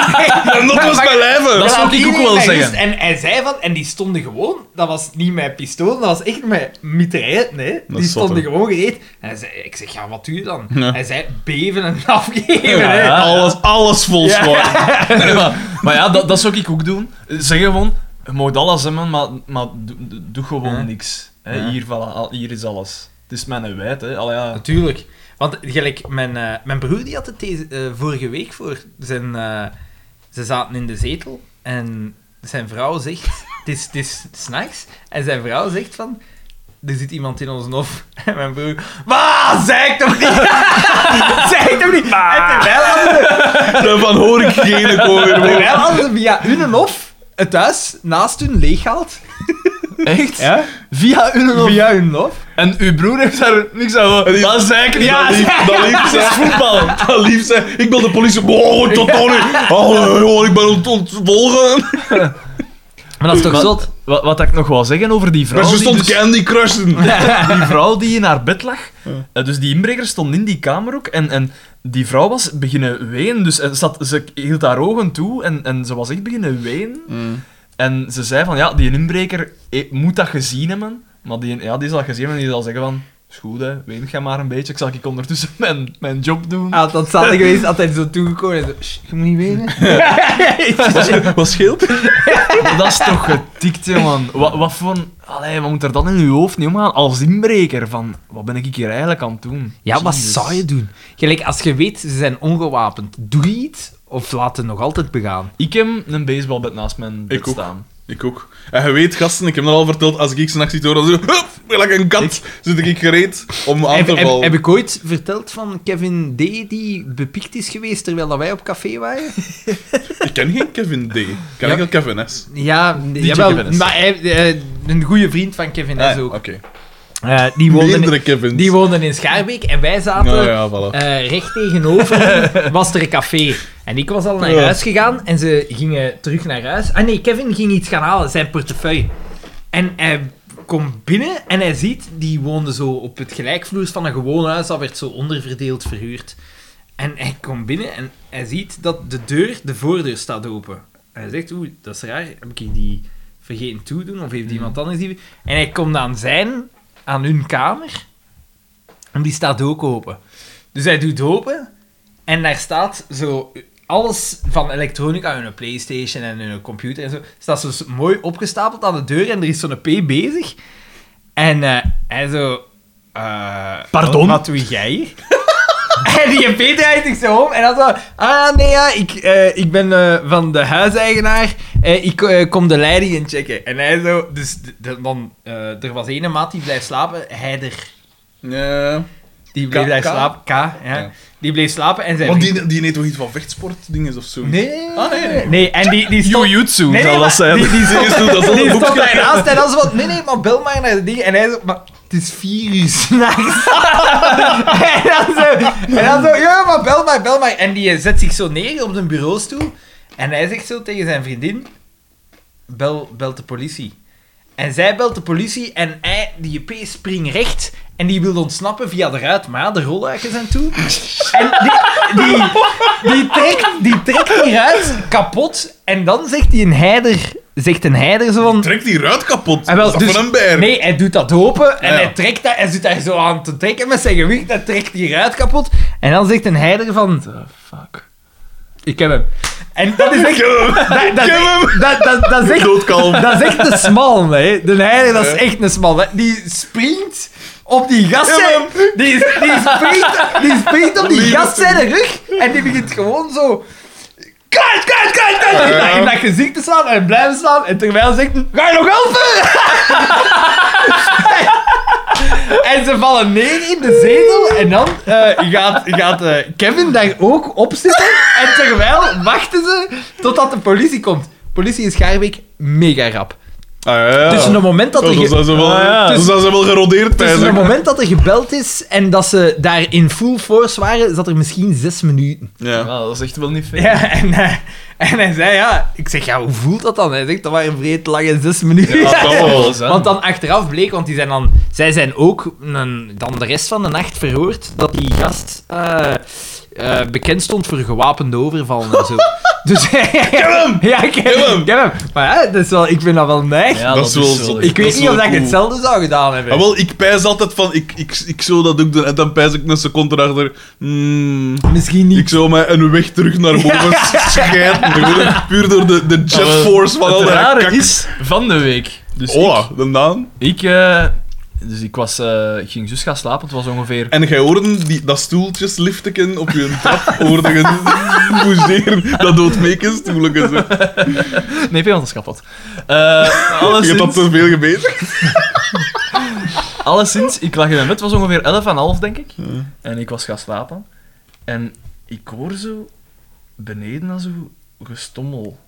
[SPEAKER 1] Mijn notto is
[SPEAKER 3] Maar-
[SPEAKER 2] Dat
[SPEAKER 1] mijn
[SPEAKER 2] is-
[SPEAKER 1] lijven!
[SPEAKER 3] Ja,
[SPEAKER 2] zou ik
[SPEAKER 3] iedereen
[SPEAKER 2] ook wel
[SPEAKER 3] met
[SPEAKER 2] zeggen.
[SPEAKER 3] rust. dus- En hij zei van, en die stonden gewoon, dat was niet met pistool, dat was echt met mitrailletten, hè. Die
[SPEAKER 1] is zot,
[SPEAKER 3] stonden
[SPEAKER 1] hè.
[SPEAKER 3] gewoon gereed. En hij zei, ik zeg, ja, wat doe je dan?
[SPEAKER 1] Ja.
[SPEAKER 3] Hij zei, beven en afgeven,
[SPEAKER 2] Ja,
[SPEAKER 3] hè.
[SPEAKER 2] ja.
[SPEAKER 1] Alles, alles vol
[SPEAKER 3] Ah. Ja.
[SPEAKER 1] *laughs* zwaar.
[SPEAKER 2] Nee, maar, maar ja, dat, dat zou ik ook doen. Zeggen gewoon, je mag alles hebben, maar, maar doe, doe gewoon
[SPEAKER 3] Ja.
[SPEAKER 2] niks. Hè,
[SPEAKER 3] Ja.
[SPEAKER 2] hier, voilà, al- hier is alles. Het is mijn wijd, hè. Allee, ja.
[SPEAKER 3] Natuurlijk. Want gelijk, mijn, eh, mijn broer die had het deze, eh, vorige week voor. Zijn, eh, ze zaten in de zetel en zijn vrouw zegt... *laughs* Het is, het is s'nachts. En zijn vrouw zegt van... Er zit iemand in ons hof. *laughs* En mijn broer... Waar? Zeg ik toch niet? *laughs* zeg ik toch niet? En terwijl hadden,
[SPEAKER 1] Daarvan hoor ik geen kooi meer.
[SPEAKER 3] terwijl hadden ze via hun hof het huis naast hun leeggehaald.
[SPEAKER 2] Echt?
[SPEAKER 3] Ja?
[SPEAKER 2] Via uw hof.
[SPEAKER 3] Via hun hof.
[SPEAKER 2] En uw broer heeft daar niks aan.
[SPEAKER 1] En die-
[SPEAKER 2] Dat is zeker niet.
[SPEAKER 1] Dat lief,
[SPEAKER 3] *laughs*
[SPEAKER 1] dat lief
[SPEAKER 2] dat is
[SPEAKER 1] zijn.
[SPEAKER 2] voetbal.
[SPEAKER 1] *laughs* Dat lief zijn. Ik bel de politie. Oh, tot Tony. Oh, joh, ik ben ont- ontvolgen.
[SPEAKER 3] Maar dat is toch
[SPEAKER 2] Maar-
[SPEAKER 3] zot?
[SPEAKER 2] Wat, wat ik nog wou zeggen over die vrouw.
[SPEAKER 1] Maar ze
[SPEAKER 2] die
[SPEAKER 1] stond
[SPEAKER 2] dus-
[SPEAKER 1] Candy Crushen.
[SPEAKER 2] *laughs* die vrouw die in haar bed lag. eh, dus die inbreker stond in die kamer ook. En, en die vrouw was beginnen ween. Dus eh, zat, ze hield haar ogen toe en, en ze was echt beginnen ween.
[SPEAKER 1] Mm.
[SPEAKER 2] En ze zei van, ja, die inbreker eh, moet dat gezien hebben. Maar die, ja, die zal gezien hebben en die zal zeggen van... Is goed, hè. Ween jij maar een beetje. Ik zal ik ondertussen *laughs* mijn, mijn job doen.
[SPEAKER 3] Ah, dat zaten geweest, altijd zo toegekomen. En zo, "Sst, je moet niet *laughs* weten.
[SPEAKER 1] Wat scheelt?
[SPEAKER 2] Dat is toch getikt, hè, man. Wat, wat voor... een- Allee, wat moet er dan in uw hoofd niet omgaan als inbreker? Van, wat ben ik hier eigenlijk aan het doen?
[SPEAKER 3] Ja, wat
[SPEAKER 2] Jezus.
[SPEAKER 3] zou je doen? Gelijk, als je weet, ze zijn ongewapend. Doe je iets of laat het nog altijd begaan?
[SPEAKER 2] Ik heb een baseballbed naast mijn bed
[SPEAKER 1] Ik ook.
[SPEAKER 2] staan.
[SPEAKER 1] Ik ook. En je weet, gasten, ik heb dat al verteld, als ik s'nachts iets hoor, dan zo... Hup, like een kat, zit ik gereed om aan
[SPEAKER 3] Heb,
[SPEAKER 1] te
[SPEAKER 3] heb-
[SPEAKER 1] vallen.
[SPEAKER 3] heb ik ooit verteld van Kevin D. die bepikt is geweest terwijl dat wij op café waren?
[SPEAKER 1] Ik ken geen Kevin D. Ik ken
[SPEAKER 3] Ja.
[SPEAKER 1] enkel Kevin S.
[SPEAKER 3] *laughs* Ja,
[SPEAKER 2] DJ Kevin S.
[SPEAKER 3] maar hij, eh, een goede vriend van Kevin is
[SPEAKER 1] Ah,
[SPEAKER 3] ook.
[SPEAKER 1] Oké.
[SPEAKER 3] Eh, die, woonde,
[SPEAKER 1] Meerdere Kevins.
[SPEAKER 3] die woonden in Schaarbeek en wij zaten
[SPEAKER 1] Nou ja, voilà.
[SPEAKER 3] Eh, recht tegenover was er een café. En ik was al naar
[SPEAKER 1] Ja.
[SPEAKER 3] huis gegaan en ze gingen terug naar huis. Ah nee, Kevin ging iets gaan halen, zijn portefeuille. En hij komt binnen en hij ziet, die woonde zo op het gelijkvloers van een gewoon huis, dat werd zo onderverdeeld verhuurd. En hij komt binnen en hij ziet dat de deur, de voordeur staat open. En hij zegt, oeh, dat is raar, heb ik die vergeten toedoen of heeft iemand anders die... En hij komt aan zijn, aan hun kamer en die staat ook open. Dus hij doet open en daar staat zo alles van elektronica, hun PlayStation en hun computer en zo, staat zo s- mooi opgestapeld aan de deur en er is zo'n P bezig. En eh, hij zo. eh,
[SPEAKER 2] Pardon?
[SPEAKER 3] Wat doe jij hier? *laughs* en die P draait zich zo om en dan zo. Ah nee, ja, ik, eh, ik ben eh, van de huiseigenaar. Eh, ik eh, kom de leidingen checken. En hij zo. Dus d- d- dan, eh, er was ene maat die blijft slapen, hij er.
[SPEAKER 1] Ja.
[SPEAKER 3] Die bleef
[SPEAKER 1] K-
[SPEAKER 3] daar
[SPEAKER 1] K?
[SPEAKER 3] slapen. K, ja.
[SPEAKER 1] Ja.
[SPEAKER 3] Die bleef slapen en zijn
[SPEAKER 1] Want
[SPEAKER 3] vriend-
[SPEAKER 1] die, die neemt toch iets van vechtsportdingen of zo?
[SPEAKER 3] Nee.
[SPEAKER 1] Ah, nee, nee.
[SPEAKER 3] en die, die stond...
[SPEAKER 2] Jujutsu
[SPEAKER 3] Nee, nee,
[SPEAKER 2] zou dat
[SPEAKER 3] maar
[SPEAKER 2] zijn.
[SPEAKER 3] Die, die
[SPEAKER 1] Die is
[SPEAKER 3] stond,
[SPEAKER 1] zo- dat is al
[SPEAKER 3] die
[SPEAKER 1] een
[SPEAKER 3] stond
[SPEAKER 1] boekje.
[SPEAKER 3] daarnaast en dan zo van... Nee, nee, maar bel maar naar de ding. En hij zo... Maar het is vier uur *laughs* s'nachts. en, dan zo, en dan zo... Ja, maar bel maar, bel maar. En die eh, zet zich zo neer op zijn bureaustoel. En hij zegt zo tegen zijn vriendin... Bel, belt de politie. En zij belt de politie en hij, die JP springt recht en die wil ontsnappen via de ruit, maar ja, de rolluiken zijn
[SPEAKER 1] *laughs*
[SPEAKER 3] toe. En die, die, die trekt die, trekt die ruit kapot en dan zegt die een heider, zegt een heider zo van...
[SPEAKER 1] Trek die ruit kapot.
[SPEAKER 3] Ah, wel,
[SPEAKER 1] Dat is
[SPEAKER 3] dus-
[SPEAKER 1] van een beer.
[SPEAKER 3] Nee, hij doet dat open en
[SPEAKER 1] Ja, ja.
[SPEAKER 3] hij trekt dat, hij zit daar zo aan te trekken met zijn gewicht, hij trekt die ruit kapot en dan zegt een heider van...
[SPEAKER 2] The Ah, fuck.
[SPEAKER 3] Ik heb hem. En dat is echt... *laughs* dat, dat,
[SPEAKER 1] Ik heb hem.
[SPEAKER 3] dat, dat, dat is echt
[SPEAKER 1] Doodkalm.
[SPEAKER 3] dat is echt een smal, hè. De heilige, dat is echt een smal. hè. Die springt op die
[SPEAKER 1] Ja,
[SPEAKER 3] gasten.
[SPEAKER 1] man.
[SPEAKER 3] Die, die, springt, die springt op die
[SPEAKER 1] Lieve
[SPEAKER 3] gast zijn rug. En die begint gewoon zo... Kruid, kruid, kruid, kruid. in dat- In dat gezicht te slaan en blijven slaan. En terwijl ze zegt... Ga je nog helpen? *laughs* en ze vallen neer in de zetel. En dan eh, gaat, gaat eh, Kevin daar ook op zitten. En terwijl wachten ze totdat de politie komt. Politie in Schaarbeek, mega rap.
[SPEAKER 1] Ah, ja, ja.
[SPEAKER 4] Tussen het moment dat
[SPEAKER 1] Oh,
[SPEAKER 4] er...
[SPEAKER 1] dan
[SPEAKER 4] ge-
[SPEAKER 1] zijn ze wel,
[SPEAKER 2] Ah, ja.
[SPEAKER 1] dan zijn ze wel gerodeerd
[SPEAKER 4] Tussen het
[SPEAKER 1] tijdens.
[SPEAKER 4] moment dat er gebeld is en dat ze daar in full force waren, zat er misschien zes minuten.
[SPEAKER 1] Ja.
[SPEAKER 2] dat is echt wel niet veel.
[SPEAKER 4] Ja, en, eh, en hij zei ja. Ik zeg, ja, hoe voelt dat dan? Hij zegt, dat waren vreed lange zes minuten. *laughs*
[SPEAKER 1] Ja, dat wel.
[SPEAKER 4] Want dan achteraf bleek, want die zijn dan, zij zijn ook een- dan de rest van de nacht verhoord, dat die gast eh, eh, bekend stond voor gewapende overvallen *laughs* en zo. Dus,
[SPEAKER 1] hem!
[SPEAKER 4] Ja, ik heb
[SPEAKER 1] Kill
[SPEAKER 4] hem!
[SPEAKER 1] hem!
[SPEAKER 4] ik heb hem. Maar ja, dat is wel, ik vind dat wel neig.
[SPEAKER 2] Ja,
[SPEAKER 1] Dat is wel
[SPEAKER 4] ik
[SPEAKER 1] zot. dat
[SPEAKER 4] weet
[SPEAKER 1] is
[SPEAKER 4] niet of
[SPEAKER 1] wel
[SPEAKER 4] dat ik
[SPEAKER 1] cool.
[SPEAKER 4] hetzelfde zou gedaan hebben.
[SPEAKER 1] Ah, wel, ik pijs altijd van, ik, ik, ik zou dat ook doen. En dan pijs ik een seconde erachter, hmm,
[SPEAKER 4] Misschien niet.
[SPEAKER 1] ik zou mij een weg terug *laughs* naar boven scheiden. Gewoon Puur door de, de jet force van al
[SPEAKER 2] Het
[SPEAKER 1] dat
[SPEAKER 2] rare
[SPEAKER 1] kak.
[SPEAKER 2] is, van de week. Dus ik,
[SPEAKER 1] Oh, dan dan.
[SPEAKER 2] ik, eh, dus ik, was, eh, ik ging zus gaan slapen, het was ongeveer...
[SPEAKER 1] En jij hoorde die, dat stoeltjesliften op je trap hoorde je *laughs* bougeren. Dat doet meekens stoelen. en zo.
[SPEAKER 2] Nee, Peon is kapot. Eh
[SPEAKER 1] *laughs* Je hebt dat
[SPEAKER 2] alleszins,
[SPEAKER 1] te veel gebeten.
[SPEAKER 2] alleszins, ik lag in mijn bed, het was ongeveer 11 en half, denk ik. En ik was gaan slapen. En ik hoor zo beneden al zo gestommel.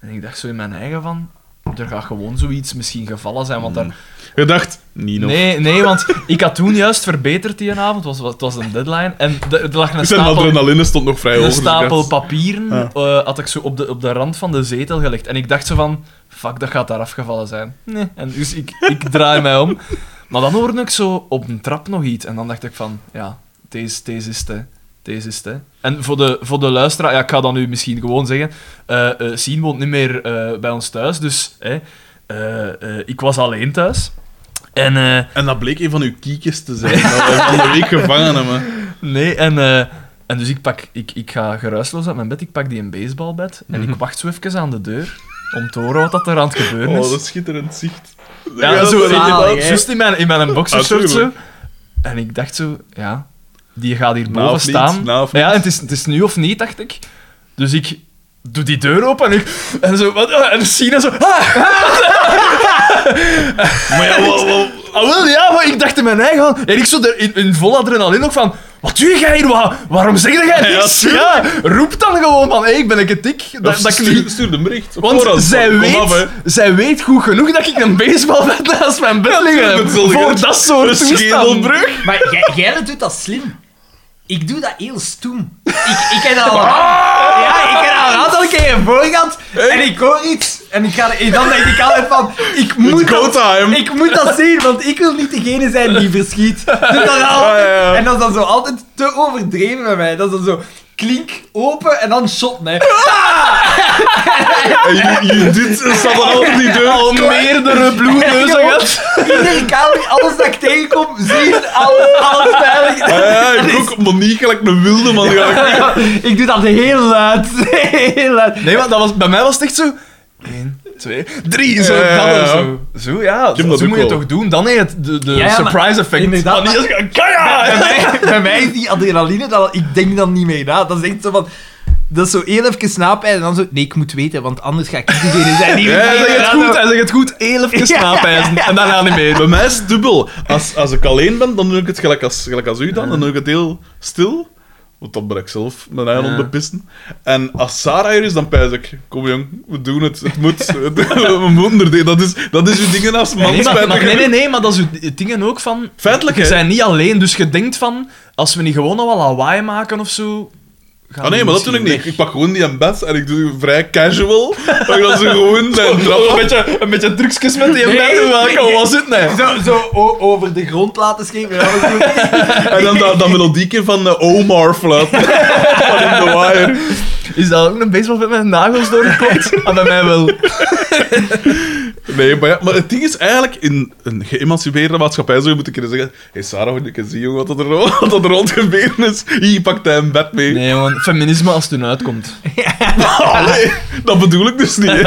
[SPEAKER 2] En ik dacht zo in mijn eigen van... Er gaat gewoon zoiets misschien gevallen zijn, want
[SPEAKER 1] Mm,
[SPEAKER 2] daar...
[SPEAKER 1] Je dacht, Nino.
[SPEAKER 2] Nee, nee, want ik had toen juist verbeterd die avond, het was, het was een deadline. En er er lag een
[SPEAKER 1] Zijn
[SPEAKER 2] stapel
[SPEAKER 1] adrenaline stond nog vrij hoog.
[SPEAKER 2] een
[SPEAKER 1] dus ik dacht,
[SPEAKER 2] stapel papieren
[SPEAKER 1] Ja.
[SPEAKER 2] eh, had ik zo op de, op de rand van de zetel gelegd. En ik dacht zo van, fuck, dat gaat daar afgevallen zijn. Nee. En dus ik, ik draai mij om. Maar dan hoorde ik zo op een trap nog iets. En dan dacht ik van, ja, deze, deze is te. Deze is te. En voor de, voor de luisteraar, ja, ik ga dat nu misschien gewoon zeggen. eh eh, Sien woont niet meer eh, bij ons thuis, dus eh, eh, eh, ik was alleen thuis. En... eh,
[SPEAKER 1] En dat bleek een van uw kiekjes te zijn. Dat we van de week gevangen hebben.
[SPEAKER 2] Nee, en, eh, en dus ik, pak, ik, ik ga geruisloos uit mijn bed, ik pak die een baseballbed en
[SPEAKER 1] Mhm.
[SPEAKER 2] ik wacht zo even aan de deur om te horen wat dat er aan het gebeuren
[SPEAKER 1] Oh,
[SPEAKER 2] is.
[SPEAKER 1] dat is schitterend zicht.
[SPEAKER 2] ja,
[SPEAKER 1] dat
[SPEAKER 2] zo,
[SPEAKER 1] is
[SPEAKER 4] zalig,
[SPEAKER 2] inderdaad,
[SPEAKER 4] hè?
[SPEAKER 2] juist in mijn, in mijn boxershort zo.
[SPEAKER 1] Natuurlijk.
[SPEAKER 2] En ik dacht zo, ja, die gaat hier
[SPEAKER 1] Na
[SPEAKER 2] boven
[SPEAKER 1] of niet,
[SPEAKER 2] staan.
[SPEAKER 1] na of
[SPEAKER 2] Ja,
[SPEAKER 1] niet.
[SPEAKER 2] en het is, het is nu of niet, dacht ik. Dus ik doe die deur open en ik... En zo, wat, en Sina zo... Ah,
[SPEAKER 1] Maar ja, wel, wel.
[SPEAKER 2] Ah, wel, ja, maar ik dacht in mijn eigen van... En ik zo er in, in vol adrenaline nog van... Wat doe jij hier? Wa- waarom zeg jij
[SPEAKER 1] Ja,
[SPEAKER 2] niks? Ja,
[SPEAKER 1] tuurlijk.
[SPEAKER 2] roep dan gewoon van... Hé, ik ben een tik.
[SPEAKER 1] Of
[SPEAKER 2] Dat, dat ik
[SPEAKER 1] stuur,
[SPEAKER 2] niet...
[SPEAKER 1] stuur een bericht. op
[SPEAKER 2] Want
[SPEAKER 1] voorhand.
[SPEAKER 2] zij,
[SPEAKER 1] Kom
[SPEAKER 2] weet,
[SPEAKER 1] af, hè.
[SPEAKER 2] zij weet goed genoeg dat ik een baseballbed naast mijn bed liggen heb.
[SPEAKER 1] dat zal
[SPEAKER 2] Voor
[SPEAKER 1] ik-
[SPEAKER 2] dat soort
[SPEAKER 1] Een
[SPEAKER 2] toestanden.
[SPEAKER 1] schedelbrug.
[SPEAKER 3] Maar jij- jij doet dat slim. Ik doe dat heel stoem. Ik, ik heb
[SPEAKER 1] Ah!
[SPEAKER 3] dat al een aantal- ja, ik heb dat al een aantal keer voor gehad. En ik hoor iets. En ik ga, en dan denk ik altijd van... Ik moet,
[SPEAKER 1] It's go
[SPEAKER 3] dat,
[SPEAKER 1] time.
[SPEAKER 3] ik moet dat zien, want ik wil niet degene zijn die verschiet. Dus dan al,
[SPEAKER 1] Ah, ja, ja.
[SPEAKER 3] En dat is dan zo altijd te overdreven bij mij. Dat is dan zo... Klink, open en dan shot, hè.
[SPEAKER 1] En je, je dit staat er altijd niet deur.
[SPEAKER 2] *laughs* Al meerdere bloedneuzen gehad.
[SPEAKER 3] Iedere kamer, alles dat ik tegenkom, zien, alles, alles veilig.
[SPEAKER 1] Ah, ja, ik ook Monique, gelijk een wilde man. gelijk.
[SPEAKER 3] *laughs* Ik doe dat heel luid. *laughs* Heel luid.
[SPEAKER 2] Nee, maar dat was, bij mij was het echt zo... Eén, twee, drie. Zo,
[SPEAKER 1] Ja, ja, ja.
[SPEAKER 2] dat zo. Zo, ja.
[SPEAKER 1] heb
[SPEAKER 2] Zo,
[SPEAKER 1] dat ook
[SPEAKER 2] moet je het
[SPEAKER 1] wel.
[SPEAKER 2] toch doen. Dan heb je het, de, de
[SPEAKER 3] ja, maar
[SPEAKER 2] surprise effect.
[SPEAKER 3] inderdaad,
[SPEAKER 2] Maar niet als je- Kaja!
[SPEAKER 3] bij,
[SPEAKER 2] *laughs*
[SPEAKER 3] mij, bij mij is die adrenaline, dat, ik denk dan niet mee na. Dat is echt zo van... Dat is zo heel even snapijn en dan zo... Nee, ik moet weten, want anders ga ik niet degene zijn die...
[SPEAKER 2] Ja, hij
[SPEAKER 3] die-
[SPEAKER 2] zegt het
[SPEAKER 3] die-
[SPEAKER 2] goed, hij zegt het goed. Heel *laughs* even snapijzen. En daarna niet meer.
[SPEAKER 1] Ah, Bij mij is het dubbel. Als, als ik alleen ben, dan doe ik het gelijk als, gelijk als u dan. Dan doe ik het heel stil. Want dan ben ik zelf mijn eigen
[SPEAKER 2] Ja.
[SPEAKER 1] bepissen. En als Sarah hier is, dan pijs ik. Kom jong, we doen het. Het *laughs* moet. Het- we moeten er tegen. Dat is, dat is uw dingen als man.
[SPEAKER 2] Nee, maar,
[SPEAKER 1] spijtig
[SPEAKER 2] maar- nee, nee,
[SPEAKER 1] genoeg.
[SPEAKER 2] nee, maar dat is het dingen ook van...
[SPEAKER 1] Feitelijk,
[SPEAKER 2] We
[SPEAKER 1] hè.
[SPEAKER 2] zijn niet alleen, dus je denkt van... Als we niet gewoon al wat lawaai maken of zo... gaan
[SPEAKER 1] Ah
[SPEAKER 2] we
[SPEAKER 1] nee, maar dat doe ik
[SPEAKER 2] misschien
[SPEAKER 1] niet. Ik pak gewoon die in bed en ik doe vrij casual. Maar dat ze *laughs* gewoon zijn
[SPEAKER 2] weg. Een
[SPEAKER 1] trappen.
[SPEAKER 2] beetje, *laughs* een beetje trucjes met die
[SPEAKER 3] Nee,
[SPEAKER 2] mensen. Welke,
[SPEAKER 3] nee.
[SPEAKER 2] was het *laughs* nee?
[SPEAKER 3] Zo, zo o- over de grond laten schepen. en alles doen.
[SPEAKER 1] En dan dat, dat melodieke van eh, Omar *laughs* fluit. van in the wire.
[SPEAKER 2] Is dat ook een baseballvet met nagels *laughs* doorgeklopt? ah, bij mij wel.
[SPEAKER 1] Nee, maar, ja, maar het ding is eigenlijk in een geëmancipeerde maatschappij zou je moeten kunnen zeggen: Hé hey Sarah, moet ik eens zien jongen, wat er, ro- *laughs* wat er rond gebeuren is? Hier pakt hij een bed mee.
[SPEAKER 2] Nee, man. Feminisme als het toen uitkomt.
[SPEAKER 1] *laughs* Allee, dat bedoel ik dus niet. hè.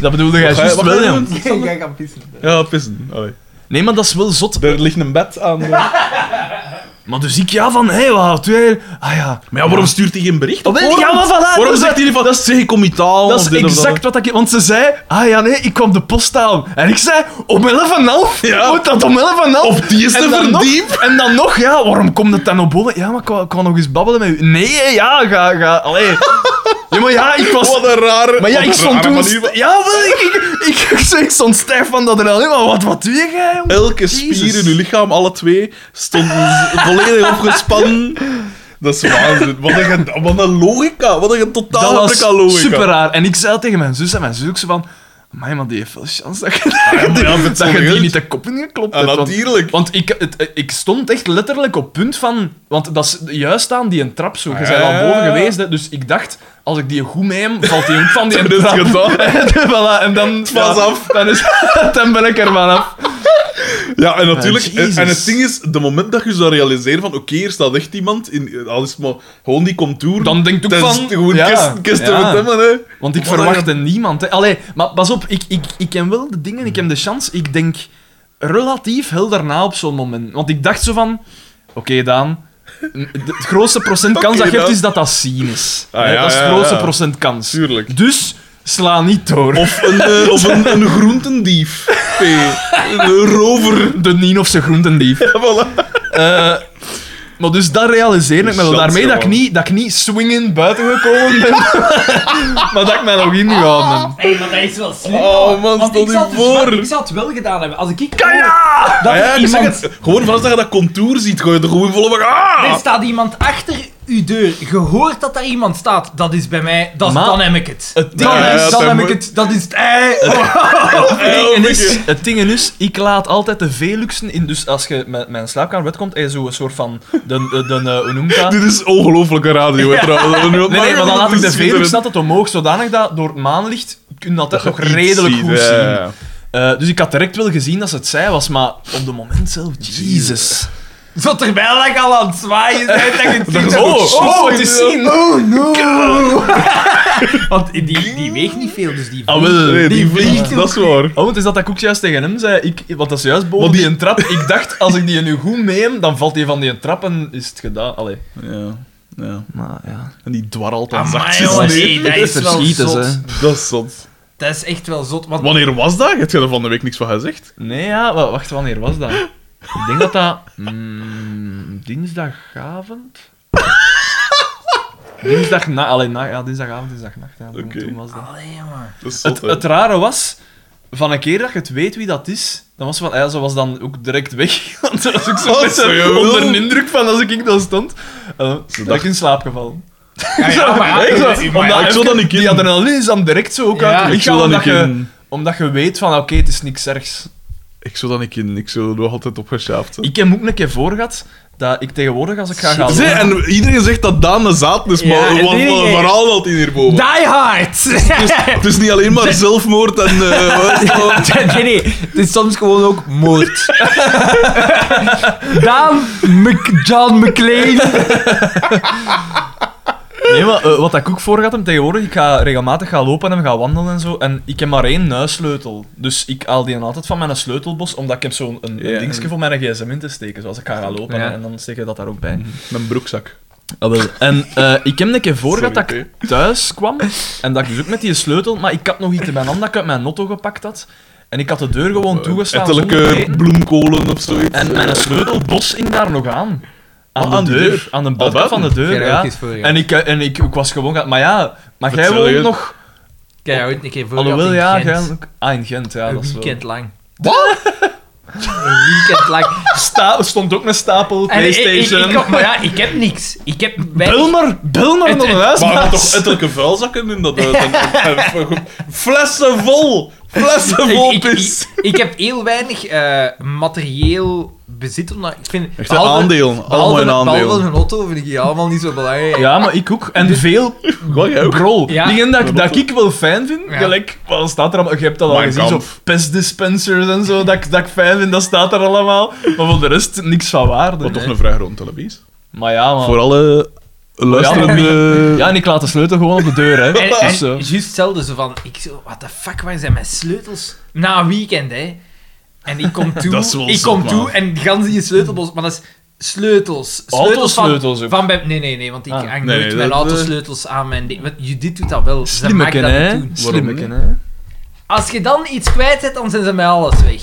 [SPEAKER 2] Dat bedoelde jij
[SPEAKER 1] Ga je-
[SPEAKER 2] juist
[SPEAKER 1] wat
[SPEAKER 2] wel,
[SPEAKER 1] ga je
[SPEAKER 2] jong.
[SPEAKER 1] doen?
[SPEAKER 3] Ik ga gaan pissen.
[SPEAKER 1] *laughs* Ja, pissen. Allee.
[SPEAKER 2] Nee, maar dat is wel zot.
[SPEAKER 1] Er ligt een bed aan. eh.
[SPEAKER 2] Maar dus ik ja van... Hé, hey, wat doe jij hier? Ah ja.
[SPEAKER 1] Maar ja, waarom stuurt hij geen bericht? op
[SPEAKER 2] Weet je,
[SPEAKER 1] voorhand?
[SPEAKER 2] ja, maar voilà, dus
[SPEAKER 1] waarom
[SPEAKER 2] dat-
[SPEAKER 1] zegt hij niet van: Dat is zeg, ik kom niet aan,
[SPEAKER 2] Dat
[SPEAKER 1] of
[SPEAKER 2] is
[SPEAKER 1] dit of dat?
[SPEAKER 2] exact wat ik... Want ze zei... Ah ja, nee, ik kwam de post halen. En ik zei... Om 11 en half?
[SPEAKER 1] Ja.
[SPEAKER 2] Moet dat om 11 en half?
[SPEAKER 1] Of die is te
[SPEAKER 2] en dan nog-
[SPEAKER 1] verdiep.
[SPEAKER 2] en dan nog, ja, waarom komt het dan op boven? Ja, maar ik wou, ik wou nog eens babbelen met u. Nee, hè, ja, ga... ga allee. Jongen, Nee, maar ja, ik was...
[SPEAKER 1] Wat een rare...
[SPEAKER 2] Maar ja,
[SPEAKER 1] wat
[SPEAKER 2] ik
[SPEAKER 1] een
[SPEAKER 2] stond
[SPEAKER 1] rare
[SPEAKER 2] toen...
[SPEAKER 1] manier van-
[SPEAKER 2] Ja, wel, ik, ik, ik, ik- ik stond stijf van dat er al maar wat, wat doe jij, jongen?
[SPEAKER 1] Elke spier
[SPEAKER 2] Jezus.
[SPEAKER 1] in uw lichaam, alle twee, stond volledig opgespannen. *laughs* Dat is waanzin. Wat een, ged- wat een logica. Wat een
[SPEAKER 2] Dat
[SPEAKER 1] totaal gebrek aan
[SPEAKER 2] was
[SPEAKER 1] logica.
[SPEAKER 2] super raar. En ik zei tegen mijn zus en mijn zus ook zo van... "Amai, maar die heeft veel chance dat je,
[SPEAKER 1] Ah, ja, maar ja,
[SPEAKER 2] dat je *laughs* die
[SPEAKER 1] verdomd.
[SPEAKER 2] niet de kop ingeklopt
[SPEAKER 1] En
[SPEAKER 2] hebt. want-
[SPEAKER 1] *laughs* natuurlijk.
[SPEAKER 2] Want ik, het, ik stond echt letterlijk op punt van... Want dat is juist aan die een trap zo. Je bent
[SPEAKER 1] Ah,
[SPEAKER 2] al boven geweest, hè. dus ik dacht... Als ik die goed meeneem, valt die ook van
[SPEAKER 1] *laughs*
[SPEAKER 2] die
[SPEAKER 1] Dit is
[SPEAKER 2] trap. Dus
[SPEAKER 1] gedaan.
[SPEAKER 2] *laughs* voilà, en dan...
[SPEAKER 1] was
[SPEAKER 2] ja,
[SPEAKER 1] af.
[SPEAKER 2] Dan, is, *laughs* dan ben ik er vanaf.
[SPEAKER 1] Ja, en natuurlijk.
[SPEAKER 2] Ah,
[SPEAKER 1] en,
[SPEAKER 2] Jezus.
[SPEAKER 1] en het ding is, de moment dat je zou realiseren van, oké, hier staat echt iemand, in, al is het maar gewoon die contour.
[SPEAKER 2] Dan denk ik ook
[SPEAKER 1] dat is
[SPEAKER 2] van...
[SPEAKER 1] Gewoon
[SPEAKER 2] ja,
[SPEAKER 1] kisten, kisten
[SPEAKER 2] ja.
[SPEAKER 1] met hem, hè.
[SPEAKER 2] Want ik
[SPEAKER 1] Wat
[SPEAKER 2] verwachtte niemand. Hè. Allee, maar pas op, ik, ik, ik ken wel de dingen, ik heb de chance. Ik denk relatief heel daarna op zo'n moment. Want ik dacht zo van... Oké, Daan. m- de- Het grootste procent kans
[SPEAKER 1] Oké,
[SPEAKER 2] dat je hebt
[SPEAKER 1] Daan.
[SPEAKER 2] is dat dat zien is.
[SPEAKER 1] Ah,
[SPEAKER 2] Hè,
[SPEAKER 1] ja,
[SPEAKER 2] dat is het
[SPEAKER 1] ja,
[SPEAKER 2] grootste
[SPEAKER 1] ja.
[SPEAKER 2] procent kans.
[SPEAKER 1] Tuurlijk.
[SPEAKER 2] Dus sla niet door.
[SPEAKER 1] Of een, eh, of een, een groentendief. P. *laughs* Een rover.
[SPEAKER 2] de Nien of zijn groentendief.
[SPEAKER 1] Ja, *laughs* voilà.
[SPEAKER 2] Eh, maar dus dat realiseer ik me wel.
[SPEAKER 1] Chance,
[SPEAKER 2] Daarmee dat ik,
[SPEAKER 1] gewoon.
[SPEAKER 2] niet, dat ik niet swingend buiten gekomen ben. *laughs* maar dat ik mij nog ingehouden heb.
[SPEAKER 3] Hé, maar dat is wel slim.
[SPEAKER 1] Oh,
[SPEAKER 3] hoor.
[SPEAKER 1] man,
[SPEAKER 3] Want
[SPEAKER 1] stel
[SPEAKER 3] ik
[SPEAKER 1] je
[SPEAKER 3] zou het-
[SPEAKER 1] voor.
[SPEAKER 3] maar Ik zou het wel gedaan hebben. Als ik... ik
[SPEAKER 2] Kaja!
[SPEAKER 3] Dat
[SPEAKER 1] Ah, ja,
[SPEAKER 3] er
[SPEAKER 1] ik zeg
[SPEAKER 3] iemand...
[SPEAKER 1] het. Gewoon vanaf dat je dat contour ziet, gooi je er gewoon vol op. Ah!
[SPEAKER 3] Er staat iemand achter uw deur. Je hoort dat daar iemand staat. Dat is bij mij... Dat is,
[SPEAKER 2] Maar-
[SPEAKER 3] dan heb ik het.
[SPEAKER 2] Het
[SPEAKER 3] Dan,
[SPEAKER 1] Ja,
[SPEAKER 3] is,
[SPEAKER 1] ja,
[SPEAKER 3] dan
[SPEAKER 1] dat
[SPEAKER 3] heb ik
[SPEAKER 1] moet-
[SPEAKER 3] het. Dat is het ei.
[SPEAKER 1] Oh,
[SPEAKER 2] ding
[SPEAKER 1] Elke
[SPEAKER 2] is,
[SPEAKER 1] keer.
[SPEAKER 2] dus, het ding is, ik laat altijd de veluxen in. Dus als je met mijn slaapkamer uitkomt, is zo'n soort van. De, de, de, eh, hoe noemt dat?
[SPEAKER 1] Dit is ongelofelijke radio, hè, trouwens. Nee,
[SPEAKER 2] Nee, nee, maar dan laat ik de veluxen altijd omhoog, zodanig dat door het maanlicht kun je dat toch nog redelijk goed zien. Eh, dus ik had direct wel gezien dat ze het zij was, maar op de moment zelf, jezus.
[SPEAKER 3] Zo terwijl ik al aan het zwaaien ben, dat je het ziet.
[SPEAKER 1] ook
[SPEAKER 2] Oh,
[SPEAKER 1] shit.
[SPEAKER 2] oh, het is zien!
[SPEAKER 3] Want die, die weegt niet veel, dus die...
[SPEAKER 2] Ah, wel.
[SPEAKER 1] Nee, die
[SPEAKER 3] Die
[SPEAKER 1] vliegt,
[SPEAKER 3] vliegt
[SPEAKER 1] dat is waar.
[SPEAKER 2] Oh, het is dat dat ik ook juist tegen hem zei. Ik, want dat is juist boven
[SPEAKER 1] Maar
[SPEAKER 2] die...
[SPEAKER 1] die-
[SPEAKER 2] een trap. Ik dacht, als ik die nu goed neem, dan valt die van die trap en is het gedaan. Allee.
[SPEAKER 1] Ja. Ja.
[SPEAKER 2] Maar ja.
[SPEAKER 1] En die dwarrelt dan
[SPEAKER 3] Amai,
[SPEAKER 1] zachtjes
[SPEAKER 3] jongens,
[SPEAKER 1] neer.
[SPEAKER 3] hé, dat is wel
[SPEAKER 2] Verschieten ze,
[SPEAKER 3] zot.
[SPEAKER 2] hè.
[SPEAKER 1] Dat is zot.
[SPEAKER 3] Dat is echt wel zot. Want
[SPEAKER 1] Wanneer was dat? Heb je er van de week niks van gezegd?
[SPEAKER 2] Nee, ja, wa- wacht, wanneer was dat? Ik denk dat dat mm, dinsdagavond. *laughs* Dinsdag na, alleen na, ja, dinsdagavond, dinsdagnacht. Ja, toen-
[SPEAKER 1] Oké.
[SPEAKER 2] toen was dat.
[SPEAKER 3] Allee, jongen.
[SPEAKER 1] Dat is
[SPEAKER 2] Het,
[SPEAKER 1] zot, hè.
[SPEAKER 2] het rare was, van een keer dat je het weet wie dat is, dan was ze van, ja, ze was dan ook direct weg. *laughs* Want dat was ook zo
[SPEAKER 1] Oh,
[SPEAKER 2] met
[SPEAKER 1] zo,
[SPEAKER 2] een-
[SPEAKER 1] jawel.
[SPEAKER 2] onder een indruk van als ik dan stond. Eh
[SPEAKER 1] Ze
[SPEAKER 2] dat ik
[SPEAKER 1] dacht-
[SPEAKER 2] in slaap gevallen.
[SPEAKER 3] Ja, ja, maar ja,
[SPEAKER 2] Echt *laughs* zo,
[SPEAKER 3] maar ja,
[SPEAKER 2] omdat
[SPEAKER 1] ik zou dat
[SPEAKER 2] even-
[SPEAKER 1] niet in.
[SPEAKER 2] Die adrenaline is dan direct zo ook
[SPEAKER 3] Ja,
[SPEAKER 2] uit.
[SPEAKER 1] Ik zou dat
[SPEAKER 2] omdat,
[SPEAKER 1] niet
[SPEAKER 2] je,
[SPEAKER 1] in.
[SPEAKER 2] omdat je weet van, oké, het is niks ergs.
[SPEAKER 1] Ik zou dat niet in. Ik zou er nog altijd op geschaafd zijn.
[SPEAKER 2] Ik heb ook een keer voor gehad dat ik tegenwoordig als ik ga gaan
[SPEAKER 1] Zie,
[SPEAKER 2] lopen-
[SPEAKER 1] en iedereen zegt dat Daan de zaad is,
[SPEAKER 3] Ja,
[SPEAKER 1] maar
[SPEAKER 3] en
[SPEAKER 1] wat
[SPEAKER 3] die-
[SPEAKER 1] wat een verhaal dat hij hierboven.
[SPEAKER 3] Die *laughs* hard!
[SPEAKER 1] Het is niet alleen maar zelfmoord en...
[SPEAKER 2] *laughs*
[SPEAKER 1] eh, wat-
[SPEAKER 4] nee, nee. Het is soms gewoon ook moord.
[SPEAKER 3] Daan Mc- John McLean.
[SPEAKER 2] Nee, maar eh, wat ik ook voor gehad heb tegenwoordig, ik ga regelmatig gaan lopen en gaan wandelen en zo. En ik heb maar één huissleutel. Dus ik haal die altijd van mijn sleutelbos, omdat ik heb zo'n een, een
[SPEAKER 1] Ja.
[SPEAKER 2] dingetje voor mijn gsm in te steken. Zoals ik ga gaan lopen en dan steek je dat daar ook bij.
[SPEAKER 1] Mijn broekzak.
[SPEAKER 2] Ah, wel. En eh, ik heb een keer voor gehad dat
[SPEAKER 1] Sorry,
[SPEAKER 2] ik thuis kwam en dat ik dus ook met die sleutel, maar ik had nog iets in mijn hand dat ik uit mijn auto gepakt had. En ik had de deur gewoon toegestaan. zonder
[SPEAKER 1] Eh, Ettelijke
[SPEAKER 2] keten.
[SPEAKER 1] bloemkolen of zoiets.
[SPEAKER 2] En mijn sleutelbos hing daar nog aan. Aan,
[SPEAKER 1] Oh,
[SPEAKER 2] de, deur. Aan de buitenkant van de deur, ja. En, ik, eh, en ik, ik was gewoon... gaan- Maar ja, maar jij
[SPEAKER 1] Vertel je
[SPEAKER 2] woont
[SPEAKER 1] het?
[SPEAKER 2] nog...
[SPEAKER 3] Kijk, ja, ooit een keer voor
[SPEAKER 2] Alhoewel, ja,
[SPEAKER 3] gehad in
[SPEAKER 2] jij...
[SPEAKER 3] Gent.
[SPEAKER 2] Ah, in Gent, ja.
[SPEAKER 3] Een
[SPEAKER 2] dat is
[SPEAKER 3] weekend
[SPEAKER 2] Wel.
[SPEAKER 3] lang. Wat? Een weekend lang.
[SPEAKER 2] Sta- er stond ook een stapel
[SPEAKER 3] En ik- ik-
[SPEAKER 2] PlayStation.
[SPEAKER 3] Ik, ik, maar ja, ik heb niks. Ik heb... mijn-
[SPEAKER 2] Bel maar, bel maar
[SPEAKER 3] Het-
[SPEAKER 2] naar de
[SPEAKER 3] het-
[SPEAKER 2] huis.
[SPEAKER 1] Maar er toch ettelijke vuilzakken in dat *laughs* huis. En- en- en- Flessen vol! Flessen vol
[SPEAKER 3] ik, ik,
[SPEAKER 1] pis!
[SPEAKER 3] ik, ik heb heel weinig eh, materieel bezit. Omdat ik vind,
[SPEAKER 1] Echt een aandeel. Allemaal
[SPEAKER 3] behalve-
[SPEAKER 1] een
[SPEAKER 3] Behalve
[SPEAKER 1] aandeel.
[SPEAKER 3] een auto vind ik die allemaal niet zo belangrijk.
[SPEAKER 2] Ja, maar ik ook. En veel
[SPEAKER 1] Wat jij ook?
[SPEAKER 2] brol.
[SPEAKER 3] Ja.
[SPEAKER 2] Dingen dat, dat ik wel fijn vind.
[SPEAKER 3] Ja.
[SPEAKER 2] Gelijk, wat staat er allemaal? Je hebt dat al
[SPEAKER 1] Mein
[SPEAKER 2] gezien, zo
[SPEAKER 1] Kampf.
[SPEAKER 2] pestdispensers en zo, dat, ik- dat ik fijn vind, dat staat er allemaal. Maar voor de rest, niks van waarde.
[SPEAKER 1] Wat toch
[SPEAKER 2] hè.
[SPEAKER 1] een vrij rond televisie.
[SPEAKER 2] Maar ja, man.
[SPEAKER 1] Voor alle luisterende...
[SPEAKER 2] Ah. Ja, en ik laat de sleutel gewoon op de deur, hè.
[SPEAKER 3] *laughs*
[SPEAKER 2] Dus, eh,
[SPEAKER 3] En,
[SPEAKER 2] Of
[SPEAKER 3] en
[SPEAKER 2] zo.
[SPEAKER 3] juist hetzelfde, zo van, ik zo, what the fuck, waar zijn mijn sleutels? Na een weekend, hè. En
[SPEAKER 1] *laughs*
[SPEAKER 3] ik kom toe,
[SPEAKER 1] Dat is wel
[SPEAKER 3] ik
[SPEAKER 1] zot,
[SPEAKER 3] kom
[SPEAKER 1] man.
[SPEAKER 3] toe en gans die sleutelbos, maar dat is sleutels.
[SPEAKER 2] Autosleutels
[SPEAKER 3] van,
[SPEAKER 2] ook.
[SPEAKER 3] van bij- nee, nee, nee, want ik
[SPEAKER 2] Ah.
[SPEAKER 3] hang
[SPEAKER 1] Nee,
[SPEAKER 3] nooit
[SPEAKER 1] nee,
[SPEAKER 3] mijn
[SPEAKER 1] dat-
[SPEAKER 3] autosleutels aan mijn ding. Want Judith doet dat wel, ze maakt
[SPEAKER 2] Slimmeken,
[SPEAKER 3] dat niet
[SPEAKER 2] hè.
[SPEAKER 3] doen.
[SPEAKER 2] Slimmeken,
[SPEAKER 1] niet?
[SPEAKER 2] hè.
[SPEAKER 3] Als je dan iets kwijt hebt, dan zijn ze met alles weg.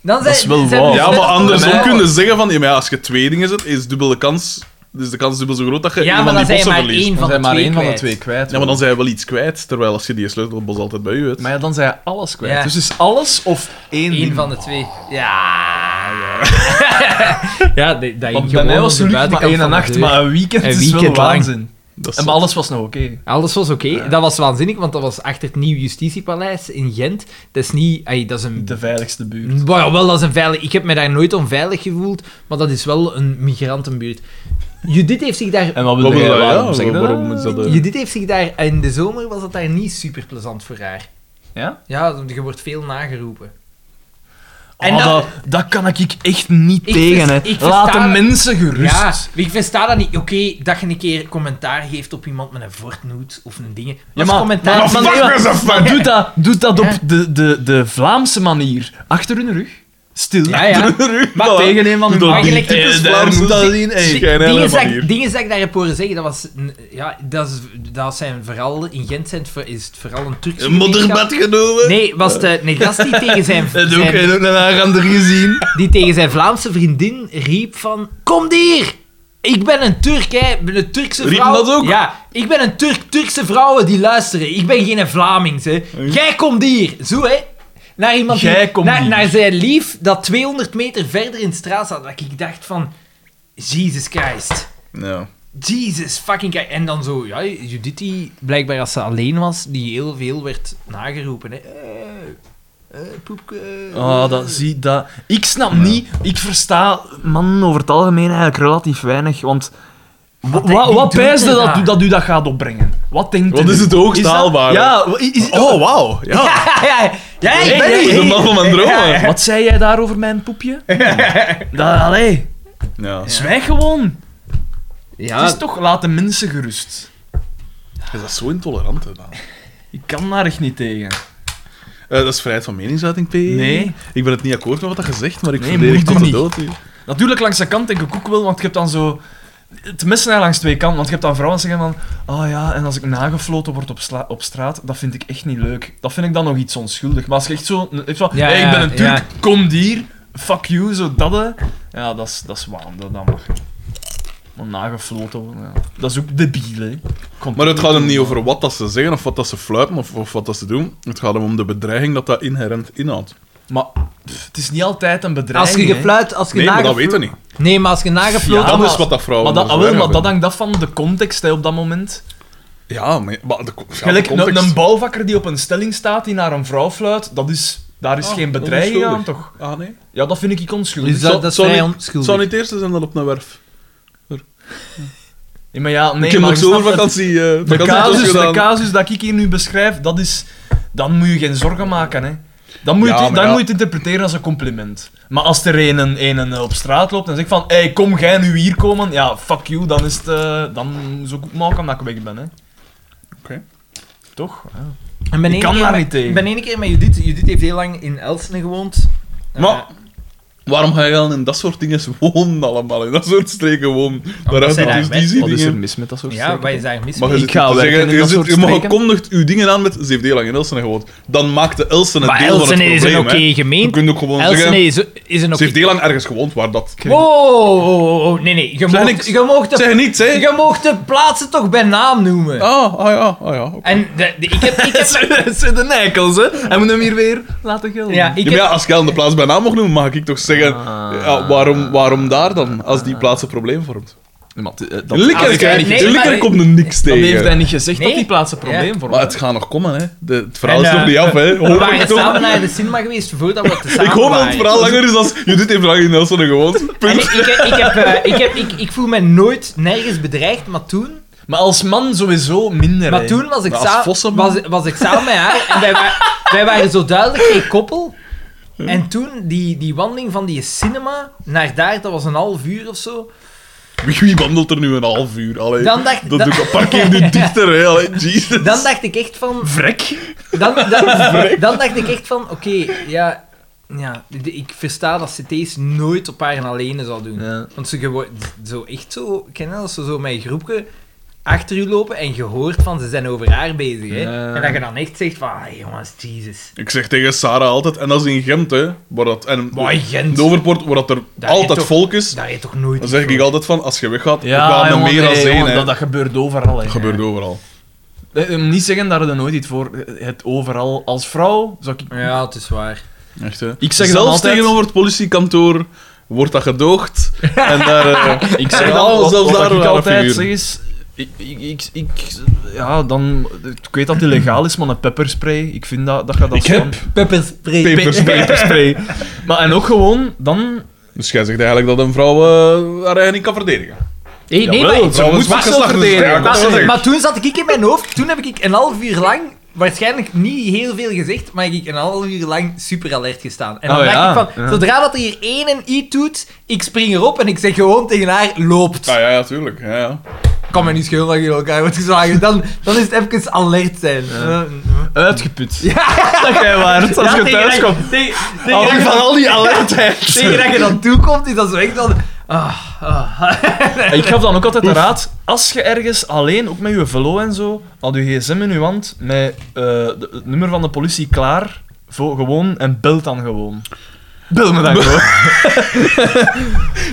[SPEAKER 3] Dan zijn,
[SPEAKER 2] is wel
[SPEAKER 3] zijn
[SPEAKER 2] waar.
[SPEAKER 3] ze
[SPEAKER 1] Ja,
[SPEAKER 3] net
[SPEAKER 1] maar
[SPEAKER 3] als-
[SPEAKER 1] andersom
[SPEAKER 2] mij-
[SPEAKER 1] kun je zeggen van... Ja, maar als je twee dingen zet, is dubbele kans Dus de kans is dubbel zo groot dat je
[SPEAKER 5] Ja, maar
[SPEAKER 1] een van
[SPEAKER 5] dan
[SPEAKER 1] die
[SPEAKER 5] zijn je
[SPEAKER 1] bossen
[SPEAKER 5] maar
[SPEAKER 1] verliest.
[SPEAKER 5] één van
[SPEAKER 2] Dan
[SPEAKER 5] de
[SPEAKER 2] zijn maar
[SPEAKER 5] twee
[SPEAKER 2] één van de
[SPEAKER 5] kwijt.
[SPEAKER 2] twee kwijt.
[SPEAKER 1] Ja, maar dan zijn je wel iets kwijt, terwijl als je die sleutelbos altijd bij je hebt.
[SPEAKER 2] Maar ja, dan zijn je alles kwijt.
[SPEAKER 5] Ja.
[SPEAKER 2] Dus is alles of één
[SPEAKER 5] Eén
[SPEAKER 2] ding.
[SPEAKER 5] van de twee.
[SPEAKER 3] Ja, ja. *laughs* ja de- dat
[SPEAKER 2] Want
[SPEAKER 3] ging
[SPEAKER 2] bij mij
[SPEAKER 3] gewoon
[SPEAKER 2] was
[SPEAKER 3] op de
[SPEAKER 2] het maar
[SPEAKER 3] buitenkant
[SPEAKER 2] 1 en
[SPEAKER 3] van de
[SPEAKER 2] 8,
[SPEAKER 3] deur.
[SPEAKER 2] maar een weekend,
[SPEAKER 3] Een
[SPEAKER 2] is wel
[SPEAKER 3] weekend lang.
[SPEAKER 2] waanzin.
[SPEAKER 1] Dat
[SPEAKER 2] En
[SPEAKER 1] is
[SPEAKER 2] maar alles was nog oké.
[SPEAKER 3] Alles was oké. Dat was waanzinnig, want dat was achter het nieuw justitiepaleis in Gent. Dat is niet... ai, dat is een...
[SPEAKER 2] De veiligste buurt.
[SPEAKER 3] Maar ja, wel, dat is een veilig... Ik heb me daar nooit onveilig gevoeld, maar dat is wel een migrantenbuurt. Judith heeft zich daar...
[SPEAKER 2] En wat
[SPEAKER 1] Wat
[SPEAKER 2] wil
[SPEAKER 1] wil
[SPEAKER 2] jij?
[SPEAKER 1] jij?
[SPEAKER 2] Waarom
[SPEAKER 1] Ja,
[SPEAKER 2] zeg je dat?
[SPEAKER 1] waarom is dat, eh?
[SPEAKER 3] Judith heeft zich daar... In de zomer was dat daar niet super plezant voor haar.
[SPEAKER 2] Ja?
[SPEAKER 3] Ja, je wordt veel nageroepen.
[SPEAKER 2] Oh,
[SPEAKER 3] En dat-
[SPEAKER 2] dat, dat kan ik echt niet
[SPEAKER 3] Ik
[SPEAKER 2] tegen,
[SPEAKER 3] vers-
[SPEAKER 2] hè.
[SPEAKER 3] ik
[SPEAKER 2] Laat de
[SPEAKER 3] versta-
[SPEAKER 2] mensen gerust.
[SPEAKER 3] Ja, ik versta dat niet. Oké, dat je een keer commentaar geeft op iemand met een voortnoot of een ding.
[SPEAKER 2] Ja,
[SPEAKER 3] Maar
[SPEAKER 2] maar-
[SPEAKER 3] commentaar...
[SPEAKER 1] maar fuck
[SPEAKER 2] maar-
[SPEAKER 1] myself, man.
[SPEAKER 2] Maar doe dat, doe dat
[SPEAKER 3] Ja.
[SPEAKER 2] op de, de, de Vlaamse manier. Achter hun rug. Stil.
[SPEAKER 3] Ja, ja.
[SPEAKER 2] Maar
[SPEAKER 1] Voilà.
[SPEAKER 2] tegen een van hun
[SPEAKER 1] Doe dat
[SPEAKER 3] Maar
[SPEAKER 2] macht.
[SPEAKER 1] niet.
[SPEAKER 3] gelijk
[SPEAKER 1] Eh,
[SPEAKER 2] typisch
[SPEAKER 1] daar
[SPEAKER 2] Vlaams,
[SPEAKER 1] moet
[SPEAKER 2] dat
[SPEAKER 1] dat
[SPEAKER 2] is-
[SPEAKER 1] in.
[SPEAKER 2] Zie-
[SPEAKER 1] Hey, geen hele
[SPEAKER 3] dingen, dat
[SPEAKER 1] manier.
[SPEAKER 3] ik, dingen dat ik daarop horen zeggen, dat was... een- Ja, dat, is, dat zijn vooral... In Gent zijn het voor- is het vooral een Turkse...
[SPEAKER 1] Een modderbad genomen.
[SPEAKER 3] Nee, was de een gast die tegen zijn,
[SPEAKER 2] En ook,
[SPEAKER 3] zijn-
[SPEAKER 2] en ook naar haar ander gezien.
[SPEAKER 3] die tegen zijn Vlaamse vriendin riep van... Kom hier! Ik ben een Turk, hè. Ik ben een Turkse
[SPEAKER 1] Riep
[SPEAKER 3] vrouw.
[SPEAKER 1] dat ook?
[SPEAKER 3] Ja. Ik ben een Turk. Turkse vrouwen die luisteren. Ik ben geen Vlamings, hè. Jij komt hier. Zo, hè. Naar iemand
[SPEAKER 2] Jij
[SPEAKER 3] die,
[SPEAKER 2] komt
[SPEAKER 3] naar,
[SPEAKER 2] hier.
[SPEAKER 3] naar zijn lief dat 200 meter verder in de straat zat. Dat ik dacht van... Jesus Christ.
[SPEAKER 1] Ja.
[SPEAKER 3] Jesus fucking Christ. En dan zo, ja, Judith die blijkbaar als ze alleen was, die heel veel werd nageroepen. Hè. Eh, eh, poepke.
[SPEAKER 2] Oh, dat, zie, dat... Ik snap niet... Ik versta mannen over het algemeen eigenlijk relatief weinig, want... Wa-
[SPEAKER 3] denk-
[SPEAKER 2] wa-
[SPEAKER 3] wie
[SPEAKER 2] Wat
[SPEAKER 3] doet
[SPEAKER 2] pijsde
[SPEAKER 3] er
[SPEAKER 2] dat,
[SPEAKER 3] daar?
[SPEAKER 2] dat u dat gaat opbrengen? Wat denkt
[SPEAKER 1] Wat
[SPEAKER 2] u?
[SPEAKER 1] is het hoogst
[SPEAKER 2] dat-
[SPEAKER 1] haalbare?
[SPEAKER 2] Ja, wa- is, is-
[SPEAKER 1] Oh, wauw. Ja.
[SPEAKER 3] Ja, ja, ja, ik
[SPEAKER 2] Hey,
[SPEAKER 3] ben
[SPEAKER 2] hey,
[SPEAKER 3] hier.
[SPEAKER 1] De man van mijn dromen.
[SPEAKER 2] *laughs* Wat zei jij daar over mijn
[SPEAKER 3] *laughs*
[SPEAKER 2] poepje? Dat, allee,
[SPEAKER 1] Ja.
[SPEAKER 2] zwijg gewoon. Het
[SPEAKER 3] Ja,
[SPEAKER 2] is toch, laat de mensen gerust.
[SPEAKER 1] Is dat zo intolerant, hè, dan?
[SPEAKER 2] Ik kan daar echt niet tegen.
[SPEAKER 1] Eh, dat is vrijheid van meningsuiting, P.
[SPEAKER 2] Nee.
[SPEAKER 1] Ik ben het niet akkoord met wat dat gezegd, maar ik
[SPEAKER 2] Nee,
[SPEAKER 1] verdedig
[SPEAKER 2] moet
[SPEAKER 1] tot
[SPEAKER 2] u
[SPEAKER 1] de
[SPEAKER 2] niet.
[SPEAKER 1] dood. hier.
[SPEAKER 2] Natuurlijk, langs de kant denk ik ook wel, want je hebt dan zo... Het mes snijdt langs twee kanten, want je hebt dan vrouwen die zeggen van oh ja, en als ik nagefloten word op, sla- op straat, dat vind ik echt niet leuk. Dat vind ik dan nog iets onschuldig. Maar als je echt zo... Echt zo
[SPEAKER 3] Ja,
[SPEAKER 2] hey, ik
[SPEAKER 3] ja,
[SPEAKER 2] ben een Turk,
[SPEAKER 3] ja.
[SPEAKER 2] kom hier, fuck you, zo dat. hè. Ja, dat is, dat is waan, dat, dat mag. niet. Maar nagefloten, worden, ja. dat is ook debiel, hè. Komt
[SPEAKER 1] Maar
[SPEAKER 2] ook
[SPEAKER 1] het gaat hem
[SPEAKER 2] toe.
[SPEAKER 1] niet over wat dat ze zeggen, of wat dat ze fluiten, of, of wat dat ze doen. Het gaat hem om de bedreiging dat dat inherent inhoudt.
[SPEAKER 2] Maar pff, het is niet altijd een bedreiging,
[SPEAKER 3] als je
[SPEAKER 2] hè.
[SPEAKER 3] gefluit, als je
[SPEAKER 1] Nee, maar dat
[SPEAKER 3] nageflu-
[SPEAKER 1] weten we niet. dus
[SPEAKER 3] Nee, maar als je nagefloten
[SPEAKER 2] Ja,
[SPEAKER 1] dat
[SPEAKER 2] Ah, maar-
[SPEAKER 1] is wat dat vrouwen
[SPEAKER 2] Maar dat, ah,
[SPEAKER 1] anders
[SPEAKER 2] wel, maar
[SPEAKER 1] erg
[SPEAKER 2] dat
[SPEAKER 1] hebben.
[SPEAKER 2] hangt af van de context hè, op dat moment.
[SPEAKER 1] Ja, maar, maar de, co- ja, de
[SPEAKER 2] Gelijk, een-
[SPEAKER 1] context-
[SPEAKER 2] een bouwvakker die op een stelling staat die naar een vrouw fluit, dat is, daar is
[SPEAKER 1] Ah,
[SPEAKER 2] geen
[SPEAKER 1] dat is
[SPEAKER 2] bedreiging aan,
[SPEAKER 1] onschuldig.
[SPEAKER 2] toch?
[SPEAKER 1] Ah, nee.
[SPEAKER 2] Ja, dat vind ik ik onschuldig.
[SPEAKER 3] Dus dat,
[SPEAKER 1] Zou-
[SPEAKER 3] dat is
[SPEAKER 1] zou
[SPEAKER 3] vrij
[SPEAKER 1] niet- Het
[SPEAKER 3] onschuldig.
[SPEAKER 1] zou niet het eerste zijn dan op een werf.
[SPEAKER 2] Ja, maar ja, nee,
[SPEAKER 1] ik heb
[SPEAKER 2] maar
[SPEAKER 1] nog
[SPEAKER 2] je
[SPEAKER 1] zo'n
[SPEAKER 2] snapt het.
[SPEAKER 1] vakantie, eh,
[SPEAKER 2] de
[SPEAKER 1] vakantie
[SPEAKER 2] casus, de
[SPEAKER 1] gedaan.
[SPEAKER 2] casus dat ik hier nu beschrijf, dat is... Dan moet je geen zorgen maken, hè. Dan moet, je
[SPEAKER 1] Ja,
[SPEAKER 2] het,
[SPEAKER 1] maar
[SPEAKER 2] dan
[SPEAKER 1] ja.
[SPEAKER 2] moet je het interpreteren als een compliment. Maar als er een, een, een op straat loopt en zegt van hey, kom jij nu hier komen? Ja, fuck you, dan is het... eh, dan zo goed maken dat ik weg ben, hè.
[SPEAKER 1] Oké.
[SPEAKER 2] Toch? Ja.
[SPEAKER 3] En ben
[SPEAKER 2] Ik
[SPEAKER 3] één
[SPEAKER 2] kan
[SPEAKER 3] keer
[SPEAKER 2] daar
[SPEAKER 3] met-
[SPEAKER 2] niet tegen.
[SPEAKER 3] Ik ben één keer met Judith. Judith heeft heel lang in Elsene gewoond. Eh,
[SPEAKER 1] Maar waarom ga je dan in dat soort dingen wonen allemaal? In dat soort streken wonen. Daar
[SPEAKER 3] zij daar
[SPEAKER 1] hebben dus
[SPEAKER 3] weg-
[SPEAKER 1] die
[SPEAKER 2] Wat is er
[SPEAKER 1] dingen.
[SPEAKER 2] mis met dat soort
[SPEAKER 3] ja,
[SPEAKER 2] streken,
[SPEAKER 3] wat
[SPEAKER 2] toch?
[SPEAKER 3] is daar mis
[SPEAKER 1] Maar
[SPEAKER 3] mee?
[SPEAKER 1] je,
[SPEAKER 2] Ik
[SPEAKER 1] zit
[SPEAKER 2] ga
[SPEAKER 1] niet te
[SPEAKER 2] werken
[SPEAKER 1] zeggen,
[SPEAKER 2] in
[SPEAKER 1] je,
[SPEAKER 2] dat
[SPEAKER 1] zit-
[SPEAKER 2] soort
[SPEAKER 1] je mag
[SPEAKER 2] streken.
[SPEAKER 1] kondigt uw dingen aan met ze heeft heel lang in Elsene gewoond. Dan maakt de Elsene
[SPEAKER 3] Maar
[SPEAKER 1] deel van
[SPEAKER 3] Elsene
[SPEAKER 1] het
[SPEAKER 3] is
[SPEAKER 1] probleem.
[SPEAKER 3] een
[SPEAKER 1] hè.
[SPEAKER 3] oké
[SPEAKER 1] Je
[SPEAKER 3] gemeente.
[SPEAKER 1] kunt ook gewoon
[SPEAKER 3] Elsene
[SPEAKER 1] zeggen,
[SPEAKER 3] is, is een
[SPEAKER 1] ze heeft
[SPEAKER 3] oké...
[SPEAKER 1] heel lang ergens gewoond waar dat...
[SPEAKER 3] Wow, oh, oh, oh, nee, nee. Je
[SPEAKER 1] Zeg
[SPEAKER 3] moogt-
[SPEAKER 1] niks.
[SPEAKER 3] je moogt de-
[SPEAKER 1] Zeg niets, hè.
[SPEAKER 3] je moogt de plaatsen toch bij naam noemen.
[SPEAKER 1] Ah, ah ja, ah ja. oké.
[SPEAKER 3] En de- de- ik heb... Ik
[SPEAKER 2] *laughs*
[SPEAKER 3] heb
[SPEAKER 2] Dat zijn de nekels, hè? Hij moet hem hier weer laten gelden.
[SPEAKER 3] ja,
[SPEAKER 1] *laughs* Ja,
[SPEAKER 3] ik
[SPEAKER 1] maar ja,
[SPEAKER 3] heb...
[SPEAKER 1] als jij aan de plaats bij naam mag noemen, mag ik toch zeggen...
[SPEAKER 2] Ah.
[SPEAKER 1] ja, waarom, waarom daar dan? Als die plaats een probleem vormt.
[SPEAKER 2] eh, dat, Ah,
[SPEAKER 1] In Likker,
[SPEAKER 3] als jij-
[SPEAKER 1] krijg-
[SPEAKER 3] nee,
[SPEAKER 1] in
[SPEAKER 3] maar-
[SPEAKER 1] Likker komt er niks
[SPEAKER 2] dat heeft hij
[SPEAKER 1] tegen.
[SPEAKER 2] niet gezegd dat
[SPEAKER 3] Nee.
[SPEAKER 2] die plaats een probleem
[SPEAKER 3] Ja.
[SPEAKER 2] voor
[SPEAKER 1] eh, Maar
[SPEAKER 2] hem
[SPEAKER 1] het gaat nog komen, hè. De, het verhaal is
[SPEAKER 3] En,
[SPEAKER 1] nog
[SPEAKER 3] eh,
[SPEAKER 1] niet af, hè.
[SPEAKER 3] We
[SPEAKER 1] Hoop ik
[SPEAKER 3] waren
[SPEAKER 1] toch.
[SPEAKER 3] samen naar de cinema geweest voordat we te samen
[SPEAKER 1] *laughs* Ik hoop dat het
[SPEAKER 3] waren.
[SPEAKER 1] verhaal langer is als... Judith heeft lang in Elsene gewoond.
[SPEAKER 3] En
[SPEAKER 1] Punt.
[SPEAKER 3] ik, ik, ik, heb, eh, ik, heb, ik, ik voel me nooit nergens bedreigd, maar toen,
[SPEAKER 2] Maar als man sowieso minder.
[SPEAKER 3] maar
[SPEAKER 2] hè.
[SPEAKER 3] toen was, ik
[SPEAKER 1] Maar als
[SPEAKER 3] sa-
[SPEAKER 1] Vossen, man.
[SPEAKER 3] was, was ik samen met haar en wij, wa- wij waren zo duidelijk geen koppel. En toen, die, die wandeling van die cinema naar daar, dat was een half uur of zo.
[SPEAKER 1] Wie, wie wandelt er nu een half uur? Allee,
[SPEAKER 3] Dan dacht-
[SPEAKER 1] dat
[SPEAKER 3] dan-
[SPEAKER 1] doe ik, parkeer
[SPEAKER 3] *laughs*
[SPEAKER 1] nu dichter, hè. Allee, Jesus.
[SPEAKER 3] Dan dacht ik echt van...
[SPEAKER 2] Vrek.
[SPEAKER 3] Dan, dan, dan dacht ik echt van, oké, ja, ja, de- ik versta dat CT's nooit op haar en alleen zou doen.
[SPEAKER 2] Ja.
[SPEAKER 3] Want ze gewoon zo echt zo, kennen als ze zo met een groepje achter u lopen en gehoord van ze zijn over haar bezig. Hè?
[SPEAKER 2] Ja.
[SPEAKER 3] En dat je dan echt zegt van, "Ah, jongens, Jesus.
[SPEAKER 1] Ik zeg tegen Sarah altijd, en dat is in Gent, hè. Waar dat, en
[SPEAKER 3] Maar in Gent.
[SPEAKER 1] de Overpoort, waar dat er
[SPEAKER 3] Daar
[SPEAKER 1] altijd
[SPEAKER 3] is toch-
[SPEAKER 1] volk is,
[SPEAKER 3] Daar heet toch nooit
[SPEAKER 1] dan zeg
[SPEAKER 3] iets
[SPEAKER 1] ik
[SPEAKER 3] voor.
[SPEAKER 1] altijd van, als je weggaat, we
[SPEAKER 2] Ja,
[SPEAKER 1] gaan er
[SPEAKER 2] jongen,
[SPEAKER 1] meer dan
[SPEAKER 2] nee,
[SPEAKER 1] zijn,
[SPEAKER 2] jongen,
[SPEAKER 1] hè.
[SPEAKER 2] dat, dat gebeurt overal. hè.
[SPEAKER 1] gebeurt overal.
[SPEAKER 2] Nee, eh, niet zeggen dat je er nooit iets voor hebt. Overal. Als vrouw zou ik...
[SPEAKER 3] Ja, het is waar.
[SPEAKER 1] Echt, hè.
[SPEAKER 2] Ik zeg dan
[SPEAKER 1] Zelfs
[SPEAKER 2] altijd-
[SPEAKER 1] tegenover het politiekantoor wordt dat gedoogd. en daar... eh,
[SPEAKER 2] *laughs*
[SPEAKER 1] *laughs*
[SPEAKER 2] Ik zeg
[SPEAKER 1] Ja,
[SPEAKER 2] dan, wat,
[SPEAKER 1] zelfs
[SPEAKER 2] wat
[SPEAKER 1] daar
[SPEAKER 2] ik
[SPEAKER 1] waren
[SPEAKER 2] altijd
[SPEAKER 1] figuren.
[SPEAKER 2] zeg is... Ik, ik, ik, ik- ja, dan... Ik weet dat het illegaal is, maar een pepperspray, ik vind dat, dat gaat dat
[SPEAKER 1] ik
[SPEAKER 2] staan.
[SPEAKER 1] heb...
[SPEAKER 3] Pepperspray.
[SPEAKER 1] *laughs* Pepperspray.
[SPEAKER 2] Pepperspray. *laughs* Maar en ook gewoon, dan...
[SPEAKER 1] Dus jij zegt eigenlijk dat een vrouw eh, haar eigen niet kan verdedigen.
[SPEAKER 4] Nee, nee,
[SPEAKER 2] Jawel,
[SPEAKER 4] maar ik-
[SPEAKER 1] Ze moet
[SPEAKER 4] maar
[SPEAKER 1] van
[SPEAKER 4] zo
[SPEAKER 1] geslacht zijn.
[SPEAKER 4] verdedigen.
[SPEAKER 1] Ja, ik
[SPEAKER 4] Maar-
[SPEAKER 1] wou zeggen.
[SPEAKER 3] Maar toen zat ik in mijn hoofd, toen heb ik een half uur lang, waarschijnlijk niet heel veel gezegd, maar heb ik een half uur lang super alert gestaan. En dan
[SPEAKER 2] Oh,
[SPEAKER 3] dacht
[SPEAKER 2] ja.
[SPEAKER 3] ik van,
[SPEAKER 2] Ja.
[SPEAKER 3] zodra dat er hier één en iets doet, ik spring erop en ik zeg gewoon tegen haar, loopt.
[SPEAKER 1] Ah, ja, ja, tuurlijk. Ja, ja.
[SPEAKER 3] Kan me niet schelen dat je in elkaar wordt geslagen. Dan, dan is het even alert zijn.
[SPEAKER 2] Ja. Uitgeput.
[SPEAKER 3] Ja.
[SPEAKER 2] Dat jij waard, als je
[SPEAKER 3] tegen
[SPEAKER 2] thuis
[SPEAKER 3] dat-
[SPEAKER 2] komt.
[SPEAKER 3] Tegen, tegen
[SPEAKER 2] Al
[SPEAKER 3] dat
[SPEAKER 2] die-
[SPEAKER 3] je
[SPEAKER 2] van
[SPEAKER 3] dan-
[SPEAKER 2] al die alertheid.
[SPEAKER 3] tegen dat je dan toekomt, is dat zo echt dan... Ah, ah.
[SPEAKER 2] Ik gaf dan ook altijd de raad, als je ergens alleen, ook met je velo en zo, had je gsm in je hand, met eh, de- het nummer van de politie klaar, voor, gewoon, en bel dan gewoon. Bel me dan *laughs* gewoon. of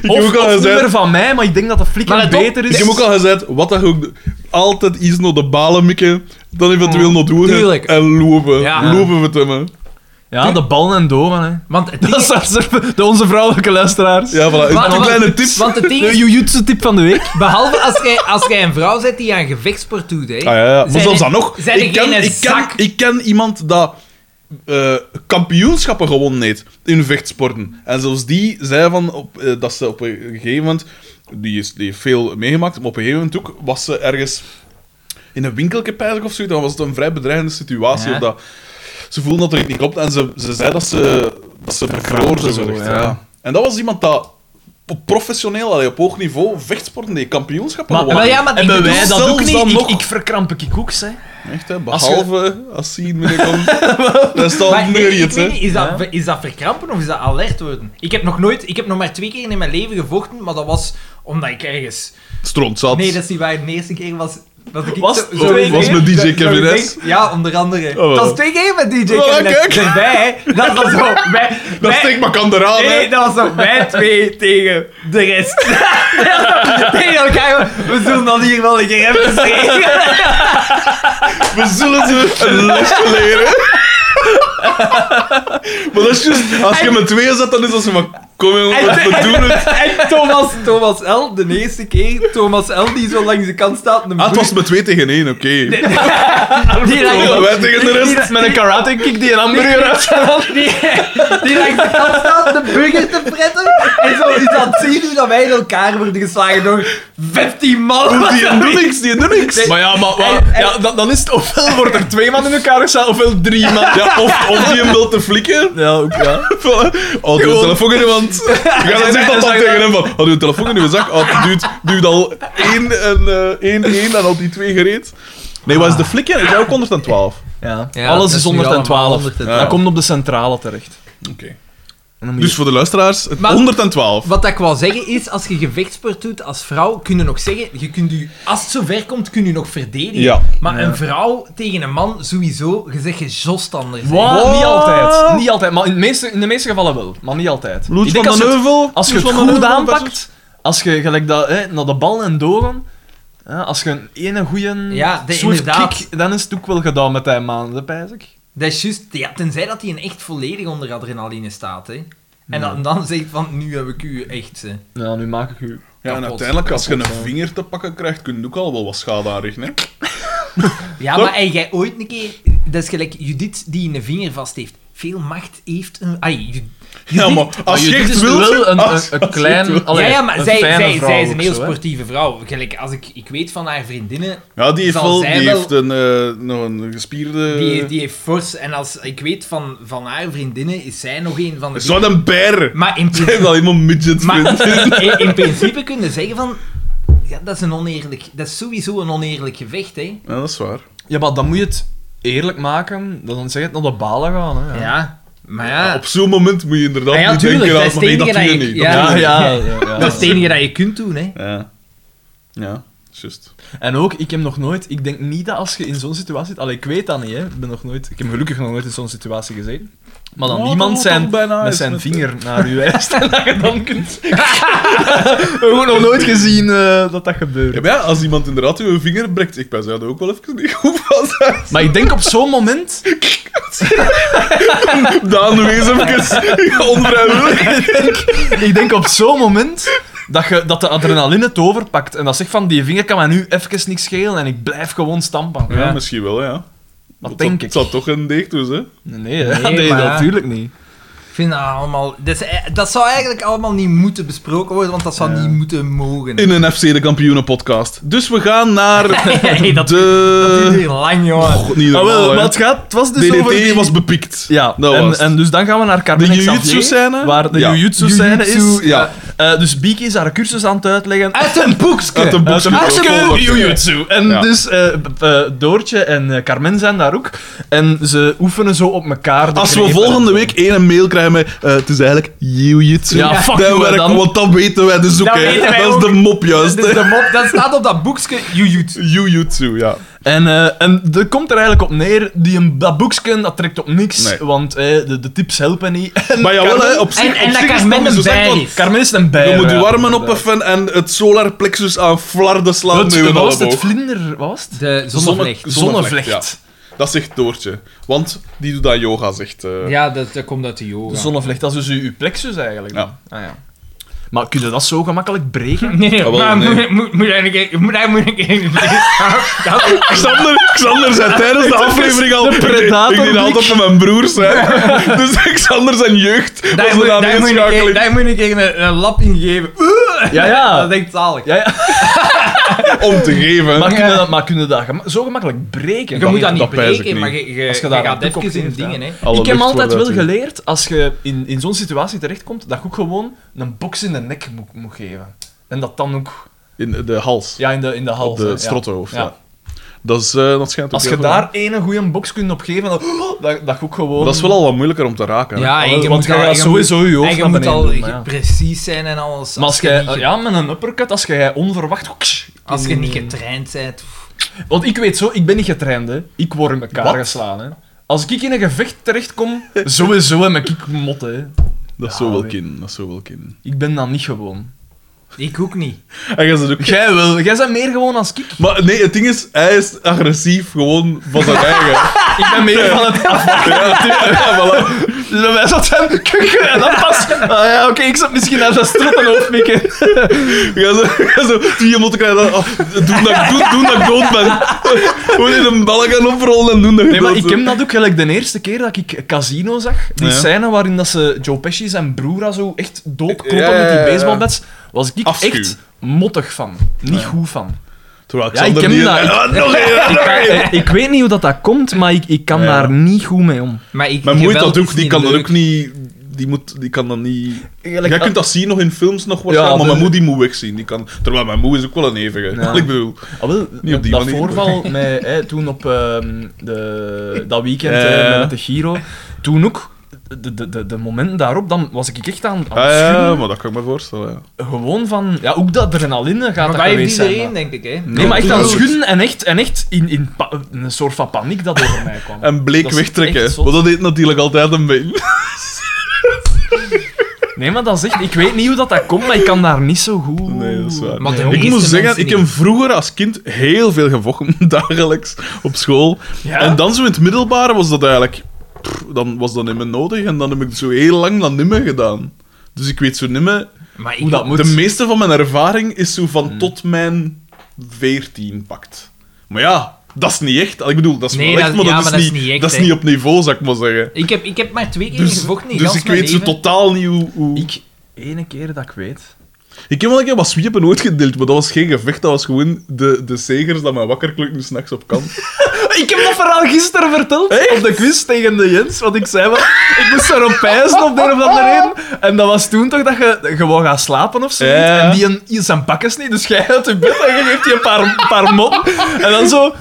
[SPEAKER 1] ook al
[SPEAKER 2] of het
[SPEAKER 1] gezegd-
[SPEAKER 2] nummer van mij, maar ik denk dat de
[SPEAKER 3] Maar
[SPEAKER 2] flikker
[SPEAKER 3] let op,
[SPEAKER 2] beter is.
[SPEAKER 1] Ik heb Dus ook al gezegd, wat dat je ook... Altijd iets naar de balen mikken, dan eventueel nog doen
[SPEAKER 3] Mm. tuurlijk.
[SPEAKER 1] en lopen.
[SPEAKER 3] Ja.
[SPEAKER 1] Lopen met hem, hè.
[SPEAKER 2] Ja, de ballen en doven, hè.
[SPEAKER 3] Want het
[SPEAKER 2] *laughs*
[SPEAKER 3] ding
[SPEAKER 2] Dat
[SPEAKER 3] is-
[SPEAKER 2] is daar ze- de onze vrouwelijke luisteraars.
[SPEAKER 1] Ja, voilà.
[SPEAKER 3] want-
[SPEAKER 1] een
[SPEAKER 3] want-
[SPEAKER 1] kleine tip.
[SPEAKER 3] Want het ding
[SPEAKER 2] De
[SPEAKER 3] is,
[SPEAKER 2] jujutsu tip van de week.
[SPEAKER 3] Behalve als jij, als jij een vrouw bent die aan gevechtsport doet, hè.
[SPEAKER 1] Ah, ja, ja. Maar
[SPEAKER 3] Zijn
[SPEAKER 1] zelfs
[SPEAKER 3] er-
[SPEAKER 1] dan nog.
[SPEAKER 3] zijn er
[SPEAKER 1] Ik ken,
[SPEAKER 3] geen
[SPEAKER 1] ik, ken,
[SPEAKER 3] zak?
[SPEAKER 1] ik ken iemand dat eh, kampioenschappen gewonnen heeft in vechtsporten. En zelfs die zei van op, eh, dat ze op een gegeven moment. Die, is, die heeft veel meegemaakt, maar op een gegeven moment ook was ze ergens in een winkeltje pijnlijk of zo. Dan was het een vrij bedreigende situatie.
[SPEAKER 3] Ja.
[SPEAKER 1] of dat, ze voelden dat er iets niet klopt en ze, ze zei dat ze, dat ze bevroren
[SPEAKER 2] zo,
[SPEAKER 1] zo gezegd,
[SPEAKER 2] ja.
[SPEAKER 1] ja. En dat was iemand dat op professioneel, allee, op hoog niveau, vechtsporten deed, kampioenschappen
[SPEAKER 2] Maar,
[SPEAKER 1] gewonnen.
[SPEAKER 3] maar ja, maar ik
[SPEAKER 2] hebben
[SPEAKER 3] bedoel,
[SPEAKER 2] wij dat
[SPEAKER 1] zelfs
[SPEAKER 2] ook niet?
[SPEAKER 1] dan
[SPEAKER 2] Ik,
[SPEAKER 1] nog-
[SPEAKER 2] ik verkramp ik koeks, hè.
[SPEAKER 1] Echt, hè?
[SPEAKER 2] Als je-
[SPEAKER 1] Behalve als, zien
[SPEAKER 3] *laughs*
[SPEAKER 1] binnenkomt. dat is
[SPEAKER 3] Maar
[SPEAKER 1] dan
[SPEAKER 3] ik-
[SPEAKER 1] meer
[SPEAKER 3] ik
[SPEAKER 1] iets,
[SPEAKER 3] weet niet,
[SPEAKER 1] hè?
[SPEAKER 3] is,
[SPEAKER 2] Ja.
[SPEAKER 3] dat, is dat verkrampen of is dat alert worden? Ik heb nog nooit, ik heb nog maar twee keer in mijn leven gevochten, maar dat was omdat ik ergens...
[SPEAKER 1] Strontzat.
[SPEAKER 3] Nee, dat is niet waar. De eerste keer was... Dat ik
[SPEAKER 2] Was-
[SPEAKER 3] zo-
[SPEAKER 2] was
[SPEAKER 3] zo-
[SPEAKER 2] met
[SPEAKER 3] zo-
[SPEAKER 1] DJ
[SPEAKER 3] zo- zo-
[SPEAKER 1] Kevin
[SPEAKER 3] zo-
[SPEAKER 1] S? Oh,
[SPEAKER 3] Ja, onder andere.
[SPEAKER 1] wel.
[SPEAKER 3] Dat was twee keer met DJ
[SPEAKER 1] Oh,
[SPEAKER 3] Kevin
[SPEAKER 1] kijk.
[SPEAKER 3] S. Erbij, hè. Dat
[SPEAKER 1] *laughs*
[SPEAKER 3] was zo... Wij,
[SPEAKER 1] Dat
[SPEAKER 3] wij-
[SPEAKER 1] steekt maar kan eraan,
[SPEAKER 3] Nee,
[SPEAKER 1] hè?
[SPEAKER 3] dat was zo wij twee tegen de rest. *laughs* tegen elkaar. We zullen dan hier wel een keer hebben schreeuwen.
[SPEAKER 1] *laughs* We zullen ze een lesje
[SPEAKER 3] *laughs*
[SPEAKER 1] leren. maar dat is juist, als je met twee zet, dan is dat zo van... Kom jongen,
[SPEAKER 3] En-
[SPEAKER 1] we doen het.
[SPEAKER 3] En Thomas, Thomas L, de eerste keer, Thomas L die zo langs de kant staat. Een
[SPEAKER 1] Ah, het
[SPEAKER 3] broer-
[SPEAKER 1] was met twee tegen één, oké.
[SPEAKER 3] die langs-
[SPEAKER 1] Oh, wij tegen de rest.
[SPEAKER 2] Met een karate kick die een hamburger uit zijn hand.
[SPEAKER 3] *laughs* Die, die langs de kant staat de burger te pretten. En zo is dat zien hoe dat wij in elkaar worden geslagen door 15 man.
[SPEAKER 1] Die doen niks, die doen niks.
[SPEAKER 2] Maar ja, maar, maar-
[SPEAKER 3] En- en-
[SPEAKER 2] ja, dan, dan is het ofwel wordt er twee man in elkaar gestaan, ofwel drie man.
[SPEAKER 1] Ja, of, of die hem wil te flikken.
[SPEAKER 2] Ja, ook ja.
[SPEAKER 1] Oh, doe een telefoon in je
[SPEAKER 3] *laughs*
[SPEAKER 1] hand. Ja, dan zegt dat dan
[SPEAKER 2] Zeg
[SPEAKER 1] tegen hem van... Oh, doe een telefoon in je zak. Oh, duwt, duwt al één en eh, één, één en al die twee gereed. Nee, wat is de flikken? Is dat ook 112?
[SPEAKER 2] ja.
[SPEAKER 3] Ja, dat
[SPEAKER 2] Alles
[SPEAKER 3] is
[SPEAKER 2] is
[SPEAKER 3] nu allemaal
[SPEAKER 2] 112.
[SPEAKER 3] 112.
[SPEAKER 2] Dan komt op de centrale terecht.
[SPEAKER 1] Oké.
[SPEAKER 2] En dan moet
[SPEAKER 1] Dus
[SPEAKER 2] je-
[SPEAKER 1] voor de luisteraars, het
[SPEAKER 3] Maar-
[SPEAKER 1] 112.
[SPEAKER 3] Wat ik wou zeggen is, als je gevechtsport doet als vrouw, kun je nog zeggen, je kunt u, als het zover komt, kun je nog verdedigen.
[SPEAKER 1] Ja.
[SPEAKER 3] Maar
[SPEAKER 2] Ja.
[SPEAKER 3] een vrouw tegen een man, sowieso, je zegt je jost anders. hè.
[SPEAKER 2] Wa-
[SPEAKER 1] Wat?
[SPEAKER 2] Niet altijd. Niet altijd. Maar in de, meeste, in de meeste gevallen wel. Maar niet altijd.
[SPEAKER 1] Loet
[SPEAKER 2] Ik
[SPEAKER 1] van
[SPEAKER 2] denk als
[SPEAKER 1] de
[SPEAKER 2] je het-
[SPEAKER 1] Neuvel.
[SPEAKER 2] Als je
[SPEAKER 1] Loet
[SPEAKER 2] het
[SPEAKER 1] van den
[SPEAKER 2] goed
[SPEAKER 1] Heuvel
[SPEAKER 2] aanpakt,
[SPEAKER 1] versus-
[SPEAKER 2] als je gelijk dat, hè, naar de bal en doorgaan, hè, als je een ene goede
[SPEAKER 3] Ja, de-
[SPEAKER 2] swift
[SPEAKER 3] inderdaad.
[SPEAKER 2] kick, dan is het ook wel gedaan met die maanden, pijs ik.
[SPEAKER 3] Dat is juist, ja, tenzij dat hij een echt volledig onder adrenaline staat. Hè.
[SPEAKER 2] Ja.
[SPEAKER 3] En dan, dan zegt van, nu heb ik u echt. Hè.
[SPEAKER 2] Ja, nu maak ik u...
[SPEAKER 1] Ja, en
[SPEAKER 3] kapot,
[SPEAKER 1] uiteindelijk, als je een
[SPEAKER 2] kapot, ja.
[SPEAKER 1] vinger te pakken krijgt, kun je ook al wel wat schade aanrichten. hè.
[SPEAKER 3] Ja,
[SPEAKER 1] Toch?
[SPEAKER 3] maar hey, jij ooit een keer, dat is gelijk Judith die een vinger vast heeft. Veel macht heeft een. Ai, Ju-
[SPEAKER 1] Ja,
[SPEAKER 3] Judith-
[SPEAKER 1] maar als je
[SPEAKER 2] dit
[SPEAKER 1] echt
[SPEAKER 2] is
[SPEAKER 1] wilt...
[SPEAKER 2] dus
[SPEAKER 1] Ah.
[SPEAKER 2] wel een,
[SPEAKER 1] als-
[SPEAKER 2] een, een klein, allee,
[SPEAKER 3] ja, ja, maar
[SPEAKER 2] een
[SPEAKER 3] zij,
[SPEAKER 2] fijne
[SPEAKER 3] zij,
[SPEAKER 2] vrouw
[SPEAKER 3] zij is een
[SPEAKER 2] ook
[SPEAKER 3] heel
[SPEAKER 2] zo, hè.
[SPEAKER 3] sportieve vrouw. Gelijk, als ik, ik weet van haar vriendinnen,
[SPEAKER 1] Ja, die heeft,
[SPEAKER 3] Zal
[SPEAKER 1] wel,
[SPEAKER 3] zij
[SPEAKER 1] die
[SPEAKER 3] wel-
[SPEAKER 1] heeft een, eh, nog een gespierde...
[SPEAKER 2] Eh.
[SPEAKER 3] die, die heeft fors. En als ik weet van, van haar vriendinnen, is zij nog een van de.
[SPEAKER 1] Zo'n een beer!
[SPEAKER 3] Maar in
[SPEAKER 2] *laughs*
[SPEAKER 1] *laughs* Hij heeft
[SPEAKER 3] principe,
[SPEAKER 1] al helemaal midgets. vriend.
[SPEAKER 3] maar, in, in principe kun je zeggen van. Ja, dat is een oneerlijk. Dat is sowieso een oneerlijk gevecht, hè?
[SPEAKER 1] Ja, dat is waar.
[SPEAKER 2] Ja, maar dan moet je het eerlijk maken. Dan zeg je het naar de balen gaan. Hè, ja.
[SPEAKER 3] Ja, maar ja.
[SPEAKER 1] Op zo'n moment moet je inderdaad
[SPEAKER 3] Ja, ja,
[SPEAKER 1] niet
[SPEAKER 3] tuurlijk,
[SPEAKER 1] denken
[SPEAKER 3] dat
[SPEAKER 1] aan... maar nee,
[SPEAKER 3] is het
[SPEAKER 1] dat
[SPEAKER 3] enige
[SPEAKER 1] doe je
[SPEAKER 3] dat je-
[SPEAKER 1] niet.
[SPEAKER 3] ja.
[SPEAKER 2] ja, ja, ja, ja.
[SPEAKER 3] Dat is het enige dat je kunt doen, hè?
[SPEAKER 1] Ja. Ja. Just.
[SPEAKER 2] En ook, ik heb nog nooit, ik denk niet dat als je in zo'n situatie zit, allee, ik weet dat niet, hè. Ik, ben nog nooit, ik heb gelukkig nog nooit in zo'n situatie gezeten. Maar dan
[SPEAKER 1] Oh,
[SPEAKER 2] niemand
[SPEAKER 1] dat
[SPEAKER 2] zijn,
[SPEAKER 1] wordt dan bijna
[SPEAKER 2] met
[SPEAKER 1] eens
[SPEAKER 2] zijn
[SPEAKER 1] met-
[SPEAKER 2] vinger naar je wijst en dat je dan
[SPEAKER 1] *laughs*
[SPEAKER 2] kunt. Gewoon nog nooit gezien eh, dat dat gebeurt.
[SPEAKER 1] Ja, maar ja, als iemand inderdaad uw vinger brekt, ik ben zou dat ook wel even niet goed van zijn.
[SPEAKER 2] Maar ik denk op zo'n moment,
[SPEAKER 1] Daan, wees even onvrijwillig.
[SPEAKER 2] ik denk op zo'n moment dat, je, dat de adrenaline het overpakt. En dat zegt van, die vinger kan mij nu even niks schelen en ik blijf gewoon stampen.
[SPEAKER 1] Ja, misschien wel, ja. Want
[SPEAKER 2] denk
[SPEAKER 1] dat-
[SPEAKER 2] ik.
[SPEAKER 1] Het zat toch een deeg dus, hè?
[SPEAKER 2] Nee, hè. *laughs*
[SPEAKER 3] Nee,
[SPEAKER 2] nee,
[SPEAKER 3] maar-
[SPEAKER 2] natuurlijk niet.
[SPEAKER 3] Ik vind dat allemaal... Dat, is e- dat zou eigenlijk allemaal niet moeten besproken worden, want dat zou niet moeten mogen.
[SPEAKER 1] In een FC de Kampioenen podcast. Dus we gaan naar
[SPEAKER 3] Nee, dat
[SPEAKER 2] eh,
[SPEAKER 3] duurt
[SPEAKER 1] de...
[SPEAKER 3] hier lang, jongen.
[SPEAKER 1] God, niet
[SPEAKER 2] Ah,
[SPEAKER 1] normaal,
[SPEAKER 2] wel,
[SPEAKER 1] hè.
[SPEAKER 2] maar het, gaat, het was dus
[SPEAKER 1] DDT
[SPEAKER 2] over die-
[SPEAKER 1] was bepikt.
[SPEAKER 2] Ja,
[SPEAKER 1] Dat
[SPEAKER 2] en,
[SPEAKER 1] was het.
[SPEAKER 2] en dus dan gaan we naar Carmen
[SPEAKER 1] De
[SPEAKER 2] en
[SPEAKER 1] jujutsu
[SPEAKER 2] Xavier,
[SPEAKER 1] scène?
[SPEAKER 2] Waar de
[SPEAKER 1] Ja.
[SPEAKER 2] jujutsu scène is.
[SPEAKER 1] Jujutsu, ja. Ah,
[SPEAKER 2] Eh, dus Bieke is haar cursus aan het uitleggen. Eh,
[SPEAKER 3] Uit een boekske!
[SPEAKER 1] Uit een
[SPEAKER 2] Uit
[SPEAKER 1] boekje.
[SPEAKER 2] een boekje
[SPEAKER 1] Volgorde.
[SPEAKER 2] jujutsu. En
[SPEAKER 1] Ja.
[SPEAKER 2] dus eh, b- eh, Doortje en eh, Carmen zijn daar ook. En ze oefenen zo op elkaar. de
[SPEAKER 1] Als we
[SPEAKER 2] grepen.
[SPEAKER 1] volgende week één mail krijgen met... eh, het is eigenlijk jiu-jitsu.
[SPEAKER 2] Ja, fuck
[SPEAKER 1] dat
[SPEAKER 2] you,
[SPEAKER 1] werkt,
[SPEAKER 2] dan.
[SPEAKER 1] Want dat weten wij dus ook,
[SPEAKER 3] Dat
[SPEAKER 1] hè.
[SPEAKER 3] weten wij
[SPEAKER 1] dat
[SPEAKER 3] ook.
[SPEAKER 1] is de mop, juist.
[SPEAKER 3] Dus
[SPEAKER 1] hè.
[SPEAKER 3] de mop, dat staat op dat boekske Jujut.
[SPEAKER 1] Jiu-jitsu, ja.
[SPEAKER 2] En, eh en dat komt er eigenlijk op neer. Die, een- dat boeksken dat trekt op niks.
[SPEAKER 1] Nee.
[SPEAKER 2] Want eh, de, de tips helpen niet. *laughs* En
[SPEAKER 1] Maar jawel,
[SPEAKER 2] Carmen-
[SPEAKER 1] hè, op zich...
[SPEAKER 3] En- en
[SPEAKER 1] op
[SPEAKER 3] dat
[SPEAKER 1] zich is dus
[SPEAKER 3] Carmen
[SPEAKER 1] niet zo slecht,
[SPEAKER 3] erbij
[SPEAKER 1] want
[SPEAKER 3] is.
[SPEAKER 2] Carmen is een bij.
[SPEAKER 1] Je moet je warmen opheffen en het solar plexus aan flarden slaan
[SPEAKER 2] Het,
[SPEAKER 1] met je
[SPEAKER 2] wat was het?
[SPEAKER 1] elleboog.
[SPEAKER 2] Het vlinder... Wat was het?
[SPEAKER 3] De zonnevlecht.
[SPEAKER 1] Zonnevlecht,
[SPEAKER 2] Zonnevlecht.
[SPEAKER 1] Dat zegt Doortje. Want die doet aan yoga, zegt... eh,
[SPEAKER 3] Ja, dat, dat komt uit de yoga.
[SPEAKER 2] De zonnevlecht, dat is dus uw, uw plexus eigenlijk.
[SPEAKER 1] Ja.
[SPEAKER 2] Ah, ja. Maar kun je dat zo gemakkelijk breken?
[SPEAKER 3] *laughs* Nee,
[SPEAKER 1] Jawel,
[SPEAKER 3] maar
[SPEAKER 1] nee.
[SPEAKER 3] moet- moet- moet hij een keer- moet hij moet
[SPEAKER 2] *laughs*
[SPEAKER 3] een keer- Dat-
[SPEAKER 1] Xander, Xander zei tijdens de aflevering al...
[SPEAKER 2] predator
[SPEAKER 1] Ik deed dat
[SPEAKER 2] blik.
[SPEAKER 1] altijd met mijn broers, hè. *laughs* Dus Xander zijn jeugd
[SPEAKER 3] Daar
[SPEAKER 1] was
[SPEAKER 3] moet-
[SPEAKER 1] er aan
[SPEAKER 3] daar moet ik een-
[SPEAKER 1] inschakeling.
[SPEAKER 3] daar moet ik een, een, een lap in geven. Oeh!
[SPEAKER 2] *laughs* Ja, ja.
[SPEAKER 3] Dat denkt zalig.
[SPEAKER 2] Ah. Ja, ja.
[SPEAKER 1] om te geven.
[SPEAKER 2] Maar kun je dat, maar kun je dat gema- zo gemakkelijk breken?
[SPEAKER 3] Je moet dat niet
[SPEAKER 1] dat pijs ik
[SPEAKER 3] breken, maar
[SPEAKER 1] niet.
[SPEAKER 3] je, je,
[SPEAKER 2] Als je
[SPEAKER 3] je
[SPEAKER 2] daar
[SPEAKER 3] gaat
[SPEAKER 2] een doek op
[SPEAKER 3] even in
[SPEAKER 2] geeft, ja.
[SPEAKER 3] dingen, hè.
[SPEAKER 1] Alle
[SPEAKER 2] ik heb
[SPEAKER 1] lucht
[SPEAKER 2] altijd
[SPEAKER 1] wordt
[SPEAKER 2] wel
[SPEAKER 1] uit-
[SPEAKER 2] geleerd, als je in, in zo'n situatie terechtkomt, dat je ook gewoon een box in de nek moet, moet geven. En dat dan ook
[SPEAKER 1] In de hals.
[SPEAKER 2] ja, in, de, in de hals.
[SPEAKER 1] Op de
[SPEAKER 2] hè, ja.
[SPEAKER 1] strottenhoofd, ja.
[SPEAKER 2] Ja.
[SPEAKER 1] Dat, is, eh, dat schijnt ook
[SPEAKER 2] Als je
[SPEAKER 1] heel veel-
[SPEAKER 2] daar één goede box kunt op geven, dan, *gasps* dat, dat je ook gewoon...
[SPEAKER 1] Dat is wel al wat moeilijker om te raken. hè.
[SPEAKER 3] Ja,
[SPEAKER 2] Ah,
[SPEAKER 3] en
[SPEAKER 2] wel,
[SPEAKER 3] je
[SPEAKER 2] want
[SPEAKER 3] moet
[SPEAKER 2] je
[SPEAKER 3] al-
[SPEAKER 2] gaat
[SPEAKER 3] je
[SPEAKER 2] sowieso je
[SPEAKER 3] En
[SPEAKER 2] hoofd
[SPEAKER 3] je
[SPEAKER 2] naar
[SPEAKER 3] moet
[SPEAKER 2] beneden
[SPEAKER 3] al
[SPEAKER 2] doen, maar ja.
[SPEAKER 3] precies zijn en alles.
[SPEAKER 2] Maar als
[SPEAKER 3] je
[SPEAKER 2] jij,
[SPEAKER 3] niet ge-
[SPEAKER 2] ja, met een uppercut, als jij onverwacht...
[SPEAKER 3] als je
[SPEAKER 2] Mm.
[SPEAKER 3] niet getraind bent... pff.
[SPEAKER 2] Want ik weet zo, ik ben niet getraind, hè. Ik word in elkaar
[SPEAKER 1] Wat?
[SPEAKER 2] geslagen, hè. Als ik in een gevecht terechtkom, *laughs* sowieso heb ik motten, hè.
[SPEAKER 1] Dat is
[SPEAKER 2] Ja,
[SPEAKER 1] zo wel
[SPEAKER 2] weet-
[SPEAKER 1] kin. Dat is zo wel kin.
[SPEAKER 2] Ik ben dan niet gewoon.
[SPEAKER 3] Ik ook niet.
[SPEAKER 1] En jij zit ook...
[SPEAKER 2] Jij wel. Jij bent meer gewoon als ik.
[SPEAKER 1] Maar nee, het ding is, hij is agressief gewoon van
[SPEAKER 2] *laughs*
[SPEAKER 1] zijn eigen.
[SPEAKER 2] Ik ben meer van *laughs* het *laughs*
[SPEAKER 1] ja, voilà.
[SPEAKER 2] Dus wij zat hem kukken en dan pas... Ah ja, oké, ik zat misschien naar dat strottenhoofd mikken.
[SPEAKER 1] Jij zo, jij zo twee motten krijgen. dan, ah, doen dat, ik- doen, doen dat ik dood ben. Gewoon in een balk gaan oprollen en doen dat je
[SPEAKER 2] Nee, maar
[SPEAKER 1] dood
[SPEAKER 2] ik
[SPEAKER 1] bent.
[SPEAKER 2] heb dat ook gelijk de eerste keer dat ik Casino zag. Die
[SPEAKER 1] Ja.
[SPEAKER 2] scène waarin dat ze Joe Pesci zijn broer zo echt doodkloppen
[SPEAKER 1] Ja, ja, ja,
[SPEAKER 2] met
[SPEAKER 1] ja.
[SPEAKER 2] die baseballbats, was ik
[SPEAKER 1] Afschuw.
[SPEAKER 2] echt mottig van. Niet goed van.
[SPEAKER 1] Terwijl
[SPEAKER 2] *laughs* Ja, ik
[SPEAKER 1] Xander
[SPEAKER 2] ken
[SPEAKER 1] niet-
[SPEAKER 2] dat.
[SPEAKER 1] Ah, nog één, ah, nog één.
[SPEAKER 2] Eh, ik weet niet hoe dat, dat komt, maar ik, ik kan
[SPEAKER 1] Ja.
[SPEAKER 2] daar niet goed mee om.
[SPEAKER 3] Maar ik,
[SPEAKER 1] Mijn moeit
[SPEAKER 3] geweld
[SPEAKER 1] dat ook,
[SPEAKER 3] is
[SPEAKER 1] die
[SPEAKER 3] niet
[SPEAKER 1] kan dat
[SPEAKER 3] leuk.
[SPEAKER 1] ook niet... Die, moet, die kan dat niet...
[SPEAKER 2] Eigenlijk, ah,
[SPEAKER 1] Jij kunt dat zien nog in films nog waarschijnlijk, maar
[SPEAKER 2] dat-
[SPEAKER 1] mijn moe die moet wegzien. Die kan... Terwijl mijn moe is ook wel een eeuwige.
[SPEAKER 2] Ja.
[SPEAKER 1] *laughs* Ik bedoel...
[SPEAKER 2] ah, wel,
[SPEAKER 1] niet op die
[SPEAKER 2] dat
[SPEAKER 1] manier.
[SPEAKER 2] voorval met, *laughs* hè, toen op ehm, de, dat weekend
[SPEAKER 1] Ja, ja, ja.
[SPEAKER 2] eh, met de Giro, toen ook, de, de, de, de momenten daarop, dan was ik echt aan, aan
[SPEAKER 1] Ah,
[SPEAKER 2] het
[SPEAKER 1] ja,
[SPEAKER 2] schudden.
[SPEAKER 1] maar dat kan ik me voorstellen, ja.
[SPEAKER 2] Gewoon van, ja, ook dat adrenaline gaat
[SPEAKER 3] Maar
[SPEAKER 2] dat
[SPEAKER 3] dat heeft
[SPEAKER 2] geweest zijn.
[SPEAKER 3] iedereen,
[SPEAKER 2] maar-
[SPEAKER 3] denk ik, hè.
[SPEAKER 2] Nee, maar echt aan het
[SPEAKER 1] Dood.
[SPEAKER 2] schudden en echt, en echt in, in pa- een soort van paniek dat over mij kwam.
[SPEAKER 1] En bleek
[SPEAKER 2] Dat is
[SPEAKER 1] wegtrekken.
[SPEAKER 2] echt zot.
[SPEAKER 1] Want dat deed natuurlijk altijd een beetje.
[SPEAKER 2] Nee, maar dat is echt, ik weet niet hoe dat, dat komt, maar ik kan daar niet zo goed...
[SPEAKER 1] Nee, dat is waar.
[SPEAKER 3] Maar de
[SPEAKER 1] ik
[SPEAKER 3] meeste
[SPEAKER 1] moet zeggen,
[SPEAKER 3] mensen
[SPEAKER 1] ik heb
[SPEAKER 3] niet.
[SPEAKER 1] vroeger als kind heel veel gevochten, *laughs* dagelijks, op school.
[SPEAKER 2] Ja?
[SPEAKER 1] En dan zo in het middelbare was dat eigenlijk... pff, dan was dat niet meer nodig en dan heb ik zo heel lang dat niet meer gedaan. Dus ik weet zo niet meer...
[SPEAKER 3] Maar ik, Hmm.
[SPEAKER 2] Hoe dat moet.
[SPEAKER 1] De meeste van mijn ervaring is zo van tot mijn 14 pakt. Maar ja, dat is niet echt. Ik bedoel, dat is
[SPEAKER 3] Nee,
[SPEAKER 1] wel echt,
[SPEAKER 3] dat-
[SPEAKER 1] maar dat,
[SPEAKER 3] ja,
[SPEAKER 1] is,
[SPEAKER 3] maar dat is
[SPEAKER 1] niet,
[SPEAKER 3] niet echt,
[SPEAKER 1] dat is
[SPEAKER 3] hè.
[SPEAKER 1] niet op niveau, zou ik maar zeggen.
[SPEAKER 3] ik, heb, ik heb maar twee keer
[SPEAKER 1] Dus,
[SPEAKER 3] gevochten in
[SPEAKER 1] dus
[SPEAKER 3] gans
[SPEAKER 1] ik
[SPEAKER 3] mijn
[SPEAKER 1] weet zo
[SPEAKER 3] leven.
[SPEAKER 1] totaal niet hoe... hoe...
[SPEAKER 2] Ik, ene keer dat ik weet...
[SPEAKER 1] Ik heb wel een keer wat zwiepen uitgedeeld, maar dat was geen gevecht, dat was gewoon de, de zegers dat mij wakker klukten s'nachts op kant.
[SPEAKER 2] Ik heb dat verhaal gisteren verteld op de quiz tegen de Jens. Want ik zei wel, ik moest erop pijzen op de een of andere reden. En dat was toen toch dat je gewoon gaat slapen of zoiets.
[SPEAKER 1] Ja.
[SPEAKER 2] En die een, zijn bakkes niet. Dus jij uit je bed en je geeft je een paar, een paar mop. En dan zo.
[SPEAKER 1] *laughs*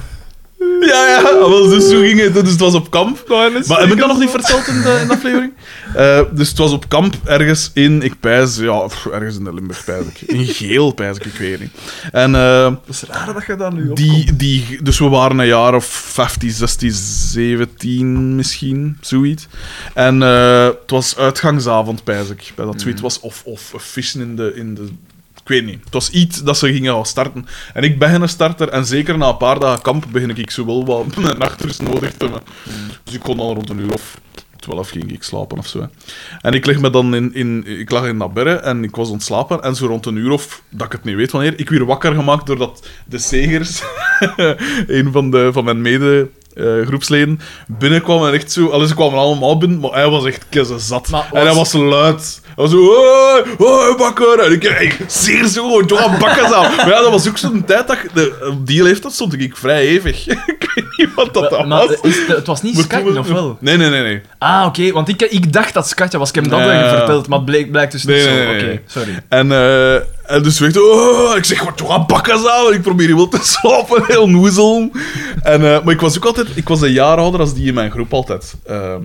[SPEAKER 1] Ja, ja, wel, dus zo ging het. Dus het was op kamp. Maar heb ik dat nog niet verteld in de, in de
[SPEAKER 2] *laughs*
[SPEAKER 1] aflevering? Eh, dus het was op kamp ergens in, ik pijs, ja, pff, ergens in de Limburg pijs ik. In Geel pijs ik, ik weet niet. En eh,
[SPEAKER 2] Dat is raar dat je dat nu op...
[SPEAKER 1] die, die, dus we waren een jaar of 15, 16, 17 misschien, zoiets. En eh, het was uitgangsavond pijs ik. Bij dat tweet was of, of vissen in de, in de... Ik weet niet. Het was iets dat ze gingen gaan starten. En ik ben een starter. En zeker na een paar dagen kamp begin ik zo wel wat *laughs* mijn nachtrust nodig te hebben. Dus ik kon dan rond een uur of 12 ging ik slapen of zo. hè. En ik lig me dan in, in, ik lag in dat berre en ik was ontslapen. En zo rond een uur of, dat ik het niet weet wanneer, ik weer wakker gemaakt doordat de Segers, *laughs* een van, de, van mijn mede... eh, groepsleden binnenkwam en echt zo, alles ze kwamen allemaal binnen, maar hij was echt kezzezat.
[SPEAKER 4] Maar
[SPEAKER 1] En hij
[SPEAKER 4] was-
[SPEAKER 1] was luid. Hij was zo, hoi, hoi, bakker. En ik, hey, zeer zo, Johan Bakkers aan. Maar ja, dat was ook zo'n tijd dat, ik- de, op die leeftijd stond ik vrij hevig. *laughs* ik weet niet wat dat dan
[SPEAKER 2] maar,
[SPEAKER 1] was.
[SPEAKER 2] is het, het was niet
[SPEAKER 1] Maar toen
[SPEAKER 2] Skat,
[SPEAKER 1] was-
[SPEAKER 2] of wel?
[SPEAKER 1] Nee, nee, nee, nee.
[SPEAKER 2] Ah, oké, want ik, ik dacht dat Skatja was. Ik heb hem dat
[SPEAKER 1] Nee.
[SPEAKER 2] wel verteld, maar het bleek, blijkt dus
[SPEAKER 1] Nee,
[SPEAKER 2] niet zo.
[SPEAKER 1] nee,
[SPEAKER 2] Oké,
[SPEAKER 1] nee, nee.
[SPEAKER 2] sorry.
[SPEAKER 1] En, eh en dus zegt, oh, ik zeg, wat toch aan bakken aan. Ik probeer hier wel te slapen, heel noezel. En, eh, maar ik was ook altijd, ik was een jaar ouder als die in mijn groep altijd. Ehm,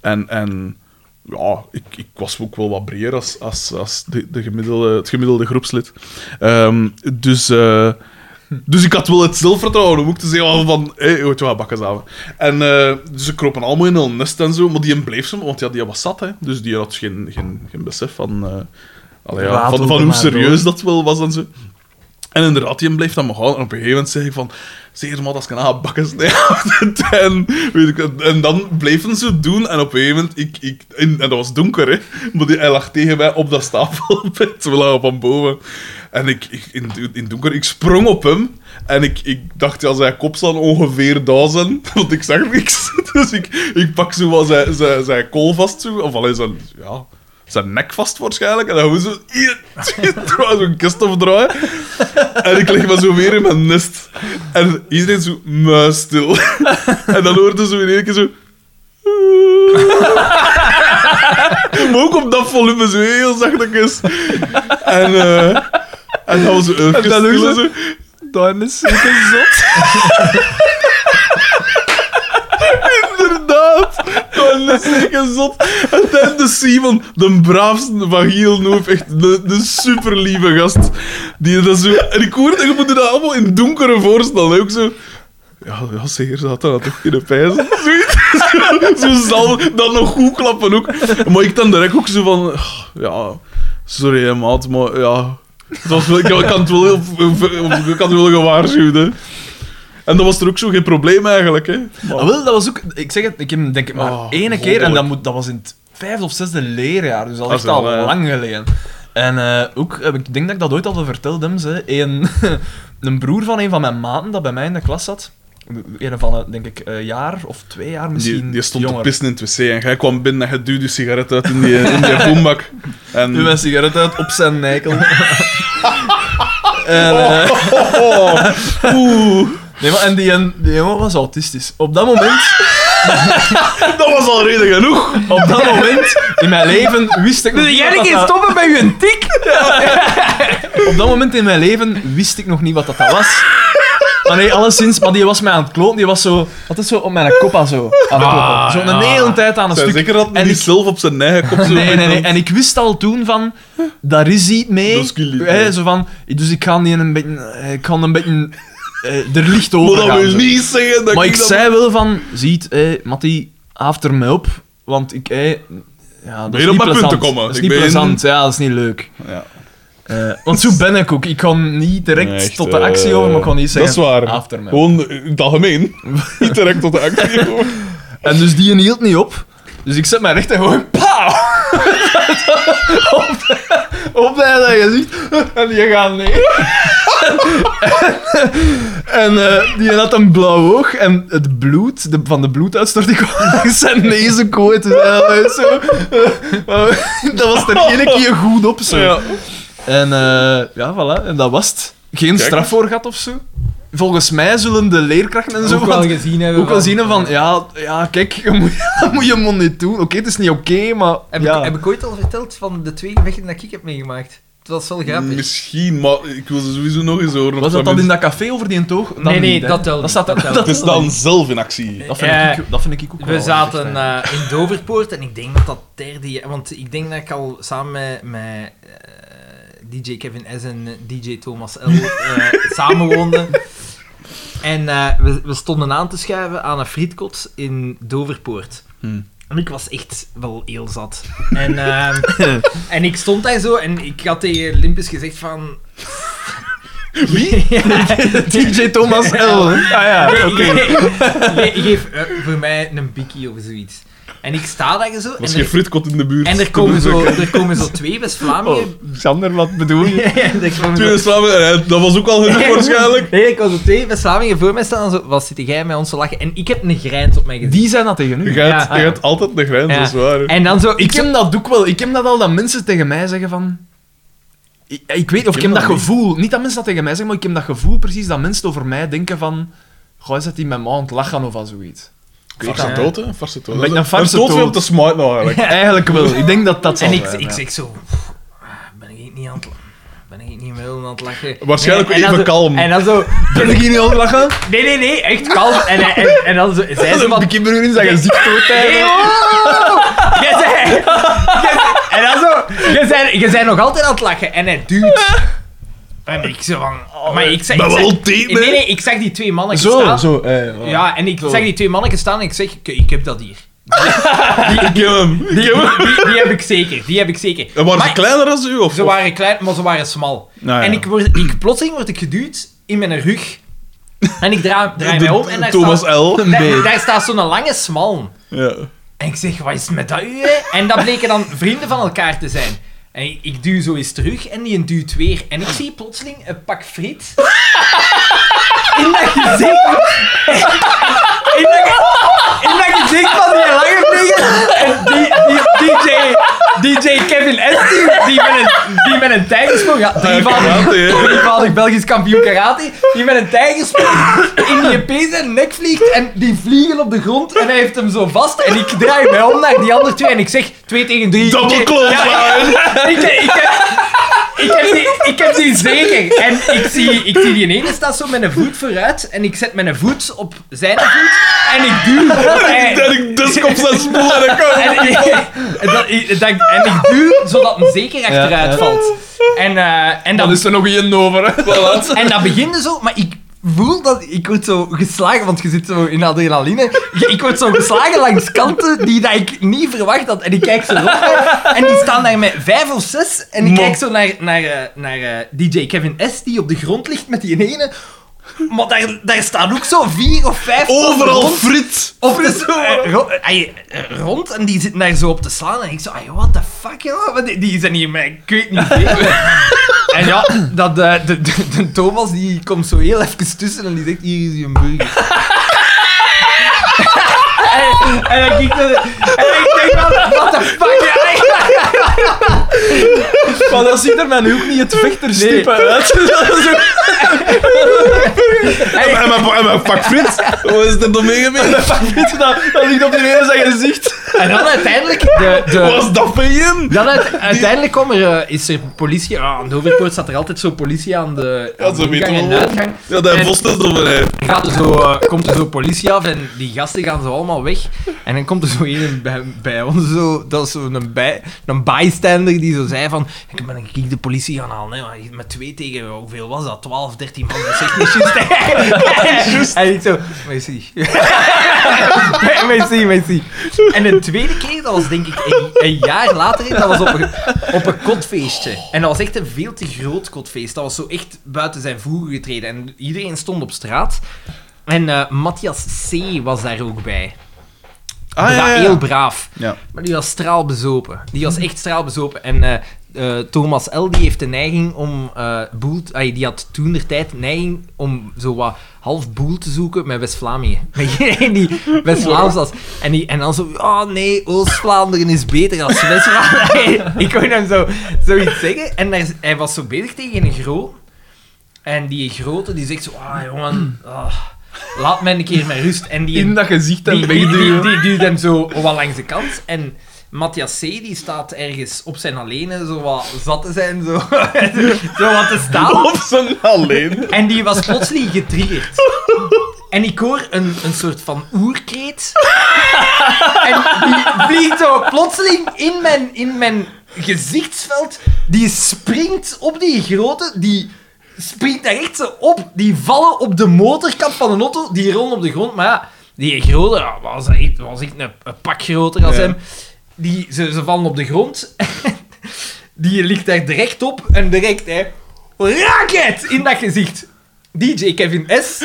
[SPEAKER 1] en, en ja, ik, ik was ook wel wat breder als, als, als de, de gemiddelde, het gemiddelde groepslid. Ehm, dus, eh, dus ik had wel het zelfvertrouwen om ook te zeggen "Oh, van, hé, hey, wat bakken samen. En eh, dus ze kropen allemaal in een nest en zo, maar die bleef zo, want ja, die was zat, hè. Dus die had geen, geen, geen besef van... eh, Allee, ja,
[SPEAKER 2] Ratelde
[SPEAKER 1] van, van hoe
[SPEAKER 2] maar
[SPEAKER 1] serieus dat wel was en zo. En inderdaad, die bleef dan maar gaan. En op een gegeven moment zei ik van... Zeer maar, als ik een bakken *laughs* en, weet ik, het. en dan bleven ze het doen. En op een gegeven moment... Ik, ik, en, en dat was donker, hè. Maar die, hij lag tegen mij op dat stapelbed. *laughs* We lagen van boven. En ik, ik in, in het donker, ik sprong op hem. En ik, ik dacht, ja, zijn kop zal ongeveer daar zijn. *laughs* Want ik zag niks. *laughs* Dus ik, ik pak zo wat zijn, zijn, zijn kool vast. Zo, of alleen zijn... Ja, zijn nek vast waarschijnlijk. En dan gewoon zo... hier, *laughs* terwijl Zo'n kist opdraaien. En ik lig maar zo weer in mijn nest. En iedereen zo muisstil. En dan hoorde zo in één keer zo... maar ook op dat volume zo heel zachtjes. En, eh en dan was ze even
[SPEAKER 2] dan ook
[SPEAKER 1] stil
[SPEAKER 2] zo-
[SPEAKER 1] en zo...
[SPEAKER 2] Dan is het zot.
[SPEAKER 1] Inderdaad. Gewoon een zieke zot. En dan de Simon, de braafste van heel Noef. Echt de, de superlieve gast. Die dat zo... En ik hoorde, je moet dat allemaal in donkere voorstellen. Ook zo... Ja, ja zeker, ze had dat toch kunnen pijzen. Zoiets. Zo, zo zal dan nog goed klappen ook. Maar ik dan direct ook zo van... "Oh, Ja, sorry hè, maat, maar ja... Het was wel, ik ik kan het wel, heel, ik kan het wel gewaarschuwd, hè. En dan was er ook zo geen probleem eigenlijk, hè. Maar-
[SPEAKER 2] Ah, wel, dat was ook... Ik zeg het, ik heb hem denk ik maar
[SPEAKER 1] Oh,
[SPEAKER 2] één keer, en dat, moet, dat was in het vijfde of zesde leerjaar, dus dat
[SPEAKER 1] Dat
[SPEAKER 2] is
[SPEAKER 1] is
[SPEAKER 2] echt al
[SPEAKER 1] wel, eh, ja.
[SPEAKER 2] lang geleden. En eh, ook, eh, ik denk dat ik dat ooit al verteld heb, ze, een, *laughs* een broer van een van mijn maten dat bij mij in de klas zat, een van, eh, denk ik, een jaar of twee jaar misschien
[SPEAKER 1] Die, die stond
[SPEAKER 2] jonger.
[SPEAKER 1] te pissen in het wc en jij kwam binnen en je duwde je sigaret uit in die, in
[SPEAKER 2] *laughs*
[SPEAKER 1] die boembak. En...
[SPEAKER 2] Nu mijn sigaret uit op zijn
[SPEAKER 1] *laughs*
[SPEAKER 2] neikel. en, eh,
[SPEAKER 1] Oh, oeh.
[SPEAKER 2] nee, maar, en die, die jongen was autistisch. Op dat moment...
[SPEAKER 1] Dat was al reden genoeg.
[SPEAKER 2] Op dat moment in mijn leven wist ik nog
[SPEAKER 4] Dus
[SPEAKER 2] niet
[SPEAKER 4] jij
[SPEAKER 2] wat *laughs*
[SPEAKER 4] geen
[SPEAKER 2] dat-
[SPEAKER 4] stoppen bij je tik?
[SPEAKER 2] Op dat moment in mijn leven wist ik nog niet wat dat, dat was. Maar nee, alleszins, maar die was mij aan het kloten. Die was zo, altijd zo op mijn kop aan zo aan het kloppen. Zo een
[SPEAKER 4] ja.
[SPEAKER 2] hele tijd aan een
[SPEAKER 1] Zijn
[SPEAKER 2] stuk.
[SPEAKER 1] zeker dat hij
[SPEAKER 2] en
[SPEAKER 1] niet
[SPEAKER 2] ik-
[SPEAKER 1] zelf op zijn eigen kop zo
[SPEAKER 2] Nee, nee, nee. En ik wist al toen van, daar is iets mee.
[SPEAKER 1] Dat is kilie,
[SPEAKER 2] Hè,
[SPEAKER 1] ja.
[SPEAKER 2] zo van, dus ik ga die een beetje, eh, ik ga een beetje eh, er licht
[SPEAKER 1] Maar
[SPEAKER 2] over
[SPEAKER 1] dat
[SPEAKER 2] gaan,
[SPEAKER 1] wil
[SPEAKER 2] zo.
[SPEAKER 1] niet zeggen dat
[SPEAKER 2] Maar ik
[SPEAKER 1] dat-
[SPEAKER 2] zei wel van, ziet, hé, Matti, after mij op, want ik, hé, ja, dat
[SPEAKER 1] Ben
[SPEAKER 2] is
[SPEAKER 1] je op
[SPEAKER 2] niet
[SPEAKER 1] mijn punt te
[SPEAKER 2] plezant.
[SPEAKER 1] komen?
[SPEAKER 2] Dat is
[SPEAKER 1] Ik
[SPEAKER 2] niet
[SPEAKER 1] ben-
[SPEAKER 2] plezant, ja, dat is niet leuk.
[SPEAKER 1] Ja.
[SPEAKER 2] Eh, want zo ben ik ook. Ik kan niet direct
[SPEAKER 1] Nee, echt,
[SPEAKER 2] tot de
[SPEAKER 1] eh,
[SPEAKER 2] actie over, maar ik kan niet
[SPEAKER 1] Dat
[SPEAKER 2] zeggen
[SPEAKER 1] is waar.
[SPEAKER 2] after mij.
[SPEAKER 1] Gewoon eh, in
[SPEAKER 2] *laughs*
[SPEAKER 1] het algemeen. Niet direct tot de actie. komen.
[SPEAKER 2] En dus die hield niet op. Dus ik zet mijn rechter gewoon pauw! *laughs* op, op dat gezicht. En die gaat neer. *laughs* en eh, die had een blauw oog. En het bloed, de, van de bloeduitstorting kwam *laughs* langs zijn nezenkoot. Dus hij was zo... *laughs* eh, eh, dat was er ene keer goed op, zo.
[SPEAKER 1] Ja.
[SPEAKER 2] En eh, ja, voilà. En dat was het. Geen
[SPEAKER 1] Kijk.
[SPEAKER 2] straf voor gehad of zo. Volgens mij zullen de leerkrachten en zo...
[SPEAKER 4] Ook
[SPEAKER 2] want-
[SPEAKER 4] wel gezien hebben.
[SPEAKER 2] ook wel zien van, ja, ja kijk, je moet, *laughs* je moet je mond niet doen. Oké, het is niet oké, maar...
[SPEAKER 4] Heb,
[SPEAKER 2] ja.
[SPEAKER 4] ik, heb ik ooit al verteld van de twee gevechten dat ik heb meegemaakt? Het was wel grappig.
[SPEAKER 1] Misschien, maar ik wil ze sowieso nog eens horen.
[SPEAKER 2] Was dat
[SPEAKER 1] of
[SPEAKER 2] dan in
[SPEAKER 1] mensen-
[SPEAKER 2] dat café over die toog? Dan
[SPEAKER 4] nee, nee,
[SPEAKER 2] niet, hè.
[SPEAKER 4] dat telt
[SPEAKER 2] Dat
[SPEAKER 4] niet,
[SPEAKER 2] staat
[SPEAKER 4] dat telt
[SPEAKER 2] dat
[SPEAKER 1] Het is
[SPEAKER 2] telt
[SPEAKER 1] dan
[SPEAKER 2] niet.
[SPEAKER 1] zelf in actie.
[SPEAKER 2] Dat vind,
[SPEAKER 4] Eh,
[SPEAKER 2] ik, dat vind ik ook wel
[SPEAKER 4] We zaten
[SPEAKER 2] Oh, echt, hè.
[SPEAKER 4] eh,
[SPEAKER 3] in Doverpoort en ik denk dat dat derde jaar... Want ik denk dat ik al samen met, met eh, DJ Kevin S. en eh, DJ Thomas L. eh, samen woonde. En eh, we, we stonden aan te schuiven aan een frietkot in Doverpoort.
[SPEAKER 1] Hmm.
[SPEAKER 3] En ik was echt wel heel zat. En, ehm,
[SPEAKER 2] *laughs*
[SPEAKER 3] en ik stond daar zo en ik had tegen Limpus gezegd van... *laughs* Wie?
[SPEAKER 2] DJ Thomas L. hè? Ah ja, *laughs* oké.
[SPEAKER 3] Nee, *laughs* geef eh, voor mij een bikkie of zoiets. En ik sta daar zo.
[SPEAKER 1] Was
[SPEAKER 3] en,
[SPEAKER 1] geen
[SPEAKER 3] er,
[SPEAKER 1] fritkot in de buurt.
[SPEAKER 3] en er,
[SPEAKER 1] *laughs*
[SPEAKER 3] komen zo, er komen zo twee
[SPEAKER 1] Oh.
[SPEAKER 3] West-Vlamingen.
[SPEAKER 2] Sander, wat bedoel je?
[SPEAKER 3] Er komen zo-
[SPEAKER 1] Tweede slaven, eh, dat was ook al
[SPEAKER 2] *laughs*
[SPEAKER 1] genoeg *laughs* waarschijnlijk.
[SPEAKER 3] Nee, er komen zo twee West-Vlamingen voor mij staan. en Zo, wat zit jij met ons te lachen? En ik heb een grijns op mijn gezicht.
[SPEAKER 2] Die zijn dat tegen
[SPEAKER 1] Je
[SPEAKER 2] u.
[SPEAKER 1] gaat,
[SPEAKER 3] Ja.
[SPEAKER 1] je gaat altijd de grens,
[SPEAKER 3] Ja.
[SPEAKER 1] dat is waar. hè.
[SPEAKER 3] En dan zo.
[SPEAKER 2] Ik
[SPEAKER 3] Ik
[SPEAKER 2] heb dat ook wel. Ik heb dat al dat mensen tegen mij zeggen van. Ik, ik weet, of ik heb dat gevoel. Niet dat mensen dat tegen mij zeggen, maar ik heb dat gevoel precies dat mensen over mij denken van. Goh, is dat die met me aan het lachen of al zoiets? Ik weet
[SPEAKER 1] Farse
[SPEAKER 2] dat.
[SPEAKER 1] dood, hè? Farse dood.
[SPEAKER 2] Een beetje een
[SPEAKER 1] Daar
[SPEAKER 2] farse
[SPEAKER 1] stoot veel
[SPEAKER 2] dood.
[SPEAKER 1] op te smijten nou,
[SPEAKER 2] *laughs*
[SPEAKER 1] eigenlijk.
[SPEAKER 2] Eigenlijk wel. Ik denk dat dat zo
[SPEAKER 3] en ik,
[SPEAKER 2] zijn,
[SPEAKER 3] ik
[SPEAKER 2] ja.
[SPEAKER 3] zeg zo. Ben ik niet aan het lachen? Ben ik niet meer aan het lachen?
[SPEAKER 1] Waarschijnlijk
[SPEAKER 3] Nee, en dan
[SPEAKER 1] even
[SPEAKER 3] zo-
[SPEAKER 1] kalm.
[SPEAKER 3] En dan zo.
[SPEAKER 2] Ben ik hier niet aan het lachen?
[SPEAKER 3] Nee, nee, nee, echt kalm. En, en, en, en
[SPEAKER 1] *laughs*
[SPEAKER 3] dan zo. Zij
[SPEAKER 2] Dat
[SPEAKER 3] zo
[SPEAKER 2] is een
[SPEAKER 3] van.
[SPEAKER 2] bekimmer in zijn gezicht hoort
[SPEAKER 3] Hey,
[SPEAKER 2] hij.
[SPEAKER 3] wow! Jij zei- jij- En dan zo, je zei, je zei nog altijd aan het lachen en hij duwt. En ik zo van... maar ik zeg...
[SPEAKER 1] ben
[SPEAKER 3] ik zeg-
[SPEAKER 1] Oh, wel diep, hè?
[SPEAKER 3] Nee, nee, ik zag die twee mannen
[SPEAKER 2] Zo,
[SPEAKER 3] staan.
[SPEAKER 2] zo. eh, ja.
[SPEAKER 3] Ja, en ik
[SPEAKER 2] Zo.
[SPEAKER 3] zag die twee mannen staan en ik zeg, "Ik- ik heb dat hier.
[SPEAKER 1] Ik heb hem. Ik heb hem.
[SPEAKER 3] Die, die heb ik zeker, die heb ik zeker.
[SPEAKER 1] En waren ze
[SPEAKER 3] Maar-
[SPEAKER 1] kleiner als u? Of,
[SPEAKER 3] Ze waren klein, maar ze waren smal.
[SPEAKER 1] Nou ja.
[SPEAKER 3] En ik word, ik, plotseling word ik geduwd in mijn rug. En ik draai, draai
[SPEAKER 1] De-
[SPEAKER 3] mij om en daar
[SPEAKER 1] Thomas
[SPEAKER 3] staat,
[SPEAKER 1] L.
[SPEAKER 3] daar, daar staat zo'n lange smal.
[SPEAKER 1] Ja.
[SPEAKER 3] En ik zeg, wat is het met dat u, hè? En dat bleken dan vrienden van elkaar te zijn. En ik, ik duw zo eens terug en die duwt weer. En ik zie plotseling een pak friet. In dat gezicht. In dat, ge- in dat gezicht van die lange vlieger. En die, die, DJ, DJ Kevin S. Die, die met een, die met een tijgersprong... Ja, drievoudig,
[SPEAKER 1] Karate, hè.
[SPEAKER 3] drievoudig Belgisch kampioen karate. Die met een tijgersprong in die pees en nek vliegt. En die vliegen op de grond. En hij heeft hem zo vast. En ik draai mij om naar die andere twee. En ik zeg 2 tegen 3.
[SPEAKER 1] Double close line.
[SPEAKER 3] Ik, ik, heb, ik, heb die, ik heb die zeker. En ik zie, ik zie die ene staat zo met een voet vooruit. En ik zet mijn voet op zijn voet. En ik duw zodat hij...
[SPEAKER 1] Dat ik dus op
[SPEAKER 3] *laughs*
[SPEAKER 1] zijn spoel en ik kan.
[SPEAKER 3] En ik, dat, ik- dat, ik- en ik duw zodat hij zeker achteruit
[SPEAKER 2] ja.
[SPEAKER 3] valt. En, eh, en,
[SPEAKER 2] Dan
[SPEAKER 3] dat,
[SPEAKER 2] is er nog één over. hè. Voilà.
[SPEAKER 3] en dat begint zo, maar ik voel dat ik word zo geslagen, want je zit zo in adrenaline. Je- Ik word zo geslagen langs kanten die dat ik niet verwacht had. En ik kijk zo rond mij, en die staan daar met vijf of zes. En ik
[SPEAKER 1] Mo.
[SPEAKER 3] kijk zo naar, naar, eh, naar eh, DJ Kevin S. die op de grond ligt met die ene. Maar daar, daar staan ook zo vier of vijf op de
[SPEAKER 1] Overal
[SPEAKER 3] grond.
[SPEAKER 1] frit.
[SPEAKER 3] Of dus, eh, ro- ai, eh, rond en die zitten daar zo op te slaan. En ik zo, ai, what the fuck, joh? Wat- Die, die zijn hier, met- ik weet niet veel. en ja, dat, eh, de, de, de Thomas die komt zo heel even tussen en die zegt, hier is je burger. *laughs* en, en dan kijk ik zo- en ik denk, van, what the fuck, ai.
[SPEAKER 2] Maar dat ziet er mij nu ook niet het vechterstype uit. *laughs* Dat is ook-
[SPEAKER 1] En mijn- en mijn- en mijn pak frit. Wat is er dan mee gebeurd?
[SPEAKER 2] Weet je dat, dat ligt op die ene zijn gezicht.
[SPEAKER 3] En dan uiteindelijk, de,
[SPEAKER 1] *laughs*
[SPEAKER 3] de,
[SPEAKER 1] Wat is dat van je?
[SPEAKER 3] dan uit- uiteindelijk kom er, eh, is er politie. Ah, aan de overpoort staat er altijd zo politie aan de,
[SPEAKER 1] Ja,
[SPEAKER 3] aan de
[SPEAKER 1] ze weten
[SPEAKER 3] ingang en
[SPEAKER 1] wel.
[SPEAKER 3] uitgang.
[SPEAKER 1] Ja, dat vost is over hè. Ah,
[SPEAKER 3] gaat er zo, eh, komt er zo politie af en die gasten gaan zo allemaal weg. En dan komt er zo een bij, bij ons, zo, dat is zo'n bij, een bystander die zo zei van... Ik ben ik de politie gaan halen, hè, maar met twee tegen, hoeveel was dat? 12, 13 man, dat zegt niet juist. *laughs* En ik zo, merci. merci, merci. En de tweede keer, dat was denk ik een, een jaar later, dat was op een, op een kotfeestje. En dat was echt een veel te groot kotfeest. Dat was zo echt buiten zijn voegen getreden. En iedereen stond op straat. En eh, Matthias C. was daar ook bij.
[SPEAKER 1] Ah,
[SPEAKER 3] Bra-
[SPEAKER 1] ja, ja.
[SPEAKER 3] Heel braaf.
[SPEAKER 1] Ja.
[SPEAKER 3] Maar die was straalbezopen. Die was echt straalbezopen. En eh, eh, Thomas L. die heeft de neiging om eh, boel... te- ai, die had toen de tijd neiging om zo wat half boel te zoeken met West-Vlamingen. *laughs* Met iedereen die West-Vlaams was. En, die, en dan zo... Oh nee, Oost-Vlaanderen is beter dan West-Vlaanderen. *laughs* Ik hoorde hem zo, zoiets zeggen. En daar- hij was zo bezig tegen een groot. En die grote die zegt zo... Ah jongen... ah, laat mij een keer met rust. En die...
[SPEAKER 2] In dat gezicht en
[SPEAKER 3] Die, die, die,
[SPEAKER 2] wegduwen.
[SPEAKER 3] die duwt hem zo wat langs de kant. En Matthias C. die staat ergens op zijn alleen, zo wat zat te zijn, zo, *laughs* zo wat te staan.
[SPEAKER 1] Op zijn alleen.
[SPEAKER 3] En die was plotseling getriggerd. En ik hoor een, een soort van oerkreet. En die vliegt zo plotseling in mijn, in mijn gezichtsveld. Die springt op die grote, die springt daar echt zo op. Die vallen op de motorkap van een auto, die rollen op de grond. Maar ja, die grote ja, was echt, was echt een, een pak groter als
[SPEAKER 1] Ja.
[SPEAKER 3] hem. Die, ze, ze vallen op de grond. *laughs* Die ligt daar direct op en direct, hè. Raket in dat gezicht. DJ Kevin S.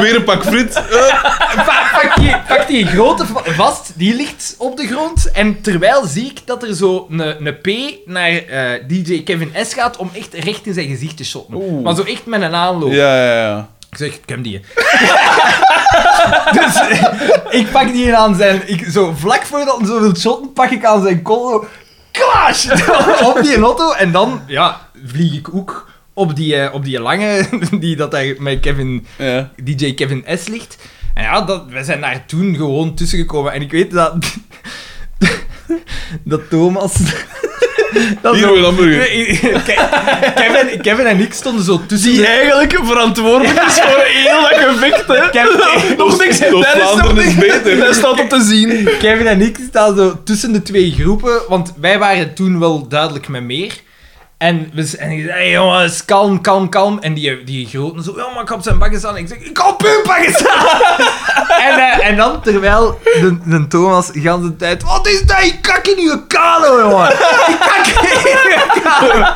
[SPEAKER 1] Weer een pak friet. Eh,
[SPEAKER 3] Pa- Pak die, pak die grote va- vast, die ligt op de grond. En terwijl zie ik dat er zo een een P naar eh, DJ Kevin S gaat om echt recht in zijn gezicht te shotten.
[SPEAKER 1] Oeh.
[SPEAKER 3] Maar zo echt met een
[SPEAKER 1] *laughs*
[SPEAKER 3] aanloop.
[SPEAKER 1] ja, ja, ja.
[SPEAKER 3] Ik zeg, ik heb die. *laughs* dus eh, ik pak die aan zijn... Ik, zo vlak voordat hij zo wil shotten, pak ik aan zijn kol. zo, Klash! *laughs* op die lotto. En dan ja, vlieg ik ook op die, eh, op die lange, *laughs* die dat daar met Kevin,
[SPEAKER 1] ja.
[SPEAKER 3] DJ Kevin S ligt. En ja, dat, we zijn daar toen gewoon tussen gekomen. En ik weet dat... *laughs* dat Thomas... *laughs* dat
[SPEAKER 1] Hier
[SPEAKER 3] zo-
[SPEAKER 1] weer een hamburger.
[SPEAKER 3] Ke- Kevin, Kevin en ik stonden zo tussen... de-
[SPEAKER 2] eigenlijk verantwoordelijk is voor heel dat gevecht, hè.
[SPEAKER 3] Kevin-
[SPEAKER 2] Nog niks.
[SPEAKER 1] Door
[SPEAKER 2] Dat is nog
[SPEAKER 1] Vlaanderen is
[SPEAKER 2] niks.
[SPEAKER 1] beter.
[SPEAKER 2] Dat staat op te zien.
[SPEAKER 3] Kevin en ik staan zo tussen de twee groepen, want wij waren toen wel duidelijk met meer. En we z- en ik zei, hey jongens, kalm, kalm, kalm. En die, die groten zo, ja, maar ik ga op zijn bakken staan. En ik zeg, ik ga op hun bakken staan. *laughs* en, eh, en dan, terwijl de, de Thomas de hele tijd, wat is dat, ik kak in uw kalo, jongen. *laughs* Ik kak in uw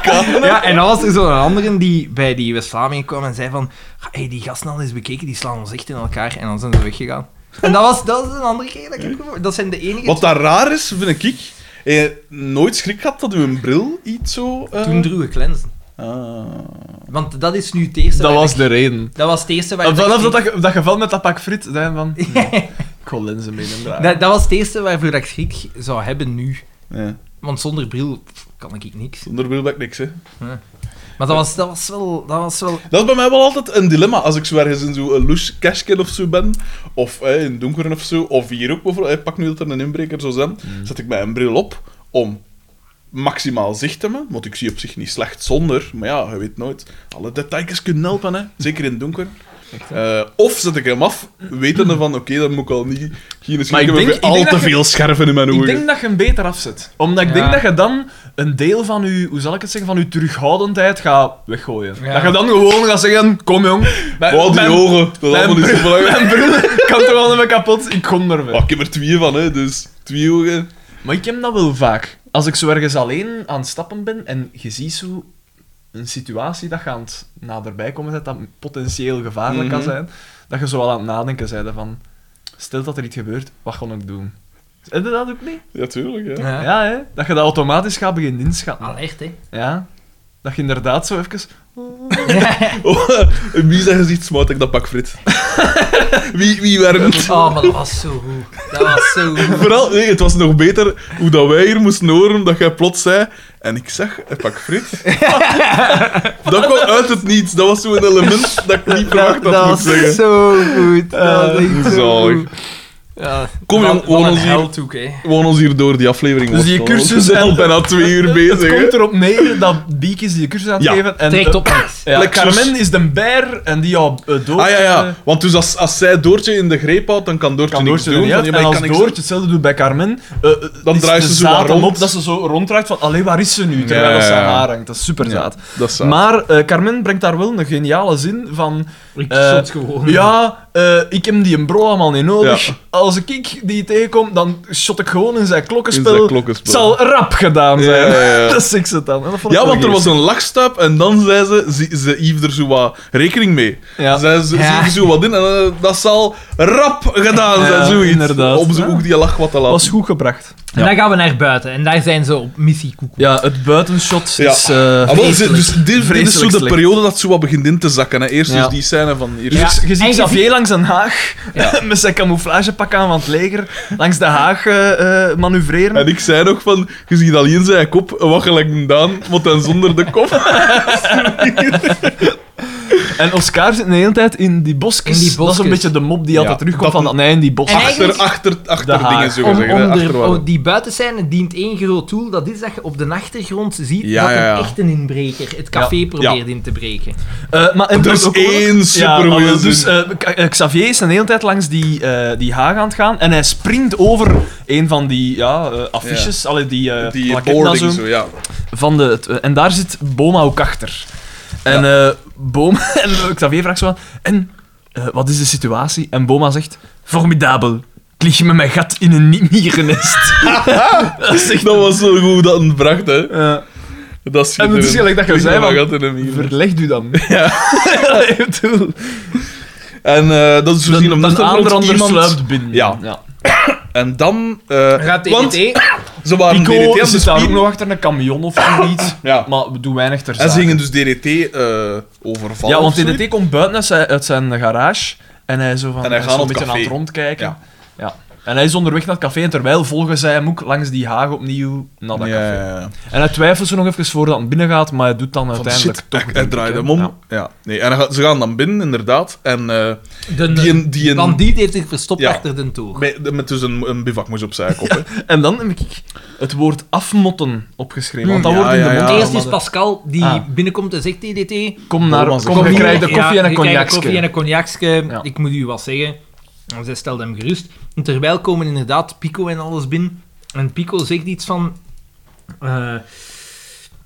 [SPEAKER 3] kalo. Ja, en dan was er zo'n andere die bij die West-Vlamingen kwam en zei van, hey, die gasten al eens bekeken, die slaan ons echt in elkaar. En dan zijn ze weggegaan. En dat was, dat was een andere keer dat ik heb gehoord. Dat zijn de enige...
[SPEAKER 1] Wat daar raar is, vind ik, je nooit schrik had dat uw bril iets zo... eh,
[SPEAKER 3] Toen droeg ik lenzen.
[SPEAKER 1] Ah.
[SPEAKER 3] Want dat is nu het eerste
[SPEAKER 2] Dat
[SPEAKER 3] waar
[SPEAKER 2] was
[SPEAKER 3] ik-
[SPEAKER 2] de reden.
[SPEAKER 3] dat was het eerste waar
[SPEAKER 2] Vanaf
[SPEAKER 3] ik...
[SPEAKER 2] dat, ge- dat geval met dat pak friet, zijn van... "Hm, Ik wil lenzen meenemen.
[SPEAKER 3] dat, dat was het eerste waarvoor dat ik schrik zou hebben nu.
[SPEAKER 1] Ja.
[SPEAKER 3] Want zonder bril pff, kan ik niks.
[SPEAKER 1] Zonder bril ben ik niks, hè.
[SPEAKER 3] Maar dat was, dat was wel... Dat was wel...
[SPEAKER 1] Dat is bij mij wel altijd een dilemma. Als ik zo ergens in zo'n lush cashkin of zo ben, of eh, in donkeren of zo, of hier ook bijvoorbeeld, eh, pak nu dat er een inbreker zou zijn,
[SPEAKER 2] Mm.
[SPEAKER 1] zet ik mijn bril op om maximaal zicht te hebben, want ik zie op zich niet slecht zonder, maar ja, je weet nooit. Alle details kunnen helpen, hè. zeker in het donker. Eh, of zet ik hem af, wetende van, oké, dan moet ik al niet... Geen schrik
[SPEAKER 2] ik
[SPEAKER 1] hebben
[SPEAKER 2] denk-
[SPEAKER 1] voor
[SPEAKER 2] ik
[SPEAKER 1] al
[SPEAKER 2] denk
[SPEAKER 1] te
[SPEAKER 2] dat je-
[SPEAKER 1] veel scherven in mijn
[SPEAKER 2] Ik
[SPEAKER 1] ogen.
[SPEAKER 2] denk dat je hem beter afzet. Omdat ik
[SPEAKER 3] Ja.
[SPEAKER 2] denk dat je dan een deel van je, hoe zal ik het zeggen, van je terughoudendheid gaat weggooien.
[SPEAKER 3] Ja.
[SPEAKER 2] Dat je dan gewoon gaat zeggen, kom jong. Mijn,
[SPEAKER 1] Wow, die
[SPEAKER 2] mijn-
[SPEAKER 1] ogen, dat is allemaal niet zo
[SPEAKER 2] bril-
[SPEAKER 1] belangrijk.
[SPEAKER 2] mijn bril
[SPEAKER 1] *laughs*
[SPEAKER 2] kan toch wel even kapot, ik kom er
[SPEAKER 1] Maar
[SPEAKER 2] weer.
[SPEAKER 1] ik heb er twee van, hè, dus twee ogen.
[SPEAKER 2] Maar ik heb dat wel vaak. Als ik zo ergens alleen aan het stappen ben en je ziet zo een situatie dat je aan het naderbij komen bent, dat potentieel gevaarlijk kan
[SPEAKER 1] Mhm.
[SPEAKER 2] zijn, dat je zo al aan het nadenken bent van, stel dat er iets gebeurt, wat ga ik doen? Heb je dat ook niet?
[SPEAKER 1] Ja, tuurlijk, ja.
[SPEAKER 3] Ja.
[SPEAKER 2] Ja, hè? Dat je dat automatisch gaat beginnen inschatten.
[SPEAKER 3] Alert, hè.
[SPEAKER 2] Ja. Dat je inderdaad zo even...
[SPEAKER 1] Oh, *laughs* wie zijn gezicht smout ik dat pak frit? *laughs* wie, wie werkt?
[SPEAKER 3] Oh, maar dat was zo goed. Dat was zo
[SPEAKER 2] *laughs*
[SPEAKER 3] goed.
[SPEAKER 1] Vooral, nee, het was nog beter hoe dat wij hier moesten horen dat jij plots zei. En ik zag een pak frit. *laughs* dat kwam uit het niets. Dat was zo'n element dat ik niet verwacht had, moet ik zeggen.
[SPEAKER 3] zo goed. Dat was echt zo
[SPEAKER 1] Zalig.
[SPEAKER 3] goed. Ja,
[SPEAKER 1] Kom,
[SPEAKER 3] wat-
[SPEAKER 1] jong,
[SPEAKER 3] wat
[SPEAKER 1] gewoon
[SPEAKER 3] een
[SPEAKER 1] ons hier-
[SPEAKER 3] held ook, hè.
[SPEAKER 1] Gewoon ons hier door die aflevering.
[SPEAKER 2] Dus die
[SPEAKER 1] worstelen, want
[SPEAKER 2] cursus
[SPEAKER 1] we zijn
[SPEAKER 2] en-
[SPEAKER 1] *laughs* al bijna twee uur bezig.
[SPEAKER 2] Het
[SPEAKER 1] hè.
[SPEAKER 2] komt erop neer dat Biek is die je cursus aan het
[SPEAKER 1] Ja.
[SPEAKER 2] geven. En,
[SPEAKER 3] Trekt
[SPEAKER 2] eh,
[SPEAKER 3] op niks.
[SPEAKER 2] ja,
[SPEAKER 1] Lexus.
[SPEAKER 2] Carmen is de bijer en die jou eh, Doortje...
[SPEAKER 1] Ah ja,
[SPEAKER 2] eh,
[SPEAKER 1] ja. Want dus als, als zij Doortje in de greep houdt, dan kan Doortje,
[SPEAKER 2] Kan
[SPEAKER 1] niks
[SPEAKER 2] Doortje er
[SPEAKER 1] doen.
[SPEAKER 2] niet uit.
[SPEAKER 1] van, ja,
[SPEAKER 2] En
[SPEAKER 1] maar ik
[SPEAKER 2] als
[SPEAKER 1] kan niks
[SPEAKER 2] Doortje hetzelfde doet bij Carmen, eh, eh, is
[SPEAKER 1] draait
[SPEAKER 2] de
[SPEAKER 1] ze zo wat
[SPEAKER 2] zaad dan
[SPEAKER 1] rond.
[SPEAKER 2] op dat ze zo ronddraait van allee, waar is ze nu? Terwijl
[SPEAKER 1] Ja,
[SPEAKER 2] dat ze
[SPEAKER 1] ja,
[SPEAKER 2] aan
[SPEAKER 1] ja.
[SPEAKER 2] haar hangt. Dat is super
[SPEAKER 1] doen.
[SPEAKER 2] zaad.
[SPEAKER 1] Ja, dat is zaad.
[SPEAKER 2] Maar eh, Carmen brengt daar wel een geniale zin van...
[SPEAKER 3] Ik
[SPEAKER 2] eh,
[SPEAKER 3] stond gewoon...
[SPEAKER 2] Ja, eh, ik heb die een bro allemaal niet nodig.
[SPEAKER 1] Ja.
[SPEAKER 2] Als ik, ik die tegenkom, dan shot ik gewoon in zijn klokkenspel.
[SPEAKER 1] In zijn klokkenspel.
[SPEAKER 2] Het zal rap gedaan zijn.
[SPEAKER 1] Ja, ja,
[SPEAKER 2] *laughs*
[SPEAKER 1] ja.
[SPEAKER 2] dat is ik ze dan. En dat vond ik
[SPEAKER 1] Ja,
[SPEAKER 2] wel
[SPEAKER 1] want er was
[SPEAKER 2] geestig.
[SPEAKER 1] een lachstuip en dan zei ze, ze, ze hief er zo wat rekening mee.
[SPEAKER 2] Ja.
[SPEAKER 1] Zij ze, ze
[SPEAKER 3] Ja.
[SPEAKER 1] hief zo wat in en eh, dat zal rap gedaan zijn,
[SPEAKER 2] Ja,
[SPEAKER 1] zoiets.
[SPEAKER 2] inderdaad.
[SPEAKER 1] Om zo
[SPEAKER 2] Ja.
[SPEAKER 1] ook die lach wat te laten.
[SPEAKER 2] was goed gebracht.
[SPEAKER 3] En dan gaan we naar buiten. En daar zijn ze op missie koekoe.
[SPEAKER 2] Ja, het buitenshot
[SPEAKER 1] Ja.
[SPEAKER 2] is... eh,
[SPEAKER 1] Ah, wel, ze- dus dit- dit,
[SPEAKER 2] Vreselijk
[SPEAKER 1] is zo de
[SPEAKER 2] slecht.
[SPEAKER 1] periode dat zo wat begint in te zakken. Hè. Eerst
[SPEAKER 2] Ja.
[SPEAKER 1] dus die scène van hier.
[SPEAKER 2] Dus je- je ziet
[SPEAKER 3] en je
[SPEAKER 2] Xavier langs een haag,
[SPEAKER 1] Ja.
[SPEAKER 2] *laughs* met zijn camouflagepak aan van het leger, langs de haag eh, eh, manoeuvreren.
[SPEAKER 1] En ik zei nog van, je ziet alleen zijn kop, wat gelijk een Daan, want dan zonder de kop.
[SPEAKER 2] En Oscar zit de hele tijd in die bosjes.
[SPEAKER 3] In die
[SPEAKER 2] Dat is
[SPEAKER 3] bosjes.
[SPEAKER 2] een beetje de mop die
[SPEAKER 1] Ja,
[SPEAKER 2] altijd terugkomt
[SPEAKER 1] dat-
[SPEAKER 2] van nee, in die bosjes.
[SPEAKER 3] En eigenlijk-
[SPEAKER 1] Achter, achter, achter
[SPEAKER 2] De haak.
[SPEAKER 1] dingen, zullen we
[SPEAKER 3] Om,
[SPEAKER 1] zeggen. hè,
[SPEAKER 3] om
[SPEAKER 1] achter
[SPEAKER 3] er-
[SPEAKER 1] waar.
[SPEAKER 3] oh, die buitenscène dient één groot doel, dat is dat je op de achtergrond ziet
[SPEAKER 1] Ja,
[SPEAKER 3] dat
[SPEAKER 1] ja, ja.
[SPEAKER 3] een echte inbreker het café probeert in te breken.
[SPEAKER 2] Eh, maar, en
[SPEAKER 1] Er
[SPEAKER 2] dat
[SPEAKER 1] is
[SPEAKER 2] ook-
[SPEAKER 1] één supergoeie
[SPEAKER 2] maar Dus
[SPEAKER 1] zin.
[SPEAKER 2] eh, K- eh, Xavier is een hele tijd langs die, eh, die haag aan het gaan en hij springt over een van die ja, eh, affiches, allee, die, eh
[SPEAKER 1] die
[SPEAKER 2] plakketten
[SPEAKER 1] boarding,
[SPEAKER 2] en zo.
[SPEAKER 1] zo, ja.
[SPEAKER 2] van de, het- en daar zit Boma ook achter. En eh, Boma, *laughs* en Xavier vraagt zo aan, en eh, wat is de situatie? En Boma zegt, formidabel. Ik lig met mijn gat in een niet- mierennest. *laughs*
[SPEAKER 1] *laughs*
[SPEAKER 2] dat is echt...
[SPEAKER 1] Dat was zo goed dat het bracht, hè.
[SPEAKER 2] eh,
[SPEAKER 1] Dat is
[SPEAKER 2] En het is
[SPEAKER 1] schitterend.
[SPEAKER 2] gelijk dat je
[SPEAKER 1] Ligt
[SPEAKER 2] zei,
[SPEAKER 1] nog
[SPEAKER 2] van-
[SPEAKER 1] een gat in hem hier.
[SPEAKER 2] verlegt u *laughs* dan.
[SPEAKER 1] *laughs*
[SPEAKER 2] Ik bedoel,
[SPEAKER 1] En eh, dat is
[SPEAKER 2] Een
[SPEAKER 1] voorzien om
[SPEAKER 2] een
[SPEAKER 1] dat
[SPEAKER 2] ander
[SPEAKER 1] er
[SPEAKER 2] ander
[SPEAKER 1] iemand...
[SPEAKER 2] sluipt binnen.
[SPEAKER 1] Ja. En dan... eh,
[SPEAKER 3] Gaat E
[SPEAKER 1] want
[SPEAKER 3] DDT?
[SPEAKER 1] ze waren DDT aan
[SPEAKER 2] Pico
[SPEAKER 1] het
[SPEAKER 2] zit daar ook
[SPEAKER 1] spelen.
[SPEAKER 2] nog achter een camion of zo, iets.
[SPEAKER 1] dus Ja.
[SPEAKER 2] Maar we doen weinig ter
[SPEAKER 1] En
[SPEAKER 2] zake.
[SPEAKER 1] ze gingen dus DDT eh overvallen.
[SPEAKER 2] Ja, want
[SPEAKER 1] of zoiets.
[SPEAKER 2] DDT komt buiten uit zijn, uit zijn garage en hij zo van
[SPEAKER 1] En hij
[SPEAKER 2] hij is
[SPEAKER 1] gaat
[SPEAKER 2] zo
[SPEAKER 1] op
[SPEAKER 2] een beetje
[SPEAKER 1] café.
[SPEAKER 2] aan het rondkijken.
[SPEAKER 1] Ja.
[SPEAKER 2] Ja. En hij is onderweg naar het café en terwijl volgen zij hem ook langs die haag opnieuw naar dat
[SPEAKER 1] Ja,
[SPEAKER 2] café.
[SPEAKER 1] ja, ja.
[SPEAKER 2] En hij twijfelt zo nog even voordat hij binnen gaat, maar hij doet dan
[SPEAKER 1] Van
[SPEAKER 2] uiteindelijk
[SPEAKER 1] shit,
[SPEAKER 2] toch.
[SPEAKER 1] hij, hij
[SPEAKER 2] denk ik,
[SPEAKER 1] draaide
[SPEAKER 2] hè.
[SPEAKER 1] hem om.
[SPEAKER 2] Ja.
[SPEAKER 1] Ja. Nee, en hij gaat- ze gaan dan binnen, inderdaad. En eh
[SPEAKER 3] De
[SPEAKER 1] die een... Die een
[SPEAKER 3] bandiet heeft zich verstopt
[SPEAKER 1] Ja.
[SPEAKER 3] achter de toog.
[SPEAKER 1] met, met dus een, een bivakmoes
[SPEAKER 2] *laughs*
[SPEAKER 1] op zijn kop, hè.
[SPEAKER 2] En dan heb ik het woord afmotten opgeschreven, want dat
[SPEAKER 1] Ja,
[SPEAKER 2] wordt in
[SPEAKER 1] ja,
[SPEAKER 2] de mond.
[SPEAKER 1] ja.
[SPEAKER 3] Eerst is
[SPEAKER 2] maar de-
[SPEAKER 3] Pascal die
[SPEAKER 2] Ah.
[SPEAKER 3] binnenkomt en zegt DDT.
[SPEAKER 2] Kom naar,
[SPEAKER 1] Kom,
[SPEAKER 2] kom,
[SPEAKER 1] kom
[SPEAKER 2] je
[SPEAKER 1] hier.
[SPEAKER 2] krijgt een
[SPEAKER 3] Ja,
[SPEAKER 2] koffie en een
[SPEAKER 3] je krijgt
[SPEAKER 2] cognacje.
[SPEAKER 3] koffie en een cognacje.
[SPEAKER 2] Ja.
[SPEAKER 3] Ik moet u wat zeggen. En Zij stelde hem gerust. En terwijl komen inderdaad Pico en alles binnen. En Pico zegt iets van... eh,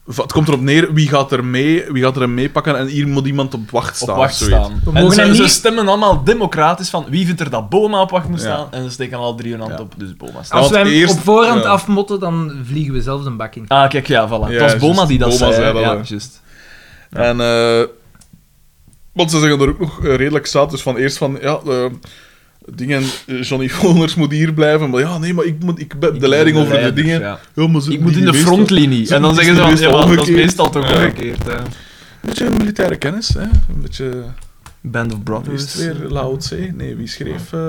[SPEAKER 1] Va- Het komt erop neer, wie gaat er mee, wie gaat er hem meepakken en hier moet iemand op wacht staan.
[SPEAKER 2] op wacht
[SPEAKER 1] of zoiets.
[SPEAKER 2] staan.
[SPEAKER 3] We
[SPEAKER 2] En
[SPEAKER 3] mogen
[SPEAKER 2] ze,
[SPEAKER 3] hem
[SPEAKER 2] ze
[SPEAKER 3] niet-
[SPEAKER 2] stemmen allemaal democratisch van wie vindt er dat Boma op wacht moet
[SPEAKER 1] Ja.
[SPEAKER 2] staan. En ze steken al drie hun hand
[SPEAKER 1] Ja.
[SPEAKER 2] op, dus Boma staat.
[SPEAKER 1] Ja,
[SPEAKER 3] Als
[SPEAKER 1] want
[SPEAKER 3] we hem
[SPEAKER 1] eerst-
[SPEAKER 3] op voorhand
[SPEAKER 1] ja.
[SPEAKER 3] afmotten, dan vliegen we zelf een bak in.
[SPEAKER 2] Ah, kijk, ja, voilà.
[SPEAKER 1] Ja,
[SPEAKER 2] het was Boma
[SPEAKER 1] juist.
[SPEAKER 2] die dat zei.
[SPEAKER 1] Boma zei dat,
[SPEAKER 2] ja,
[SPEAKER 1] hè.
[SPEAKER 2] juist.
[SPEAKER 1] En, eh, want ze zeggen er ook nog eh, redelijk zat, dus van eerst van, ja, eh, dingen, eh, Johnny *laughs* Voners moet hier blijven, maar ja, nee, maar ik, moet, ik ben de leiding
[SPEAKER 2] ben
[SPEAKER 1] over de
[SPEAKER 2] leider,
[SPEAKER 1] dingen.
[SPEAKER 2] ja.
[SPEAKER 1] Ja, maar ze-
[SPEAKER 2] Ik moet
[SPEAKER 1] die
[SPEAKER 2] in de
[SPEAKER 1] meestal-
[SPEAKER 2] frontlinie.
[SPEAKER 1] Ze
[SPEAKER 2] En dan
[SPEAKER 1] die
[SPEAKER 2] zeggen ze van,
[SPEAKER 1] meestal
[SPEAKER 2] ja, maar dat is
[SPEAKER 1] omgekeerd.
[SPEAKER 2] meestal toch
[SPEAKER 1] Ja.
[SPEAKER 2] omgekeerd. hè.
[SPEAKER 1] Een beetje militaire kennis, hè. Een beetje...
[SPEAKER 2] Band of
[SPEAKER 1] Wie Is het
[SPEAKER 2] Brothers.
[SPEAKER 1] weer Lao Tse? Nee, wie schreef eh,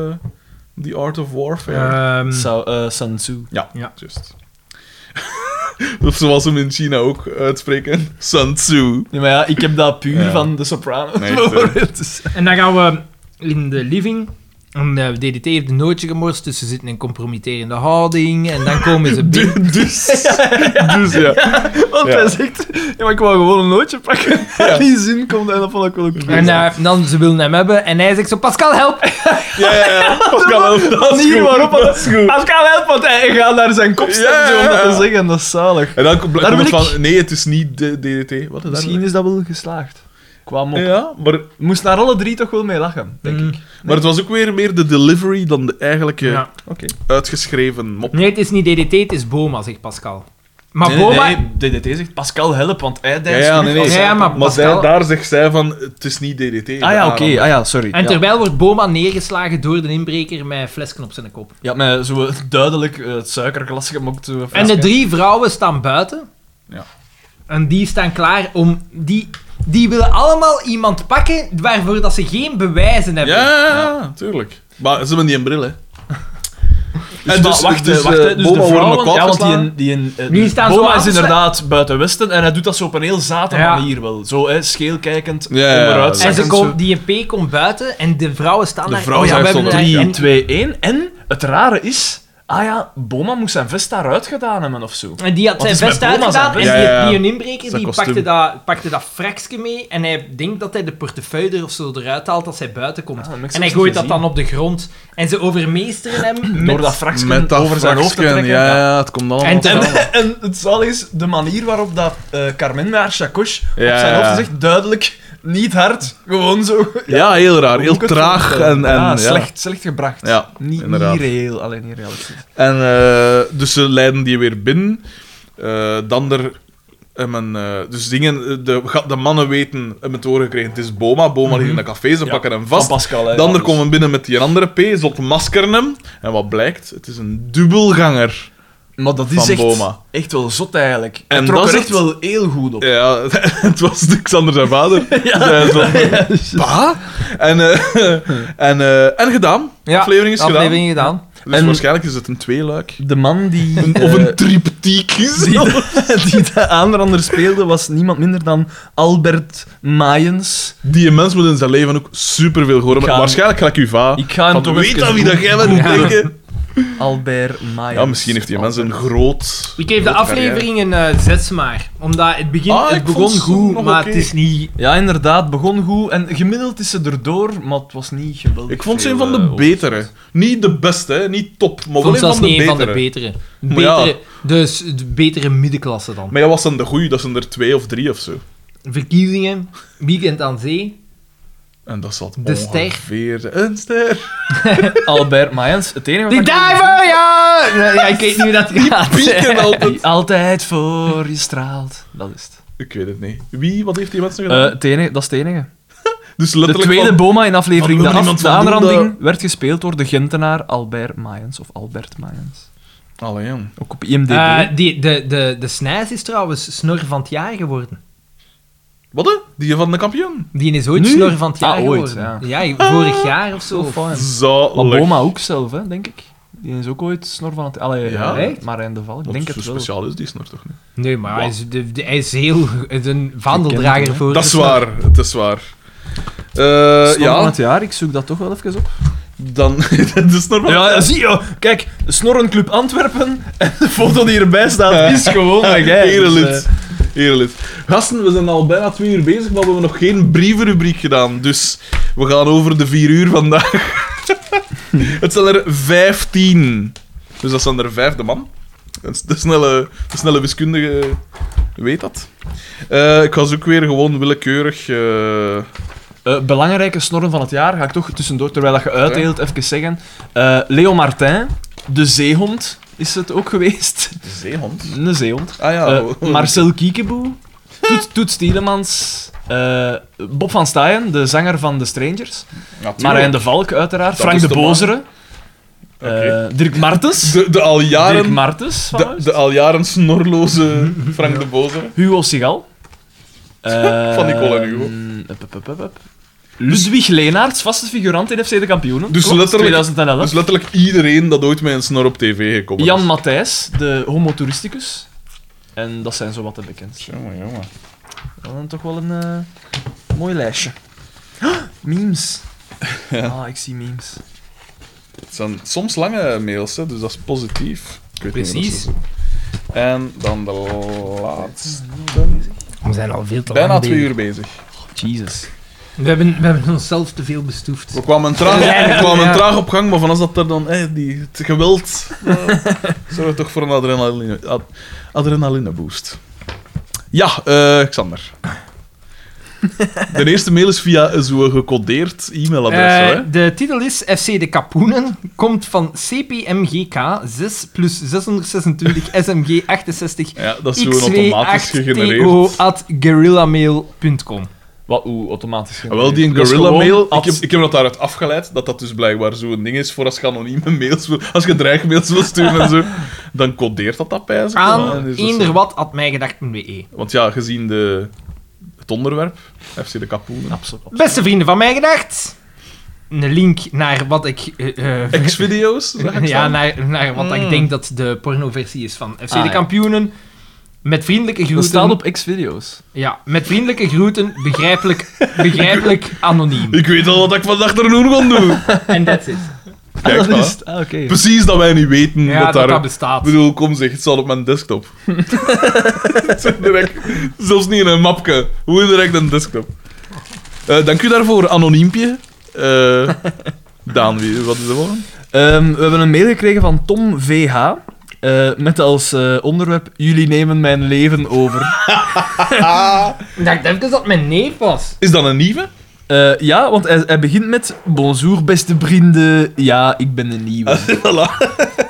[SPEAKER 1] The Art of Warfare?
[SPEAKER 3] Ehm,
[SPEAKER 2] Sao-
[SPEAKER 1] Hmm.
[SPEAKER 2] eh, Sun Tzu.
[SPEAKER 1] ja,
[SPEAKER 3] ja.
[SPEAKER 1] juist. *laughs* of zoals ze hem in China ook uitspreken, Sun Tzu.
[SPEAKER 2] Nee, maar ja, ik heb dat puur
[SPEAKER 1] Ja.
[SPEAKER 2] van The Sopranos
[SPEAKER 1] Nee,
[SPEAKER 2] bijvoorbeeld. *laughs* Dus-
[SPEAKER 3] En dan gaan we in de living. En eh, DDT heeft een nootje gemorst, dus ze zitten in een compromitterende houding. En dan komen
[SPEAKER 1] *laughs*
[SPEAKER 3] ze binnen.
[SPEAKER 1] dus, dus ja.
[SPEAKER 2] Want
[SPEAKER 1] Ja.
[SPEAKER 2] hij zegt, ja, maar ik wou gewoon een nootje pakken. *laughs*
[SPEAKER 1] Ja.
[SPEAKER 2] Die zin komt en dat vond ik wel ook
[SPEAKER 3] En eh, dan, ze willen hem hebben. En hij zegt zo, Pascal, help!
[SPEAKER 1] Ja, ja, *laughs* ja. Pascal, wel, dat is
[SPEAKER 2] Manier
[SPEAKER 1] goed.
[SPEAKER 2] waarop dat-
[SPEAKER 1] dat is goed.
[SPEAKER 2] Pascal help, want hij gaat naar zijn kop staan
[SPEAKER 1] Ja,
[SPEAKER 2] zo om dat
[SPEAKER 1] ja,
[SPEAKER 2] te
[SPEAKER 1] ja.
[SPEAKER 2] zeggen. Dat is zalig.
[SPEAKER 1] En dan komt
[SPEAKER 2] Daar
[SPEAKER 1] het
[SPEAKER 2] wil ik-
[SPEAKER 1] van, nee, het is niet de DDT. Wat is
[SPEAKER 2] Misschien is dat wel geslaagd. Qua mop.
[SPEAKER 1] dat? Ja, Hmm. maar,
[SPEAKER 2] Moest daar alle drie toch wel mee lachen, denk ik.
[SPEAKER 1] maar het was ook weer meer de delivery dan de eigenlijke
[SPEAKER 3] Ja.
[SPEAKER 1] uitgeschreven mop.
[SPEAKER 3] Nee, het is niet DDT, het is Boma, zegt Pascal. Maar
[SPEAKER 2] Nee,
[SPEAKER 3] Boma...
[SPEAKER 2] nee, nee, DDT zegt Pascal help, want hij
[SPEAKER 1] Ja,
[SPEAKER 2] denkt
[SPEAKER 1] ja, nee, nee.
[SPEAKER 3] als- Ja, maar
[SPEAKER 1] maar zij-
[SPEAKER 3] Pascal-
[SPEAKER 1] daar zegt zij van, het is niet DDT.
[SPEAKER 2] Ah ja, oké, ah ja, sorry.
[SPEAKER 3] En
[SPEAKER 2] Ja.
[SPEAKER 3] terwijl wordt Boma neergeslagen door de inbreker met flesken op zijn kop.
[SPEAKER 2] Ja, met zo duidelijk eh, het suikerglas gemokt. eh, zo
[SPEAKER 3] En
[SPEAKER 2] flesje.
[SPEAKER 3] de drie vrouwen staan buiten.
[SPEAKER 1] Ja.
[SPEAKER 3] En die staan klaar om... Die, die willen allemaal iemand pakken waarvoor dat ze geen bewijzen
[SPEAKER 2] Ah,
[SPEAKER 3] hebben.
[SPEAKER 1] Ja, ja, ja, tuurlijk. Maar ze hebben die een bril, hè.
[SPEAKER 2] Dus,
[SPEAKER 1] En
[SPEAKER 2] maar wacht, eh, wacht, eh, dus
[SPEAKER 1] Boma
[SPEAKER 2] de
[SPEAKER 1] worden
[SPEAKER 2] vrouwen,
[SPEAKER 1] elkaar
[SPEAKER 2] ja, want die,
[SPEAKER 1] verslaan.
[SPEAKER 2] een- die, een, eh,
[SPEAKER 3] Die
[SPEAKER 2] dus
[SPEAKER 3] staan zo
[SPEAKER 2] Boma
[SPEAKER 3] aan
[SPEAKER 2] is
[SPEAKER 3] te
[SPEAKER 2] inderdaad buiten Westen en hij doet dat zo op een heel zate
[SPEAKER 3] Ja.
[SPEAKER 2] manier wel. Zo, hè, scheelkijkend,
[SPEAKER 1] Ja, ja, ja.
[SPEAKER 2] onderuit.
[SPEAKER 3] En ze
[SPEAKER 2] zakkend,
[SPEAKER 3] komt, die MP komt buiten en de vrouwen staan
[SPEAKER 1] De
[SPEAKER 3] daar. Oh
[SPEAKER 1] vrouwen
[SPEAKER 3] ja,
[SPEAKER 1] zijn
[SPEAKER 3] we hebben
[SPEAKER 1] stond
[SPEAKER 3] een-
[SPEAKER 1] drie.
[SPEAKER 2] zo. 2-1.
[SPEAKER 3] en-
[SPEAKER 2] En het rare is, ah ja, Boma moest zijn vest daaruit gedaan hebben of zo.
[SPEAKER 3] En die had
[SPEAKER 2] Wat
[SPEAKER 3] zijn
[SPEAKER 2] is met
[SPEAKER 3] vest
[SPEAKER 2] Boma
[SPEAKER 3] uitgedaan en
[SPEAKER 2] zijn
[SPEAKER 3] die,
[SPEAKER 1] vest? Ja, ja, ja.
[SPEAKER 3] die een inbreker
[SPEAKER 1] Zijn
[SPEAKER 3] die
[SPEAKER 1] kostuum.
[SPEAKER 3] pakte dat, pakte dat fraksje mee en hij denkt dat hij de portefeuille er of zo eruit haalt als hij buiten komt.
[SPEAKER 2] Ah, dat heb ik
[SPEAKER 3] en hij
[SPEAKER 2] zelfs
[SPEAKER 3] gooit
[SPEAKER 2] niet
[SPEAKER 3] dat dan op de grond en ze overmeesteren hem
[SPEAKER 2] Door
[SPEAKER 3] met...
[SPEAKER 2] dat fraksken
[SPEAKER 1] Met dat
[SPEAKER 2] over zijn hoofd te
[SPEAKER 1] fraksken,
[SPEAKER 2] trekken.
[SPEAKER 1] Ja, ja, het komt allemaal.
[SPEAKER 3] En
[SPEAKER 1] van-
[SPEAKER 3] terwijl-
[SPEAKER 2] En, en het zalig is, de manier waarop dat eh, Carmen met haar chacoche
[SPEAKER 1] Ja,
[SPEAKER 2] op zijn
[SPEAKER 1] ja.
[SPEAKER 2] hoofd zegt, duidelijk, niet hard, gewoon zo.
[SPEAKER 1] ja. heel raar.
[SPEAKER 2] Hoe
[SPEAKER 1] Heel
[SPEAKER 2] moet ik het
[SPEAKER 1] traag en...
[SPEAKER 2] voorstellen?
[SPEAKER 1] en
[SPEAKER 2] ja,
[SPEAKER 1] ja.
[SPEAKER 2] Slecht, slecht gebracht.
[SPEAKER 1] Ja,
[SPEAKER 2] niet, niet
[SPEAKER 1] inderdaad.
[SPEAKER 2] reëel, alleen niet realistisch.
[SPEAKER 1] En eh, dus ze leiden die weer binnen. Eh, dan er... hem een, eh, dus dingen... eh, De, ga- de mannen weten, hebben het horen gekregen, het is Boma. Boma ligt in een café, ze
[SPEAKER 2] Mhm. Ja,
[SPEAKER 1] pakken hem
[SPEAKER 2] Van
[SPEAKER 1] vast.
[SPEAKER 2] Pascal, hè,
[SPEAKER 1] Dan
[SPEAKER 2] ja, dus-
[SPEAKER 1] er komen binnen met die andere P, zot maskeren hem. En wat blijkt? Het is een dubbelganger.
[SPEAKER 2] dus. Maar dat
[SPEAKER 1] van
[SPEAKER 2] is echt,
[SPEAKER 1] Boma.
[SPEAKER 2] echt wel zot, eigenlijk. En,
[SPEAKER 1] En
[SPEAKER 2] trok
[SPEAKER 1] dat
[SPEAKER 2] er
[SPEAKER 1] is
[SPEAKER 2] echt
[SPEAKER 1] het-
[SPEAKER 2] wel heel goed *laughs* op.
[SPEAKER 1] Ja, *laughs* het was de Xander zijn
[SPEAKER 2] *laughs*
[SPEAKER 1] vader. Dus Zei zo, pa? Ah? En, eh, *laughs* en, eh, en gedaan.
[SPEAKER 3] Ja,
[SPEAKER 1] aflevering is
[SPEAKER 3] aflevering gedaan.
[SPEAKER 1] Dus
[SPEAKER 2] En-
[SPEAKER 1] waarschijnlijk is het een tweeluik.
[SPEAKER 2] De man *laughs* die... eh,
[SPEAKER 1] of een triptiek is. *laughs*
[SPEAKER 2] die, de, *laughs* die de aanrander speelde was niemand minder dan Albert Maaiens.
[SPEAKER 1] Die mens moet in zijn leven ook superveel horen.
[SPEAKER 2] Gaan-
[SPEAKER 1] Waarschijnlijk gelijk uw va.
[SPEAKER 2] Ik ga hem
[SPEAKER 1] Van,
[SPEAKER 2] toch
[SPEAKER 1] weet
[SPEAKER 2] even
[SPEAKER 1] dat wie dat jij bent,
[SPEAKER 2] googlen.
[SPEAKER 1] denken.
[SPEAKER 2] Albert Maaiens.
[SPEAKER 1] Ja, misschien heeft die mens een groot...
[SPEAKER 3] Ik geef de
[SPEAKER 1] grote carrière.
[SPEAKER 3] aflevering een eh, zes maar. Omdat het begin
[SPEAKER 1] Ah,
[SPEAKER 3] het
[SPEAKER 1] ik vond
[SPEAKER 3] begon
[SPEAKER 1] ze
[SPEAKER 3] goed,
[SPEAKER 1] nog
[SPEAKER 3] maar
[SPEAKER 1] oké.
[SPEAKER 3] het is niet...
[SPEAKER 2] Ja, inderdaad, begon goed. En gemiddeld is ze erdoor, maar het was niet geweldig.
[SPEAKER 1] Ik vond ze
[SPEAKER 2] veel,
[SPEAKER 1] een van de
[SPEAKER 2] eh,
[SPEAKER 1] betere. Niet de beste, hè. niet top, maar wel
[SPEAKER 3] Vond
[SPEAKER 1] een
[SPEAKER 3] zelfs
[SPEAKER 1] van de
[SPEAKER 3] niet een van de
[SPEAKER 1] betere.
[SPEAKER 3] betere.
[SPEAKER 1] Maar
[SPEAKER 3] betere
[SPEAKER 1] ja.
[SPEAKER 3] Dus de betere middenklasse dan.
[SPEAKER 1] Maar ja, was dan de goeie? Dat zijn er twee of drie of zo.
[SPEAKER 3] Verkiezingen, weekend aan zee.
[SPEAKER 1] En dat zat
[SPEAKER 3] De ster.
[SPEAKER 1] ongeveer... Een ster.
[SPEAKER 2] Albert Maaiens, het enige wat
[SPEAKER 3] Die
[SPEAKER 2] ik-
[SPEAKER 3] diver, ja! Nee, ja! Ik weet niet hoe dat gaat.
[SPEAKER 2] *laughs*
[SPEAKER 1] Pieken altijd.
[SPEAKER 2] die altijd voor je straalt. Dat is het.
[SPEAKER 1] Ik weet het niet. Wie, wat heeft die mensen gedaan?
[SPEAKER 2] Eh, het enige, dat is het enige.
[SPEAKER 1] dus
[SPEAKER 2] De
[SPEAKER 1] letterlijk
[SPEAKER 2] tweede
[SPEAKER 1] van-
[SPEAKER 2] Boma in aflevering
[SPEAKER 1] wat
[SPEAKER 2] de,
[SPEAKER 1] wil er
[SPEAKER 2] af,
[SPEAKER 1] iemand
[SPEAKER 2] de
[SPEAKER 1] van doen,
[SPEAKER 2] aanranding werd gespeeld door de Gentenaar Albert Maaiens. Of Albert Maaiens.
[SPEAKER 1] Allee, jong.
[SPEAKER 2] Ook op IMDb.
[SPEAKER 3] Eh, die, de de, de Snijs is trouwens snor van het jaar geworden.
[SPEAKER 1] Wat hè? Die van de kampioen?
[SPEAKER 3] Die is ooit
[SPEAKER 2] Nu?
[SPEAKER 3] snor van het jaar
[SPEAKER 2] Ah, ooit, Oh,
[SPEAKER 3] geworden. Ja. vorig jaar of zo.
[SPEAKER 1] Zalig.
[SPEAKER 2] maar Boma ook zelf, hè, denk ik. Die is ook ooit snor van het... Allee,
[SPEAKER 1] Ja?
[SPEAKER 2] eh, Marijn de Val. Ik
[SPEAKER 1] Want
[SPEAKER 2] denk
[SPEAKER 1] zo
[SPEAKER 2] het wel.
[SPEAKER 1] speciaal is die snor toch niet?
[SPEAKER 3] Nee, maar hij is, de, de- hij is heel... hij is een vaandeldrager
[SPEAKER 2] hem,
[SPEAKER 3] voor
[SPEAKER 1] Dat
[SPEAKER 3] de
[SPEAKER 1] is
[SPEAKER 3] snor.
[SPEAKER 1] waar, het is waar. Eh,
[SPEAKER 2] Snor van
[SPEAKER 1] ja,
[SPEAKER 2] het jaar, ik zoek dat toch wel even op.
[SPEAKER 1] dan... *laughs* de snor van...
[SPEAKER 2] Ja, zie je. Kijk, Snorrenclub Antwerpen. *laughs* En de foto die erbij staat is gewoon een
[SPEAKER 1] *laughs*
[SPEAKER 2] jij. Dus, eh.
[SPEAKER 1] Erelid. Erelid. Gasten, we zijn al bijna twee uur bezig, maar we hebben nog geen brievenrubriek gedaan. Dus we gaan over de vier uur vandaag. *laughs* het zijn er vijftien. Dus dat zijn er vijf, de man. De snelle, de snelle wiskundige weet dat. Eh, ik ga ze ook weer gewoon willekeurig... eh,
[SPEAKER 2] Eh, belangrijke snorren van het jaar ga ik toch tussendoor, terwijl dat je uitdeelt, even zeggen. Eh, Leo Martin, de zeehond is het ook geweest.
[SPEAKER 1] de zeehond?
[SPEAKER 2] Een zeehond.
[SPEAKER 1] Ah ja. *laughs*
[SPEAKER 2] Eh, Marcel Kiekeboe, Toet, Toet Stielemans, eh, Bob van Staaien, de zanger van The Strangers.
[SPEAKER 1] Natuurlijk.
[SPEAKER 2] Marijn de Valk, uiteraard.
[SPEAKER 1] Dat
[SPEAKER 2] Frank
[SPEAKER 1] is
[SPEAKER 2] de
[SPEAKER 1] de man.
[SPEAKER 2] Bozere.
[SPEAKER 1] Oké.
[SPEAKER 2] eh, Dirk Martens.
[SPEAKER 1] De, de al
[SPEAKER 2] Dirk
[SPEAKER 1] jaren...
[SPEAKER 2] Martens. van
[SPEAKER 1] De,
[SPEAKER 2] Huis.
[SPEAKER 1] de al jaren snorloze Frank de Bozer.
[SPEAKER 2] Hugo Sigal. Eh,
[SPEAKER 1] *laughs* Van Nicole en Hugo.
[SPEAKER 2] mm, up, up, up, up, up. Ludwig Leenaerts, vaste figurant in FC De Kampioenen.
[SPEAKER 1] Dus
[SPEAKER 2] Klopt,
[SPEAKER 1] letterlijk-
[SPEAKER 2] 2011.
[SPEAKER 1] Dus letterlijk iedereen dat ooit met een snor op tv gekomen
[SPEAKER 2] Jan
[SPEAKER 1] is.
[SPEAKER 2] Matthijs, de homotouristicus. En dat zijn zo wat de bekendste.
[SPEAKER 1] Jongen, jongen.
[SPEAKER 2] Dat is dan toch wel een eh, mooi lijstje. *gasps* Ah, memes. Ah, ik zie memes.
[SPEAKER 1] Het zijn soms lange mails, hè, dus dat is positief. Ik weet niet hoe dat
[SPEAKER 3] Precies.
[SPEAKER 1] ze doen. En dan de laatste.
[SPEAKER 3] We zijn al veel te
[SPEAKER 1] Bijna
[SPEAKER 3] lang
[SPEAKER 1] twee
[SPEAKER 3] bezig.
[SPEAKER 1] uur bezig.
[SPEAKER 2] Jesus.
[SPEAKER 3] We hebben, we hebben onszelf te veel bestoefd.
[SPEAKER 1] We kwamen traag, we kwamen traag op gang, maar vanaf dat er dan hey, die, het
[SPEAKER 3] *laughs*
[SPEAKER 1] geweld. eh, zorgt toch voor een adrenaline, ad- adrenaline boost. Ja, eh Xander. De eerste mail is via zo'n gecodeerd e-mailadres.
[SPEAKER 3] Eh,
[SPEAKER 1] hè?
[SPEAKER 3] de titel is FC de Kapoenen, komt van CPMGK 6 plus 626 SMG 68
[SPEAKER 1] Ja, dat is gewoon automatisch gegenereerd.
[SPEAKER 3] x28to at guerrillamail.com.
[SPEAKER 2] Wat, hoe automatisch
[SPEAKER 1] Ah, Wel, die
[SPEAKER 2] Dat is
[SPEAKER 1] gorilla
[SPEAKER 2] gewoon
[SPEAKER 1] mail, ik
[SPEAKER 2] at-
[SPEAKER 1] heb, ik heb dat daaruit afgeleid, dat dat dus blijkbaar zo'n ding is voor als je anonieme mails wil, als je dreigmails wil sturen en zo, dan codeert dat dat bij ze. Ja, en
[SPEAKER 3] Aan
[SPEAKER 1] is dat
[SPEAKER 3] eender
[SPEAKER 1] zo.
[SPEAKER 3] wat at mijgedacht.be.
[SPEAKER 1] Want ja, gezien de, het onderwerp, FC de Kapoen,
[SPEAKER 2] Absoluut.
[SPEAKER 3] Beste vrienden van Mijgedacht, een link naar wat ik... eh, eh,
[SPEAKER 1] ex-video's, zag ik
[SPEAKER 3] *laughs* ja,
[SPEAKER 1] staan.
[SPEAKER 3] naar, naar wat ik
[SPEAKER 1] Mm.
[SPEAKER 3] denk dat de pornoversie is van FC
[SPEAKER 2] Ah,
[SPEAKER 3] de
[SPEAKER 2] ja.
[SPEAKER 3] Kampioenen. Met vriendelijke
[SPEAKER 2] Dat
[SPEAKER 3] groeten.
[SPEAKER 2] staat op X-video's.
[SPEAKER 3] Ja, met vriendelijke groeten, begrijpelijk, begrijpelijk
[SPEAKER 1] *laughs*
[SPEAKER 3] anoniem.
[SPEAKER 1] Ik weet al wat ik vandaag er nu ga doen.
[SPEAKER 3] En that's it.
[SPEAKER 1] Kijk
[SPEAKER 2] Ah, *laughs* dat
[SPEAKER 1] maar.
[SPEAKER 2] is het. Ah, oké.
[SPEAKER 1] Precies dat wij niet weten
[SPEAKER 3] Ja,
[SPEAKER 1] dat
[SPEAKER 3] dat,
[SPEAKER 1] daar...
[SPEAKER 3] dat
[SPEAKER 1] ik
[SPEAKER 3] bestaat.
[SPEAKER 1] bedoel, kom zeg, het staat op mijn desktop. Het zit direct, zelfs niet in een mapje. Hoe direct een desktop. Eh, dank u daarvoor, anoniempje. Eh, Daan, wie, wat is de volgende?
[SPEAKER 2] Ehm, we hebben een mail gekregen van Tom VH. eh, met als eh, onderwerp: Jullie nemen mijn leven over.
[SPEAKER 3] Ik dacht even dat het mijn neef was.
[SPEAKER 1] Is dat een nieuwe?
[SPEAKER 2] Eh, ja, want hij, hij begint met: Bonjour, beste vrienden. Ja, ik ben een nieuwe.
[SPEAKER 1] *laughs* Voilà.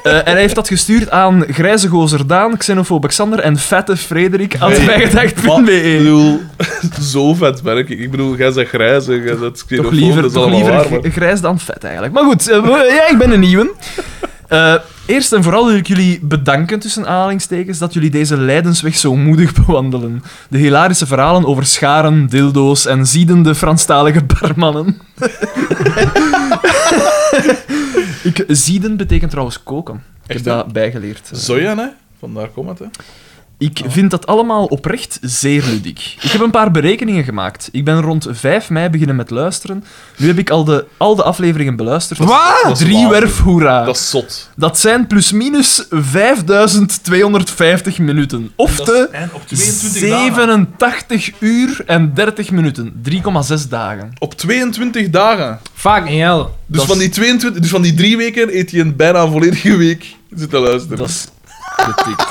[SPEAKER 2] Eh, en hij heeft dat gestuurd aan Grijze Gozer Daan, Xenofoob Xander en Vette Frederik. Had
[SPEAKER 1] *laughs* Nee. Maar, ik
[SPEAKER 2] bijgedacht.be.
[SPEAKER 1] bedoel, zo vet werk ik. Ik bedoel, jij zegt grijs en jij zegt xenofoob,
[SPEAKER 2] Toch liever,
[SPEAKER 1] dat is
[SPEAKER 2] toch
[SPEAKER 1] allemaal
[SPEAKER 2] liever
[SPEAKER 1] waar. maar-
[SPEAKER 2] g- grijs dan vet eigenlijk. Maar goed, eh, we- ja, ik ben een nieuwe. Eh, eerst en vooral wil ik jullie bedanken, tussen aanhalingstekens, dat jullie deze lijdensweg zo moedig *laughs* bewandelen. De hilarische verhalen over scharen, dildo's en ziedende Franstalige barmannen. ik *laughs* Ik, zieden betekent trouwens koken. Ik
[SPEAKER 1] Echt,
[SPEAKER 2] heb
[SPEAKER 1] hè?
[SPEAKER 2] dat bijgeleerd. eh.
[SPEAKER 1] Soja, hè? Vandaar komt het, hè?
[SPEAKER 2] Ik vind dat allemaal oprecht zeer ludiek. Ik heb een paar berekeningen gemaakt. Ik ben rond 5 mei beginnen met luisteren. Nu heb ik al de, al de afleveringen beluisterd.
[SPEAKER 1] dat is
[SPEAKER 2] Drie
[SPEAKER 1] waanzin.
[SPEAKER 2] werf hoera.
[SPEAKER 1] Dat is zot.
[SPEAKER 2] Dat zijn plusminus 5250 minuten. Of te
[SPEAKER 3] En op 22 dagen.
[SPEAKER 2] 87 uur en 30 minuten. 3,6 dagen.
[SPEAKER 1] Op 22 dagen.
[SPEAKER 3] Fucking hell.
[SPEAKER 1] Dus,
[SPEAKER 2] Dat
[SPEAKER 1] van
[SPEAKER 2] is-
[SPEAKER 1] die 22, dus van die drie weken eet je een bijna volledige week zitten luisteren.
[SPEAKER 2] Dat is getikt.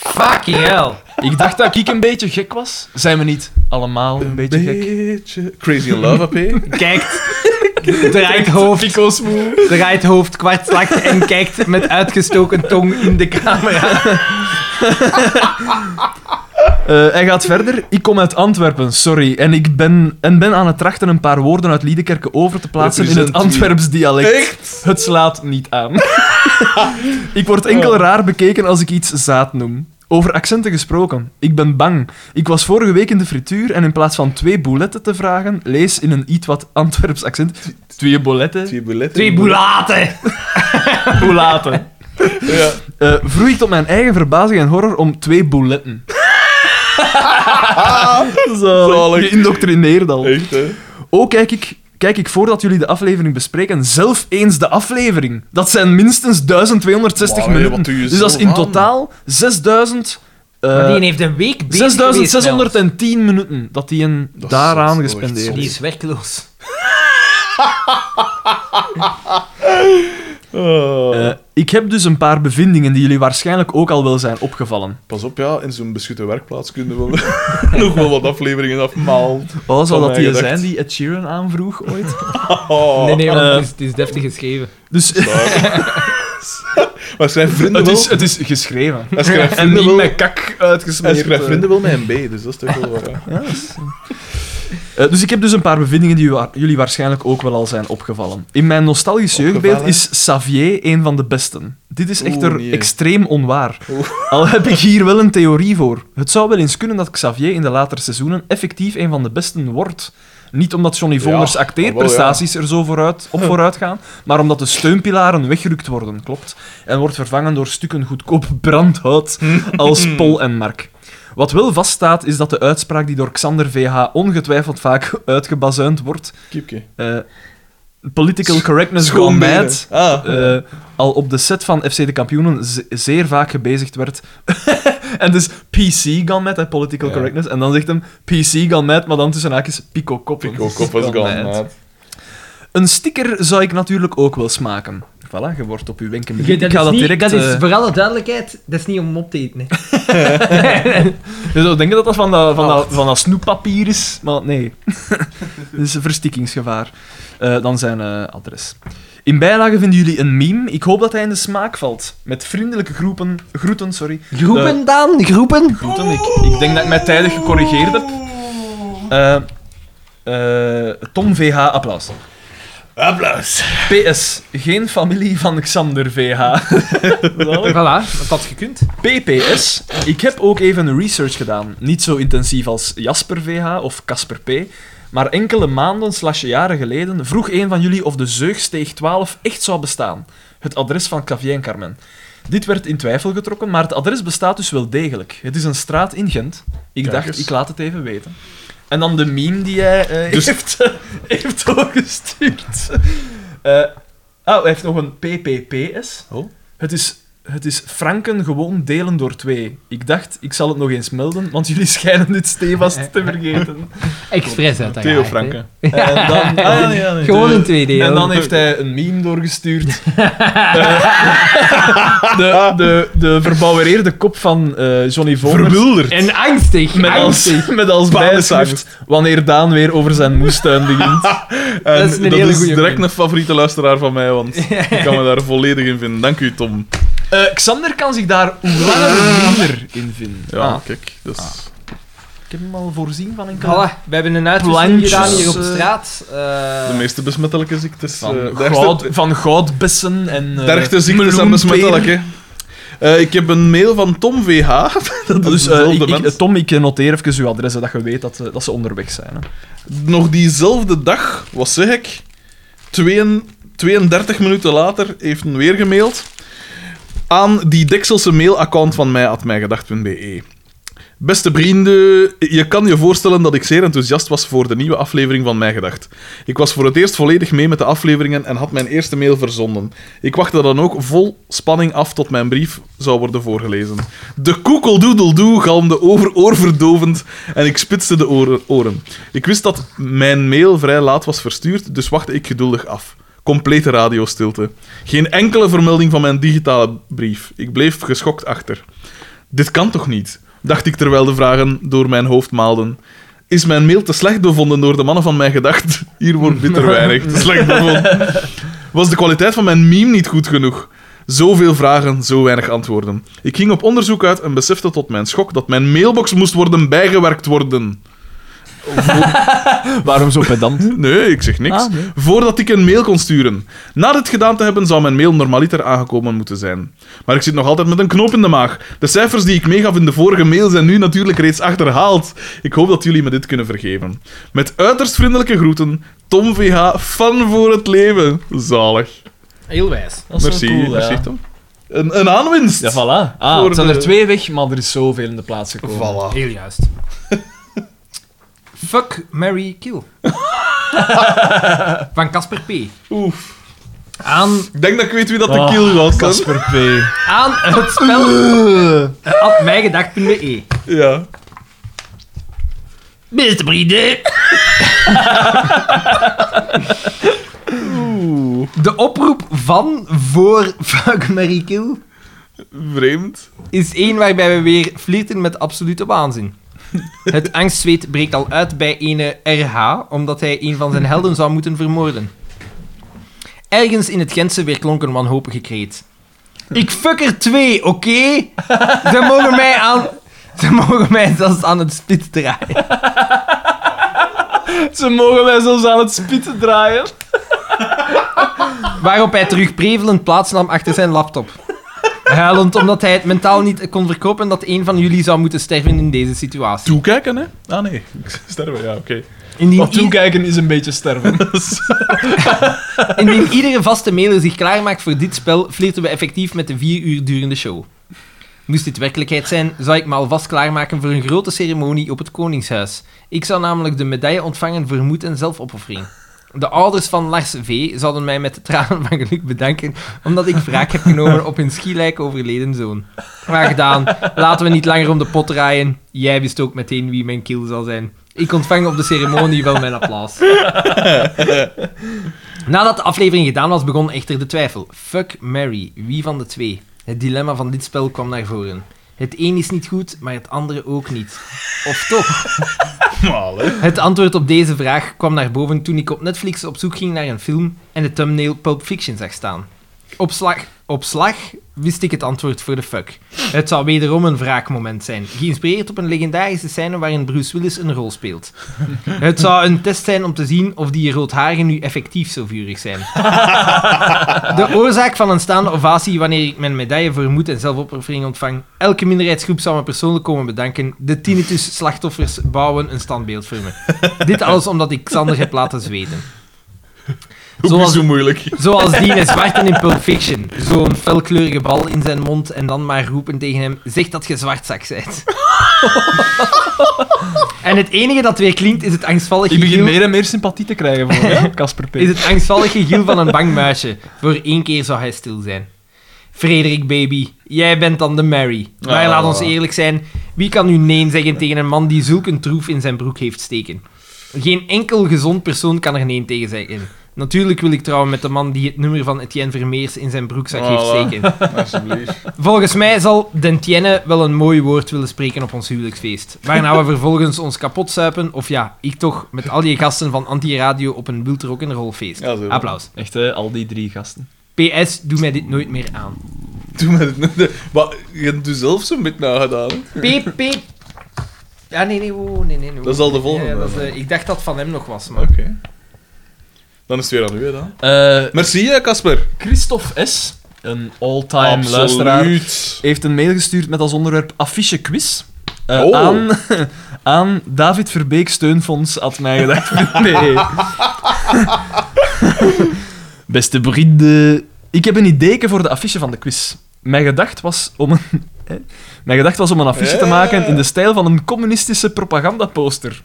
[SPEAKER 3] Fucking hell.
[SPEAKER 2] Ik dacht dat ik een beetje gek was. Zijn we niet allemaal een beetje gek?
[SPEAKER 1] Beetje- Crazy in love,
[SPEAKER 2] *laughs*
[SPEAKER 1] AP. *laughs*
[SPEAKER 3] Kijkt. Draait hoofd. Draait hoofd kwartslag en kijkt met uitgestoken tong in de camera.
[SPEAKER 2] Eh, hij gaat verder. Ik kom uit Antwerpen, sorry. En ik ben, en ben aan het trachten een paar woorden uit Liedekerke over te plaatsen in het
[SPEAKER 1] Represent you.
[SPEAKER 2] Antwerps dialect.
[SPEAKER 1] Echt?
[SPEAKER 2] Het slaat niet aan. *laughs* ik word
[SPEAKER 1] Oh.
[SPEAKER 2] enkel raar bekeken als ik iets zaad noem. Over accenten gesproken. Ik ben bang. Ik was vorige week in de frituur en in plaats van twee bouletten te vragen, lees in een iets wat Antwerps accent twee bouletten,
[SPEAKER 1] Twee bouletten.
[SPEAKER 3] Twee boulaten.
[SPEAKER 2] boulaten.
[SPEAKER 1] Ja.
[SPEAKER 2] Eh vroeg ik tot mijn eigen verbazing en horror om twee bouletten. Zalig.
[SPEAKER 1] *laughs* Zalig.
[SPEAKER 2] Geïndoctrineerd al.
[SPEAKER 1] Echt, hè?
[SPEAKER 2] Ook kijk ik, kijk ik voordat jullie de aflevering bespreken, zelf eens de aflevering. Dat zijn minstens 1260
[SPEAKER 1] Wauw, hé,
[SPEAKER 2] minuten.
[SPEAKER 1] wat doe je
[SPEAKER 2] dus dat is
[SPEAKER 1] zo
[SPEAKER 2] in
[SPEAKER 1] aan?
[SPEAKER 2] totaal 6000. eh,
[SPEAKER 3] Maar die heeft een week bezig geweest met ons.
[SPEAKER 2] 6610 minuten dat die een
[SPEAKER 1] Dat is
[SPEAKER 2] daaraan
[SPEAKER 1] zot,
[SPEAKER 2] gespendeerd
[SPEAKER 1] dat
[SPEAKER 3] Die
[SPEAKER 1] is
[SPEAKER 2] is.
[SPEAKER 3] is werkloos.
[SPEAKER 1] Ah.
[SPEAKER 2] Eh, ik heb dus een paar bevindingen die jullie waarschijnlijk ook al wel zijn opgevallen.
[SPEAKER 1] Pas op, ja, in zo'n beschutte werkplaats kunnen we wel *laughs* nog wel wat afleveringen afmaal.
[SPEAKER 2] Oh, zou
[SPEAKER 1] Van
[SPEAKER 2] dat
[SPEAKER 1] mij
[SPEAKER 2] die
[SPEAKER 1] gedacht.
[SPEAKER 2] zijn die Ed Sheeran aanvroeg
[SPEAKER 1] *laughs*
[SPEAKER 2] ooit?
[SPEAKER 1] Oh.
[SPEAKER 3] Nee, nee, want
[SPEAKER 2] Eh.
[SPEAKER 3] het, is, het is deftig geschreven.
[SPEAKER 2] Dus
[SPEAKER 1] *laughs* Maar schrijf vrienden
[SPEAKER 2] het,
[SPEAKER 1] wel.
[SPEAKER 2] is, het is geschreven.
[SPEAKER 1] Hij schrijft
[SPEAKER 2] En
[SPEAKER 1] vrienden
[SPEAKER 2] niet
[SPEAKER 1] wel.
[SPEAKER 2] met kak uitgesmeerd.
[SPEAKER 1] Hij schrijft
[SPEAKER 2] eh.
[SPEAKER 1] vrienden wel met een B, dus dat is toch wel waar. ja.
[SPEAKER 2] Eh, dus ik heb dus een paar bevindingen die wa- jullie waarschijnlijk ook wel al zijn opgevallen. In mijn nostalgisch
[SPEAKER 1] Opgevallen?
[SPEAKER 2] jeugdbeeld is Xavier een van de besten. Dit is
[SPEAKER 1] Oeh,
[SPEAKER 2] echter
[SPEAKER 1] nee.
[SPEAKER 2] extreem onwaar.
[SPEAKER 1] Oeh.
[SPEAKER 2] Al heb ik hier wel een theorie voor. Het zou wel eens kunnen dat Xavier in de latere seizoenen effectief een van de besten wordt. Niet omdat Johnny
[SPEAKER 1] Ja,
[SPEAKER 2] Vonder's
[SPEAKER 1] maar wel, Hm.
[SPEAKER 2] acteerprestaties er zo vooruit, op vooruit gaan, maar omdat de steunpilaren weggerukt worden, klopt. En wordt vervangen door stukken goedkoop brandhout
[SPEAKER 1] Hm.
[SPEAKER 2] als Pol en Mark. Wat wel vaststaat, is dat de uitspraak die door Xander VH ongetwijfeld vaak uitgebazuind wordt,
[SPEAKER 1] Kiepke.
[SPEAKER 2] eh, political correctness gone
[SPEAKER 1] Schoonbenen.
[SPEAKER 2] mad,
[SPEAKER 1] Ah.
[SPEAKER 2] eh, al op de set van FC de Kampioenen ze- zeer vaak gebezigd werd. *laughs* en dus PC gone mad, hè, political
[SPEAKER 1] Ja.
[SPEAKER 2] correctness, en dan zegt hem PC gone mad, maar dan tussen haakjes Pico Koppen.
[SPEAKER 1] Pico Koppers gone,
[SPEAKER 2] mad.
[SPEAKER 1] maat.
[SPEAKER 2] Een sticker zou ik natuurlijk ook wel smaken. Voilà, je wordt op uw wenken
[SPEAKER 3] Je,
[SPEAKER 2] bediend.
[SPEAKER 3] dat
[SPEAKER 2] Ik ga
[SPEAKER 3] is
[SPEAKER 2] dat
[SPEAKER 3] niet-
[SPEAKER 2] direct...
[SPEAKER 3] dat is
[SPEAKER 2] eh,
[SPEAKER 3] voor alle duidelijkheid, dat is niet om op te eten. hè.
[SPEAKER 2] Je zou denken dat dat van dat, van dat,
[SPEAKER 3] Oh.
[SPEAKER 2] van dat snoeppapier is, maar nee. *laughs* dat is een verstikkingsgevaar. Eh, dan zijn eh, adres. In bijlage vinden jullie een meme. Ik hoop dat hij in de smaak valt. Met vriendelijke groepen, groeten, sorry.
[SPEAKER 3] Groepen dan, groepen.
[SPEAKER 2] Groeten, ik, ik denk dat ik mij tijdig gecorrigeerd heb. Eh, eh, Tom VH, applaus.
[SPEAKER 1] Applaus.
[SPEAKER 2] PS, geen familie van Xander VH. Zalig.
[SPEAKER 3] Eh, Voilà, dat had gekund.
[SPEAKER 2] PPS, ik heb ook even research gedaan. Niet zo intensief als Jasper VH of Casper P. Maar enkele maanden slash jaren geleden vroeg een van jullie of de Zeugsteeg 12 echt zou bestaan. Het adres van Clavier en Carmen. Dit werd in twijfel getrokken, maar het adres bestaat dus wel degelijk. Het is een straat in Gent. Ik
[SPEAKER 1] Kijk
[SPEAKER 2] dacht,
[SPEAKER 1] eens.
[SPEAKER 2] ik laat het even weten. En dan de meme die jij eh,
[SPEAKER 1] Dus-
[SPEAKER 2] heeft, *laughs* heeft doorgestuurd. Eh, oh, hij heeft nog een PPPS.
[SPEAKER 1] Oh.
[SPEAKER 2] Het is, het is franken gewoon delen door twee. Ik dacht, ik zal het nog eens melden, want jullie *laughs* schijnen dit stevast te *laughs* vergeten.
[SPEAKER 3] Express uit
[SPEAKER 1] Theo Franke.
[SPEAKER 2] En dan, ah, ja, ja, nee,
[SPEAKER 3] Gewoon
[SPEAKER 2] de-
[SPEAKER 3] een 2D.
[SPEAKER 2] En dan heeft hij een meme
[SPEAKER 3] *laughs*
[SPEAKER 2] doorgestuurd. Eh, de, de, de verbouwereerde kop van eh, Johnny Voners.
[SPEAKER 1] Verwilderd.
[SPEAKER 3] En angstig.
[SPEAKER 2] Met als, *laughs* met als bijschrift wanneer Daan weer over zijn moestuin *laughs* begint.
[SPEAKER 1] En
[SPEAKER 3] Dat is een hele
[SPEAKER 1] dat is
[SPEAKER 3] goeie
[SPEAKER 1] direct
[SPEAKER 3] meme.
[SPEAKER 1] een favoriete luisteraar van mij, want ik kan me daar volledig in vinden. Dank u, Tom.
[SPEAKER 2] Eh, Xander kan zich daar hoe langer hoe minder in vinden.
[SPEAKER 1] Ja,
[SPEAKER 2] Ah,
[SPEAKER 1] kijk. Dus...
[SPEAKER 2] ik heb hem al voorzien van enkele...
[SPEAKER 3] Voilà, we hebben een uitwisseling
[SPEAKER 2] Plantjes,
[SPEAKER 3] gedaan hier op de
[SPEAKER 2] eh,
[SPEAKER 3] straat. Eh,
[SPEAKER 1] De meeste besmettelijke ziektes.
[SPEAKER 2] Van,
[SPEAKER 1] eh, daar
[SPEAKER 2] goud, van goudbessen en... eh,
[SPEAKER 1] Dergde ziektes zijn
[SPEAKER 2] meloenperen.
[SPEAKER 1] besmettelijk,
[SPEAKER 6] *laughs*
[SPEAKER 1] hè. Eh, ik heb een mail van Tom VH. *laughs* dat is
[SPEAKER 2] Dus eh,
[SPEAKER 1] dezelfde
[SPEAKER 2] ik, ik-
[SPEAKER 1] mens.
[SPEAKER 2] Tom, ik noteer even uw adres, zodat je weet dat, eh, dat ze onderweg zijn. Hè.
[SPEAKER 1] Nog diezelfde dag, wat zeg ik? Tweeën, 32 minuten later heeft hij weer gemaild aan die Dekselse mailaccount van mij, at mijgedacht.be. Beste vrienden, je kan je voorstellen dat ik zeer enthousiast was voor de nieuwe aflevering van Mij Gedacht. Ik was voor het eerst volledig mee met de afleveringen en had mijn eerste mail verzonden. Ik wachtte dan ook vol spanning af tot mijn brief zou worden voorgelezen. De koekeldoedeldoe galmde over oorverdovend en ik spitste de oren- oren. Ik wist dat mijn mail vrij laat was verstuurd, dus wachtte ik geduldig af. Complete radiostilte. Geen enkele vermelding van mijn digitale brief. Ik bleef geschokt achter. Dit kan toch niet? dacht ik terwijl de vragen door mijn hoofd maalden. Is mijn mail te slecht bevonden door de mannen van mijn gedacht? Hier wordt bitter weinig te slecht bevonden. Was de kwaliteit van mijn meme niet goed genoeg? Zoveel vragen, zo weinig antwoorden. Ik ging op onderzoek uit en besefte tot mijn schok dat mijn mailbox moest worden bijgewerkt worden.
[SPEAKER 6] Waarom zo *laughs* pedant?
[SPEAKER 1] Nee, ik zeg niks.
[SPEAKER 6] Ah, nee.
[SPEAKER 1] Voordat ik een mail kon sturen. Na dit gedaan te hebben, zou mijn mail normaliter aangekomen moeten zijn. Maar ik zit nog altijd met een knoop in de maag. De cijfers die ik meegaf in de vorige mail zijn nu natuurlijk reeds achterhaald. Ik hoop dat jullie me dit kunnen vergeven. Met uiterst vriendelijke groeten, Tom VH, fan voor het leven. Zalig.
[SPEAKER 3] Heel wijs.
[SPEAKER 6] Dat is wel
[SPEAKER 1] merci,
[SPEAKER 6] cool,
[SPEAKER 1] merci
[SPEAKER 6] ja.
[SPEAKER 1] Tom. Een, een aanwinst.
[SPEAKER 6] Ja, voilà. Ah,
[SPEAKER 1] Voor
[SPEAKER 6] het zijn
[SPEAKER 1] de-
[SPEAKER 6] er twee weg, maar er is zoveel in de plaats gekomen.
[SPEAKER 1] Voilà.
[SPEAKER 3] Heel juist. Fuck, Mary, kill. Van Casper P.
[SPEAKER 1] Oef.
[SPEAKER 3] Aan,
[SPEAKER 1] Ik denk dat ik weet wie dat de
[SPEAKER 6] Ah,
[SPEAKER 1] kill was. hè.
[SPEAKER 6] Casper P.
[SPEAKER 3] aan het spel eh, at mijgedacht.be.
[SPEAKER 1] Ja.
[SPEAKER 3] Beste vrienden. De oproep van voor Fuck, Mary, kill
[SPEAKER 1] Vreemd.
[SPEAKER 3] is één waarbij we weer flirten met absolute waanzin. Het angstzweet breekt al uit bij ene RH, omdat hij een van zijn helden zou moeten vermoorden. Ergens in het Gentse weer klonk een wanhopige kreet. Ik fuck er twee, oké? Ze mogen mij aan... Ze mogen mij zelfs aan het spit draaien.
[SPEAKER 6] *laughs* Ze mogen mij zelfs aan het spitten draaien.
[SPEAKER 3] Waarop hij terug prevelend plaatsnam achter zijn laptop. Huilend omdat hij het mentaal niet kon verkopen dat een van jullie zou moeten sterven in deze situatie.
[SPEAKER 1] Toekijken, hè? Ah, nee. Sterven, ja, oké.
[SPEAKER 3] Indien
[SPEAKER 6] Maar toekijken is een beetje *laughs* sterven.
[SPEAKER 3] *laughs* Indien iedere vaste mailer zich klaarmaakt voor dit spel, flirten we effectief met de vier uur durende show. Moest dit werkelijkheid zijn, zou ik me alvast klaarmaken voor een grote ceremonie op het Koningshuis. Ik zou namelijk de medaille ontvangen voor moed en zelfopoffering. De ouders van Lars V. zouden mij met de tranen van geluk bedanken, omdat ik wraak heb genomen op hun schielijk overleden zoon. Maar gedaan, laten we niet langer om de pot draaien. Jij wist ook meteen wie mijn kill zal zijn. Ik ontvang op de ceremonie wel mijn applaus. Nadat de aflevering gedaan was, begon echter de twijfel. Fuck Mary, wie van de twee? Het dilemma van dit spel kwam naar voren. Het een is niet goed, maar het andere ook niet. Of toch? *laughs* Het antwoord op deze vraag kwam naar boven toen ik op Netflix op zoek ging naar een film en de thumbnail Pulp Fiction zag staan. Op slag, op slag wist ik het antwoord voor de fuck. Het zou wederom een wraakmoment zijn, geïnspireerd op een legendarische scène waarin Bruce Willis een rol speelt. Het zou een test zijn om te zien of die roodharen nu effectief zo vurig zijn. De oorzaak van een staande ovatie wanneer ik mijn medaille voor moed en zelfopoffering ontvang. Elke minderheidsgroep zou me persoonlijk komen bedanken. De tinnitus slachtoffers bouwen een standbeeld voor me. Dit alles omdat ik Xander heb laten zweten.
[SPEAKER 1] Ook niet
[SPEAKER 3] Zoals-
[SPEAKER 1] zo moeilijk.
[SPEAKER 3] Zoals Dean Zwarten in Pulp Fiction. Zo'n felkleurige bal in zijn mond en dan maar roepen tegen hem... Zeg dat je
[SPEAKER 6] *laughs*
[SPEAKER 3] zwartzak bent. en het enige dat weer klinkt is het angstvallige...
[SPEAKER 6] Ik begin
[SPEAKER 3] giel-
[SPEAKER 6] meer en meer sympathie te krijgen voor hè, Casper P.
[SPEAKER 3] is het angstvallig gegiel van een bang muisje. Voor één keer zou hij stil zijn. Frederik, baby, jij bent dan de Mary. Maar
[SPEAKER 1] Ah.
[SPEAKER 3] laat ons eerlijk zijn, wie kan nu nee zeggen tegen een man die zulk een troef in zijn broek heeft steken? Geen enkel gezond persoon kan er nee tegen zeggen. Natuurlijk wil ik trouwen met de man die het nummer van Etienne Vermeers in zijn broekzak heeft
[SPEAKER 1] Voilà.
[SPEAKER 3] steken.
[SPEAKER 1] Alsjeblieft.
[SPEAKER 3] Volgens mij zal Dentienne wel een mooi woord willen spreken op ons huwelijksfeest. Waarna we vervolgens ons kapot zuipen, of ja, ik toch, met al die gasten van Anti-Radio op een wild rock'n'roll feest.
[SPEAKER 1] Ja, zo.
[SPEAKER 3] Applaus.
[SPEAKER 6] Echt, hè, al die drie gasten.
[SPEAKER 3] PS, doe mij dit nooit meer aan.
[SPEAKER 1] *laughs* Doe maar dit niet. Maar je hebt het u zelf zo'n beetje nagedaan. hè?
[SPEAKER 3] Piep, piep. Ja, nee, nee, oh, nee, nee, nee.
[SPEAKER 1] Dat is al de volgende.
[SPEAKER 3] Ja, dat is, eh, ik dacht dat van hem nog was, maar...
[SPEAKER 1] Oké. Dan is het weer aan u, hè, dan.
[SPEAKER 6] Eh,
[SPEAKER 1] Merci, hè, Casper.
[SPEAKER 6] Christophe S., een all-time luisteraar, heeft een mail gestuurd met als onderwerp affiche quiz. eh,
[SPEAKER 1] Oh.
[SPEAKER 6] aan, *laughs* aan David E. Verbeek Steunfonds had mij gedacht. Nee.
[SPEAKER 2] *laughs* Beste vrienden, ik heb een ideeke voor de affiche van de quiz. Mijn gedacht was om een, *laughs* hè? Mijn gedacht was om een affiche
[SPEAKER 6] Eh.
[SPEAKER 2] te maken in de stijl van een communistische propagandaposter.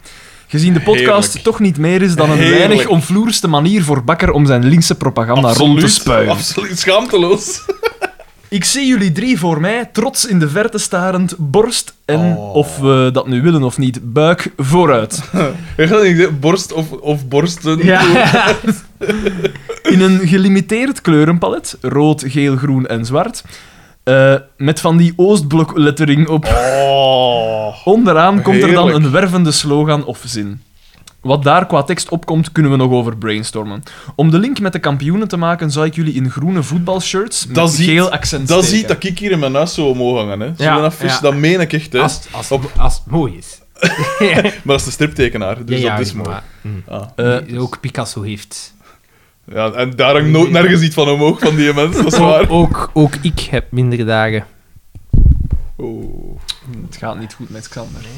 [SPEAKER 2] Gezien de podcast
[SPEAKER 1] Heerlijk.
[SPEAKER 2] toch niet meer is dan een
[SPEAKER 1] Heerlijk.
[SPEAKER 2] weinig omvloerste manier voor Bakker om zijn linkse propaganda rond te spuien.
[SPEAKER 1] Absoluut schaamteloos.
[SPEAKER 2] Ik zie jullie drie voor mij, trots in de verte starend, borst en,
[SPEAKER 1] Oh.
[SPEAKER 2] of we dat nu willen of niet, buik
[SPEAKER 1] *laughs*
[SPEAKER 2] vooruit.
[SPEAKER 1] Weet je wat ik zeg? Borst of, of borsten.
[SPEAKER 2] In een gelimiteerd kleurenpalet, rood, geel, groen en zwart, eh, met van die Oostblok-lettering op.
[SPEAKER 1] Oh.
[SPEAKER 2] Onderaan komt er dan
[SPEAKER 1] Heerlijk.
[SPEAKER 2] een wervende slogan of zin. Wat daar qua tekst opkomt, kunnen we nog over brainstormen. Om de link met de kampioenen te maken, zou ik jullie in groene voetbalshirts met
[SPEAKER 1] Dat ziet-
[SPEAKER 2] geel accent
[SPEAKER 1] Dat
[SPEAKER 2] steken.
[SPEAKER 1] ziet dat ik hier in mijn huis zo omhoog hangen. hè. Zo'n
[SPEAKER 3] Ja,
[SPEAKER 1] affiche,
[SPEAKER 3] ja.
[SPEAKER 1] dat meen ik echt. Hè.
[SPEAKER 3] Als, als, als het mooi is.
[SPEAKER 1] Maar dat is de striptekenaar, dus
[SPEAKER 3] Ja, ja,
[SPEAKER 1] dat is
[SPEAKER 3] ja,
[SPEAKER 1] mooi.
[SPEAKER 3] maar, mm.
[SPEAKER 1] Ah.
[SPEAKER 2] Eh,
[SPEAKER 3] ook Picasso heeft.
[SPEAKER 1] Ja, en daar hangt nooit nergens iets van omhoog van die mensen, dat is waar.
[SPEAKER 3] Ook, ook, ook ik heb minder dagen.
[SPEAKER 1] Oh.
[SPEAKER 2] Het gaat niet goed met Xander. *laughs*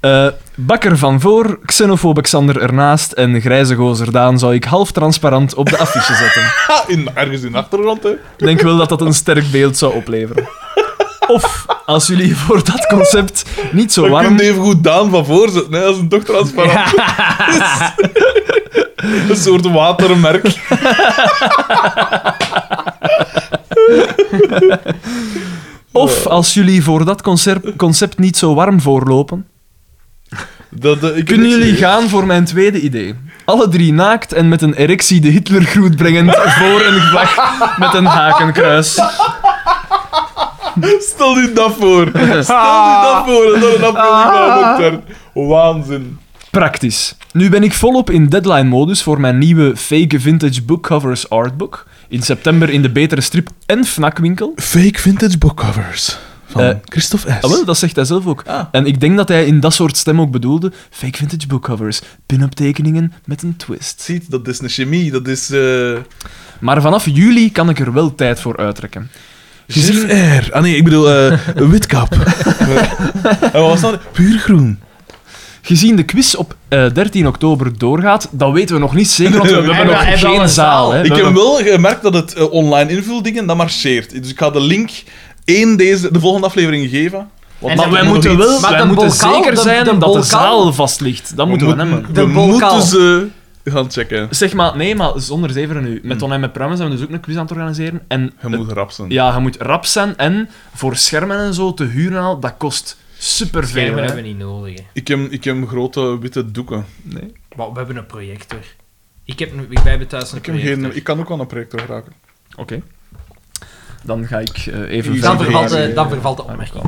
[SPEAKER 2] Eh, bakker van voor, xenofoob Xander ernaast en grijze gozer Daan zou ik half transparant op de affiche zetten.
[SPEAKER 1] Ha, in, ergens in de achtergrond, hè.
[SPEAKER 2] Ik denk wel dat dat een sterk beeld zou opleveren. Of, als jullie voor dat concept niet zo
[SPEAKER 1] Dan kun
[SPEAKER 2] warm...
[SPEAKER 1] je even goed Daan van voor zitten, hè. Dat is een toch
[SPEAKER 2] *laughs*
[SPEAKER 1] transparant. een soort watermerk.
[SPEAKER 2] Of, als jullie voor dat concept, concept niet zo warm voorlopen,
[SPEAKER 1] Dat, eh, ik
[SPEAKER 2] kunnen jullie gaan voor mijn tweede idee. Alle drie naakt en met een erectie de Hitlergroet brengend voor een vlag met een hakenkruis.
[SPEAKER 1] Stel je dat voor. Stel je dat voor. En dan een afbeelding van een
[SPEAKER 2] Ah.
[SPEAKER 1] dokter. Waanzin.
[SPEAKER 2] Praktisch. Nu ben ik volop in deadline-modus voor mijn nieuwe fake vintage bookcovers artbook. In september in de betere strip en FNAC-winkel.
[SPEAKER 1] Fake vintage bookcovers van
[SPEAKER 2] Eh,
[SPEAKER 1] Christophe S.
[SPEAKER 2] Ah wel, dat zegt hij zelf ook.
[SPEAKER 1] Ah.
[SPEAKER 2] En ik denk dat hij in dat soort stem ook bedoelde fake vintage bookcovers, pin-up tekeningen met een twist.
[SPEAKER 1] Ziet, dat is een chemie. Dat is... eh
[SPEAKER 2] Maar vanaf juli kan ik er wel tijd voor uittrekken.
[SPEAKER 1] Gezien... Air. Ah nee, ik bedoel eh, witkap. *laughs* en wat was dat? Puur groen.
[SPEAKER 2] Gezien de quiz op eh, 13 oktober doorgaat, dat weten we nog niet zeker, *laughs* want we
[SPEAKER 1] We
[SPEAKER 2] hebben
[SPEAKER 1] hebben-
[SPEAKER 2] nog
[SPEAKER 3] hebben al
[SPEAKER 2] geen
[SPEAKER 3] een
[SPEAKER 2] zaal.
[SPEAKER 3] zaal.
[SPEAKER 2] Hè. We
[SPEAKER 1] Ik heb
[SPEAKER 2] hebben-
[SPEAKER 1] wel gemerkt dat het eh, online invuldingen, dat marcheert. Dus ik ga de link in deze, de volgende aflevering geven. Want
[SPEAKER 2] Maar
[SPEAKER 1] dat
[SPEAKER 2] wij
[SPEAKER 1] moet
[SPEAKER 2] moeten
[SPEAKER 1] nog iets.
[SPEAKER 2] wel
[SPEAKER 3] Maar
[SPEAKER 2] wij
[SPEAKER 3] de
[SPEAKER 2] moeten
[SPEAKER 3] bokaal,
[SPEAKER 2] zeker
[SPEAKER 3] de-
[SPEAKER 2] zijn
[SPEAKER 3] de
[SPEAKER 2] dat de
[SPEAKER 3] bokaal-
[SPEAKER 2] zaal vast ligt. Dat moeten we
[SPEAKER 1] moet-
[SPEAKER 2] hebben.
[SPEAKER 1] We
[SPEAKER 3] De bokaal.
[SPEAKER 1] moeten ze gaan checken.
[SPEAKER 2] Zeg maar, nee, maar zonder zeven nu. Met On Met Promise hebben we dus ook een quiz aan het organiseren. En
[SPEAKER 1] Hmm. Je moet rap zijn.
[SPEAKER 2] ja, je moet rap zijn en voor schermen en zo te huren en al, dat kost superveel.
[SPEAKER 3] Schermen
[SPEAKER 2] hè.
[SPEAKER 3] hebben we niet nodig. hè.
[SPEAKER 1] Ik, heb, ik heb grote witte doeken.
[SPEAKER 3] Maar we hebben een projector. Ik heb, nu- wij hebben thuis een
[SPEAKER 1] Ik, heb
[SPEAKER 3] projector.
[SPEAKER 1] geen, ik kan ook aan een projector geraken.
[SPEAKER 2] Oké. Dan ga ik eh, even
[SPEAKER 1] Dan
[SPEAKER 3] dan,
[SPEAKER 2] verder.
[SPEAKER 3] vervalt de,
[SPEAKER 1] geen-
[SPEAKER 3] dan vervalt de opmerking.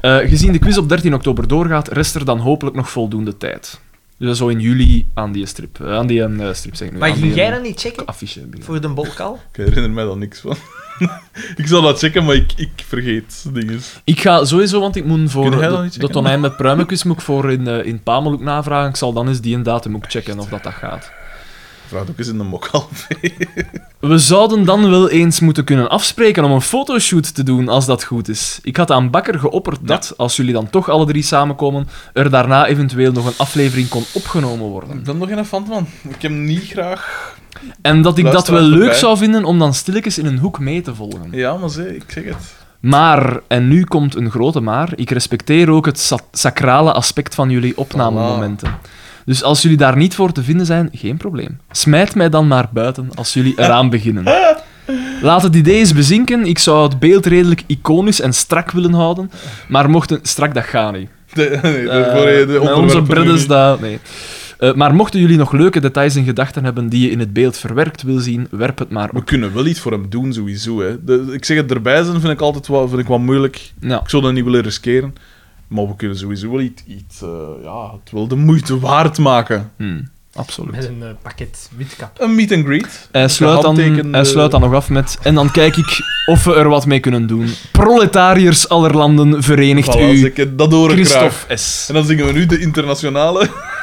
[SPEAKER 2] Eh, gezien de quiz op 13 oktober doorgaat, rest er dan hopelijk nog voldoende tijd. Dus dat zou in juli aan die strip, eh, aan die eh, strip zeg ik nu.
[SPEAKER 3] Maar
[SPEAKER 2] aan
[SPEAKER 3] ging
[SPEAKER 2] die,
[SPEAKER 3] jij
[SPEAKER 2] eh,
[SPEAKER 3] dat niet checken
[SPEAKER 2] Affiche. beginnen.
[SPEAKER 3] voor de bolkal?
[SPEAKER 1] Ik herinner mij daar niks van. *laughs* ik zal dat checken, maar ik, ik vergeet dingen.
[SPEAKER 2] Ik ga sowieso, want ik moet voor
[SPEAKER 1] Kun jij dat
[SPEAKER 2] de,
[SPEAKER 1] niet
[SPEAKER 2] de
[SPEAKER 1] checken?
[SPEAKER 2] tonijn met pruimenkus moet ik voor in, eh, in Pamel ook navragen. Ik zal dan eens die en datum ook checken of dat, dat gaat.
[SPEAKER 1] Vraag ook eens in de mokal.
[SPEAKER 2] We zouden dan wel eens moeten kunnen afspreken om een fotoshoot te doen, als dat goed is. Ik had aan Bakker geopperd dat, als jullie dan toch alle drie samenkomen, er daarna eventueel nog een aflevering kon opgenomen worden.
[SPEAKER 1] Ik ben nog geen fan van. Ik heb hem niet graag.
[SPEAKER 2] En dat ik dat
[SPEAKER 1] Luisteraar
[SPEAKER 2] wel leuk
[SPEAKER 1] voorbij.
[SPEAKER 2] zou vinden om dan stilletjes in een hoek mee te volgen.
[SPEAKER 1] Ja, maar zeg, ik zeg het.
[SPEAKER 2] Maar, en nu komt een grote maar, ik respecteer ook het sa- sacrale aspect van jullie opnamemomenten. Dus als jullie daar niet voor te vinden zijn, geen probleem. Smijt mij dan maar buiten als jullie
[SPEAKER 1] *laughs*
[SPEAKER 2] eraan beginnen. Laat het idee eens bezinken. Ik zou het beeld redelijk iconisch en strak willen houden. Maar mochten... Strak, dat gaat niet.
[SPEAKER 1] De, *laughs* nee, de,
[SPEAKER 2] Eh,
[SPEAKER 1] voor je de
[SPEAKER 2] met onze
[SPEAKER 1] onderwerpen
[SPEAKER 2] bredders
[SPEAKER 1] niet.
[SPEAKER 2] daar... Nee. Eh, maar mochten jullie nog leuke details in gedachten hebben die je in het beeld verwerkt wil zien, werp het maar op.
[SPEAKER 1] We kunnen wel iets voor hem doen, sowieso. Hè. De- ik zeg het, erbij zijn vind ik altijd wel, vind ik wel moeilijk.
[SPEAKER 2] Nou,
[SPEAKER 1] Ik zou dat niet willen riskeren. Maar we kunnen sowieso wel iets... iets eh, ja, het wel de moeite waard maken.
[SPEAKER 2] hmm, absoluut.
[SPEAKER 3] *laughs* Met een eh, pakket witkap.
[SPEAKER 1] Een meet and greet.
[SPEAKER 2] Hij sluit, dan,
[SPEAKER 1] Gehandtekende-
[SPEAKER 2] hij sluit dan nog af met. En dan kijk ik of we er wat mee kunnen doen. Proletariërs aller landen, verenigt
[SPEAKER 1] Voilà,
[SPEAKER 2] u.
[SPEAKER 1] zeg het, dat hoor ik graag.
[SPEAKER 2] Christophe S.
[SPEAKER 1] En dan zingen we nu de internationale. *laughs*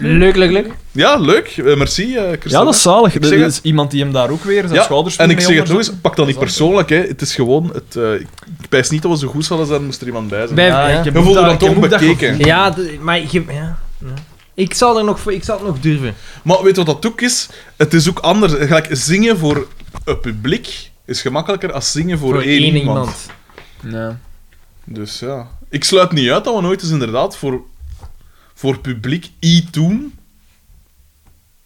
[SPEAKER 3] Leuk, leuk, leuk.
[SPEAKER 1] Ja, leuk. Eh, merci, eh, Christophe.
[SPEAKER 2] Ja, dat is zalig.
[SPEAKER 1] Ik
[SPEAKER 2] Er
[SPEAKER 1] zeg
[SPEAKER 2] is iemand die hem daar ook weer zijn
[SPEAKER 1] Ja,
[SPEAKER 2] schouders
[SPEAKER 1] en
[SPEAKER 2] mee
[SPEAKER 1] ik zeg het nog
[SPEAKER 2] onderzoekt.
[SPEAKER 1] eens, pak dat niet persoonlijk, hè. Het is gewoon... Het, eh, ik, ik pijs niet dat we zo goed zouden zijn, moest er iemand bij zijn.
[SPEAKER 3] Bij-
[SPEAKER 2] Ja,
[SPEAKER 3] Ja.
[SPEAKER 2] ik heb
[SPEAKER 1] We
[SPEAKER 2] ook
[SPEAKER 1] voelden
[SPEAKER 2] dat-
[SPEAKER 1] dat
[SPEAKER 2] ik heb
[SPEAKER 1] toch
[SPEAKER 2] ook dat
[SPEAKER 1] bekeken.
[SPEAKER 3] Ja, d- maar je, ja, ja. Ik zou, er nog, voor- ik zou het nog durven.
[SPEAKER 1] Maar weet je wat dat ook is? Het is ook anders. Gelijk, zingen voor een publiek is gemakkelijker als zingen voor,
[SPEAKER 3] Voor
[SPEAKER 1] één,
[SPEAKER 3] één
[SPEAKER 1] iemand.
[SPEAKER 3] iemand.
[SPEAKER 2] Ja.
[SPEAKER 1] Dus ja. Ik sluit niet uit dat we nooit eens inderdaad voor, voor publiek iets doen.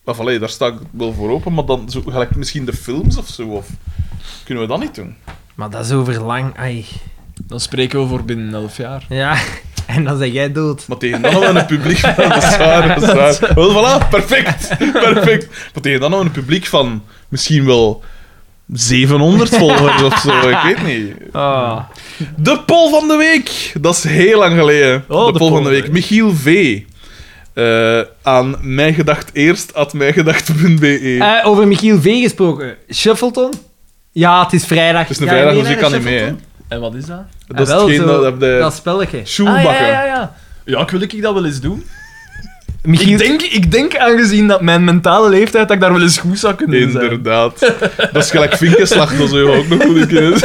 [SPEAKER 1] Of allee, daar sta ik wel voor open, maar dan zo, gelijk misschien de films of zo. Of, kunnen we dat niet doen?
[SPEAKER 3] Maar dat is over lang. Ai.
[SPEAKER 2] Dan spreken we voor binnen elf jaar.
[SPEAKER 3] Ja, *laughs* en dan zeg jij dood.
[SPEAKER 1] Maar tegen dan hebben we een publiek van... Dat is waar, dat is waar. Wel, voilà, perfect. Perfect. Maar tegen dan hebben we een publiek van misschien wel 700 volgers of zo. Ik weet niet.
[SPEAKER 3] Oh.
[SPEAKER 1] De poll van de week. Dat is heel lang geleden. de, poll van de week. Michiel V. Eh, aan mijngedacht eerst at mijngedacht.be.
[SPEAKER 3] Eh, over Michiel V gesproken. Shuffleton? Ja, het is vrijdag.
[SPEAKER 1] het is een
[SPEAKER 3] Ja,
[SPEAKER 1] vrijdag,
[SPEAKER 3] nee,
[SPEAKER 1] dus
[SPEAKER 3] nee,
[SPEAKER 1] ik kan
[SPEAKER 3] dat
[SPEAKER 1] niet mee. Hè.
[SPEAKER 2] En wat is dat?
[SPEAKER 1] Dat
[SPEAKER 3] Ah,
[SPEAKER 1] is
[SPEAKER 3] wel,
[SPEAKER 1] hetgeen
[SPEAKER 3] zo,
[SPEAKER 1] dat heb de
[SPEAKER 3] Dat spelletje.
[SPEAKER 2] Ah, ja,
[SPEAKER 1] schoenbakken.
[SPEAKER 2] ja, ja. Ja, ik wil ik dat wel eens doen.
[SPEAKER 3] Michiel,
[SPEAKER 2] Ik denk, ik denk aangezien dat mijn mentale leeftijd, dat ik daar wel eens goed zou kunnen zijn.
[SPEAKER 1] Inderdaad. dat is gelijk vinkenslacht of zo, ook nog goed in kennis.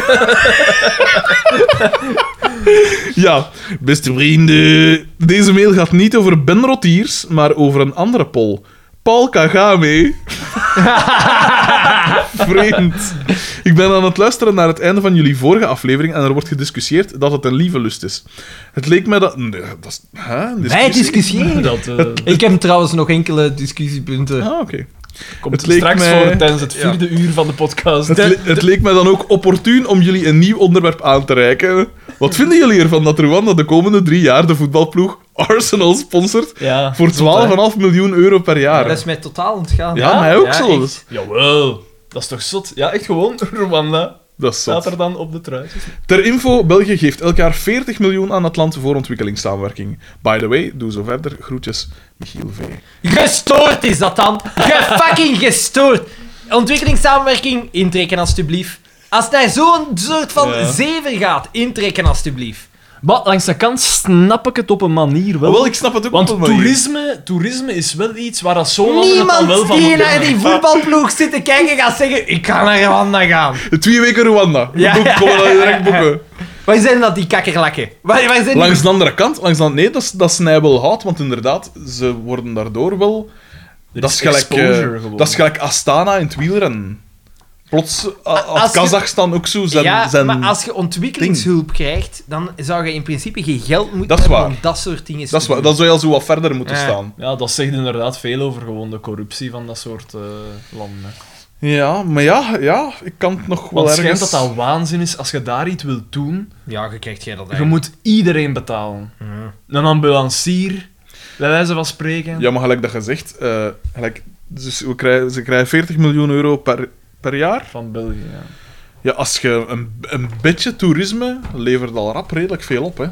[SPEAKER 1] ja, beste vrienden. Deze mail gaat niet over Ben Rotiers, maar over een andere poll. Paul Kagame. *laughs* Vreemd. Ik ben aan het luisteren naar het einde van jullie vorige aflevering en er wordt gediscussieerd dat het een lieve lust is. Het leek mij dat... Nee, dat is... Huh? Een
[SPEAKER 3] wij
[SPEAKER 1] discussie?
[SPEAKER 3] discussiëren.
[SPEAKER 2] Dat eh,
[SPEAKER 3] Ik heb trouwens nog enkele discussiepunten.
[SPEAKER 1] Ah, oké.
[SPEAKER 2] komt
[SPEAKER 1] Het leek
[SPEAKER 2] straks
[SPEAKER 1] mij-
[SPEAKER 2] voor tijdens het vierde uur van de podcast.
[SPEAKER 1] Het, le- het leek mij dan ook opportun om jullie een nieuw onderwerp aan te reiken. Wat vinden jullie ervan dat Rwanda de komende drie jaar de voetbalploeg Arsenal sponsort
[SPEAKER 2] Ja.
[SPEAKER 1] voor 12,5 miljoen euro per jaar?
[SPEAKER 3] Dat is mij totaal ontgaan.
[SPEAKER 1] ja, mij ook zo.
[SPEAKER 3] echt.
[SPEAKER 2] Jawel. Dat is toch zot? Ja, echt gewoon. *laughs* Rwanda
[SPEAKER 1] Dat is
[SPEAKER 2] staat
[SPEAKER 1] zot.
[SPEAKER 2] er dan op de trui.
[SPEAKER 1] Ter info, België geeft elk jaar 40 miljoen aan het land voor ontwikkelingssamenwerking. By the way, doe zo verder. Groetjes, Michiel V.
[SPEAKER 3] Gestoord is dat dan. Ge fucking gestoord. Ontwikkelingssamenwerking, intrekken alstublieft. Als het naar zo'n soort van
[SPEAKER 1] Ja.
[SPEAKER 3] zever gaat, intrekken alstublieft.
[SPEAKER 2] Maar langs de kant snap ik het op een manier wel.
[SPEAKER 1] Wel, ik snap het ook
[SPEAKER 2] Want
[SPEAKER 1] op een manier.
[SPEAKER 2] toerisme, toerisme is wel iets waar dat zo'n landen het al wel
[SPEAKER 3] Niemand
[SPEAKER 2] van
[SPEAKER 3] die
[SPEAKER 2] moeten
[SPEAKER 3] naar die voetbalploeg zit te kijken gaat zeggen ik ga naar Rwanda gaan.
[SPEAKER 1] Twee weken Rwanda.
[SPEAKER 3] Ja.
[SPEAKER 1] Boek, kom maar direct boeken.
[SPEAKER 3] Waar zijn dat die kakkerlakken? Waar, waar zijn
[SPEAKER 1] Langs
[SPEAKER 3] die...
[SPEAKER 1] de andere kant, langs dan, nee, dat, is- dat snij wel hout, want inderdaad, ze worden daardoor wel. Dat
[SPEAKER 2] is
[SPEAKER 1] is, gelijk, eh,
[SPEAKER 2] exposure gewoon.
[SPEAKER 1] dat is gelijk Astana in het wielrennen. Plots eh, had
[SPEAKER 3] als je-
[SPEAKER 1] Kazachstan ook zo zijn.
[SPEAKER 3] ja,
[SPEAKER 1] zijn...
[SPEAKER 3] maar als je ontwikkelingshulp krijgt, dan zou je in principe geen geld moeten
[SPEAKER 1] Dat is
[SPEAKER 3] hebben
[SPEAKER 1] waar.
[SPEAKER 3] om dat soort dingen
[SPEAKER 1] Dat, is,
[SPEAKER 3] te
[SPEAKER 1] wa-
[SPEAKER 3] doen.
[SPEAKER 1] dat zou je al zo wat verder moeten
[SPEAKER 3] Ja.
[SPEAKER 1] staan.
[SPEAKER 2] Ja, dat zegt inderdaad veel over gewoon de corruptie van dat soort eh, landen. hè.
[SPEAKER 1] Ja, maar ja, ja ik kan het nog wel
[SPEAKER 2] Want het schijnt
[SPEAKER 1] ergens.
[SPEAKER 2] dat dat waanzin is als je daar iets wilt doen.
[SPEAKER 3] Ja, je krijgt jij dat
[SPEAKER 2] Je
[SPEAKER 3] eigenlijk.
[SPEAKER 2] moet iedereen betalen. Een ambulancier, bij wijze van spreken.
[SPEAKER 1] Ja, maar gelijk dat gezegd, eh gelijk, dus we krijgen, ze krijgen 40 miljoen euro per, per jaar.
[SPEAKER 2] Van België, ja.
[SPEAKER 1] Ja, als je een, een beetje toerisme levert al rap redelijk veel op, hè.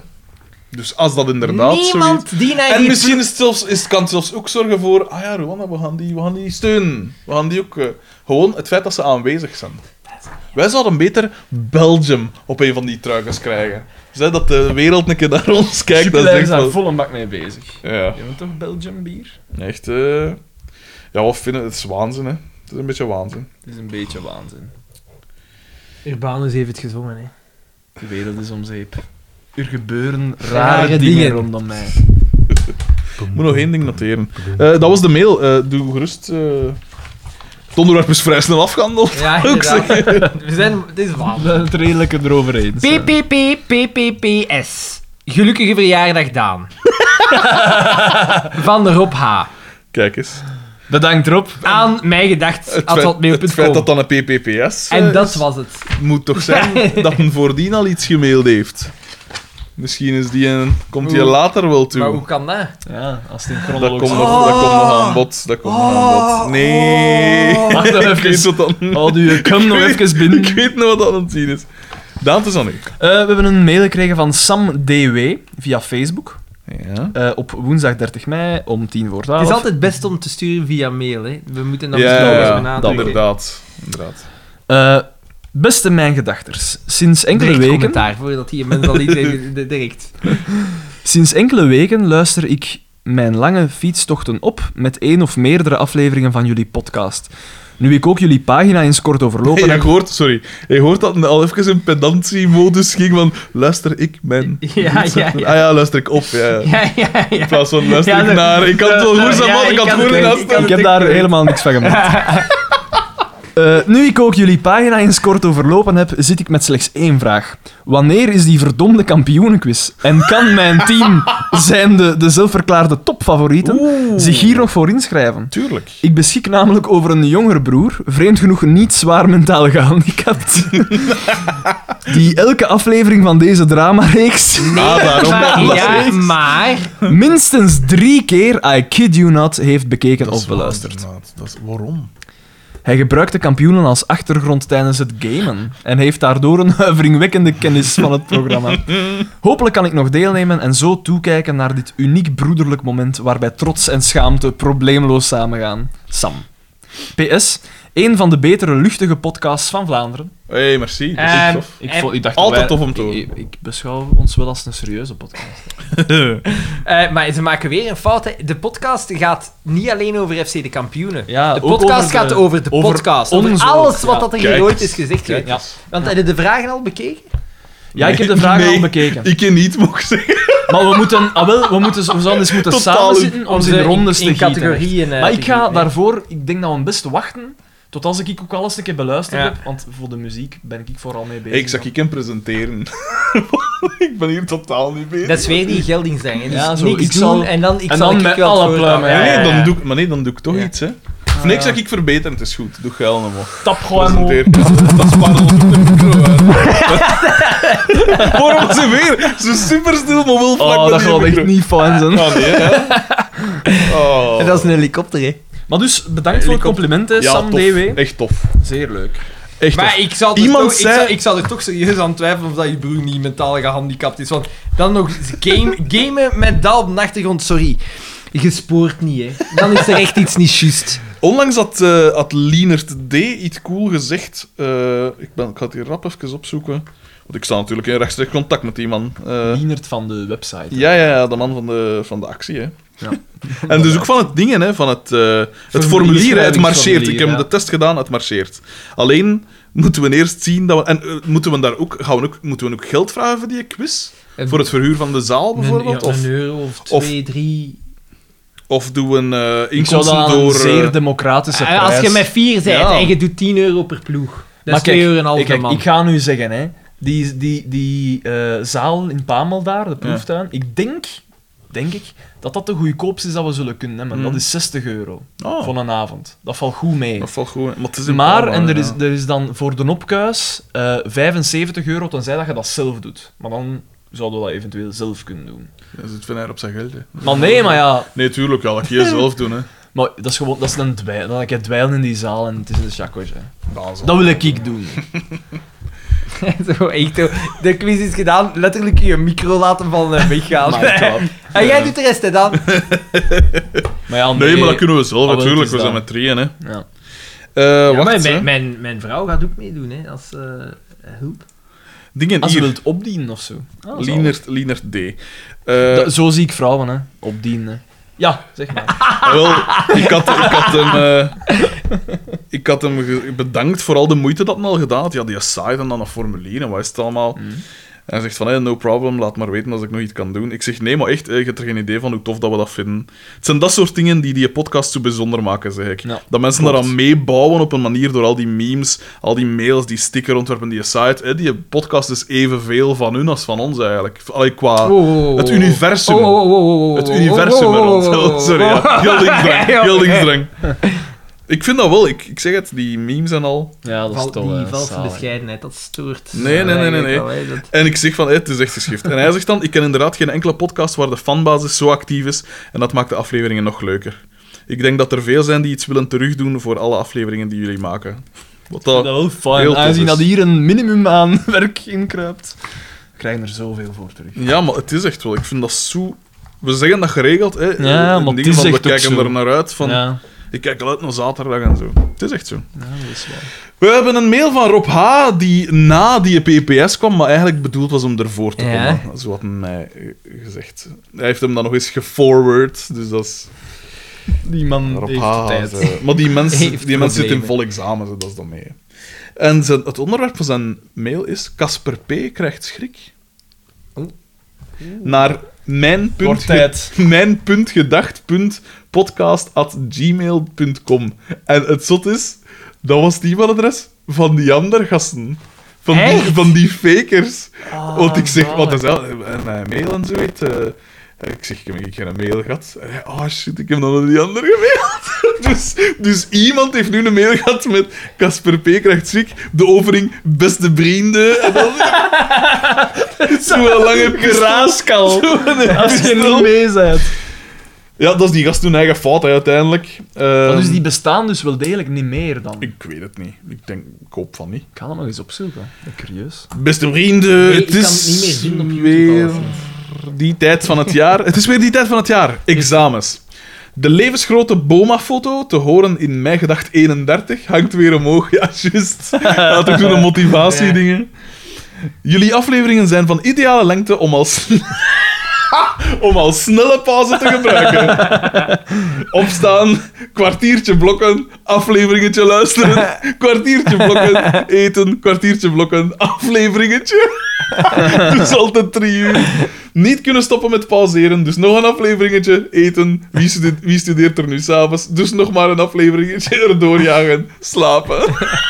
[SPEAKER 1] Dus als dat inderdaad zoiets...
[SPEAKER 3] Niemand die naar
[SPEAKER 1] En
[SPEAKER 3] die
[SPEAKER 1] misschien is het, zelfs, is het, kan het zelfs ook zorgen voor... Ah ja, Rwanda, we gaan die, we gaan die steunen. We gaan die ook... eh, gewoon het feit dat ze aanwezig zijn. Wij zouden beter Belgium op een van die truikens krijgen. Zeg dat de wereld een keer naar ons kijkt. Dat
[SPEAKER 2] Jupiler
[SPEAKER 1] is echt
[SPEAKER 2] is daar
[SPEAKER 1] wel-
[SPEAKER 2] vol een bak mee bezig.
[SPEAKER 1] Ja,
[SPEAKER 2] Je bent toch Belgium bier?
[SPEAKER 1] echt... eh, Ja, wat vinden... Het is waanzin, hè. Het is een beetje waanzin.
[SPEAKER 2] Het is een beetje waanzin.
[SPEAKER 3] Urbanus heeft het gezongen, hè.
[SPEAKER 2] De wereld is om zeep. Er gebeuren rare,
[SPEAKER 3] Rare
[SPEAKER 2] dingen.
[SPEAKER 3] dingen.
[SPEAKER 2] rondom *laughs* mij.
[SPEAKER 1] Ik moet nog één ding noteren. Eh, dat was de mail. Eh, doe gerust... eh, Het onderwerp is vrij snel afgehandeld.
[SPEAKER 3] *laughs*
[SPEAKER 1] *laughs*
[SPEAKER 3] Ja,
[SPEAKER 1] Ook
[SPEAKER 3] inderdaad. We zijn... Dit is waar.
[SPEAKER 2] We zijn het redelijk erover eens. hè.
[SPEAKER 3] PPPPPPS. Gelukkige verjaardag, *laughs* Daan. Van Rob H.
[SPEAKER 1] Kijk eens.
[SPEAKER 2] Bedankt Rob.
[SPEAKER 3] Aan mij gedacht,
[SPEAKER 1] Het feit, het feit dat dan een PPPS eh,
[SPEAKER 3] En dat
[SPEAKER 1] is.
[SPEAKER 3] was het.
[SPEAKER 1] moet toch zijn dat men voordien al iets gemaild heeft. Misschien is die een, komt die
[SPEAKER 3] Oeh.
[SPEAKER 1] later wel toe.
[SPEAKER 3] Maar hoe kan dat?
[SPEAKER 2] Ja, als het in
[SPEAKER 1] dat komt,
[SPEAKER 2] chronologisch...
[SPEAKER 1] nog, dat komt nog aan bod. Dat komt nog aan
[SPEAKER 3] Oh.
[SPEAKER 1] bod. Nee.
[SPEAKER 2] Oh, wacht
[SPEAKER 1] *laughs* Ik weet
[SPEAKER 2] even.
[SPEAKER 1] wat dan...
[SPEAKER 2] Houd uw cum eh, nog
[SPEAKER 1] weet-
[SPEAKER 2] even binnen.
[SPEAKER 1] Ik weet nog wat dat aan het zien is. Daan, het is aan u.
[SPEAKER 2] Eh, we hebben een mail gekregen van Sam DW via Facebook.
[SPEAKER 1] Ja.
[SPEAKER 2] eh, op woensdag 30 mei om 10 voor 12.
[SPEAKER 3] Het is altijd best om te sturen via mail, hè. We moeten dat misschien
[SPEAKER 1] Ja,
[SPEAKER 3] nog eens
[SPEAKER 1] ja,
[SPEAKER 3] benadrukken.
[SPEAKER 1] inderdaad. inderdaad.
[SPEAKER 2] Eh, beste mijn gedachters, sinds enkele
[SPEAKER 3] Direct
[SPEAKER 2] weken...
[SPEAKER 3] *laughs* commentaar, voordat die mensen al iets zeggen. Direct.
[SPEAKER 2] Sinds enkele weken luister ik mijn lange fietstochten op met één of meerdere afleveringen van jullie podcast. Nu ik ook jullie pagina eens kort overlopen
[SPEAKER 1] *laughs* Hey,
[SPEAKER 2] heb...
[SPEAKER 1] ik hoort, sorry, je hoort dat het al even in pedantie-modus ging van luister ik mijn...
[SPEAKER 3] *laughs* Ja, ja,
[SPEAKER 1] *laughs* Ah ja, luister ik op, ja, ja.
[SPEAKER 3] Ja, ja, ja.
[SPEAKER 1] In plaats van luister
[SPEAKER 3] Ja,
[SPEAKER 1] ik
[SPEAKER 3] dat-
[SPEAKER 1] naar... Ik kan het wel
[SPEAKER 3] dat-
[SPEAKER 1] goed zijn,
[SPEAKER 3] ja,
[SPEAKER 1] man, ik
[SPEAKER 3] ik
[SPEAKER 1] kan het
[SPEAKER 3] kan
[SPEAKER 1] goed
[SPEAKER 3] het-
[SPEAKER 1] in
[SPEAKER 3] ik
[SPEAKER 1] huis
[SPEAKER 3] kan
[SPEAKER 1] staan.
[SPEAKER 2] Ik heb daar helemaal niks van gemaakt. Eh, nu ik ook jullie pagina eens kort overlopen heb, zit ik met slechts één vraag. Wanneer is die verdomde kampioenenquiz? En kan mijn team, zijn de, de zelfverklaarde topfavorieten, zich hier nog voor inschrijven?
[SPEAKER 1] Tuurlijk.
[SPEAKER 2] Ik beschik namelijk over een jongere broer, vreemd genoeg niet zwaar mentaal
[SPEAKER 1] *laughs*
[SPEAKER 2] gehandicapt, die elke aflevering van deze
[SPEAKER 1] *laughs*
[SPEAKER 2] dramareeks
[SPEAKER 1] Ah, daarom.
[SPEAKER 3] Maar, *laughs* ja, maar...
[SPEAKER 2] minstens drie keer, I kid you not, heeft bekeken
[SPEAKER 1] Dat is
[SPEAKER 2] of beluisterd.
[SPEAKER 1] waar, inderdaad. Dat is, waarom?
[SPEAKER 2] Hij gebruikte kampioenen als achtergrond tijdens het gamen en heeft daardoor een *laughs* huiveringwekkende kennis van het programma. Hopelijk kan ik nog deelnemen en zo toekijken naar dit uniek broederlijk moment waarbij trots en schaamte probleemloos samengaan. Sam. PS, een van de betere luchtige podcasts van Vlaanderen.
[SPEAKER 1] Hé, hey, merci. Dat is
[SPEAKER 3] Ehm, *laughs*
[SPEAKER 1] tof.
[SPEAKER 2] Ik,
[SPEAKER 3] En
[SPEAKER 2] vo- ik dacht dat
[SPEAKER 1] altijd
[SPEAKER 2] wij-
[SPEAKER 1] tof om te horen.
[SPEAKER 2] Ik, ik beschouw ons wel als een serieuze podcast.
[SPEAKER 3] Eh, maar ze maken weer een fout. hè. De podcast gaat niet alleen over FC de kampioenen.
[SPEAKER 2] Ja,
[SPEAKER 3] de
[SPEAKER 2] ook
[SPEAKER 3] podcast
[SPEAKER 2] over de-
[SPEAKER 3] gaat over de
[SPEAKER 2] over
[SPEAKER 3] podcast. Over
[SPEAKER 2] ons
[SPEAKER 3] alles
[SPEAKER 2] ook,
[SPEAKER 3] wat
[SPEAKER 2] ja.
[SPEAKER 3] dat er
[SPEAKER 1] Kijk
[SPEAKER 3] hier ooit
[SPEAKER 1] eens,
[SPEAKER 3] is gezegd.
[SPEAKER 2] kijk
[SPEAKER 3] weet je. Want heb je de vragen al bekeken?
[SPEAKER 2] Ja, ik heb de
[SPEAKER 1] *laughs* Nee,
[SPEAKER 2] vragen
[SPEAKER 1] nee,
[SPEAKER 2] al bekeken.
[SPEAKER 1] Ik ken niet, mocht zeggen.
[SPEAKER 2] Maar we moeten, ah wel, we, moeten, we zouden eens moeten
[SPEAKER 1] Totaal
[SPEAKER 2] samen zitten om ze in rondes
[SPEAKER 3] in,
[SPEAKER 2] te gieten.
[SPEAKER 3] categorieën. eh,
[SPEAKER 2] Maar
[SPEAKER 3] te
[SPEAKER 2] ik ga
[SPEAKER 3] gieten, hè.
[SPEAKER 2] daarvoor, ik denk dat we het beste wachten tot als ik ook alles een keer beluisterd
[SPEAKER 3] Ja.
[SPEAKER 2] heb, want voor de muziek ben ik vooral mee bezig.
[SPEAKER 1] Hey, ik zag ik hem presenteren. *laughs* ik ben hier totaal niet bezig.
[SPEAKER 3] Dat is weer die geldingsding. hè. Dus
[SPEAKER 2] Ja, zo,
[SPEAKER 3] niks
[SPEAKER 2] ik
[SPEAKER 3] doen
[SPEAKER 2] zal-
[SPEAKER 3] en dan ik
[SPEAKER 2] en
[SPEAKER 3] zal
[SPEAKER 2] dan
[SPEAKER 3] ik
[SPEAKER 2] met
[SPEAKER 3] wel het
[SPEAKER 2] alle
[SPEAKER 3] woord
[SPEAKER 2] pluimen,
[SPEAKER 3] aan-
[SPEAKER 1] Nee,
[SPEAKER 3] Ja,
[SPEAKER 1] nee,
[SPEAKER 3] ja,
[SPEAKER 1] dan
[SPEAKER 3] ja.
[SPEAKER 1] doe ik, maar nee, dan doe ik toch
[SPEAKER 3] Ja.
[SPEAKER 1] iets, hè. Of niks zeg ik verbeteren, het is goed. Doe geil nog maar.
[SPEAKER 2] Tap gewoon
[SPEAKER 1] Presenteer. *laughs* Dat is parel op de micro, hè. *laughs* Waarom ze weer zo superstil, maar wel vlak
[SPEAKER 2] Oh,
[SPEAKER 1] bij
[SPEAKER 2] dat
[SPEAKER 1] die
[SPEAKER 2] gaat
[SPEAKER 1] micro.
[SPEAKER 2] echt niet fijn zijn.
[SPEAKER 1] Ah, nee, hè. Oh.
[SPEAKER 3] En dat is een helikopter, hè.
[SPEAKER 2] Maar dus, bedankt voor het compliment, hè,
[SPEAKER 1] Ja,
[SPEAKER 2] Sam
[SPEAKER 1] tof.
[SPEAKER 2] DW.
[SPEAKER 1] Echt tof.
[SPEAKER 2] Zeer leuk.
[SPEAKER 1] Echt
[SPEAKER 3] Maar
[SPEAKER 1] tof.
[SPEAKER 3] ik zal, er
[SPEAKER 1] Iemand
[SPEAKER 3] toch,
[SPEAKER 1] zei-
[SPEAKER 3] ik, zal, ik zal er toch serieus aan twijfelen of dat je broer niet mentaal gehandicapt is. Want dan nog eens *laughs* game, gamen met dat op de achtergrond, sorry. Je spoort niet, hè. Dan is er echt iets niet juist.
[SPEAKER 1] Onlangs had, eh had Lienert D. iets cool gezegd. Eh, ik, ben, ik ga het hier rap even opzoeken. Want ik sta natuurlijk in rechtstreeks contact met die man. Eh,
[SPEAKER 2] Dienert van de website.
[SPEAKER 1] ja, ja, ja, de man van de, van de actie, hè.
[SPEAKER 2] Ja.
[SPEAKER 1] *laughs* En dus ook van het dingen, hè, van het, eh, het
[SPEAKER 2] Formulier,
[SPEAKER 1] formulier, hè, het marcheert.
[SPEAKER 2] schrijvingsformulier,
[SPEAKER 1] Ik heb
[SPEAKER 2] ja.
[SPEAKER 1] de test gedaan, het marcheert. Alleen moeten we eerst zien dat we... En eh, moeten we daar ook, gaan we ook... Moeten we ook geld vragen voor die quiz? Voor het verhuur van de zaal, bijvoorbeeld? of,
[SPEAKER 3] euro of
[SPEAKER 1] of-
[SPEAKER 3] drie...
[SPEAKER 1] of doen we een eh,
[SPEAKER 2] Ik zou
[SPEAKER 1] inkomsten
[SPEAKER 2] dat aan
[SPEAKER 1] door...
[SPEAKER 2] een
[SPEAKER 1] eh,
[SPEAKER 2] zeer democratische prijs...
[SPEAKER 3] Ah, Eh, Als je met vier bent
[SPEAKER 1] Ja.
[SPEAKER 3] en je doet 10 euro per ploeg, dat
[SPEAKER 2] Maar
[SPEAKER 3] is 2 euro en een half
[SPEAKER 2] kijk,
[SPEAKER 3] per man.
[SPEAKER 2] ik ga nu zeggen, hè. Die, die, die eh, zaal in Pamel daar, de proeftuin, ik denk, denk ik, dat dat de goedkoopste is dat we zullen kunnen hebben.
[SPEAKER 1] Mm.
[SPEAKER 2] Dat is 60 euro
[SPEAKER 1] oh,
[SPEAKER 2] voor een avond. Dat valt goed mee. Dus
[SPEAKER 1] dat valt goed. Maar, het is in
[SPEAKER 2] Maar,
[SPEAKER 1] Palma,
[SPEAKER 2] en er is,
[SPEAKER 1] ja.
[SPEAKER 2] er is dan voor de opkuis eh 75 euro, tenzij dat je dat zelf doet. Maar dan zouden we dat eventueel zelf kunnen doen.
[SPEAKER 1] Dat zit Van Eyre op zijn geld, hè.
[SPEAKER 2] Maar nee, maar ja,
[SPEAKER 1] Nee, tuurlijk, ja, dat kun je
[SPEAKER 2] *laughs*
[SPEAKER 1] zelf doen, hè.
[SPEAKER 2] maar dat is gewoon, dat is een dweil. Dan heb je dweilen in die zaal en het is een chakos, hè.
[SPEAKER 1] Dat is al-
[SPEAKER 2] Dat wil ik ik
[SPEAKER 1] *laughs*
[SPEAKER 2] doen.
[SPEAKER 3] *laughs* Zo, echt, zo. De quiz is gedaan, letterlijk je micro laten van eh, weggaan.
[SPEAKER 2] Maar, ja,
[SPEAKER 3] *laughs* en jij doet de rest, hè, dan.
[SPEAKER 2] maar ja,
[SPEAKER 1] Nee, maar dat kunnen we zelf,
[SPEAKER 2] Ah, wel, het
[SPEAKER 1] natuurlijk.
[SPEAKER 2] is
[SPEAKER 1] We
[SPEAKER 2] dat.
[SPEAKER 1] zijn met drieën, hè.
[SPEAKER 2] Ja.
[SPEAKER 1] Eh,
[SPEAKER 3] Ja, maar
[SPEAKER 1] wacht, hè.
[SPEAKER 3] mijn, mijn, mijn vrouw gaat ook meedoen, hè, als eh, hulp.
[SPEAKER 1] Dingen
[SPEAKER 2] Als je
[SPEAKER 1] hier.
[SPEAKER 2] wilt opdienen of zo.
[SPEAKER 1] Lienert, Lienert D. Eh,
[SPEAKER 2] Da- zo zie ik vrouwen, hè. Opdienen. hè. Ja, zeg maar.
[SPEAKER 1] *laughs* wel, ik had, ik had hem, eh, ik had hem ge- bedankt voor al de moeite dat hij al gedaan had. Ja, die site en dan een formulier en wat is het allemaal.
[SPEAKER 2] Mm.
[SPEAKER 1] En hij zegt van, hey, no problem, laat maar weten als ik nog iets kan doen. Ik zeg, nee, maar echt, eh, je hebt er geen idee van hoe tof dat we dat vinden. Het zijn dat soort dingen die die podcast zo bijzonder maken, zeg ik.
[SPEAKER 2] Ja,
[SPEAKER 1] dat mensen
[SPEAKER 2] klopt.
[SPEAKER 1] daaraan meebouwen op een manier door al die memes, al die mails, die stickerontwerpen, die site. Eh, die podcast is evenveel van hun als van ons, eigenlijk. Allee, qua... Ah, Het
[SPEAKER 3] Oh,
[SPEAKER 1] universum. Het universum er rond. *laughs* Sorry, ja. Geldingsdrang.
[SPEAKER 3] Oké, oké.
[SPEAKER 1] Geldingsdrang. Ik vind dat wel. Ik, ik zeg het, die memes en al.
[SPEAKER 2] Ja, dat is
[SPEAKER 3] Val,
[SPEAKER 2] toch
[SPEAKER 3] die
[SPEAKER 2] eh,
[SPEAKER 3] valse
[SPEAKER 2] zalig.
[SPEAKER 3] bescheidenheid, dat stoort.
[SPEAKER 1] Nee, nee, nee, nee, nee.
[SPEAKER 3] Wel, hè, dat-
[SPEAKER 1] En ik zeg van, hé, het is echt geschift. En hij zegt dan, ik ken inderdaad geen enkele podcast waar de fanbasis zo actief is. En dat maakt de afleveringen nog leuker. Ik denk dat er veel zijn die iets willen terugdoen voor alle afleveringen die jullie maken. Wat
[SPEAKER 2] Ik vind
[SPEAKER 1] dat...
[SPEAKER 2] Dat wel
[SPEAKER 1] Heel
[SPEAKER 2] fijn.
[SPEAKER 1] tof
[SPEAKER 2] Aangezien
[SPEAKER 1] is.
[SPEAKER 2] dat hier een minimum aan *laughs* werk inkruipt, krijgen er zoveel voor terug.
[SPEAKER 1] Ja, maar het is echt wel. Ik vind dat zo... We zeggen dat geregeld, hè. Eh,
[SPEAKER 2] Ja,
[SPEAKER 1] En
[SPEAKER 2] maar het
[SPEAKER 1] dingen
[SPEAKER 2] is
[SPEAKER 1] van,
[SPEAKER 2] echt
[SPEAKER 1] we
[SPEAKER 2] ook
[SPEAKER 1] kijken
[SPEAKER 2] zo.
[SPEAKER 1] er naar uit. Van,
[SPEAKER 2] Ja,
[SPEAKER 1] Ik kijk al uit naar zaterdag en zo. Het is echt zo.
[SPEAKER 2] ja, dat is waar.
[SPEAKER 1] We hebben een mail van Rob H. die na die PPS kwam, maar eigenlijk bedoeld was om ervoor te
[SPEAKER 4] Ja.
[SPEAKER 1] komen. Zo had hij mij eh, gezegd. Hij heeft hem dan nog eens geforward, dus dat is...
[SPEAKER 2] Die man
[SPEAKER 1] Rob
[SPEAKER 2] heeft
[SPEAKER 1] H.
[SPEAKER 2] de tijd.
[SPEAKER 1] is, eh,
[SPEAKER 2] *laughs*
[SPEAKER 1] maar die mens,
[SPEAKER 4] Heeft
[SPEAKER 1] die mens zit in
[SPEAKER 4] problemen.
[SPEAKER 1] vol examen, zo, dat is dan mee. En zijn, het onderwerp van zijn mail is... Casper P. krijgt schrik. Naar mijn punt,
[SPEAKER 2] Wordt tijd.
[SPEAKER 1] *laughs* mijn punt gedacht punt podcast at gmail.com. En het zot is, dat was het e-mailadres van die andere gasten. Van die, van die fakers. Want ik zeg, wat is dat? En mijn mail en zoiets. eh, ik zeg, ik heb ik heb een mail gehad. En hij, Oh shit, ik heb dan naar die andere gemaild. *laughs* dus, dus iemand heeft nu een mail gehad met Casper P. krijgt ziek, de overing, beste vrienden. *laughs* En dan... Zo'n lange *laughs*
[SPEAKER 2] Graaskal. Als je niet mee bent.
[SPEAKER 1] Ja, dat is die gast toen eigen fout hè, uiteindelijk. Ehm,
[SPEAKER 6] dus die bestaan dus wel degelijk niet meer dan. Ik
[SPEAKER 1] Ik weet het niet. Ik denk, ik hoop van niet.
[SPEAKER 6] ga dat nog eens opzoeken. Ik ben curieus.
[SPEAKER 1] Beste vrienden,
[SPEAKER 7] Nee, ik
[SPEAKER 1] het
[SPEAKER 7] kan
[SPEAKER 1] is
[SPEAKER 7] het niet meer zien op YouTube
[SPEAKER 1] weer
[SPEAKER 7] alleszins.
[SPEAKER 1] die tijd van het jaar. Het is weer die tijd van het jaar. Examens. De levensgrote Boma-foto, te horen in mijn gedacht 31, hangt weer omhoog. *laughs* Ja, juist. Had ik toen een motivatiedingen. Jullie afleveringen zijn van ideale lengte om als... *laughs* om als snelle pauze te gebruiken. Opstaan, kwartiertje blokken, afleveringetje luisteren, kwartiertje blokken, eten, kwartiertje blokken, afleveringetje. *laughs* dus altijd drie uur. Niet kunnen stoppen met pauzeren, dus nog een afleveringetje, eten. Wie studeert, wie studeert er nu s'avonds? Dus nog maar een afleveringetje erdoor jagen, slapen. *laughs*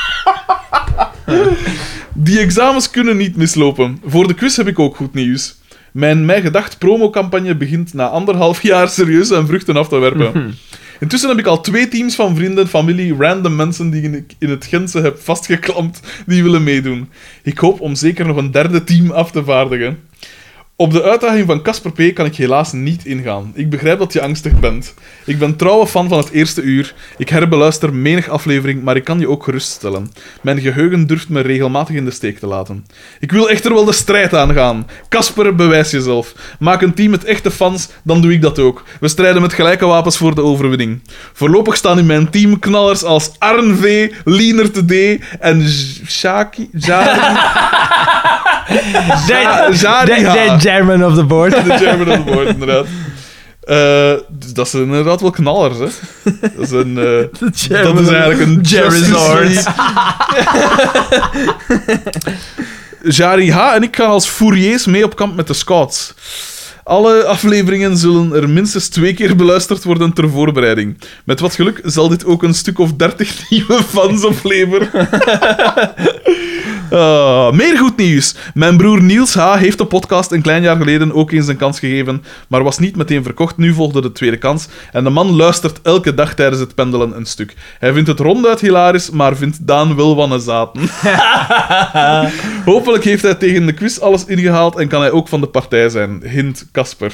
[SPEAKER 1] Die examens kunnen niet mislopen. Voor de quiz heb ik ook goed nieuws. Mijn Mij Gedacht promocampagne begint na anderhalf jaar serieus zijn vruchten af te werpen. Intussen heb ik al twee teams van vrienden, familie, random mensen die ik in het Gentse heb vastgeklampt, die willen meedoen. Ik hoop om zeker nog een derde team af te vaardigen. Op de uitdaging van Casper P. kan ik helaas niet ingaan. Ik begrijp dat je angstig bent. Ik ben trouwe fan van het eerste uur. Ik herbeluister menig aflevering, maar ik kan je ook geruststellen. Mijn geheugen durft me regelmatig in de steek te laten. Ik wil echter wel de strijd aangaan. Casper, bewijs jezelf. Maak een team met echte fans, dan doe ik dat ook. We strijden met gelijke wapens voor de overwinning. Voorlopig staan in mijn team knallers als Arn V, Lienert D en Z- Shaki... Zari... Ja, Zariha.
[SPEAKER 4] German of the board.
[SPEAKER 1] *laughs* De German on board, inderdaad. Eh, dus dat zijn inderdaad wel knallers, hè. Dat is, een, eh, dat is eigenlijk een Justice League. *laughs* Jari H. en ik gaan als fouriers mee op kamp met de scouts. Alle afleveringen zullen er minstens twee keer beluisterd worden ter voorbereiding. Met wat geluk zal dit ook een stuk of dertig *laughs* nieuwe fans opleveren. Ah, meer goed nieuws. Mijn broer Niels H. heeft de podcast een klein jaar geleden ook eens een kans gegeven, maar was niet meteen verkocht. Nu volgde de tweede kans. En de man luistert elke dag tijdens het pendelen een stuk. Hij vindt het ronduit hilarisch, maar vindt Daan wel wannezaten. Hopelijk heeft hij tegen de quiz alles ingehaald en kan hij ook van de partij zijn. Hint Kasper.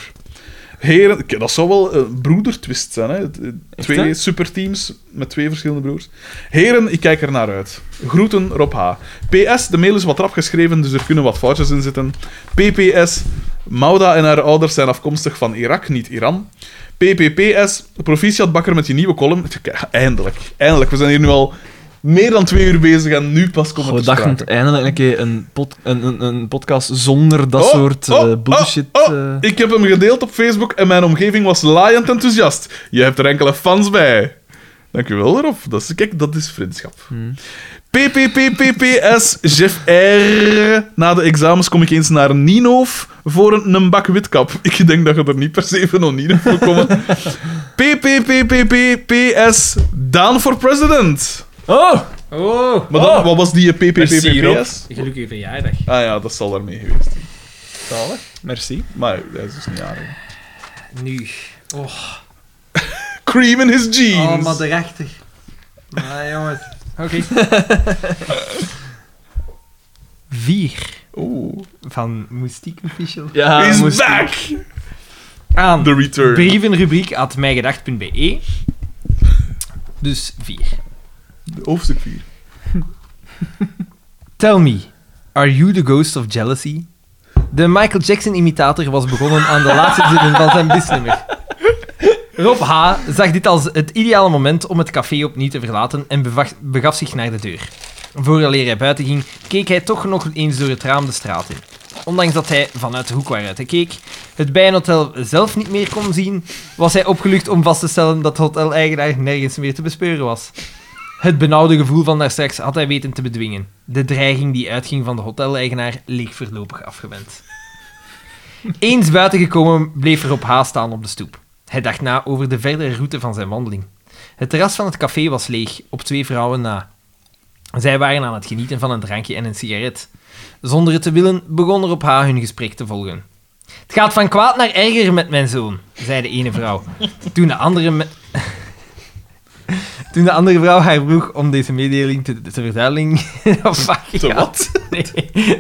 [SPEAKER 1] Heren, k- dat zou wel een broedertwist zijn. Hè? Het- het- Twee superteams met twee verschillende broers. Heren, ik kijk er naar uit. Groeten, Rob H. PS, de mail is wat rap geschreven, dus er kunnen wat foutjes in zitten. PPS, Mauda en haar ouders zijn afkomstig van Irak, niet Iran. PPPS, proficiat bakker met je nieuwe column. Kijk, Eindelijk, eindelijk. We zijn hier nu al meer dan twee uur bezig en nu pas komt het
[SPEAKER 6] We
[SPEAKER 1] ter sprake.
[SPEAKER 6] dachten eindelijk een keer een, pod- een, een, een podcast zonder dat
[SPEAKER 1] Oh,
[SPEAKER 6] soort eh,
[SPEAKER 1] oh, oh,
[SPEAKER 6] bullshit.
[SPEAKER 1] oh.
[SPEAKER 6] eh.
[SPEAKER 1] Ik heb hem gedeeld op Facebook en mijn omgeving was laaiend enthousiast. Je hebt er enkele fans bij. Dankjewel, Rob. Dat is, kijk, dat is vriendschap.
[SPEAKER 6] Hmm.
[SPEAKER 1] PPPPPS Jeff R. Na de examens kom ik eens naar Ninoof voor een, een bak witkap. Ik denk dat je er niet per se van Ninoof moet komen.
[SPEAKER 6] *laughs*
[SPEAKER 1] PPPPPPS Daan voor president.
[SPEAKER 2] Oh!
[SPEAKER 3] Oh,
[SPEAKER 1] Maar dan, wat was die eh,
[SPEAKER 2] Merci, Rob.
[SPEAKER 1] PPPPS?
[SPEAKER 3] gelukkige verjaardag.
[SPEAKER 1] Ah ja, dat zal daarmee geweest zijn.
[SPEAKER 6] Merci.
[SPEAKER 1] Maar dat is dus niet aardig.
[SPEAKER 3] Nu.
[SPEAKER 1] Cream in his jeans.
[SPEAKER 3] Oh, maar de rechter. Maar jongens. Oké.
[SPEAKER 4] *laughs* Vier
[SPEAKER 3] Oh.
[SPEAKER 1] Oeh.
[SPEAKER 4] van Moestiek Official.
[SPEAKER 6] Ja,
[SPEAKER 1] He's
[SPEAKER 6] moest-
[SPEAKER 1] back!
[SPEAKER 4] Aan
[SPEAKER 1] The return.
[SPEAKER 4] brievenrubriek at mijgedacht.be. E. Dus vier.
[SPEAKER 1] Hoofdstuk 4.
[SPEAKER 4] Tell me, are you the ghost of jealousy? De Michael Jackson-imitator was begonnen aan de laatste zinnen van zijn bisnummer. Rob H. zag dit als het ideale moment om het café opnieuw te verlaten en beva- begaf zich naar de deur.
[SPEAKER 3] Vooraleer hij buiten ging, keek hij toch nog eens door het raam de straat in. Ondanks dat hij vanuit de hoek waaruit hij keek het bijenhotel zelf niet meer kon zien, was hij opgelucht om vast te stellen dat de hotel-eigenaar nergens meer te bespeuren was. Het benauwde gevoel van daarstraks had hij weten te bedwingen. De dreiging die uitging van de hotel-eigenaar leek voorlopig afgewend. Eens buiten gekomen bleef Rob Haas staan op de stoep. Hij dacht na over de verdere route van zijn wandeling. Het terras van het café was leeg, op twee vrouwen na. Zij waren aan het genieten van een drankje en een sigaret. Zonder het te willen begon Rob Haas hun gesprek te volgen. Het gaat van kwaad naar erger met mijn zoon, zei de ene vrouw. Toen de andere, me- Toen de andere vrouw haar vroeg om deze mededeling te, te verduidelijken... *laughs* Of
[SPEAKER 1] Te
[SPEAKER 3] *laughs* Nee.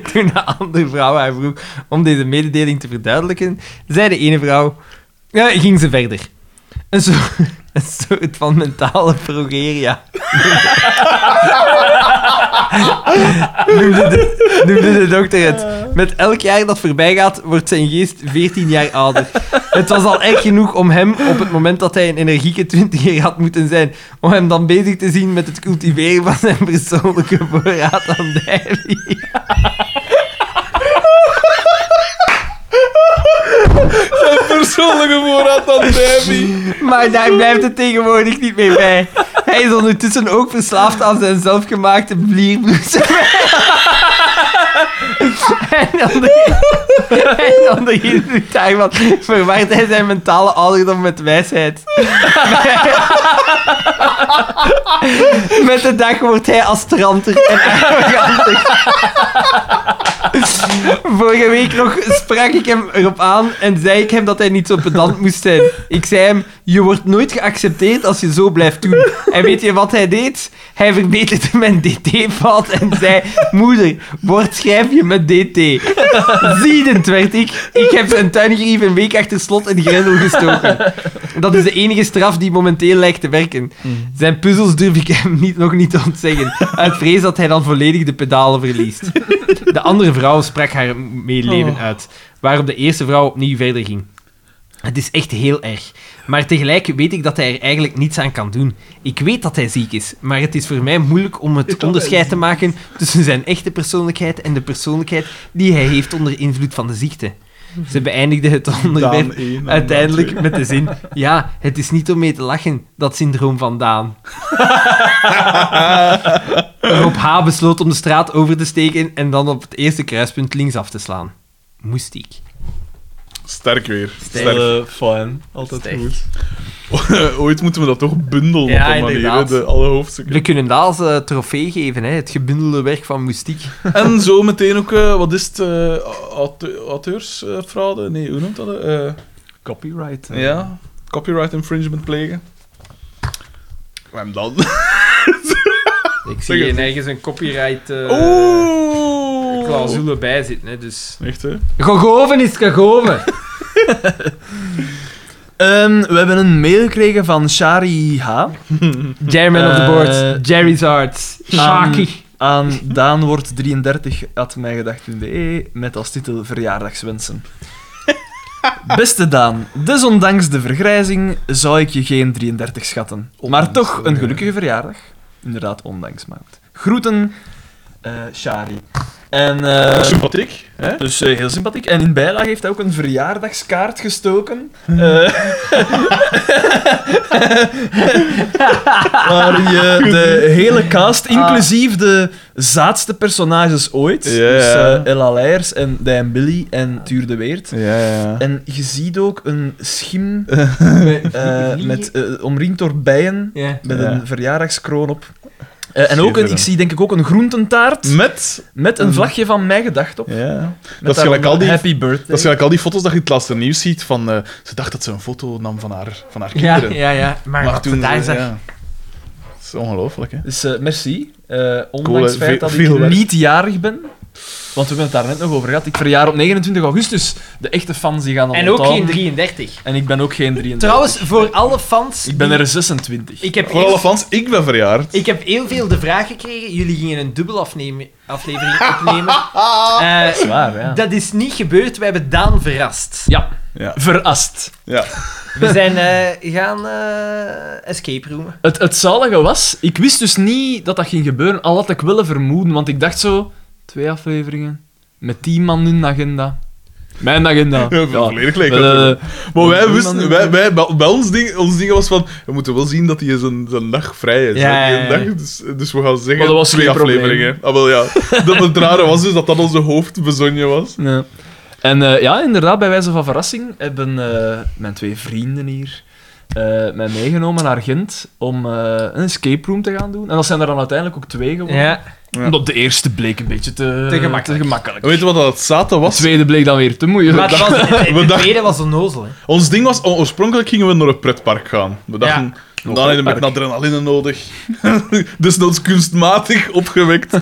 [SPEAKER 3] Toen de andere vrouw haar vroeg om deze mededeling te verduidelijken, zei de ene vrouw... Ja, ging ze verder. Een soort, *laughs* een soort van mentale progeria. noemde, de, noemde de dokter het. Met elk jaar dat voorbij gaat, wordt zijn geest 14 jaar ouder. Het was al echt genoeg om hem, op het moment dat hij een energieke twintiger had moeten zijn, om hem dan bezig te zien met het cultiveren van zijn persoonlijke voorraad aan dairy.
[SPEAKER 1] Persoonlijke voorraad *laughs* aan Davy.
[SPEAKER 3] *laughs* Maar daar blijft het tegenwoordig niet mee bij. Hij is ondertussen ook verslaafd aan zijn zelfgemaakte blierbloesem. *laughs* en onder, en onder invloed daarvan verwaart hij zijn mentale ouderdom met wijsheid. *laughs* met de dag wordt hij astranter en *laughs* arroganter. Vorige week nog sprak ik hem erop aan en zei ik hem dat hij niet zo pedant moest zijn. Ik zei hem, je wordt nooit geaccepteerd als je zo blijft doen. En weet je wat hij deed? Hij verbeterde mijn dt-fout en zei, moeder, bord schrijf je met dt. Ziedend werd ik. Ik heb zijn tuingerief een week achter slot en grendel gestoken. Dat is de enige straf die momenteel lijkt te werken. Zijn puzzels durf ik hem niet, nog niet te ontzeggen. Uit vrees dat hij dan volledig de pedalen verliest. De andere vrouw sprak haar medeleven uit, waarop de eerste vrouw opnieuw verder ging. Het is echt heel erg. Maar tegelijk weet ik dat hij er eigenlijk niets aan kan doen. Ik weet dat hij ziek is, maar het is voor mij moeilijk om het onderscheid te maken tussen zijn echte persoonlijkheid en de persoonlijkheid die hij heeft onder invloed van de ziekte. Ze beëindigde het onderwerp
[SPEAKER 1] Daan één en Daan
[SPEAKER 3] uiteindelijk met de zin: Ja, het is niet om mee te lachen, dat syndroom van
[SPEAKER 8] *laughs*
[SPEAKER 3] Daan. Rob H. besloot om de straat over te steken en dan op het eerste kruispunt linksaf te slaan. Moest ik.
[SPEAKER 1] Sterk weer. Sterk.
[SPEAKER 2] Fijn, Eh, fijn. Altijd
[SPEAKER 3] Sterk.
[SPEAKER 2] goed.
[SPEAKER 1] *laughs* Ooit moeten we dat toch bundelen
[SPEAKER 3] Ja,
[SPEAKER 1] op een manier, hè,
[SPEAKER 3] inderdaad.
[SPEAKER 1] de, alle hoofdstukken.
[SPEAKER 3] We kunnen dat als eh, trofee geven, hè? het gebundelde werk van Moestiek.
[SPEAKER 1] *laughs* En zo meteen ook, eh, wat is het, eh, aute- auteursfraude? nee, hoe noemt dat? eh? Eh,
[SPEAKER 2] Copyright. eh.
[SPEAKER 1] ja, copyright infringement plegen. En dan...
[SPEAKER 8] Ik
[SPEAKER 1] Zeg
[SPEAKER 8] zie
[SPEAKER 1] het.
[SPEAKER 8] hier nergens een copyright eh
[SPEAKER 1] *laughs* Oeh!
[SPEAKER 8] clausule bij zitten, hè, dus...
[SPEAKER 1] Echt, hè?
[SPEAKER 3] Gegoven is gegoven.
[SPEAKER 2] Ehm, we hebben een mail gekregen van Shari H.
[SPEAKER 3] Chairman of the
[SPEAKER 2] Eh,
[SPEAKER 3] board, Jerry's Arts. Shaki.
[SPEAKER 2] Aan Daan wordt 33 at mijgedacht.be met als titel verjaardagswensen. Beste Daan, desondanks de vergrijzing zou ik je geen 33 schatten. maar toch een gelukkige verjaardag. Inderdaad, ondanks maakt. Groeten, eh, Shari. En, eh,
[SPEAKER 1] Sympathiek, hè?
[SPEAKER 2] dus eh, heel sympathiek. En in bijlage heeft hij ook een verjaardagskaart gestoken.
[SPEAKER 1] Hmm. *laughs*
[SPEAKER 2] Eh, waar je de hele cast, inclusief de zaadste personages ooit,
[SPEAKER 1] Ah. Ja,
[SPEAKER 2] dus
[SPEAKER 1] ja.
[SPEAKER 2] eh, Ella Leijers en Diane Billy en Tuur de Weert.
[SPEAKER 1] Ja, ja.
[SPEAKER 2] En je ziet ook een
[SPEAKER 1] *laughs*
[SPEAKER 2] schim eh, met, eh, omringd door bijen
[SPEAKER 3] Ja.
[SPEAKER 2] met
[SPEAKER 1] Ja.
[SPEAKER 2] een verjaardagskroon op. Eh, en ook een, ik zie denk ik ook een groententaart
[SPEAKER 1] Met...
[SPEAKER 2] met een vlagje van mijn gedacht op.
[SPEAKER 1] Mm. Ja.
[SPEAKER 2] Met
[SPEAKER 1] Dat is
[SPEAKER 2] daarop
[SPEAKER 1] gelijk al die...
[SPEAKER 2] Happy birthday.
[SPEAKER 1] Dat is gelijk al die foto's dat je in het laatste nieuws ziet van... eh, ze dacht dat ze een foto nam van haar, van haar
[SPEAKER 3] Ja,
[SPEAKER 1] kinderen.
[SPEAKER 3] ja, ja. Maar,
[SPEAKER 1] Maar
[SPEAKER 3] wat
[SPEAKER 1] toen...
[SPEAKER 3] toen daar
[SPEAKER 1] ze-
[SPEAKER 3] zag.
[SPEAKER 1] ja. Dat is ongelooflijk, hè?
[SPEAKER 2] Dus eh, merci. Eh ondanks
[SPEAKER 1] Cool, hè.
[SPEAKER 2] het feit dat
[SPEAKER 1] Veel- veel
[SPEAKER 2] ik
[SPEAKER 1] werk.
[SPEAKER 2] niet jarig ben. Want we hebben het daar net nog over gehad. Ik verjaar op 29 augustus. De echte fans die gaan dan
[SPEAKER 8] En ook
[SPEAKER 2] onthouden.
[SPEAKER 8] geen 33.
[SPEAKER 2] En ik ben ook geen 33.
[SPEAKER 3] Trouwens, voor alle fans.
[SPEAKER 2] Ik ben
[SPEAKER 3] die-
[SPEAKER 2] er 26.
[SPEAKER 3] Ik heb,
[SPEAKER 1] Voor alle
[SPEAKER 3] heel,
[SPEAKER 1] fans, ik ben verjaard.
[SPEAKER 3] ik heb heel veel de vraag gekregen. Jullie gingen een dubbel afnemen, aflevering *laughs* opnemen. Eh,
[SPEAKER 2] Zwaar, ja.
[SPEAKER 3] dat is niet gebeurd. We hebben Daan verrast.
[SPEAKER 2] Ja,
[SPEAKER 1] Ja.
[SPEAKER 2] verrast.
[SPEAKER 1] ja.
[SPEAKER 9] We zijn eh, gaan eh, escape roomen.
[SPEAKER 2] Het, het zalige was, ik wist dus niet dat dat ging gebeuren, al had ik willen vermoeden, want ik dacht zo, twee afleveringen, met tien man hun agenda. Mijn agenda.
[SPEAKER 1] *laughs* Ja, volledig gelijk.
[SPEAKER 2] Eh,
[SPEAKER 1] Maar wij
[SPEAKER 2] Niemand
[SPEAKER 1] wisten,
[SPEAKER 2] doet
[SPEAKER 1] wij, wij, bij bij ons ding, ons ding was van, we moeten wel zien dat hij zijn, zijn dag vrij is.
[SPEAKER 3] Ja,
[SPEAKER 1] hè, die
[SPEAKER 3] ja, ja.
[SPEAKER 1] dag. dus, dus we gaan zeggen,
[SPEAKER 2] Maar dat was
[SPEAKER 1] twee
[SPEAKER 2] geen probleem.
[SPEAKER 1] afleveringen. Ah, wel, ja. dat het rare was dus dat dat onze hoofdbezonje was.
[SPEAKER 2] Ja. En eh, ja, inderdaad, bij wijze van verrassing hebben eh, mijn twee vrienden hier eh, mij meegenomen naar Gent om eh, een escape room te gaan doen. En dat zijn er dan uiteindelijk ook twee geworden.
[SPEAKER 3] Ja.
[SPEAKER 1] Ja.
[SPEAKER 2] Omdat de eerste bleek een beetje te,
[SPEAKER 3] Te gemakkelijk.
[SPEAKER 2] te gemakkelijk.
[SPEAKER 1] En weet je wat dat het zaten
[SPEAKER 2] De
[SPEAKER 1] was?
[SPEAKER 2] tweede bleek dan weer te moeilijk.
[SPEAKER 3] Maar het
[SPEAKER 1] *laughs*
[SPEAKER 3] was,
[SPEAKER 1] We
[SPEAKER 3] de
[SPEAKER 1] dachten-
[SPEAKER 3] tweede was onnozel, hè.
[SPEAKER 1] Ons ding was, o- oorspronkelijk gingen we naar een pretpark gaan. We dachten, dan hebben we met adrenaline nodig. *laughs* Desnoods kunstmatig opgewekt.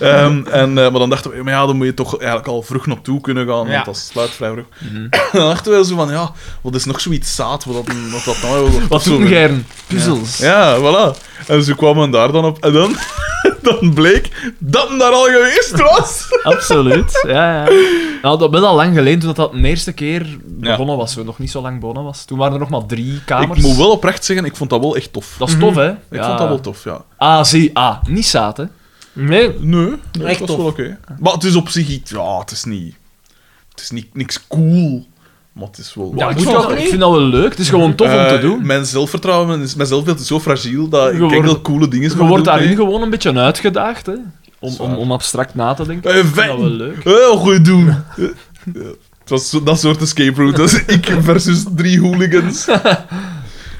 [SPEAKER 1] Ehm, en, eh, maar dan dachten we, maar ja, dan moet je toch eigenlijk al vroeg naartoe kunnen gaan,
[SPEAKER 3] Ja.
[SPEAKER 1] want dat sluit vrij vroeg. *clears throat* dan dachten we zo van, ja, wat is nog zoiets zaad, wat dat, wat dat nou... Wat,
[SPEAKER 2] Wat
[SPEAKER 1] zo-
[SPEAKER 2] doen Gern? Puzzels.
[SPEAKER 1] Ja, voilà. En ze kwamen daar dan op. En dan, *laughs* dan bleek dat hem daar al geweest was.
[SPEAKER 2] Absoluut. Ja, ja. Nou, dat ben al lang geleden, toen dat, dat de eerste keer
[SPEAKER 1] Ja.
[SPEAKER 2] begonnen was. Zo, nog niet zo lang begonnen was. Toen waren er nog maar drie kamers.
[SPEAKER 1] Ik moet wel oprecht zeggen, ik vond dat wel echt tof.
[SPEAKER 2] Dat is tof, hè?
[SPEAKER 1] Ik vond dat wel tof, ja.
[SPEAKER 2] Ah, zie. Ah, niet zaten.
[SPEAKER 3] Nee.
[SPEAKER 1] Nee, nee het
[SPEAKER 9] Echt
[SPEAKER 1] was
[SPEAKER 9] tof.
[SPEAKER 1] wel oké. Maar het is op zich iets... Ja, het is niet... Het is niet, niks cool. Maar het is wel...
[SPEAKER 2] Ja, ik,
[SPEAKER 1] Ik vond
[SPEAKER 2] vind
[SPEAKER 1] het
[SPEAKER 2] dat,
[SPEAKER 1] wel-
[SPEAKER 2] ik vind dat wel leuk. Het is gewoon tof om te
[SPEAKER 1] Eh,
[SPEAKER 2] doen.
[SPEAKER 1] Mijn zelfvertrouwen, is- mijn zelfbeeld is zo fragiel dat
[SPEAKER 2] Je
[SPEAKER 1] ik denk
[SPEAKER 2] wordt-
[SPEAKER 1] dat coole dingen...
[SPEAKER 2] Je wordt daarin gewoon een beetje uitgedaagd, hè? Om, om,
[SPEAKER 1] waar.
[SPEAKER 2] om abstract na te denken.
[SPEAKER 1] Eh,
[SPEAKER 2] Ik vind
[SPEAKER 1] fijn.
[SPEAKER 2] dat wel leuk.
[SPEAKER 1] Heel goed doen. Eh, eh, Het was zo- dat soort escape route. Dat is *laughs* ik versus drie
[SPEAKER 2] *laughs*
[SPEAKER 1] hooligans.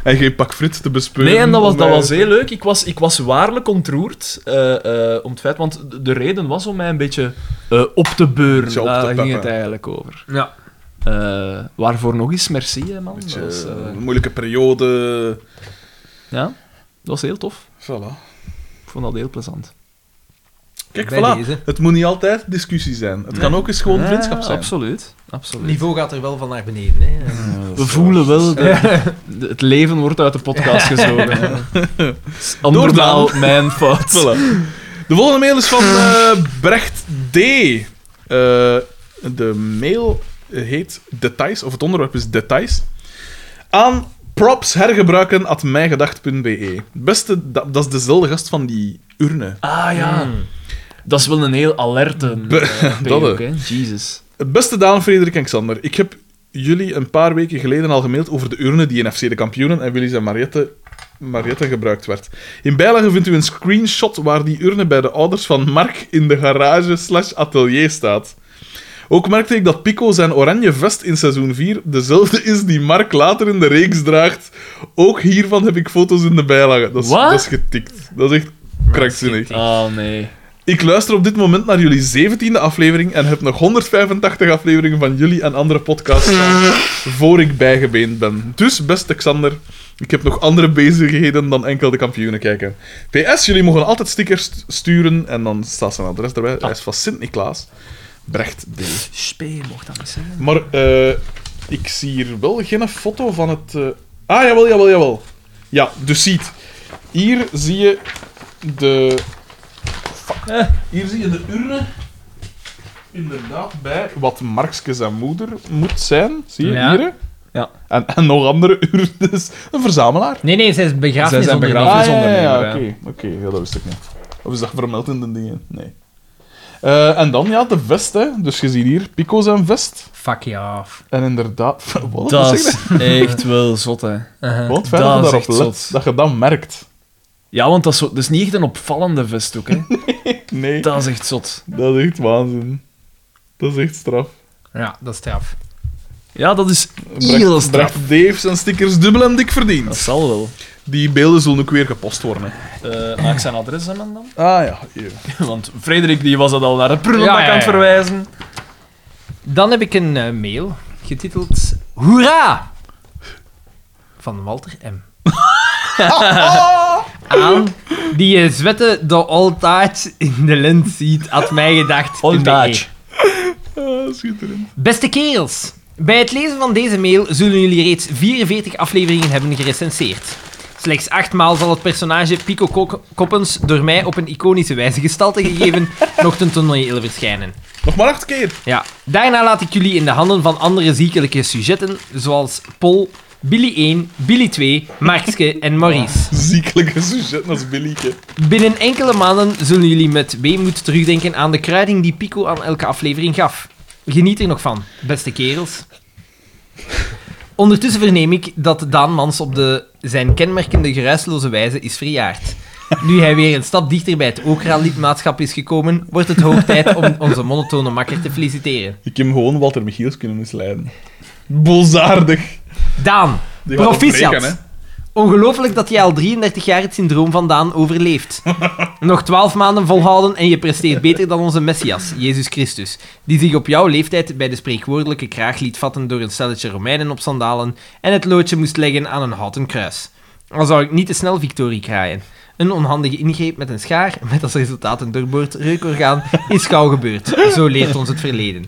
[SPEAKER 1] En geen pak frit te bespeuren.
[SPEAKER 2] Nee, en dat was,
[SPEAKER 1] om eh,
[SPEAKER 2] dat
[SPEAKER 1] mij-
[SPEAKER 2] was heel leuk. Ik was, ik was waarlijk ontroerd eh, eh, om het feit... Want de- de reden was om mij een beetje eh, op te beuren.
[SPEAKER 1] Zo op te
[SPEAKER 2] Daar ging
[SPEAKER 1] peppen.
[SPEAKER 2] het eigenlijk over.
[SPEAKER 10] Ja.
[SPEAKER 2] Eh, waarvoor nog eens merci, hè, man.
[SPEAKER 1] Beetje,
[SPEAKER 2] Dat was, eh,
[SPEAKER 1] eh, een moeilijke periode.
[SPEAKER 2] ja, dat was heel tof.
[SPEAKER 1] Voilà.
[SPEAKER 2] Ik vond dat heel plezant.
[SPEAKER 1] Kijk,
[SPEAKER 3] Bij
[SPEAKER 1] voilà.
[SPEAKER 3] deze.
[SPEAKER 1] Het moet niet altijd discussie zijn. Het kan ook eens gewoon vriendschap zijn.
[SPEAKER 2] Absoluut. absoluut.
[SPEAKER 9] Het niveau gaat er wel van naar beneden. Hè.
[SPEAKER 2] We voelen wel, de- de- het leven wordt uit de podcast gezogen. Andermaal mijn fout.
[SPEAKER 1] *laughs* Voilà. De volgende mail is van eh, Brecht D. Eh, de mail heet Details, of het onderwerp is Details. Aan props hergebruiken at mijgedacht.be. E. Beste, dat, dat is dezelfde gast van die urne.
[SPEAKER 2] Ah ja. Dat is wel een heel alerte. eh,
[SPEAKER 1] dat,
[SPEAKER 2] ook, hè. Jesus.
[SPEAKER 1] Beste Daan, Frederik en Xander, ik heb jullie een paar weken geleden al gemaild over de urne die in FC de kampioenen en Willys en Mariette, Mariette gebruikt werd. In bijlage vindt u een screenshot waar die urne bij de ouders van Mark in de garage slash atelier staat. Ook merkte ik dat Pico zijn oranje vest in seizoen 4 dezelfde is die Mark later in de reeks draagt. Ook hiervan heb ik foto's in de bijlage. Dat is,
[SPEAKER 2] Wat?
[SPEAKER 1] dat is getikt. Dat is echt krankzinnig.
[SPEAKER 2] Oh nee.
[SPEAKER 1] Ik luister op dit moment naar jullie 17e aflevering en heb nog 185 afleveringen van jullie en andere podcasts staan voor ik bijgebeend ben. Dus, beste Xander, ik heb nog andere bezigheden dan enkel de kampioenen kijken. PS, jullie mogen altijd stickers st- sturen en dan staat zijn adres erbij. Hij is van Sint-Niklaas, Brecht D.
[SPEAKER 2] Spee mocht dat niet zeggen.
[SPEAKER 1] Maar eh, ik zie hier wel geen foto van het. eh, Ah, jawel, jawel, jawel. Ja, dus ziet. Hier zie je de. Fuck. Eh, Hier zie je de urne. Inderdaad, bij wat Markske zijn moeder moet zijn. Zie je
[SPEAKER 3] Ja.
[SPEAKER 1] hier? hè?
[SPEAKER 2] Ja.
[SPEAKER 1] En, en nog andere urnes. Een verzamelaar.
[SPEAKER 3] Nee, nee, zij is begraafd.
[SPEAKER 2] Zij zijn begraafd.
[SPEAKER 1] Ah, ja, ja,
[SPEAKER 2] Afwisondernemer,
[SPEAKER 1] ja,
[SPEAKER 2] ja.
[SPEAKER 1] oké. Oké, ja, dat wist ik niet. Of is dat vermeld in de dingen? Nee. Eh, en dan, ja, de vest, hè. Dus je ziet hier Pico zijn vest.
[SPEAKER 3] Fuck je af.
[SPEAKER 1] En inderdaad, *laughs* wat
[SPEAKER 2] Dat
[SPEAKER 1] zeg je?
[SPEAKER 2] is echt wel zot, hè.
[SPEAKER 1] Gewoon het feit dat
[SPEAKER 2] dat
[SPEAKER 1] je
[SPEAKER 2] is echt
[SPEAKER 1] daarop let,
[SPEAKER 2] zot.
[SPEAKER 1] dat je dat merkt.
[SPEAKER 2] Ja, want dat is, zo- dat is niet echt een opvallende vest ook, hè.
[SPEAKER 1] Nee,
[SPEAKER 2] Dat is echt zot.
[SPEAKER 1] dat is echt waanzin. Dat is echt straf.
[SPEAKER 3] Ja, dat is straf.
[SPEAKER 2] Ja, dat is heel
[SPEAKER 1] Brecht-
[SPEAKER 2] straf.
[SPEAKER 1] Brecht Dave zijn stickers dubbel en dik
[SPEAKER 2] Dat
[SPEAKER 1] verdiend.
[SPEAKER 2] zal wel.
[SPEAKER 1] Die beelden zullen ook weer gepost worden. hè.
[SPEAKER 2] Eh, maak zijn adres aan dan. *laughs*
[SPEAKER 1] Ah ja, hier.
[SPEAKER 2] Want Frederik die was dat al naar de prullenbak
[SPEAKER 3] Ja, ja, ja.
[SPEAKER 2] aan het verwijzen.
[SPEAKER 3] Dan heb ik een eh, mail getiteld Hoera! Van Walter M. Aan die je zwette de old-age in de lint ziet, had mij gedacht.
[SPEAKER 2] Old-age.
[SPEAKER 1] Ah, schitterend.
[SPEAKER 3] Beste kerels, bij het lezen van deze mail zullen jullie reeds 44 afleveringen hebben gerecenseerd. Slechts achtmaal zal het personage Pico Kok- Koppens door mij op een iconische wijze gestalte gegeven nog ten toneel verschijnen.
[SPEAKER 1] Nog maar acht keer.
[SPEAKER 3] Ja. Daarna laat ik jullie in de handen van andere ziekelijke sujetten, zoals Pol, Billy 1, Billy 2, Maxke en Maurice.
[SPEAKER 1] Ziekelijke sujet als Billieke.
[SPEAKER 3] Binnen enkele maanden zullen jullie met weemoed terugdenken aan de kruiding die Pico aan elke aflevering gaf. Geniet er nog van, beste kerels. Ondertussen verneem ik dat Daan Mans op de, zijn kenmerkende geruisloze wijze is verjaard. Nu hij weer een stap dichter bij het Okra-lidmaatschap is gekomen, wordt het hoog tijd om onze monotone makker te feliciteren.
[SPEAKER 1] Ik heb hem gewoon Walter Michiels kunnen misleiden.
[SPEAKER 2] *laughs*
[SPEAKER 1] Bozaardig.
[SPEAKER 3] Daan,
[SPEAKER 1] Die gaat
[SPEAKER 3] Proficiat.
[SPEAKER 1] opbreken, hè.
[SPEAKER 3] Ongelooflijk dat jij al 33 jaar het syndroom van
[SPEAKER 1] *laughs*
[SPEAKER 3] Daan overleeft. Nog 12 maanden volhouden en je presteert beter dan onze Messias, Jezus Christus, die zich op jouw leeftijd bij de spreekwoordelijke kraag liet vatten door een stelletje Romeinen op sandalen en het loodje moest leggen aan een houten kruis. Al zou ik niet te snel victorie kraaien. Een onhandige ingreep met een schaar, met als resultaat een doorboord reukorgaan, is gauw gebeurd. Zo leert ons het verleden.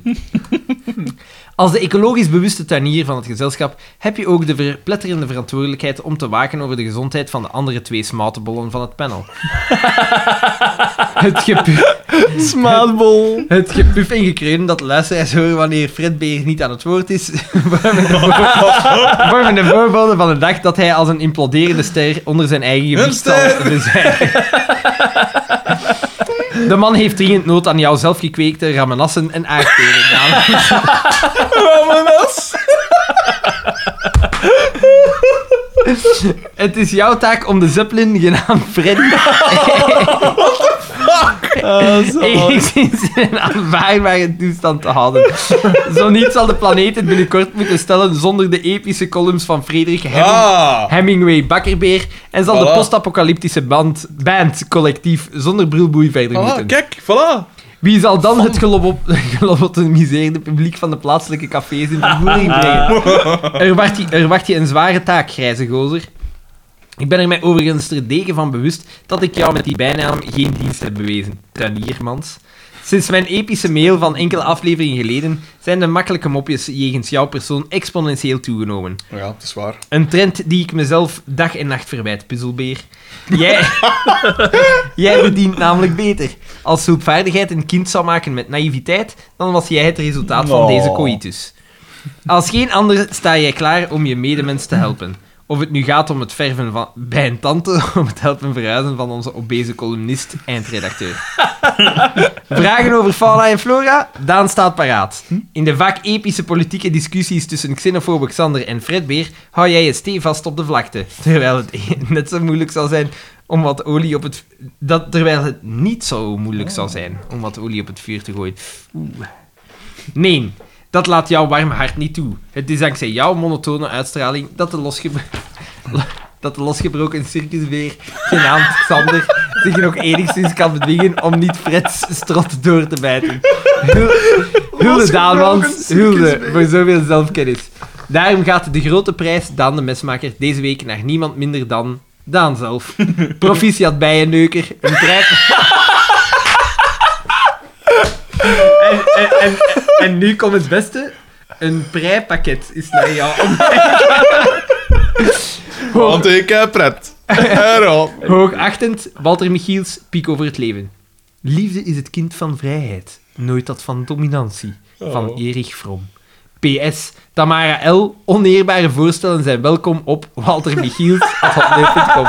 [SPEAKER 3] Als de ecologisch bewuste tuinier van het gezelschap heb je ook de verpletterende verantwoordelijkheid om te waken over de gezondheid van de andere twee smatenbollen van het panel. *laughs* het, gepu-
[SPEAKER 2] Smaadbol.
[SPEAKER 3] het gepuf en gekreun dat luisteraars horen wanneer Fred Beer niet aan het woord is, *laughs* vormen de voor- vormen de voorbeelden van de dag dat hij als een imploderende ster onder zijn eigen gewicht zal bezwijken. De man heeft dringend nood aan jouw zelfgekweekte ramenassen en aardperen. Daan.
[SPEAKER 1] Ah,
[SPEAKER 3] Het is jouw taak om de Zeppelin genaamd
[SPEAKER 1] *laughs*
[SPEAKER 3] *laughs* Freddy.
[SPEAKER 1] Ah,
[SPEAKER 3] enigszins in een aanvaardbare toestand te houden. Zo niet zal de planeet het binnenkort moeten stellen zonder de epische columns van Frederik Hemming-
[SPEAKER 1] Ah.
[SPEAKER 3] Hemingway Bakkerbeer en zal de
[SPEAKER 1] Voilà.
[SPEAKER 3] postapocalyptische band, band collectief zonder brilboei verder
[SPEAKER 1] Ah,
[SPEAKER 3] moeten.
[SPEAKER 1] kijk, voilà.
[SPEAKER 3] Wie zal dan het *laughs* gelobo- gelobotomiseerde publiek van de plaatselijke cafés in vervoering brengen? Er wacht, je, er wacht je een zware taak, grijze gozer. Ik ben er mij overigens ter degen van bewust dat ik jou met die bijnaam geen dienst heb bewezen, tuiniermans. Sinds mijn epische mail van enkele afleveringen geleden zijn de makkelijke mopjes jegens jouw persoon exponentieel toegenomen.
[SPEAKER 1] Ja, het is waar.
[SPEAKER 3] Een trend die ik mezelf dag en nacht verwijt, puzzelbeer. Jij, *laughs* jij verdient namelijk beter. Als hulpvaardigheid een kind zou maken met naïviteit, dan was jij het resultaat van
[SPEAKER 1] Oh.
[SPEAKER 3] deze coitus. Als geen ander sta jij klaar om je medemens te helpen. Of het nu gaat om het verven van, bij een tante, *laughs* om het helpen verhuizen van onze obese columnist eindredacteur. Vragen over fauna en flora? Daan staat paraat. In de vaak epische politieke discussies tussen xenofobe Xander en Fred Beer hou jij je stevast op de vlakte. Terwijl het *laughs* net zo moeilijk zal zijn om wat olie op het... Dat, terwijl het niet zo moeilijk zal zijn om wat olie op het vuur te gooien. Oeh. Nee, dat laat jouw warm hart niet toe. Het is dankzij jouw monotone uitstraling dat de, losge *laughs* dat de losgebroken circusbeer, genaamd Xander, zich nog enigszins kan bedwingen om niet Freds strot door te bijten. Hul- Hulde Daalmans, hulde voor zoveel zelfkennis. Daarom gaat de grote prijs Daan de Mesmaker deze week naar niemand minder dan Daan zelf. Proficiat bijenneuker, een prijs... En, en, en, en nu komt het beste. Een prijpakket is naar jou om-
[SPEAKER 1] Want ik heb pret. *laughs* Erop.
[SPEAKER 3] Hoogachtend, Walter Michiels, piek over het leven. Liefde is het kind van vrijheid, nooit dat van dominantie. Van
[SPEAKER 1] Oh.
[SPEAKER 3] Erich Fromm. PS, Tamara L., oneerbare voorstellen zijn welkom op *laughs* waltermichiels.com.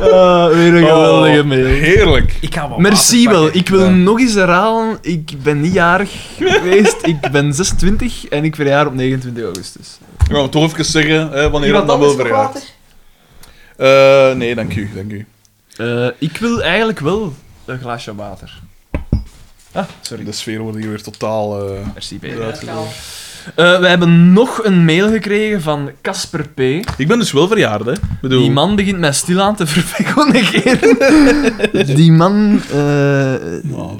[SPEAKER 2] Ah, weer een geweldige
[SPEAKER 1] Oh,
[SPEAKER 2] mail.
[SPEAKER 1] Heerlijk.
[SPEAKER 11] Ik ga wel
[SPEAKER 2] Merci
[SPEAKER 11] water
[SPEAKER 2] wel.
[SPEAKER 11] pakken.
[SPEAKER 2] Ik wil nog eens herhalen. Ik ben niet jarig geweest. *laughs* Ik ben 26 en ik verjaar op 29 augustus.
[SPEAKER 1] We gaan toch even zeggen hè, wanneer dat
[SPEAKER 12] Iemand
[SPEAKER 1] dan
[SPEAKER 12] anders nog
[SPEAKER 1] wel verjaart.
[SPEAKER 12] water?
[SPEAKER 1] Eh, nee, dank u, dank u.
[SPEAKER 2] Eh, ik wil eigenlijk wel een glaasje water. Ah,
[SPEAKER 1] Sorry. De sfeer wordt hier weer totaal... eh,
[SPEAKER 2] Merci, Peter.
[SPEAKER 1] uitgedaan.
[SPEAKER 2] Eh, we hebben nog een mail gekregen van Casper P.
[SPEAKER 1] Ik ben dus wel verjaard, hè. Ik Bedoel...
[SPEAKER 2] Die man begint mij stilaan te *laughs* verpegonegeren. Die man eh,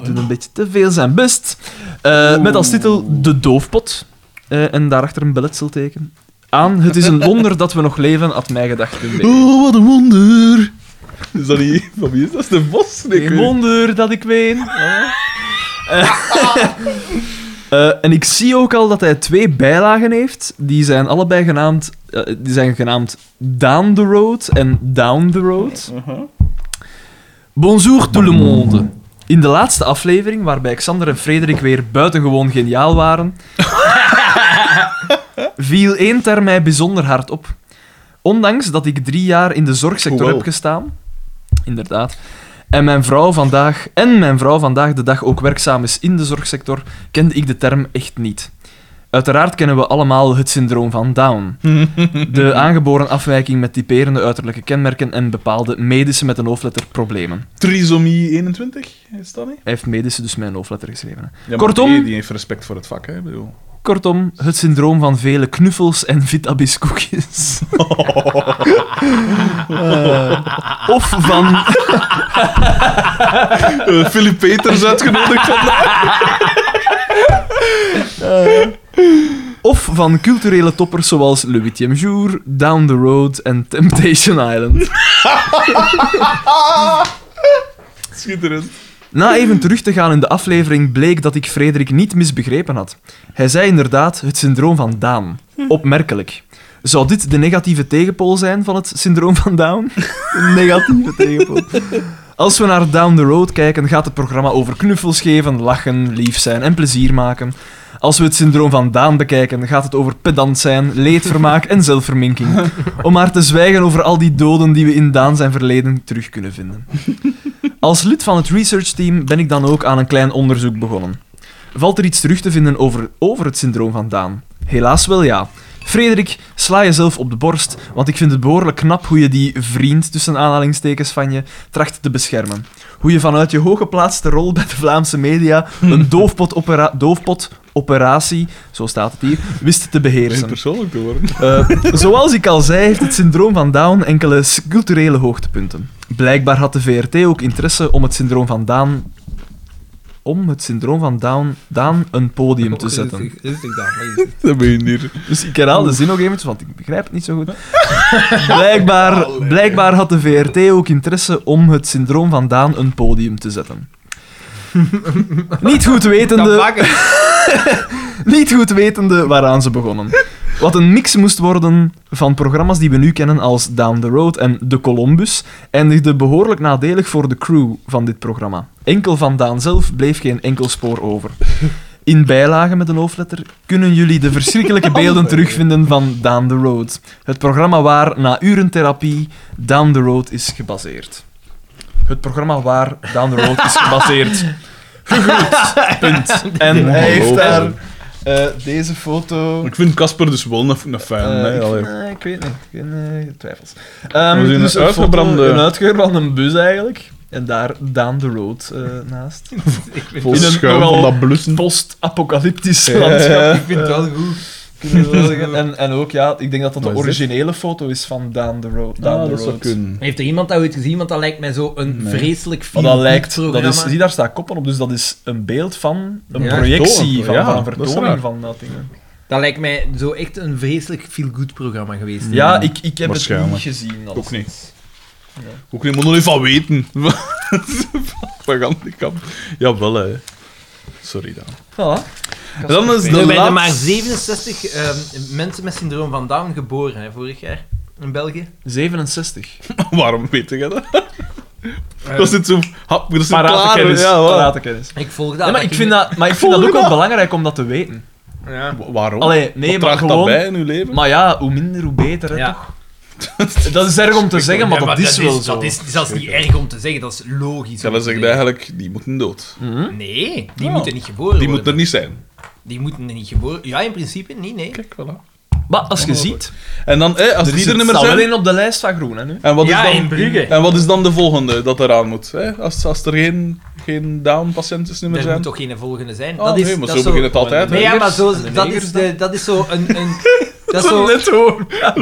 [SPEAKER 2] doet een beetje te veel zijn best. Eh, met als titel De Doofpot. Eh, en daarachter een belletselteken. Aan Het is een wonder dat we nog leven, had mij gedacht.
[SPEAKER 1] Oh, wat een wonder. Is dat niet... Van wie is dat? Is de Vos? Nee, ik
[SPEAKER 2] Geen
[SPEAKER 1] weet niet.
[SPEAKER 2] wonder dat ik ween. Eh. Eh, en ik zie ook al dat hij twee bijlagen heeft. Die zijn allebei genaamd, eh, die zijn genaamd Down the Road en Down the Road. Bonjour tout le monde. In de laatste aflevering, waarbij Xander en Frederik weer buitengewoon geniaal waren, viel één term mij bijzonder hard op. Ondanks dat ik drie jaar in de zorgsector
[SPEAKER 1] Hoewel.
[SPEAKER 2] heb gestaan, inderdaad, en mijn, vrouw vandaag, en mijn vrouw vandaag de dag ook werkzaam is in de zorgsector, kende ik de term echt niet. Uiteraard kennen we allemaal het syndroom van Down. De aangeboren afwijking met typerende uiterlijke kenmerken en bepaalde medische met een hoofdletter problemen.
[SPEAKER 1] Trisomie 21, is dat niet?
[SPEAKER 2] Hij heeft medische dus met een hoofdletter geschreven. hè.
[SPEAKER 1] Ja, maar
[SPEAKER 2] Kortom-
[SPEAKER 1] Die, die heeft respect voor het vak, hè? ik Bedoel.
[SPEAKER 2] Kortom, het syndroom van vele knuffels en vitabiscoekjes. Eh, *laughs* of van...
[SPEAKER 1] Eh, Philip Peters uitgenodigd vandaag.
[SPEAKER 2] Of van culturele toppers zoals Le Huitième Jour, Down the Road en Temptation Island.
[SPEAKER 1] Schitterend.
[SPEAKER 2] Na even terug te gaan in de aflevering bleek dat ik Frederik niet misbegrepen had. Hij zei inderdaad het syndroom van Down. Opmerkelijk. Zou dit de negatieve tegenpool zijn van het syndroom van Down? Een negatieve tegenpool. Als we naar Down the Road kijken, gaat het programma over knuffels geven, lachen, lief zijn en plezier maken. Als we het syndroom van Daan bekijken, gaat het over pedant zijn, leedvermaak en zelfverminking. *laughs* Om maar te zwijgen over al die doden die we in Daan zijn verleden terug kunnen vinden. Als lid van het researchteam ben ik dan ook aan een klein onderzoek begonnen. Valt er iets terug te vinden over, over het syndroom van Daan? Helaas wel ja. Frederik, sla jezelf op de borst, want ik vind het behoorlijk knap hoe je die vriend tussen aanhalingstekens van je tracht te beschermen. Hoe je vanuit je hooggeplaatste rol bij de Vlaamse media een doofpotopera- doofpotoperatie, zo staat het hier, wist te
[SPEAKER 1] Is het
[SPEAKER 2] beheersen.
[SPEAKER 1] persoonlijk te worden?
[SPEAKER 2] Eh, zoals ik al zei, heeft het syndroom van Down enkele s- culturele hoogtepunten. Blijkbaar had de VRT ook interesse om het syndroom van Down. om het syndroom van Down, Down een podium te zetten.
[SPEAKER 1] Dat ben je niet.
[SPEAKER 2] Dus ik herhaal de zin nog eventjes, want ik begrijp het niet zo goed. *laughs* Blijkbaar, blijkbaar had de VRT ook interesse om het syndroom van Daan een podium te zetten. Niet goed wetende...
[SPEAKER 3] *laughs*
[SPEAKER 2] Niet goed wetende waaraan ze begonnen. Wat een mix moest worden van programma's die we nu kennen als Down the Road en The Columbus, eindigde behoorlijk nadelig voor de crew van dit programma. Enkel van Daan zelf bleef geen enkel spoor over. In bijlagen met een hoofdletter kunnen jullie de *laughs* verschrikkelijke beelden terugvinden van Down the Road. Het programma waar, na uren therapie, Down the Road is gebaseerd. Het programma waar Down the Road is *laughs* gebaseerd. Gegroet. Punt. En hij heeft daar eh, deze foto...
[SPEAKER 1] Ik vind Casper dus wel een, een fan.
[SPEAKER 2] Eh,
[SPEAKER 1] hè.
[SPEAKER 2] ik,
[SPEAKER 1] Allee.
[SPEAKER 2] eh, ik weet niet. Ik heb eh, twijfels. Ehm,
[SPEAKER 1] We zien
[SPEAKER 2] dus een,
[SPEAKER 1] een
[SPEAKER 2] foto-
[SPEAKER 1] uitgebrande-
[SPEAKER 2] een uitgebrande bus eigenlijk. En daar Down the Road eh, naast.
[SPEAKER 1] Vol
[SPEAKER 2] in een
[SPEAKER 1] schuim van
[SPEAKER 2] nogal
[SPEAKER 1] dat blussen.
[SPEAKER 2] Post-apocalyptisch
[SPEAKER 1] Ja.
[SPEAKER 2] landschap.
[SPEAKER 13] Ik vind het wel goed.
[SPEAKER 2] *laughs* kunnen we wel zeggen. En, en ook, ja, ik denk dat dat de
[SPEAKER 1] Wat is dit?
[SPEAKER 2] originele foto is van Down the Road. Down
[SPEAKER 1] Ah,
[SPEAKER 2] the
[SPEAKER 1] dat zou
[SPEAKER 2] road.
[SPEAKER 1] kunnen.
[SPEAKER 3] Heeft er iemand dat ooit gezien? Want dat lijkt mij zo een
[SPEAKER 1] Nee.
[SPEAKER 3] vreselijk
[SPEAKER 2] Maar
[SPEAKER 3] film.
[SPEAKER 2] Oh, dat lijkt, dat is, zie daar staat koppen op, dus dat is een beeld van, een
[SPEAKER 3] Ja,
[SPEAKER 2] projectie,
[SPEAKER 1] vertonen,
[SPEAKER 2] van,
[SPEAKER 1] ja,
[SPEAKER 2] van een
[SPEAKER 1] dat is Hmm.
[SPEAKER 2] vertoning
[SPEAKER 1] raar.
[SPEAKER 2] van dat ding. hè.
[SPEAKER 3] Dat lijkt mij zo echt een vreselijk feel-good programma geweest.
[SPEAKER 2] Ja, ik, ik heb het
[SPEAKER 1] Waarschijnlijk.
[SPEAKER 2] niet gezien.
[SPEAKER 1] Ook niet. Ook niet, moet er niet van weten. *laughs* Van Gandikam. Jawel, hè. Sorry dan.
[SPEAKER 2] Voilà.
[SPEAKER 1] *laughs* En dan is
[SPEAKER 3] Er
[SPEAKER 1] de
[SPEAKER 3] werden maar
[SPEAKER 1] laatste...
[SPEAKER 3] 67 ehm, mensen met syndroom van Down geboren hè, vorig jaar in België.
[SPEAKER 2] 67.
[SPEAKER 1] Waarom weet je dat? Dat zit zo... Hap, dat zit
[SPEAKER 2] Parate
[SPEAKER 1] klaar. dus-
[SPEAKER 2] kennis.
[SPEAKER 1] Ja, wel.
[SPEAKER 2] Parate kennis.
[SPEAKER 3] Ehm, Ik volg dat.
[SPEAKER 2] Ja, maar ik vind dat, maar ik vind dat ook wel belangrijk om dat te weten.
[SPEAKER 3] Ja.
[SPEAKER 1] Wa- Waarom?
[SPEAKER 2] Allee, nee, maar
[SPEAKER 1] Wat draagt
[SPEAKER 2] gewoon-
[SPEAKER 1] dat bij in uw leven?
[SPEAKER 2] Maar ja, hoe minder, hoe beter, hè,
[SPEAKER 3] Ja.
[SPEAKER 2] toch? Dat is erg om te zeggen, maar
[SPEAKER 3] Ja,
[SPEAKER 2] dat is wel zo.
[SPEAKER 3] Dat is zelfs niet erg om te zeggen, dat is logisch. om
[SPEAKER 1] Zelfs
[SPEAKER 3] te
[SPEAKER 1] zegt
[SPEAKER 3] zeggen.
[SPEAKER 1] eigenlijk, die moeten dood.
[SPEAKER 2] Mhm.
[SPEAKER 3] Nee, die
[SPEAKER 1] Ja.
[SPEAKER 3] moeten niet geboren
[SPEAKER 1] Die moeten
[SPEAKER 3] worden.
[SPEAKER 1] er niet zijn.
[SPEAKER 3] Die moeten er niet geboren Ja, in principe niet, nee.
[SPEAKER 1] Kijk, voilà.
[SPEAKER 2] Maar als je ziet,
[SPEAKER 1] En dan, hè, als
[SPEAKER 2] er
[SPEAKER 1] die er niet
[SPEAKER 2] zit-
[SPEAKER 1] meer
[SPEAKER 2] staat wel
[SPEAKER 1] zijn...
[SPEAKER 2] één op de lijst van Groen, hè, *laughs* nu.
[SPEAKER 1] En wat,
[SPEAKER 3] ja,
[SPEAKER 1] is
[SPEAKER 3] in
[SPEAKER 1] dan,
[SPEAKER 3] Brugge.
[SPEAKER 1] en wat is dan de volgende dat eraan moet? Hè? Als, als er geen, geen down-patiënten meer
[SPEAKER 3] Er
[SPEAKER 1] zijn?
[SPEAKER 3] moet toch geen volgende zijn?
[SPEAKER 1] Oh,
[SPEAKER 3] dat is,
[SPEAKER 1] nee, maar
[SPEAKER 3] dat
[SPEAKER 1] zo
[SPEAKER 3] is zo-
[SPEAKER 1] begint het altijd.
[SPEAKER 3] Nee,
[SPEAKER 1] hè.
[SPEAKER 3] ja, maar zo,
[SPEAKER 2] de
[SPEAKER 3] dat,
[SPEAKER 2] negers
[SPEAKER 3] is de, dat is zo een... een dat is zo...
[SPEAKER 2] Net *laughs* hoor.
[SPEAKER 3] Dat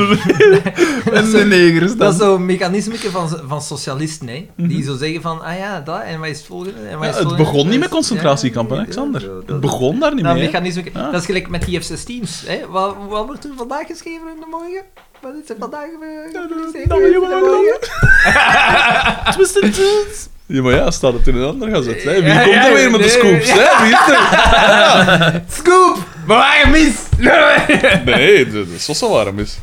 [SPEAKER 2] de
[SPEAKER 3] is zo-
[SPEAKER 2] negers
[SPEAKER 3] Dat
[SPEAKER 2] dan.
[SPEAKER 3] is zo'n mechanisme van, van socialisten, hè? die zo zeggen van, ah ja, dat, en wat is het volgende? En wat
[SPEAKER 1] Mhm. Ja,
[SPEAKER 3] is
[SPEAKER 1] het
[SPEAKER 3] volgende?
[SPEAKER 1] begon niet met
[SPEAKER 3] Ja,
[SPEAKER 1] concentratiekampen, hè,
[SPEAKER 3] ja,
[SPEAKER 1] Xander.
[SPEAKER 3] zo,
[SPEAKER 1] Het
[SPEAKER 3] dat- Nou,
[SPEAKER 1] begon daar niet
[SPEAKER 3] Dat,
[SPEAKER 1] mee. hè. Ah.
[SPEAKER 3] mechanisme,
[SPEAKER 1] Ja.
[SPEAKER 3] dat is gelijk met die F-16's. Hè? Wat, wat wordt er vandaag geschreven in de morgen? Wat is er vandaag eh, gepubliceerd
[SPEAKER 1] dat
[SPEAKER 3] geweest in
[SPEAKER 1] weet
[SPEAKER 3] de
[SPEAKER 1] je wel.
[SPEAKER 3] morgen?
[SPEAKER 1] Ja, maar ja, staat het in een ander gazet. Hè? Wie
[SPEAKER 3] Ja,
[SPEAKER 1] komt
[SPEAKER 3] ja,
[SPEAKER 1] er weer met de
[SPEAKER 3] nee.
[SPEAKER 1] scoops? Hè?
[SPEAKER 3] *laughs*
[SPEAKER 1] Wie is er?
[SPEAKER 3] *laughs* Scoop! We waren mis!
[SPEAKER 1] Nee, de, de sossen waren mis.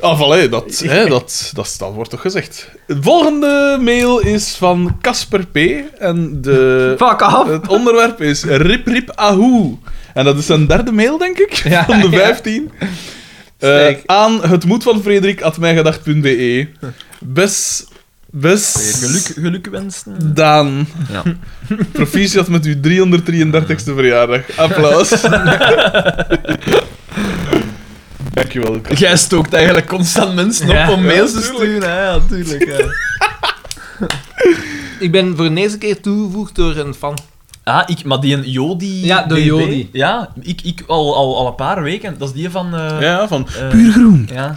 [SPEAKER 1] Ah, voilà, dat, hè, dat, dat, dat wordt toch gezegd. Het volgende mail is van Casper P. En
[SPEAKER 3] *laughs*
[SPEAKER 1] de,
[SPEAKER 4] Fuck af.
[SPEAKER 1] het onderwerp is Rip Rip Ahoe. En dat is zijn derde mail, denk ik, *laughs*
[SPEAKER 4] Ja,
[SPEAKER 1] van de
[SPEAKER 4] ja.
[SPEAKER 1] 15. Eh,
[SPEAKER 4] Sterk.
[SPEAKER 1] aan het moed van Frederik, at mijgedacht.be. E. Bes... Bes...
[SPEAKER 2] Geluk, geluk wensen.
[SPEAKER 1] Daan.
[SPEAKER 6] Ja.
[SPEAKER 1] Proficiat met uw 333ste verjaardag. Applaus. Dankjewel. Cas.
[SPEAKER 2] Jij stookt eigenlijk constant mensen op om mails te sturen. hè? Ja, tuurlijk. ja.
[SPEAKER 3] Ik ben voor de eerste keer toegevoegd door een fan.
[SPEAKER 2] *laughs* Ah, ik, maar die een Jodi...
[SPEAKER 3] Ja, de
[SPEAKER 2] BB?
[SPEAKER 3] Jodi.
[SPEAKER 2] Ja, ik, ik al, al, al een paar weken. Dat is die van... eh,
[SPEAKER 1] Ja, van...
[SPEAKER 2] eh,
[SPEAKER 1] Puur groen.
[SPEAKER 2] ja.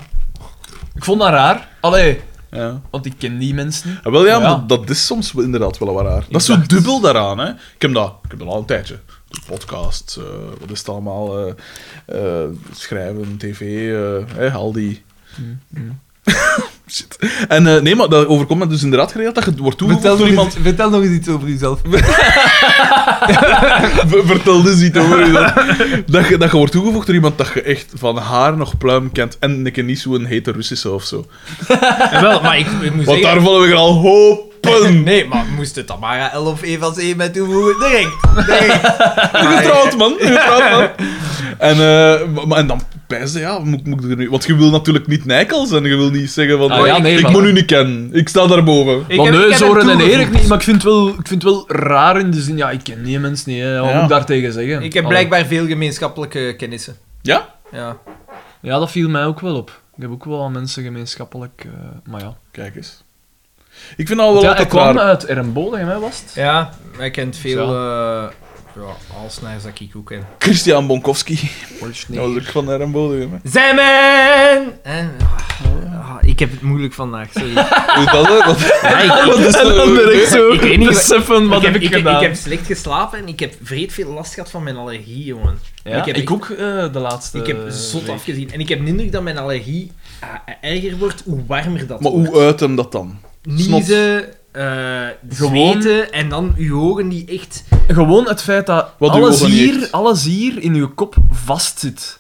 [SPEAKER 2] Ik vond dat raar. Allee,
[SPEAKER 1] Ja.
[SPEAKER 2] want ik ken die mensen.
[SPEAKER 1] Ah, wel ja, maar
[SPEAKER 2] Ja.
[SPEAKER 1] Dat, dat is soms wel inderdaad wel wat raar. Dat is zo
[SPEAKER 2] dacht-
[SPEAKER 1] dubbel daaraan, hè. Ik heb dat, ik heb dat al een tijdje. De podcast, eh, wat is het allemaal? eh, eh, schrijven, tv, eh, hè, al die... *laughs* Shit. En eh, nee, maar dat overkomt me dus inderdaad geregeld dat je wordt toegevoegd
[SPEAKER 4] Vertel
[SPEAKER 1] door
[SPEAKER 4] nog,
[SPEAKER 1] iemand...
[SPEAKER 4] eens, vertel nog eens iets over
[SPEAKER 1] *laughs*
[SPEAKER 3] *laughs*
[SPEAKER 4] jezelf.
[SPEAKER 1] Ver- *laughs* Vertel dus niet over u dat, dat, je, dat je wordt toegevoegd door iemand dat je echt van haar nog pluim kent en ik ken niet zo'n hete Russische of zo.
[SPEAKER 3] Wel, maar ik, ik moet
[SPEAKER 1] Want
[SPEAKER 3] zeggen...
[SPEAKER 1] daar vallen we er al hopen.
[SPEAKER 3] *laughs* Nee, maar moest het Tamara L of Eva C mij toevoegen? Direct.
[SPEAKER 1] Een getrouwd man, *laughs* een getrouwd man. En, eh, maar- maar, en dan pijzen, ja, moet, moet ik er nu... Want je wil natuurlijk niet nijkels en je wil niet zeggen van...
[SPEAKER 6] Ah,
[SPEAKER 1] "Oh,
[SPEAKER 6] ja,
[SPEAKER 1] ik-
[SPEAKER 6] nee,
[SPEAKER 1] ik
[SPEAKER 6] maar-
[SPEAKER 1] moet u niet kennen, ik sta daarboven.
[SPEAKER 3] Ik
[SPEAKER 6] Maar
[SPEAKER 3] heb- ik
[SPEAKER 6] nee,
[SPEAKER 3] heb
[SPEAKER 6] Zoren en
[SPEAKER 3] hem
[SPEAKER 6] Erik
[SPEAKER 3] toegevoegd.
[SPEAKER 6] niet, maar ik vind, het wel, ik vind het wel raar in de zin, ja, ik ken die mensen niet, hè. wat
[SPEAKER 1] Ja.
[SPEAKER 6] moet ik daartegen zeggen?
[SPEAKER 3] Ik heb
[SPEAKER 6] Allee.
[SPEAKER 3] blijkbaar veel gemeenschappelijke kennissen.
[SPEAKER 1] Ja?
[SPEAKER 3] Ja.
[SPEAKER 6] Ja, dat viel mij ook wel op. Ik heb ook wel aan mensen gemeenschappelijk, eh, maar ja.
[SPEAKER 1] Kijk eens. Ik vind al wel
[SPEAKER 6] ja, ik
[SPEAKER 1] altijd
[SPEAKER 6] kwam eh.
[SPEAKER 1] raar.
[SPEAKER 6] uit Ermboden, hè, was het?
[SPEAKER 3] Ja, hij kent veel... eh ja, alsnaars dat ik ook ken.
[SPEAKER 1] Christian Bonkowski. Dat was ook van Rembo.
[SPEAKER 3] Zemmen! Eh, ah, ah, ik heb het moeilijk vandaag, sorry.
[SPEAKER 1] Hoe is dat? hè? Wat-
[SPEAKER 3] Ja, ik,
[SPEAKER 6] *laughs*
[SPEAKER 1] Wat is *laughs* dat?
[SPEAKER 6] zo,
[SPEAKER 3] Ik weet niet wat-
[SPEAKER 6] beseffen wat
[SPEAKER 3] ik heb,
[SPEAKER 6] heb ik
[SPEAKER 3] ik, ik
[SPEAKER 6] gedaan.
[SPEAKER 3] heb slecht geslapen en ik heb vreed veel last gehad van mijn allergie, jongen.
[SPEAKER 6] Ja,
[SPEAKER 3] ik
[SPEAKER 6] ik,
[SPEAKER 3] heb echt-
[SPEAKER 6] ook eh, de laatste
[SPEAKER 3] Ik
[SPEAKER 2] Eh,
[SPEAKER 3] heb zot
[SPEAKER 6] week.
[SPEAKER 3] afgezien. En ik heb de indruk dat mijn allergie ah, erger wordt, hoe warmer dat
[SPEAKER 1] Maar
[SPEAKER 3] wordt.
[SPEAKER 1] hoe uit hem dat dan?
[SPEAKER 3] Niezen, eh
[SPEAKER 6] Gewoon-
[SPEAKER 3] zweten en dan uw ogen die echt...
[SPEAKER 6] Gewoon het feit dat
[SPEAKER 1] Wat uw
[SPEAKER 6] alles
[SPEAKER 1] ogen niet
[SPEAKER 6] hier,
[SPEAKER 1] heeft.
[SPEAKER 6] alles hier in uw kop vastzit.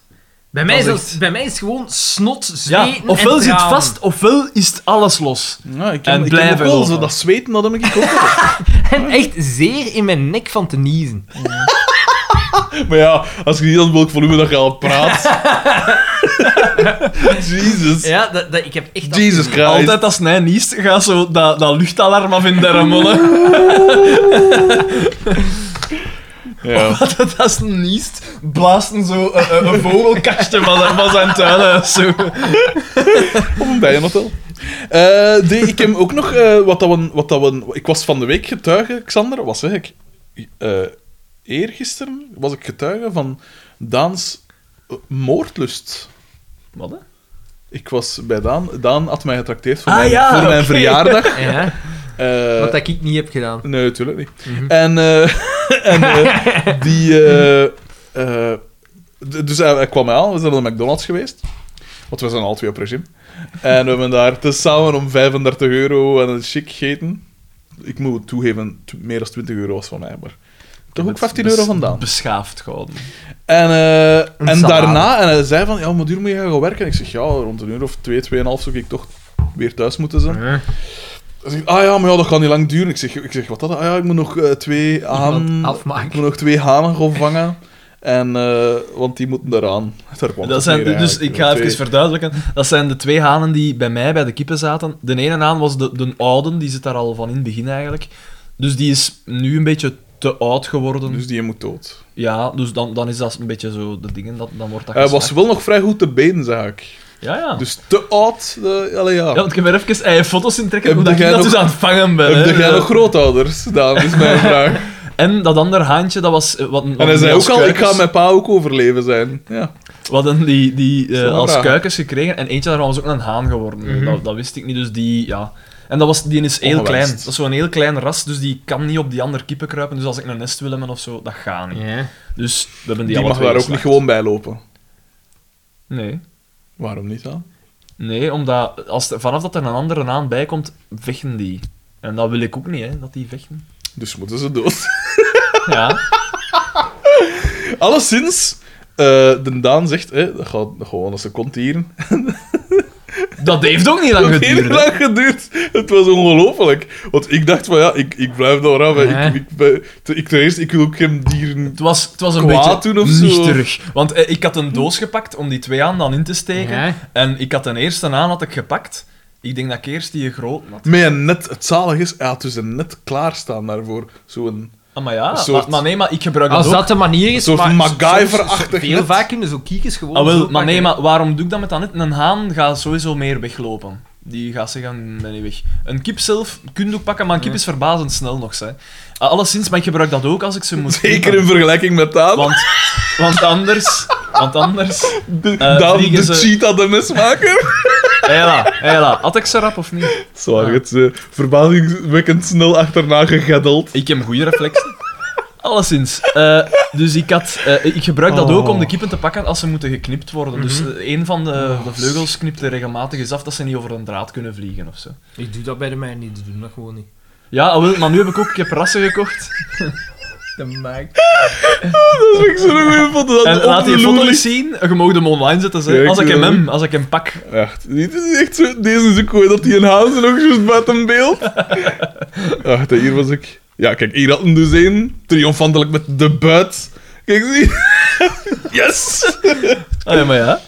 [SPEAKER 3] Bij mij,
[SPEAKER 6] Dat
[SPEAKER 3] is
[SPEAKER 6] is
[SPEAKER 3] dat-
[SPEAKER 6] echt-
[SPEAKER 3] bij mij is het gewoon snot, zweten
[SPEAKER 6] Ja, ofwel
[SPEAKER 3] en
[SPEAKER 6] zit
[SPEAKER 3] tranen.
[SPEAKER 6] vast, ofwel is het alles los.
[SPEAKER 1] Ja, ik
[SPEAKER 6] En
[SPEAKER 1] heb, ik heb ook
[SPEAKER 6] blijven
[SPEAKER 1] wel
[SPEAKER 6] lopen.
[SPEAKER 1] zo dat zweten, dat heb ik ook wel.
[SPEAKER 6] *laughs*
[SPEAKER 3] En echt zeer in mijn nek van te niezen.
[SPEAKER 1] Maar ja, als je niet aan welk volume dat je al
[SPEAKER 6] *laughs*
[SPEAKER 1] *laughs* praat. Jezus.
[SPEAKER 3] Ja, dat, dat, ik heb echt...
[SPEAKER 1] Jesus Christ.
[SPEAKER 6] Altijd als hij niest, gaat zo dat, dat luchtalarm af in de
[SPEAKER 2] *laughs*
[SPEAKER 1] *laughs*
[SPEAKER 6] ramolle.
[SPEAKER 1] Ja.
[SPEAKER 6] Dat als hij niest, blaast hem zo
[SPEAKER 2] eh,
[SPEAKER 6] een, een- een vogelkastje van, zijn- van zijn tuinhuis. Zo.
[SPEAKER 1] Op een bijenhotel. Eh die, ik heb ook nog eh, wat dat we, wat dat we... Ik was van de week getuige, Xander. Wat zeg ik? Eh eergisteren was ik getuige van Daans eh, moordlust.
[SPEAKER 6] Wat, hè?
[SPEAKER 1] Ik was bij Daan. Daan had mij getrakteerd voor,
[SPEAKER 6] Ah,
[SPEAKER 1] mijn,
[SPEAKER 6] ja,
[SPEAKER 1] voor mijn
[SPEAKER 6] oké.
[SPEAKER 1] verjaardag.
[SPEAKER 6] *laughs*
[SPEAKER 3] Ja,
[SPEAKER 1] Eh,
[SPEAKER 3] wat dat ik niet heb gedaan.
[SPEAKER 1] Nee, natuurlijk niet. En, eh, *laughs* en eh, die. eh, eh, d- dus hij, hij kwam mij aan, we zijn naar de McDonald's geweest. Want we zijn al twee op regime. En we hebben daar tezamen om 35 euro en een chic gegeten. Ik moet toegeven, t- meer dan 20 euro was van mij, maar toch ook 15 euro
[SPEAKER 6] Bes-
[SPEAKER 1] vandaan.
[SPEAKER 6] Beschaafd gehouden.
[SPEAKER 1] En, eh, en
[SPEAKER 3] salade.
[SPEAKER 1] daarna, en hij zei van, ja, om een uur moet je gaan werken. Ik zeg, ja, rond een uur of twee, tweeënhalf zou ik toch weer thuis moeten zijn. Hij zegt, ah ja, maar ja, dat gaat niet lang duren. Ik zeg, ik zeg wat dat? Ah ja, ik moet nog eh,
[SPEAKER 2] *laughs*
[SPEAKER 1] twee hanen...
[SPEAKER 3] afmaken.
[SPEAKER 1] Ik moet nog twee hanen gaan vangen. En, eh, want die moeten eraan. Daar kwam
[SPEAKER 2] Dat
[SPEAKER 1] het
[SPEAKER 2] zijn,
[SPEAKER 1] neer,
[SPEAKER 2] dus
[SPEAKER 1] eigenlijk.
[SPEAKER 2] ik ga
[SPEAKER 1] Twee-
[SPEAKER 2] even verduidelijken. Dat zijn de twee hanen die bij mij bij de kippen zaten. De ene haan was de, de oude, die zit daar al van in het begin eigenlijk. Dus die is nu een beetje te oud geworden.
[SPEAKER 1] Dus die moet dood.
[SPEAKER 2] Ja, dus dan, dan is dat een beetje zo de dingen, dat, dan wordt dat
[SPEAKER 1] Hij Eh, was
[SPEAKER 2] geslacht.
[SPEAKER 1] wel nog vrij goed te been, zag ik.
[SPEAKER 2] Ja, ja.
[SPEAKER 1] Dus te oud. eh, allee, ja.
[SPEAKER 2] ja, want ik heb er even eigen foto's in trekken
[SPEAKER 1] Heb
[SPEAKER 2] hoe dat
[SPEAKER 1] jij
[SPEAKER 2] ik dat
[SPEAKER 1] nog-
[SPEAKER 2] dus aan het vangen ben.
[SPEAKER 1] Heb
[SPEAKER 2] hè.
[SPEAKER 1] jij nog grootouders? Dat is
[SPEAKER 2] *laughs*
[SPEAKER 1] mijn vraag.
[SPEAKER 2] En dat andere haantje, dat was... eh, Wat,
[SPEAKER 1] En hij zei ook al, ik ga mijn pa ook overleven zijn. Ja.
[SPEAKER 2] We hadden die, die eh,
[SPEAKER 1] Zo'n
[SPEAKER 2] als
[SPEAKER 1] vraag.
[SPEAKER 2] kuikens gekregen en eentje daarvan was ook een haan geworden. dat, dat wist ik niet, dus die, ja. En dat was, die is heel
[SPEAKER 1] Mhm. Ongewenst.
[SPEAKER 2] klein. Dat is zo'n heel klein ras, dus die kan niet op die andere kippen kruipen. Dus als ik een nest wil hebben of zo, dat gaat niet.
[SPEAKER 3] Ja.
[SPEAKER 2] Dus we hebben die,
[SPEAKER 1] Die
[SPEAKER 2] alle
[SPEAKER 1] mag
[SPEAKER 2] twee
[SPEAKER 1] daar ook niet
[SPEAKER 2] geslacht.
[SPEAKER 1] gewoon bij lopen.
[SPEAKER 2] Nee.
[SPEAKER 1] Waarom niet dan?
[SPEAKER 2] Nee, omdat als, er- vanaf dat er een andere haan bij komt, vechten die. En dat wil ik ook niet, hè, dat die vechten.
[SPEAKER 1] Dus moeten ze dood.
[SPEAKER 2] Ja.
[SPEAKER 1] Alleszins, eh de Daan zegt, hè, dat gaat gewoon als ze komt hier.
[SPEAKER 2] Dat heeft ook
[SPEAKER 1] *laughs*
[SPEAKER 2] niet lang
[SPEAKER 1] Het heeft
[SPEAKER 2] geduurd. hè.
[SPEAKER 1] lang geduurd. Het was ongelofelijk. Want ik dacht van ja, ik, ik blijf daar af. hè.
[SPEAKER 4] Ja.
[SPEAKER 1] Ik, ik, ben- te- ik, ten eerste, ik wil ook geen dieren.
[SPEAKER 2] Het was, het was een
[SPEAKER 1] Kwaad
[SPEAKER 2] beetje
[SPEAKER 1] doen of zo.
[SPEAKER 2] nichterig. Want eh, ik had een doos gepakt om die twee aan dan in te steken.
[SPEAKER 4] Ja.
[SPEAKER 2] En ik had een eerste aan had ik gepakt. Ik denk dat ik eerst die groot had.
[SPEAKER 1] Met een net, het zalig is, hij had dus een net klaarstaan daarvoor. Zo'n *laughs*
[SPEAKER 2] Ah, maar ja,
[SPEAKER 1] Een soort-
[SPEAKER 2] maar, maar nee, maar ik gebruik het
[SPEAKER 4] Als
[SPEAKER 2] ook.
[SPEAKER 4] dat de manier is...
[SPEAKER 1] soort
[SPEAKER 4] maar-
[SPEAKER 1] MacGyver-achtig
[SPEAKER 3] Heel
[SPEAKER 1] net.
[SPEAKER 3] vaak kunnen zo kiekjes gewoon.
[SPEAKER 2] Ah,
[SPEAKER 3] zo
[SPEAKER 2] wel, maar nee,
[SPEAKER 3] pakken.
[SPEAKER 2] maar waarom doe ik dat met dat net? Een haan gaat sowieso meer weglopen. Die gaat zeggen, ben niet weg. Een kip zelf kun je ook pakken, maar een kip is verbazend snel nog. Hè. Ah, Alleszins, maar ik gebruik dat ook als ik ze moet
[SPEAKER 1] Zeker
[SPEAKER 2] knippen.
[SPEAKER 1] in vergelijking met Daan.
[SPEAKER 2] Want, want anders... Want anders...
[SPEAKER 1] *laughs* de,
[SPEAKER 2] eh,
[SPEAKER 1] Daan,
[SPEAKER 2] vliegen
[SPEAKER 1] de
[SPEAKER 2] ze-
[SPEAKER 1] cheetah, de
[SPEAKER 2] *laughs*
[SPEAKER 1] mesmaker.
[SPEAKER 2] Hela, hela. ah, Had ik ze rap of niet?
[SPEAKER 1] Zwaar, het eh, verbazingwekkend snel achterna gegeddeld. *laughs*
[SPEAKER 2] Ik heb goede reflexen. *laughs* Alleszins. eh, dus ik, had, eh, ik gebruik dat ook om de kippen te pakken als ze moeten geknipt worden. Dus
[SPEAKER 1] Mhm.
[SPEAKER 2] eh, een van de,
[SPEAKER 1] Oh,
[SPEAKER 2] de vleugels knipt er regelmatig eens af dat ze niet over een draad kunnen vliegen of zo.
[SPEAKER 3] Ik doe dat bij de mij niet, ze doen dat gewoon niet.
[SPEAKER 2] Ja, ah, wel, maar nu heb ik ook ik heb rassen gekocht.
[SPEAKER 3] Dat maakt.
[SPEAKER 1] Dat vind ik zo'n goede foto.
[SPEAKER 2] En
[SPEAKER 1] *laughs* Dat
[SPEAKER 2] laat die foto
[SPEAKER 1] onbeloerlijk.
[SPEAKER 2] eens zien. Je mag hem online zetten.
[SPEAKER 1] Ja,
[SPEAKER 2] Zeg.
[SPEAKER 1] ik
[SPEAKER 2] Als ik
[SPEAKER 1] doe
[SPEAKER 2] hem
[SPEAKER 1] dat
[SPEAKER 2] hem, als ik hem pak.
[SPEAKER 1] Echt, dit is echt zo, deze is ook gewoon dat hij een haas nog juist buiten beeld. Ach, dat hier was ik. Ja, kijk, hier had hem dus één. Triomfantelijk met de buit. Kijk, zie. *laughs* Yes!
[SPEAKER 2] Ah, ja, maar ja.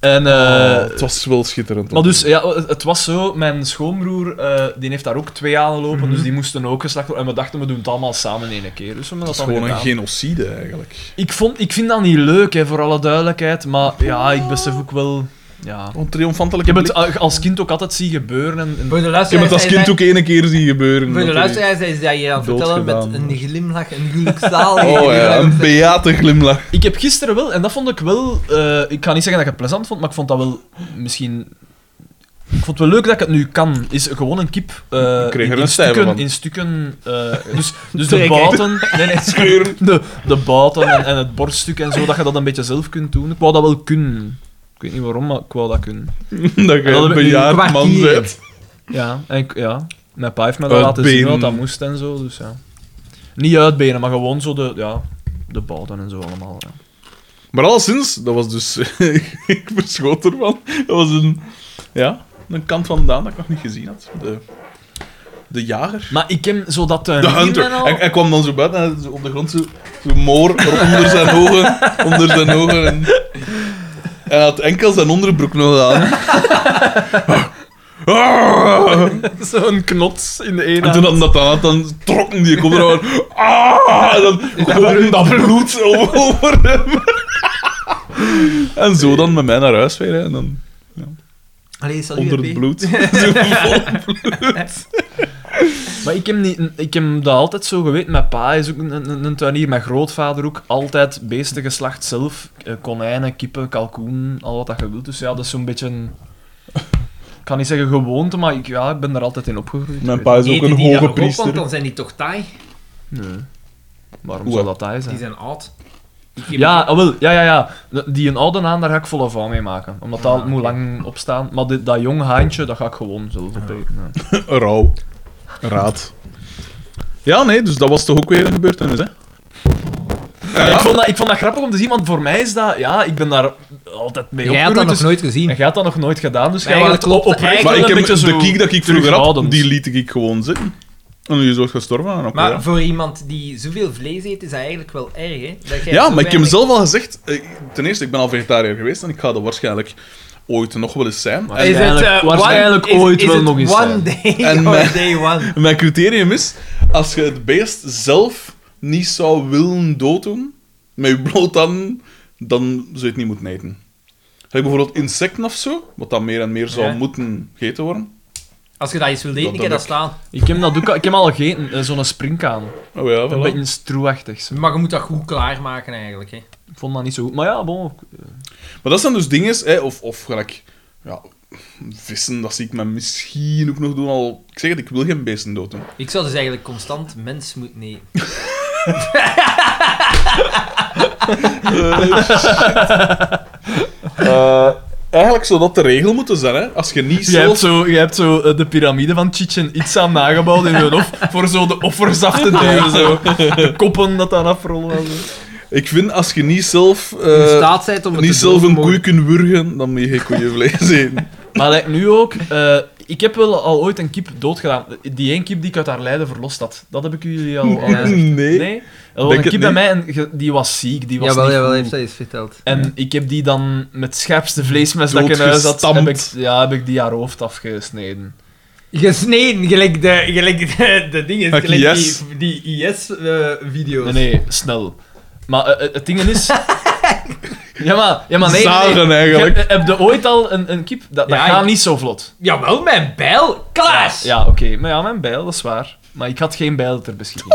[SPEAKER 2] En, eh,
[SPEAKER 1] Oh, het was wel schitterend.
[SPEAKER 2] maar dus, ja, het het was zo, mijn schoonbroer, eh, die heeft daar ook twee aan lopen,
[SPEAKER 1] Mhm.
[SPEAKER 2] dus die moesten ook geslacht worden. En we dachten, we doen het allemaal samen in één keer. Dus we hebben
[SPEAKER 1] dat
[SPEAKER 2] dat
[SPEAKER 1] is
[SPEAKER 2] dan
[SPEAKER 1] gewoon een
[SPEAKER 2] gedaan.
[SPEAKER 1] genocide eigenlijk.
[SPEAKER 2] Ik, vond, ik vind dat niet leuk, hè, voor alle duidelijkheid, maar ja, ik besef ook wel... Ja.
[SPEAKER 1] Een
[SPEAKER 2] Ik
[SPEAKER 1] triomfantelijke.
[SPEAKER 2] heb het
[SPEAKER 1] blik.
[SPEAKER 2] eh, als kind ook altijd zien gebeuren. En, en-
[SPEAKER 3] Voor de
[SPEAKER 1] Ik heb
[SPEAKER 3] luisteraars,
[SPEAKER 1] het als
[SPEAKER 3] hij
[SPEAKER 1] kind
[SPEAKER 3] zei-
[SPEAKER 1] ook één keer zien gebeuren.
[SPEAKER 3] voor de
[SPEAKER 1] dat hij-
[SPEAKER 3] luisteraars is dat je aan het vertellen
[SPEAKER 1] Doodgedaan.
[SPEAKER 3] met een glimlach, een gelukzalige
[SPEAKER 1] Oh ja, een
[SPEAKER 3] glimlach.
[SPEAKER 1] beate glimlach. *laughs*
[SPEAKER 2] Ik heb gisteren wel, en dat vond ik wel. eh, ik ga niet zeggen dat ik het plezant vond, maar ik vond dat wel misschien. Ik vond het wel leuk dat ik het nu kan. Is gewoon een kip. eh,
[SPEAKER 1] Ik kreeg er
[SPEAKER 2] in,
[SPEAKER 1] een
[SPEAKER 2] in
[SPEAKER 1] stijve
[SPEAKER 2] stukken.
[SPEAKER 1] van.
[SPEAKER 2] In stukken eh,
[SPEAKER 1] *laughs*
[SPEAKER 2] dus dus de
[SPEAKER 3] Trekken.
[SPEAKER 2] bouten. Nee, nee,
[SPEAKER 1] Scheuren.
[SPEAKER 2] De, de bouten en, en het borststuk en zo, dat je dat een beetje zelf kunt doen. Ik wou dat wel kunnen. Ik weet niet waarom, maar ik wou dat kunnen.
[SPEAKER 1] Dat je
[SPEAKER 2] heb ik
[SPEAKER 1] een
[SPEAKER 2] nu
[SPEAKER 1] bejaard man
[SPEAKER 3] kwartier.
[SPEAKER 1] bent.
[SPEAKER 2] Ja, en ik, ja. Mijn pa heeft me dat laten
[SPEAKER 1] Uitbenen.
[SPEAKER 2] zien wat dat moest en zo. Dus ja. Niet uitbenen, maar gewoon zo de, ja, de bouten en zo allemaal. Ja.
[SPEAKER 1] Maar alleszins, dat was dus... *laughs* ik verschoot ervan. Dat was een... Ja, een kant van Daan dat ik nog niet gezien had. De, de jager.
[SPEAKER 2] Maar ik heb zo *laughs* dat eh,
[SPEAKER 1] De
[SPEAKER 2] tuinier
[SPEAKER 1] hunter.
[SPEAKER 2] en al-
[SPEAKER 1] Hij, hij kwam dan zo buiten en zo op de grond zo, zo moor onder zijn *laughs* ogen. Onder zijn ogen. En, en hij had enkel zijn onderbroek nog *laughs* aan. Ah,
[SPEAKER 2] Zo'n knots in de
[SPEAKER 1] En
[SPEAKER 2] ene.
[SPEAKER 1] toen had dat dan, had, dan trokken die kop er aan. Ah, en dan gewoon dat bloed over- over hem. En zo dan met mij naar huis weer. hè. En dan
[SPEAKER 3] Allee, salut,
[SPEAKER 1] onder het
[SPEAKER 3] P.
[SPEAKER 1] bloed. Zo vol
[SPEAKER 2] Maar ik heb, niet, ik heb dat altijd zo geweten. Mijn pa is ook een, een, een tuinier, mijn grootvader ook. Altijd beestengeslacht zelf. Eh, Konijnen, kippen, kalkoen, al wat dat je wilt. Dus ja, dat is zo'n beetje... een- Ik kan niet zeggen gewoonte, maar ik, ja, ik ben er altijd in opgegroeid.
[SPEAKER 1] Mijn pa is ook
[SPEAKER 3] Eten
[SPEAKER 1] een
[SPEAKER 3] die
[SPEAKER 1] hoge
[SPEAKER 3] dat nog op, want
[SPEAKER 1] priester.
[SPEAKER 3] dan zijn die toch taai.
[SPEAKER 2] Nee. Waarom
[SPEAKER 1] Oeh.
[SPEAKER 2] zou dat hij
[SPEAKER 3] Die
[SPEAKER 2] zijn?
[SPEAKER 3] zijn oud. Ik heb-
[SPEAKER 2] Ja, ah, wel, ja, ja, ja. Die een oude aan, daar ga ik volle van mee maken. Omdat dat moet lang opstaan. Maar dit- dat jong haantje, dat ga ik gewoon zelf opeten. ja.
[SPEAKER 1] Rauw. Raad. Ja, nee, dus dat was toch ook weer een gebeurtenis, hè?
[SPEAKER 2] Ja, ik, vond dat, ik vond dat grappig om te zien, want voor mij is dat... Ja, ik ben daar altijd mee
[SPEAKER 4] Jij had dat
[SPEAKER 2] opgegroeid,
[SPEAKER 4] nog
[SPEAKER 2] dus-
[SPEAKER 4] nooit gezien.
[SPEAKER 2] En jij had dat nog nooit gedaan, dus
[SPEAKER 3] Nee,
[SPEAKER 2] jij
[SPEAKER 3] dat klopt.
[SPEAKER 2] oprecht
[SPEAKER 1] Maar
[SPEAKER 2] wel
[SPEAKER 1] ik
[SPEAKER 2] een
[SPEAKER 1] heb
[SPEAKER 2] beetje
[SPEAKER 1] de
[SPEAKER 2] zo
[SPEAKER 1] kiek dat ik vroeger had,
[SPEAKER 2] terughoudend.
[SPEAKER 1] die liet ik gewoon zitten. En nu is het gestorven. En oké,
[SPEAKER 3] Maar
[SPEAKER 1] ja.
[SPEAKER 3] voor iemand die zoveel vlees eet, is dat eigenlijk wel erg, hè? Dat jij
[SPEAKER 1] ja,
[SPEAKER 3] zo
[SPEAKER 1] maar ik heb
[SPEAKER 3] weinig-
[SPEAKER 1] zelf al gezegd... eh, Ten eerste, ik ben al vegetariër geweest en ik ga dat waarschijnlijk ooit nog wel eens zijn. En
[SPEAKER 3] Is het,
[SPEAKER 2] Waarschijnlijk-
[SPEAKER 3] eh,
[SPEAKER 2] waarschijnlijk
[SPEAKER 3] one- is-
[SPEAKER 2] ooit
[SPEAKER 3] is
[SPEAKER 2] wel
[SPEAKER 3] het
[SPEAKER 2] nog eens
[SPEAKER 3] One
[SPEAKER 2] zijn.
[SPEAKER 3] day
[SPEAKER 1] *laughs* En
[SPEAKER 3] or
[SPEAKER 1] mijn-
[SPEAKER 3] day one.
[SPEAKER 1] *laughs* Mijn criterium is, als je het beest zelf niet zou willen dooddoen, met je bloot handen, dan zou je het niet moeten eten. Zeg bijvoorbeeld insecten of zo, wat dan meer en meer zou
[SPEAKER 3] Ja.
[SPEAKER 1] moeten gegeten worden.
[SPEAKER 3] Als je dat eens wilt eten,
[SPEAKER 1] Dat
[SPEAKER 3] ik heb
[SPEAKER 1] doe
[SPEAKER 3] dat staan.
[SPEAKER 2] Ik heb dat ook al- ik heb al gegeten, eh, zo'n springkaan.
[SPEAKER 1] Oh ja,
[SPEAKER 2] Een
[SPEAKER 1] voilà.
[SPEAKER 2] beetje stroeachtig.
[SPEAKER 3] Maar je moet dat goed klaarmaken, eigenlijk, hè?
[SPEAKER 2] Ik vond dat niet zo goed. Maar ja, bon.
[SPEAKER 1] Maar dat zijn dus dingen, hè, of, of gelijk, ja, vissen, dat zie ik me misschien ook nog doen, al, ik zeg het, ik wil geen beesten doden.
[SPEAKER 3] Ik zou dus eigenlijk constant mens moeten eten.
[SPEAKER 1] eigenlijk zou dat de regel moeten zijn, hè. Als je niet
[SPEAKER 2] Eh, *laughs* Je hebt
[SPEAKER 1] zelf...
[SPEAKER 2] zo, je hebt zo eh, de piramide van Chichen Itza nagebouwd in hun hof, *laughs* voor zo de offers af te delen. *laughs* Zo. De koppen dat aan afrollen. en zo.
[SPEAKER 1] Ik vind, als je niet zelf... eh,
[SPEAKER 4] in staat zijn om het
[SPEAKER 1] niet
[SPEAKER 4] te
[SPEAKER 1] zelf een
[SPEAKER 4] doodmogen.
[SPEAKER 2] *laughs*
[SPEAKER 1] koe kunnen wurgen, dan moet je geen koeienvlees eten.
[SPEAKER 2] Maar like, nu ook, eh, ik heb wel al ooit een kip doodgedaan. Die één kip die ik uit haar lijden verlost had. Dat heb ik jullie al, al gezegd.
[SPEAKER 1] Nee.
[SPEAKER 2] Nee? Er was
[SPEAKER 1] Denk
[SPEAKER 2] een
[SPEAKER 1] het
[SPEAKER 2] kip bij
[SPEAKER 1] niet.
[SPEAKER 2] mij en ge- die was ziek, die was
[SPEAKER 7] Jawel,
[SPEAKER 2] niet
[SPEAKER 7] jawel, hij heeft
[SPEAKER 2] goed.
[SPEAKER 7] dat eens verteld.
[SPEAKER 2] En ik heb die dan met het scherpste vleesmes dat ik in huis had, heb ik,
[SPEAKER 1] Doodgestampt.
[SPEAKER 2] ja, heb ik die haar hoofd afgesneden.
[SPEAKER 3] Gesneden, gelijk de, gelijk de, de dingen,
[SPEAKER 1] Like
[SPEAKER 3] gelijk
[SPEAKER 1] IS.
[SPEAKER 3] die, die eh, IS-video's.
[SPEAKER 2] Nee, nee, snel. Maar eh, eh, het ding is... Ja, maar, ja, maar nee, nee, nee.
[SPEAKER 1] Zagen eigenlijk.
[SPEAKER 2] Je- eh, heb je ooit al een, een kip? Dat, dat
[SPEAKER 3] Ja,
[SPEAKER 2] gaat
[SPEAKER 3] ik-
[SPEAKER 2] niet zo vlot.
[SPEAKER 3] Jawel, mijn bijl.
[SPEAKER 2] Ja,
[SPEAKER 3] Klaas! *laughs*
[SPEAKER 2] ja oké. Maar ja, mijn bijl, dat is waar. Maar ik had geen bijl ter beschikking.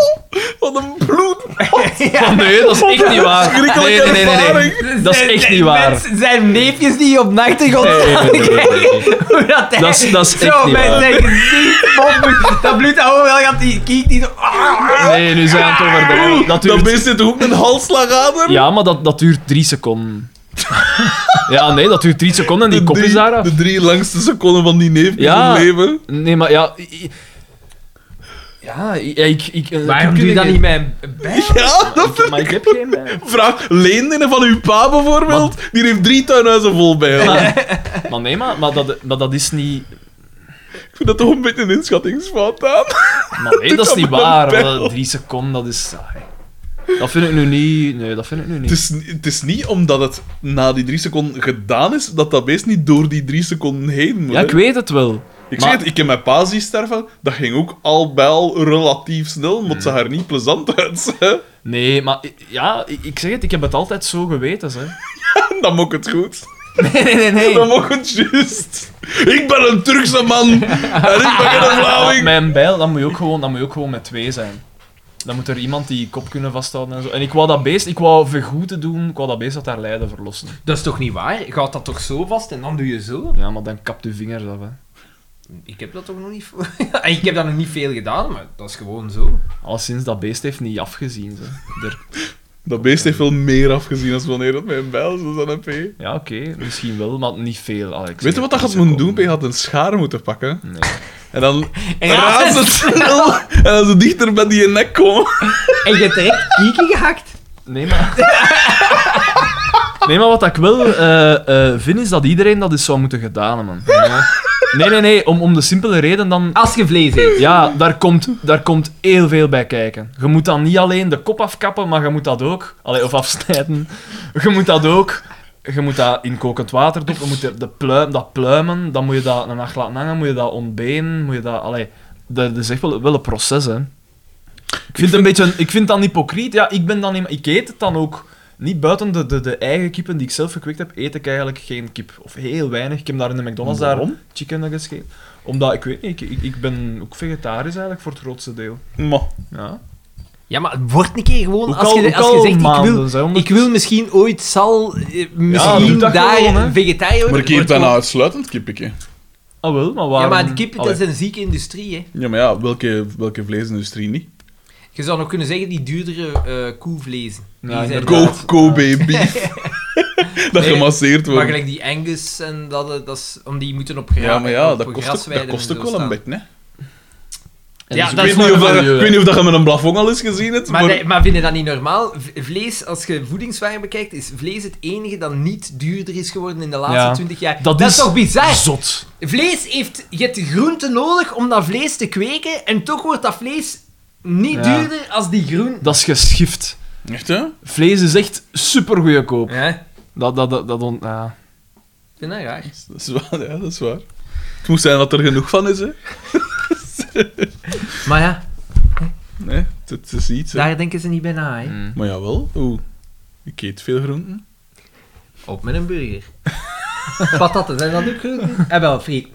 [SPEAKER 1] Wat een bloed.
[SPEAKER 2] *laughs* Oh, nee, dat is echt niet waar. Nee, nee, nee, nee, nee. Dat is
[SPEAKER 3] Zijn-
[SPEAKER 2] echt
[SPEAKER 3] zijn
[SPEAKER 2] niet waar.
[SPEAKER 3] mensen- zijn neefjes die op nachtegaal
[SPEAKER 2] Nee, nee, nee, nee, nee, nee.
[SPEAKER 3] Hoe dat hij-
[SPEAKER 2] Dat is- dat is echt
[SPEAKER 3] Zo,
[SPEAKER 2] niet
[SPEAKER 3] met
[SPEAKER 2] waar.
[SPEAKER 3] zijn gezicht, bomboe- Dat bloed dat wel gaat, die kijkt die zo...
[SPEAKER 2] Nee, nu zijn we aan het overdrijven. Dat
[SPEAKER 1] Ah, Dat
[SPEAKER 2] duurt...
[SPEAKER 1] beest zit toch ook een halsslagader?
[SPEAKER 2] Ja, maar dat, dat duurt drie
[SPEAKER 1] *laughs*
[SPEAKER 2] seconden. Ja, nee, dat duurt drie seconden en die kop
[SPEAKER 1] drie,
[SPEAKER 2] is daar af.
[SPEAKER 1] De drie langste seconden van die neef in
[SPEAKER 2] Ja.
[SPEAKER 1] zijn leven.
[SPEAKER 2] Nee, maar ja... i- i- Ja, i- ja, ik... ik eh,
[SPEAKER 3] Waarom
[SPEAKER 2] ik-
[SPEAKER 3] doe je
[SPEAKER 2] ik-
[SPEAKER 3] dat niet met een bijl?
[SPEAKER 1] Ja, dat
[SPEAKER 2] Maar ik heb geen bijl.
[SPEAKER 1] vraag. Leendenen van uw pa bijvoorbeeld, die heeft drie tuinhuizen vol bij hem.
[SPEAKER 2] Maar, maar nee, maar, maar, dat, maar dat is niet...
[SPEAKER 1] Ik vind dat toch een beetje een inschattingsfout aan.
[SPEAKER 2] Maar
[SPEAKER 1] *laughs*
[SPEAKER 2] nee, dat is
[SPEAKER 1] dat
[SPEAKER 2] niet
[SPEAKER 1] met een
[SPEAKER 2] waar.
[SPEAKER 1] bijl.
[SPEAKER 2] want Drie seconden, dat is saai. Dat vind ik nu niet... Nee, dat vind ik nu niet.
[SPEAKER 1] Het is, het is niet omdat het na die drie seconden gedaan is, dat dat beest niet door die drie seconden heen moet.
[SPEAKER 2] Ja,
[SPEAKER 1] hè.
[SPEAKER 2] ik weet het wel.
[SPEAKER 1] Ik
[SPEAKER 2] maar-
[SPEAKER 1] zeg het, ik heb mijn pa zien sterven, dat ging ook al bij al relatief snel, maar het zag er niet plezant uit. hè. *laughs*
[SPEAKER 2] Nee, maar i- ja, i- ik zeg het, ik heb het altijd zo geweten, hè.
[SPEAKER 1] *laughs* Dan mocht het goed.
[SPEAKER 2] Nee, nee, nee, nee.
[SPEAKER 1] Dan mocht het juist. Ik ben een Turkse man en ik ben geen Vlaming. *laughs*
[SPEAKER 2] Mijn bijl, dan moet, je ook gewoon, dan moet je ook gewoon met twee zijn. Dan moet er iemand die kop kunnen vasthouden en zo. En ik wou dat beest, ik wou vergoeden doen, ik wou dat beest uit haar lijden verlossen.
[SPEAKER 3] Dat is toch niet waar? Je gaat dat toch zo vast en dan doe je zo?
[SPEAKER 2] Ja, maar dan kapt uw vingers af, hè.
[SPEAKER 3] Ik heb dat toch nog niet... *laughs* ik heb dat nog niet veel gedaan, maar dat is gewoon zo.
[SPEAKER 2] Al sinds dat beest heeft niet afgezien, ze. Er-
[SPEAKER 1] Dat beest heeft veel meer afgezien als wanneer dat mijn bijl is dan een P.
[SPEAKER 2] Ja, oké, misschien wel, maar niet veel, Alex.
[SPEAKER 1] Weet je wat dat gaat moeten doen? P had een schaar moeten pakken.
[SPEAKER 2] Nee.
[SPEAKER 1] En dan
[SPEAKER 3] ja.
[SPEAKER 1] razendsnel en dan zo dichter bij die nek komen. *laughs*
[SPEAKER 3] En je trekt kieken gehakt.
[SPEAKER 2] Nee, maar... *laughs* Nee, maar wat ik wel eh, eh, vind, is dat iedereen dat eens zou moeten gedaan, hebben, man. Ja. Nee, nee, nee, om, om de simpele reden dan...
[SPEAKER 3] Als je vlees eet.
[SPEAKER 2] Ja, daar komt, daar komt heel veel bij kijken. Je moet dan niet alleen de kop afkappen, maar je moet dat ook... Allee, of afsnijden. Je moet dat ook... Je moet dat in kokend water doen, je moet de, de pluim, dat pluimen, dan moet je dat een nacht laten hangen, moet je dat ontbenen, moet je dat... Allee, dat is echt wel, wel een proces, hè. Ik vind, het een beetje, een- ik vind het dan hypocriet. Ja, ik ben dan niet- Ik eet het dan ook. Niet buiten de, de, de eigen kippen die ik zelf gekweekt heb, eet ik eigenlijk geen kip. Of heel weinig. Ik heb daar in de McDonald's daar chicken nuggets gegeten. Omdat, ik weet niet, ik, ik, ik ben ook vegetarisch eigenlijk voor het grootste deel.
[SPEAKER 1] Maar
[SPEAKER 2] Ja.
[SPEAKER 3] Ja, maar het wordt een keer gewoon...
[SPEAKER 2] Ook
[SPEAKER 3] Als
[SPEAKER 2] al-
[SPEAKER 3] je,
[SPEAKER 2] ook
[SPEAKER 3] als je
[SPEAKER 2] al
[SPEAKER 3] zegt, ik wil,
[SPEAKER 2] maanden, zo, omdat-
[SPEAKER 3] ik wil misschien ooit zal... eh, Misschien
[SPEAKER 2] doe dat
[SPEAKER 3] daar
[SPEAKER 2] gewoon, hè.
[SPEAKER 3] een vegetariër
[SPEAKER 1] maar
[SPEAKER 3] worden.
[SPEAKER 1] ik eet
[SPEAKER 3] wordt
[SPEAKER 1] bijna
[SPEAKER 3] gewoon-
[SPEAKER 1] uitsluitend kippetje.
[SPEAKER 2] Ah wel, maar
[SPEAKER 3] Ja,
[SPEAKER 2] waarom...
[SPEAKER 3] maar de kip, dat
[SPEAKER 2] Allee.
[SPEAKER 3] is een zieke industrie, hè.
[SPEAKER 1] Ja, maar ja, welke, welke vleesindustrie niet?
[SPEAKER 3] Je zou nog kunnen zeggen, die duurdere eh koevlezen. Die
[SPEAKER 2] Ja,
[SPEAKER 3] zijn
[SPEAKER 1] Go,
[SPEAKER 3] inderdaad.
[SPEAKER 1] Kobe
[SPEAKER 3] *laughs*
[SPEAKER 1] beef. dat
[SPEAKER 3] Nee,
[SPEAKER 1] gemasseerd
[SPEAKER 3] Maar
[SPEAKER 1] wordt.
[SPEAKER 3] gelijk die Angus en dat, eh, dat is... Om die moeten op
[SPEAKER 1] ja, maar ja, dat kost, ook, dat
[SPEAKER 3] grasweiden
[SPEAKER 1] kost
[SPEAKER 3] en
[SPEAKER 1] ook
[SPEAKER 3] zo
[SPEAKER 1] wel een
[SPEAKER 3] staan.
[SPEAKER 1] beetje, hè.
[SPEAKER 2] En
[SPEAKER 3] Ja,
[SPEAKER 2] dus-
[SPEAKER 3] dat
[SPEAKER 1] Ik
[SPEAKER 3] is
[SPEAKER 1] weet, niet of
[SPEAKER 2] maar
[SPEAKER 1] dat,
[SPEAKER 2] milieu,
[SPEAKER 1] ik weet niet of dat je met een plafond al eens gezien hebt, maar...
[SPEAKER 3] Maar, nee, maar vind je dat niet normaal? V- Vlees, als je voedingswaarde bekijkt, is vlees het enige dat niet duurder is geworden in de
[SPEAKER 2] Ja.
[SPEAKER 3] laatste twintig jaar.
[SPEAKER 2] Dat
[SPEAKER 3] Dat,
[SPEAKER 2] is
[SPEAKER 3] is toch bizar?
[SPEAKER 2] Zot.
[SPEAKER 3] Vlees heeft... Je hebt groenten nodig om dat vlees te kweken, en toch wordt dat vlees niet
[SPEAKER 2] Ja.
[SPEAKER 3] duurder als die groen...
[SPEAKER 2] Dat is geschift.
[SPEAKER 1] Echt, hè?
[SPEAKER 2] Vlees is echt supergoeie koop.
[SPEAKER 3] Ja, ik
[SPEAKER 2] Dat, dat, dat, dat on- ja.
[SPEAKER 3] vind dat raar.
[SPEAKER 1] Dat is waar, ja, dat is waar. Het moet zijn dat er genoeg van is, hè.
[SPEAKER 3] Maar ja,
[SPEAKER 1] Nee, het, het is iets, hè.
[SPEAKER 3] daar denken ze niet bij na, hè.
[SPEAKER 2] Mm.
[SPEAKER 1] Maar jawel, oeh. Ik eet veel groenten. *laughs*
[SPEAKER 3] Op met een burger. *laughs* Patatten, zijn dat ook
[SPEAKER 1] *laughs*
[SPEAKER 3] groenten? Eh, wel, friet.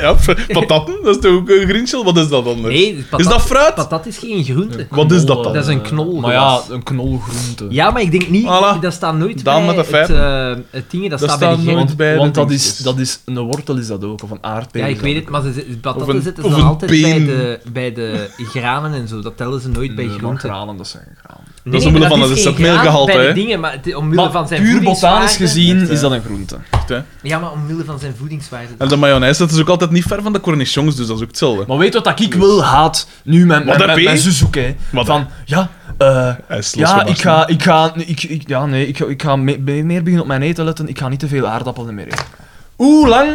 [SPEAKER 1] ja, f- patatten, dat is toch ook een grinchel? Wat is dat anders?
[SPEAKER 3] Nee, patat
[SPEAKER 1] is dat fruit?
[SPEAKER 3] patat is geen groente.
[SPEAKER 1] Wat is dat dan?
[SPEAKER 3] Dat is een knol,
[SPEAKER 2] Maar ja,
[SPEAKER 3] gewas.
[SPEAKER 2] een knolgroente.
[SPEAKER 3] Ja, maar ik denk niet...
[SPEAKER 1] Voilà.
[SPEAKER 3] Dat staat nooit
[SPEAKER 1] Daan
[SPEAKER 3] bij
[SPEAKER 1] met de
[SPEAKER 3] het,
[SPEAKER 1] feiten.
[SPEAKER 3] eh, het ding, dat,
[SPEAKER 1] Dat
[SPEAKER 3] staat bij de
[SPEAKER 1] staat
[SPEAKER 3] gek.
[SPEAKER 1] nooit-
[SPEAKER 2] Want,
[SPEAKER 1] bij de
[SPEAKER 2] want dat, is,
[SPEAKER 1] dingetjes.
[SPEAKER 2] dat is een wortel is dat ook, of een aardbei.
[SPEAKER 3] Ja,
[SPEAKER 2] is
[SPEAKER 3] ik
[SPEAKER 2] dat
[SPEAKER 3] weet
[SPEAKER 2] ook.
[SPEAKER 3] het, maar ze, ze-
[SPEAKER 1] Of een-
[SPEAKER 3] patatten zetten ze
[SPEAKER 1] of
[SPEAKER 3] dan
[SPEAKER 1] een
[SPEAKER 3] altijd bij
[SPEAKER 1] been.
[SPEAKER 3] de, bij de granen en zo. Dat tellen ze nooit bij
[SPEAKER 2] Nee, maar
[SPEAKER 3] groenten.
[SPEAKER 2] granen, dat zijn granen.
[SPEAKER 3] Nee,
[SPEAKER 1] is
[SPEAKER 3] nee,
[SPEAKER 1] omwille
[SPEAKER 3] maar
[SPEAKER 1] van
[SPEAKER 3] is
[SPEAKER 1] het
[SPEAKER 3] geen graan
[SPEAKER 1] zetmeelgehalte,
[SPEAKER 3] bij de
[SPEAKER 1] hè.
[SPEAKER 3] dingen, maar het- omwille
[SPEAKER 2] Maar
[SPEAKER 3] van zijn
[SPEAKER 2] puur
[SPEAKER 3] voedingswaarde-
[SPEAKER 2] botanisch gezien
[SPEAKER 1] Echt,
[SPEAKER 2] is
[SPEAKER 1] hè.
[SPEAKER 2] dat een groente.
[SPEAKER 1] Echt, hè?
[SPEAKER 3] Ja, maar omwille van zijn voedingswaarde.
[SPEAKER 1] En de mayonaise, dat is ook altijd niet ver van de cornichons, dus dat is ook hetzelfde.
[SPEAKER 2] Maar weet wat dat ik wel haat nu met
[SPEAKER 1] Wat
[SPEAKER 2] mijn,
[SPEAKER 1] heb
[SPEAKER 2] mijn,
[SPEAKER 1] je?
[SPEAKER 2] mijn zus ook, hè?
[SPEAKER 1] Wat
[SPEAKER 2] Van, ja, eh,
[SPEAKER 1] Hij is
[SPEAKER 2] ja, ik
[SPEAKER 1] losgebarsten.
[SPEAKER 2] ga, ik ga, ik, ik, ja, nee, ik, ga- ik ga me- me- meer beginnen op mijn eten letten. Ik ga niet te veel aardappelen meer eten. hoe lang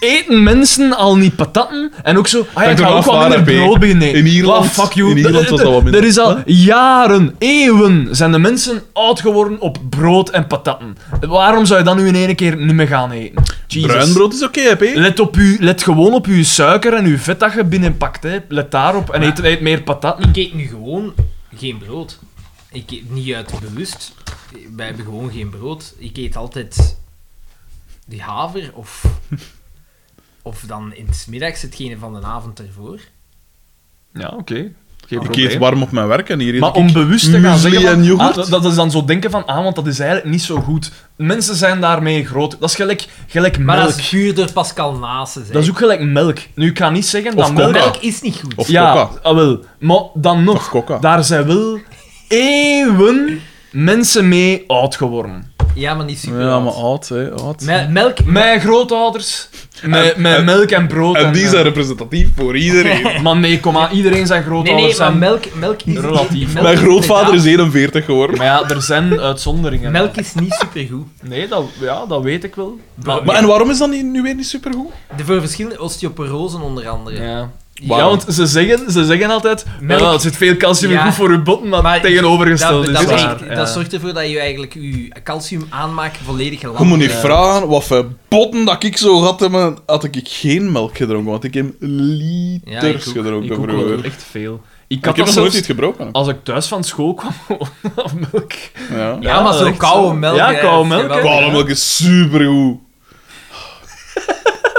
[SPEAKER 2] eten mensen al niet patatten? En ook zo, ah ja,
[SPEAKER 1] Dank
[SPEAKER 2] ik
[SPEAKER 1] u
[SPEAKER 2] ga
[SPEAKER 1] wel,
[SPEAKER 2] ook wat minder
[SPEAKER 1] vader P.
[SPEAKER 2] brood beginnen eten.
[SPEAKER 1] In Ierland-
[SPEAKER 2] Wat, fuck you.
[SPEAKER 1] in Ierland was dat wat minder.
[SPEAKER 2] Er is al jaren, eeuwen, zijn de mensen oud geworden op brood en patatten. Waarom zou je dat nu in één keer niet meer gaan eten? Jesus.
[SPEAKER 1] Bruinbrood is oké, heb hè?
[SPEAKER 2] Let, op uw, let gewoon op uw suiker en uw vet dat je binnenpakt. Hè. Let daarop en eet, eet meer patat.
[SPEAKER 3] Ik eet nu gewoon geen brood. Ik eet niet uit bewust. Wij hebben gewoon geen brood. Ik eet altijd die haver of, of dan in het middags hetgene van de avond ervoor.
[SPEAKER 2] Ja, oké. Geen
[SPEAKER 1] Ik
[SPEAKER 2] probleem.
[SPEAKER 1] eet warm op mijn werk en hier eet
[SPEAKER 2] Maar
[SPEAKER 1] ik...
[SPEAKER 2] om bewust te gaan
[SPEAKER 1] muesli
[SPEAKER 2] zeggen... van,
[SPEAKER 1] en yoghurt?
[SPEAKER 2] ah, dat, dat is dan zo denken van, ah, want dat is eigenlijk niet zo goed. Mensen zijn daarmee groot. Dat is gelijk, gelijk
[SPEAKER 3] Maar
[SPEAKER 2] melk.
[SPEAKER 3] dat is puur door Pascal Naassen.
[SPEAKER 2] Dat is ook gelijk melk. Nu, ik ga niet zeggen
[SPEAKER 1] Of
[SPEAKER 2] dat melk...
[SPEAKER 1] coca.
[SPEAKER 3] Melk is niet goed.
[SPEAKER 1] Of
[SPEAKER 2] Ja,
[SPEAKER 1] coca.
[SPEAKER 2] ah, wel. Maar dan
[SPEAKER 1] Of
[SPEAKER 2] nog,
[SPEAKER 1] coca.
[SPEAKER 2] daar zijn wel eeuwen mensen mee oud geworden.
[SPEAKER 3] Ja, maar niet super.
[SPEAKER 1] Ja, maar oud, hè. Oud.
[SPEAKER 3] Me- melk.
[SPEAKER 2] Mijn grootouders, met,
[SPEAKER 1] En-
[SPEAKER 2] met
[SPEAKER 1] en-
[SPEAKER 2] melk en brood.
[SPEAKER 1] En die
[SPEAKER 2] eh,
[SPEAKER 1] zijn representatief voor iedereen.
[SPEAKER 2] Maar nee, kom aan, iedereen zijn
[SPEAKER 3] Nee,
[SPEAKER 2] grootouders.
[SPEAKER 3] nee, maar
[SPEAKER 2] zijn-
[SPEAKER 3] melk, melk is.
[SPEAKER 2] Relatief.
[SPEAKER 3] melk
[SPEAKER 1] Mijn
[SPEAKER 3] is
[SPEAKER 1] grootvader is
[SPEAKER 3] inderdaad-
[SPEAKER 1] 41 geworden.
[SPEAKER 2] Maar ja, er zijn uitzonderingen.
[SPEAKER 3] Melk is niet supergoed.
[SPEAKER 2] Nee, dat, ja, dat weet ik wel.
[SPEAKER 3] Maar-
[SPEAKER 1] Maar en waarom is dat niet- nu weer niet supergoed?
[SPEAKER 3] De voor verschillende osteoporosen onder andere.
[SPEAKER 2] Ja.
[SPEAKER 1] Wauw.
[SPEAKER 2] ja, want ze zeggen, ze zeggen altijd,
[SPEAKER 3] Melk-
[SPEAKER 2] "Wel, er zit veel calcium in,
[SPEAKER 3] Ja.
[SPEAKER 2] goed voor uw botten, maar,
[SPEAKER 3] Maar
[SPEAKER 2] tegenovergesteld
[SPEAKER 3] dat,
[SPEAKER 2] is
[SPEAKER 3] dat,
[SPEAKER 2] waar.
[SPEAKER 3] zorgt,
[SPEAKER 2] ja.
[SPEAKER 3] dat zorgt ervoor dat je eigenlijk je calcium aanmaak volledig
[SPEAKER 1] Je
[SPEAKER 3] gelaten
[SPEAKER 1] moet niet vragen wat voor botten dat ik zo had, hebben, had ik geen melk gedronken, want ik heb liters
[SPEAKER 3] Ja, ik ook.
[SPEAKER 2] Ik
[SPEAKER 1] gedronken
[SPEAKER 2] ook wel,
[SPEAKER 1] vroeger. Ik,
[SPEAKER 2] echt veel. Ik
[SPEAKER 1] heb
[SPEAKER 2] had
[SPEAKER 1] nog
[SPEAKER 2] dat
[SPEAKER 1] nooit
[SPEAKER 2] zelfs, Oh.
[SPEAKER 1] iets gebroken.
[SPEAKER 2] als ik thuis van school kwam, *laughs* of melk.
[SPEAKER 1] Ja.
[SPEAKER 3] Ja, maar
[SPEAKER 2] Ja,
[SPEAKER 3] zo'n
[SPEAKER 2] echt
[SPEAKER 3] koude
[SPEAKER 2] zo.
[SPEAKER 3] melk.
[SPEAKER 2] Ja,
[SPEAKER 3] hè,
[SPEAKER 2] koude
[SPEAKER 3] dat is
[SPEAKER 2] melk,
[SPEAKER 3] geweldig.
[SPEAKER 1] Koude melk is supergoed.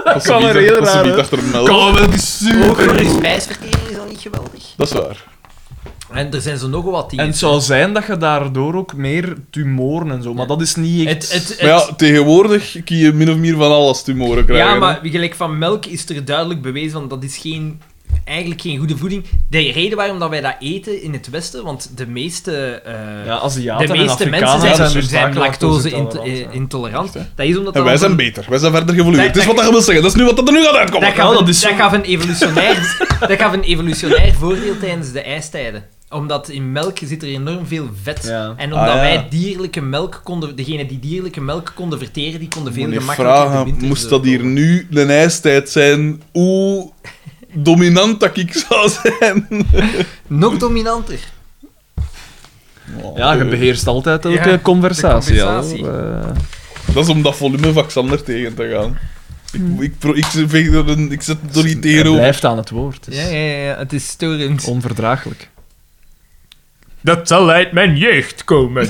[SPEAKER 1] Dat
[SPEAKER 2] kwam er heel raar uit.
[SPEAKER 1] achter melk.
[SPEAKER 2] Kom, melk is
[SPEAKER 3] Ook voor
[SPEAKER 2] super.
[SPEAKER 3] de spijsvertering is dat niet geweldig.
[SPEAKER 1] Dat is waar.
[SPEAKER 3] En er zijn zo nogal wat
[SPEAKER 2] En
[SPEAKER 3] dingen.
[SPEAKER 2] het zou zijn dat je daardoor ook meer tumoren en zo, maar dat is niet echt...
[SPEAKER 3] Het, het, het,
[SPEAKER 1] Maar ja, tegenwoordig kun je min of meer van alles tumoren krijgen.
[SPEAKER 3] ja,
[SPEAKER 1] hè.
[SPEAKER 3] maar gelijk van melk is er duidelijk bewezen, want dat is geen, eigenlijk geen goede voeding. De reden waarom dat wij dat eten in het Westen, want de meeste, eh,
[SPEAKER 2] ja, Aziaten
[SPEAKER 3] de meeste
[SPEAKER 2] en
[SPEAKER 3] mensen
[SPEAKER 2] Afrikanen
[SPEAKER 3] zijn,
[SPEAKER 2] dus
[SPEAKER 3] zijn
[SPEAKER 2] vaak
[SPEAKER 3] lactose
[SPEAKER 2] lactose-intolerant,
[SPEAKER 3] int-
[SPEAKER 2] ja.
[SPEAKER 3] eh, intolerant. Dat is omdat
[SPEAKER 1] En
[SPEAKER 3] dat
[SPEAKER 1] wij
[SPEAKER 3] een-
[SPEAKER 1] zijn beter. Wij zijn verder geëvolueerd.
[SPEAKER 3] Dat-
[SPEAKER 1] Dus wat
[SPEAKER 3] dat-
[SPEAKER 1] dat je wil zeggen, dat is nu wat dat er nu gaat
[SPEAKER 3] Dat
[SPEAKER 1] uitkomen.
[SPEAKER 3] gaf,
[SPEAKER 2] dat
[SPEAKER 3] een,
[SPEAKER 2] is
[SPEAKER 3] dat
[SPEAKER 2] zo.
[SPEAKER 3] gaf een, evolutionair, dat gaf een evolutionair voordeel tijdens de ijstijden. Omdat in melk zit er enorm veel vet.
[SPEAKER 2] Ja.
[SPEAKER 3] En omdat
[SPEAKER 1] Ah, ja.
[SPEAKER 3] wij dierlijke melk konden... Degenen die dierlijke melk konden verteren, die konden veel
[SPEAKER 1] Moet niet
[SPEAKER 3] gemakkelijker de
[SPEAKER 1] vragen,
[SPEAKER 3] winter
[SPEAKER 1] moest
[SPEAKER 3] zo
[SPEAKER 1] dat hier
[SPEAKER 3] komen.
[SPEAKER 1] nu een ijstijd zijn, hoe dominant dat ik zou zijn.
[SPEAKER 3] Nog dominanter.
[SPEAKER 2] Ja, je beheerst altijd elke
[SPEAKER 3] Ja, de
[SPEAKER 2] conversatie.
[SPEAKER 3] conversatie.
[SPEAKER 2] al, eh.
[SPEAKER 1] Dat is om dat volume van Xander tegen te gaan. Ik, ik, pro- ik, veeg er een- ik zet er niet
[SPEAKER 2] Hij
[SPEAKER 1] tegenover.
[SPEAKER 2] blijft aan het woord. Het is
[SPEAKER 3] Ja, ja, ja. Het is storend.
[SPEAKER 2] Onverdraaglijk.
[SPEAKER 14] Dat zal uit mijn jeugd
[SPEAKER 2] *laughs*
[SPEAKER 14] komen.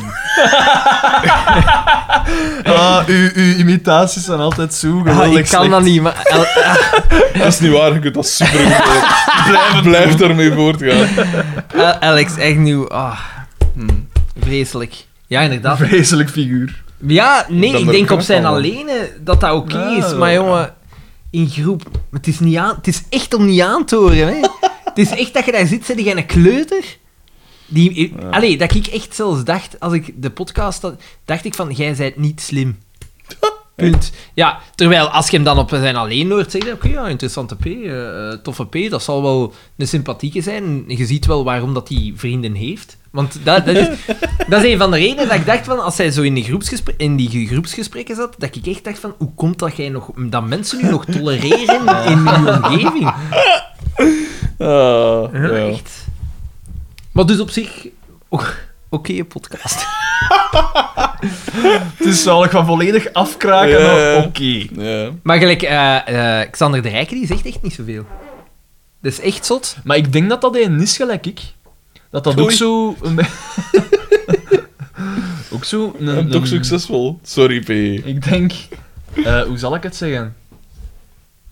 [SPEAKER 2] Ah, uw, imitaties zijn altijd zo
[SPEAKER 3] Ah, ik kan dat niet, maar... el-
[SPEAKER 1] Dat is niet waar, je kunt dat
[SPEAKER 2] *laughs*
[SPEAKER 1] super goed doen. Blijf, blijf ermee voortgaan.
[SPEAKER 3] el- Alex, echt nieuw. Ah, Vreselijk. Ja, inderdaad.
[SPEAKER 2] Vreselijk figuur.
[SPEAKER 3] Ja, nee,
[SPEAKER 1] Dan
[SPEAKER 3] ik
[SPEAKER 1] er
[SPEAKER 3] denk op
[SPEAKER 1] kunnen
[SPEAKER 3] zijn
[SPEAKER 1] vallen.
[SPEAKER 3] alleen eh, dat dat oké
[SPEAKER 2] Ja,
[SPEAKER 3] is.
[SPEAKER 2] dat-
[SPEAKER 3] Maar jongen, in groep... maar Het is, niet aan, het is echt om niet aan te horen, hè. het is echt dat je daar zit, zit jij een kleuter? Die, eh, Allee, dat ik echt zelfs dacht, als ik de podcast had, dacht ik van, jij bent niet slim. Punt. Ja, terwijl als je hem dan op zijn alleen hoort, zeg je, oké, ja, interessante P, eh, eh, toffe P, dat zal wel een sympathieke zijn. En Je ziet wel waarom dat hij vrienden heeft. Want dat, dat, is, *laughs* dat is een van de redenen dat ik dacht van, als zij zo in, de groepsgespre- in die groepsgesprekken zat, dat ik echt dacht van, hoe komt dat, jij nog, dat mensen nu nog tolereren *laughs* in uw omgeving?
[SPEAKER 1] Ah,
[SPEAKER 3] Ja,
[SPEAKER 1] ja.
[SPEAKER 3] Echt. Maar dus op zich, o- oké podcast. *laughs*
[SPEAKER 2] Het is wel ik ga volledig afkraken.
[SPEAKER 1] Ja.
[SPEAKER 2] maar Oké.
[SPEAKER 1] Ja.
[SPEAKER 3] Maar gelijk, eh, eh, Xander de Rijken, die zegt echt niet zoveel. Dat is echt zot.
[SPEAKER 2] Maar ik denk dat dat een is gelijk ik. Dat dat ook
[SPEAKER 1] Oei.
[SPEAKER 2] zo... een *laughs* be- ook zo... Een,
[SPEAKER 1] En toch
[SPEAKER 2] een-
[SPEAKER 1] succesvol. Sorry, P.
[SPEAKER 2] Ik denk... eh, hoe zal ik het zeggen?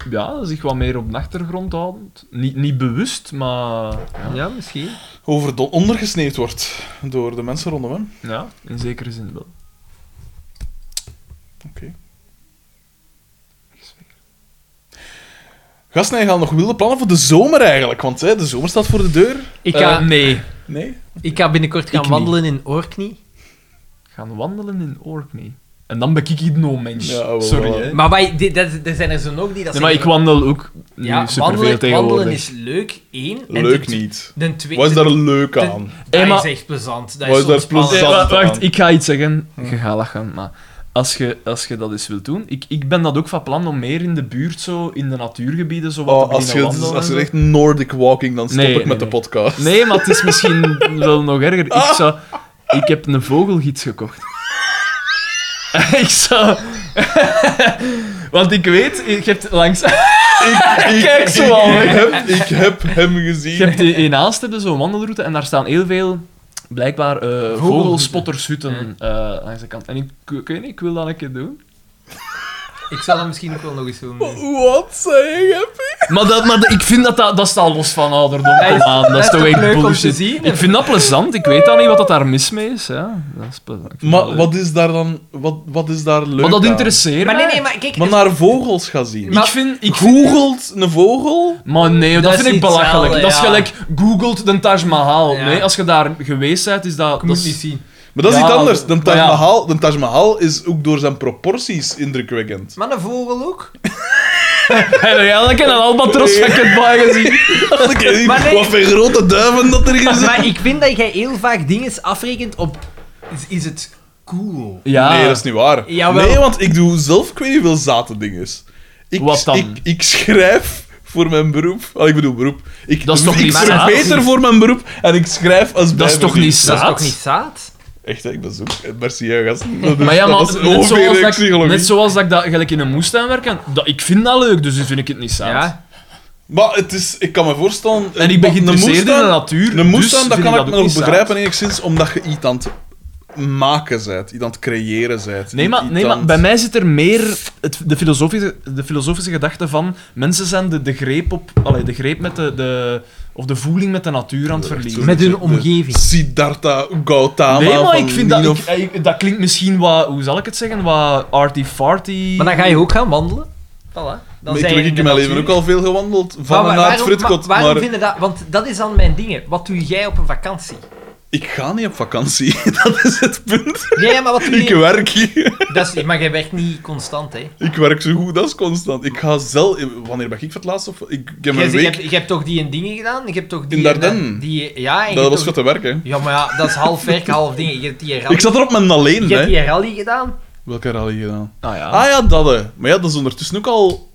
[SPEAKER 2] Ja, zich wat meer op de achtergrond houdend. Niet, niet bewust, maar... Ja.
[SPEAKER 3] Ja, misschien.
[SPEAKER 1] Over de ondergesneeuwd wordt door de mensen rondom hem.
[SPEAKER 2] ja, in zekere zin wel.
[SPEAKER 1] Gasten gaan nog wilde plannen voor de zomer eigenlijk, want hè, de zomer staat voor de deur.
[SPEAKER 3] Ik ga,
[SPEAKER 2] Eh, nee.
[SPEAKER 1] Nee?
[SPEAKER 3] ik ga binnenkort gaan
[SPEAKER 2] niet.
[SPEAKER 3] wandelen in Orkney.
[SPEAKER 2] Gaan wandelen in Orkney. En dan ben ik hier no mens.
[SPEAKER 1] Ja, oh, wel,
[SPEAKER 2] Sorry,
[SPEAKER 1] wel.
[SPEAKER 2] hè.
[SPEAKER 3] Maar wij, die- dat, er zijn er zo nog die dat
[SPEAKER 2] Nee, maar ik
[SPEAKER 3] zeggen
[SPEAKER 2] wandel ook
[SPEAKER 3] van,
[SPEAKER 2] nu
[SPEAKER 3] ja,
[SPEAKER 2] superveel
[SPEAKER 3] wandelen,
[SPEAKER 2] tegenwoordig.
[SPEAKER 3] wandelen is leuk, één. en
[SPEAKER 1] Leuk
[SPEAKER 3] ten-
[SPEAKER 1] niet.
[SPEAKER 3] Ten tweede,
[SPEAKER 1] Wat is daar leuk
[SPEAKER 3] ten-
[SPEAKER 1] aan?
[SPEAKER 3] Dat
[SPEAKER 2] Hey, maar-
[SPEAKER 3] is echt plezant. Dat
[SPEAKER 1] Wat
[SPEAKER 3] is,
[SPEAKER 1] is daar
[SPEAKER 3] ontspannen.
[SPEAKER 2] Nee, wa-
[SPEAKER 1] plezant?
[SPEAKER 2] wacht,
[SPEAKER 1] aan.
[SPEAKER 2] ik ga iets zeggen. Je gaat lachen, maar... Als je, als je dat eens wilt doen. Ik, ik ben dat ook van plan om meer in de buurt, zo, in de natuurgebieden, zo wat
[SPEAKER 1] Oh,
[SPEAKER 2] te
[SPEAKER 1] als,
[SPEAKER 2] beginnen
[SPEAKER 1] je,
[SPEAKER 2] wandelen
[SPEAKER 1] als
[SPEAKER 2] en
[SPEAKER 1] je
[SPEAKER 2] zo.
[SPEAKER 1] echt Nordic walking, dan stop
[SPEAKER 2] Nee,
[SPEAKER 1] ik
[SPEAKER 2] nee, nee.
[SPEAKER 1] met de podcast.
[SPEAKER 2] Nee, maar het is
[SPEAKER 1] *laughs*
[SPEAKER 2] misschien wel nog erger.
[SPEAKER 1] Ah!
[SPEAKER 2] Ik, zou, ik heb een vogelgids gekocht. *laughs* ik zou... *laughs* Want ik weet, je hebt langs...
[SPEAKER 1] ik,
[SPEAKER 2] *laughs* Kijk zo al,
[SPEAKER 1] ik
[SPEAKER 2] hè.
[SPEAKER 1] heb, ik heb hem gezien.
[SPEAKER 2] Je hebt in- in Aalst hebben zo'n wandelroute en daar staan heel veel, blijkbaar, eh, vogelspottershutten eh, langs de kant. En ik, ik weet niet, ik wil dat een keer doen.
[SPEAKER 15] Ik zou dat misschien ook wel nog eens doen.
[SPEAKER 1] Wat zei je?
[SPEAKER 2] Maar, dat, maar dat- ik vind dat, dat, dat staat los van ouderdom.
[SPEAKER 15] Dat is-
[SPEAKER 2] Kom aan, dat is toch echt
[SPEAKER 15] leuk om te
[SPEAKER 2] bullshit.
[SPEAKER 15] zien?
[SPEAKER 2] Ik vind dat plezant, ik weet dan niet wat dat daar mis mee is. Ja, dat is plezant. Ik vind dat
[SPEAKER 1] Maar
[SPEAKER 2] leuk.
[SPEAKER 1] wat is daar dan... Wat, wat is daar leuk
[SPEAKER 2] Maar dat
[SPEAKER 1] aan?
[SPEAKER 2] interesseert
[SPEAKER 3] Maar
[SPEAKER 2] mij.
[SPEAKER 3] nee, nee, maar kijk... dus-
[SPEAKER 1] Maar naar vogels gaan zien.
[SPEAKER 2] ik vind... Ik
[SPEAKER 1] Googelt een vogel?
[SPEAKER 2] Maar nee, dat,
[SPEAKER 15] Dat is
[SPEAKER 2] vind ik
[SPEAKER 15] niet
[SPEAKER 2] belachelijk.
[SPEAKER 15] hetzelfde,
[SPEAKER 2] Dat is
[SPEAKER 15] ja.
[SPEAKER 2] gelijk, googelt de Taj Mahal.
[SPEAKER 15] Ja.
[SPEAKER 2] Nee, als je daar geweest bent, is dat...
[SPEAKER 15] Ik moet het
[SPEAKER 2] dat is-
[SPEAKER 15] niet zien.
[SPEAKER 1] Maar dat is
[SPEAKER 2] Ja,
[SPEAKER 1] iets anders. De
[SPEAKER 2] maar
[SPEAKER 1] Taj,
[SPEAKER 2] ja.
[SPEAKER 1] Mahal, de Taj Mahal is ook door zijn proporties indrukwekkend.
[SPEAKER 3] Maar een vogel ook?
[SPEAKER 2] *laughs* Heb jij elke een albatros racket bij gezien?
[SPEAKER 1] *laughs* Ik weet niet
[SPEAKER 3] Maar nee.
[SPEAKER 1] Wat voor grote duiven dat er is.
[SPEAKER 3] *laughs* Maar ik vind dat jij heel vaak dingen afrekent op...
[SPEAKER 15] Is, is het cool?
[SPEAKER 2] Ja.
[SPEAKER 1] Nee, dat is niet waar.
[SPEAKER 3] Jawel.
[SPEAKER 1] Nee, want ik doe zelf, ik weet niet hoeveel zate dinges. Ik,
[SPEAKER 2] Wat dan?
[SPEAKER 1] Ik, ik schrijf voor mijn beroep. Ah, ik bedoel beroep. Ik,
[SPEAKER 2] Dat is toch
[SPEAKER 1] ik
[SPEAKER 2] niet
[SPEAKER 1] verbeter
[SPEAKER 2] zaad?
[SPEAKER 1] voor mijn beroep en ik schrijf als
[SPEAKER 2] Dat is toch
[SPEAKER 1] bijverdien.
[SPEAKER 2] niet
[SPEAKER 3] Dat is toch niet
[SPEAKER 2] zaad?
[SPEAKER 3] zaad?
[SPEAKER 1] Echt, hè, ik ben zo... eh, Merci, hè, gasten. Dat is-
[SPEAKER 2] Maar ja, maar
[SPEAKER 1] dat is
[SPEAKER 2] net,
[SPEAKER 1] ongeveer
[SPEAKER 2] zoals dat, ik-
[SPEAKER 1] psychologie.
[SPEAKER 2] net zoals dat ik dat gelijk in een moestuin werk, en dat, ik vind dat leuk, dus dan vind ik het niet saai.
[SPEAKER 3] Ja.
[SPEAKER 1] Maar het is... Ik kan me voorstellen...
[SPEAKER 2] En ik ben
[SPEAKER 1] dat een
[SPEAKER 2] geïnteresseerd in de
[SPEAKER 1] moestuin-
[SPEAKER 2] natuur,
[SPEAKER 1] Een moestuin,
[SPEAKER 2] dus
[SPEAKER 1] dat
[SPEAKER 2] vind
[SPEAKER 1] kan
[SPEAKER 2] ik
[SPEAKER 1] ik
[SPEAKER 2] dat
[SPEAKER 1] me
[SPEAKER 2] ook
[SPEAKER 1] nog
[SPEAKER 2] niet saai.
[SPEAKER 1] begrijpen enigszins, omdat je iets aan het maken bent, iets aan het creëren bent.
[SPEAKER 2] Nee, maar,
[SPEAKER 1] iets
[SPEAKER 2] nee,
[SPEAKER 1] aan
[SPEAKER 2] maar
[SPEAKER 1] het-
[SPEAKER 2] bij mij zit er meer het, de, filosofische, de filosofische gedachte van mensen zijn de, de greep op... Allee, de greep met de, de... Of de voeling met de natuur aan het verliezen.
[SPEAKER 1] Met hun
[SPEAKER 15] omgeving.
[SPEAKER 1] Siddhartha Gautama
[SPEAKER 2] Nee, maar
[SPEAKER 1] van
[SPEAKER 2] ik vind dat...
[SPEAKER 1] Nino
[SPEAKER 2] ik- eh, ik- dat klinkt misschien wat... Hoe zal ik het zeggen? Wat arty-farty...
[SPEAKER 3] Maar dan ga je ook gaan wandelen.
[SPEAKER 15] Voilà.
[SPEAKER 1] Maar ik heb in mijn leven ook al veel gewandeld. Van
[SPEAKER 3] Maar
[SPEAKER 1] en
[SPEAKER 3] wa-
[SPEAKER 1] naar het
[SPEAKER 3] waarom,
[SPEAKER 1] Fritkot.
[SPEAKER 3] maar waarom
[SPEAKER 1] Maar
[SPEAKER 3] vinden dat... Want dat is dan mijn dingen. Wat doe jij op een vakantie?
[SPEAKER 1] ik ga niet op vakantie. *laughs* Dat is het punt.
[SPEAKER 3] Nee, ja, maar wat doe
[SPEAKER 1] *laughs* Ik
[SPEAKER 3] je...
[SPEAKER 1] werk hier.
[SPEAKER 3] Dat is, maar jij werkt niet constant, hè.
[SPEAKER 1] Ik werk zo goed als constant. Ik ga zelf... Wanneer ben ik voor het laatst? Of... Ik, ik heb
[SPEAKER 3] Jij
[SPEAKER 1] een
[SPEAKER 3] zegt, Je
[SPEAKER 1] week...
[SPEAKER 3] hebt, je hebt toch die en dingen gedaan? Je hebt toch die...
[SPEAKER 1] In Dardenne.
[SPEAKER 3] eh, Die, ja, en je
[SPEAKER 1] Dat was
[SPEAKER 3] hebt toch-
[SPEAKER 1] voor te werken.
[SPEAKER 3] Ja, maar ja, dat is half werk, half dingen. Je hebt die rally,
[SPEAKER 1] *laughs* Ik zat er op mijn alleen,
[SPEAKER 3] je hebt
[SPEAKER 1] hè.
[SPEAKER 3] die rally gedaan.
[SPEAKER 1] Welke rally gedaan?
[SPEAKER 2] Ah ja.
[SPEAKER 1] Ah ja, dat hè. Maar ja, dat is ondertussen ook al...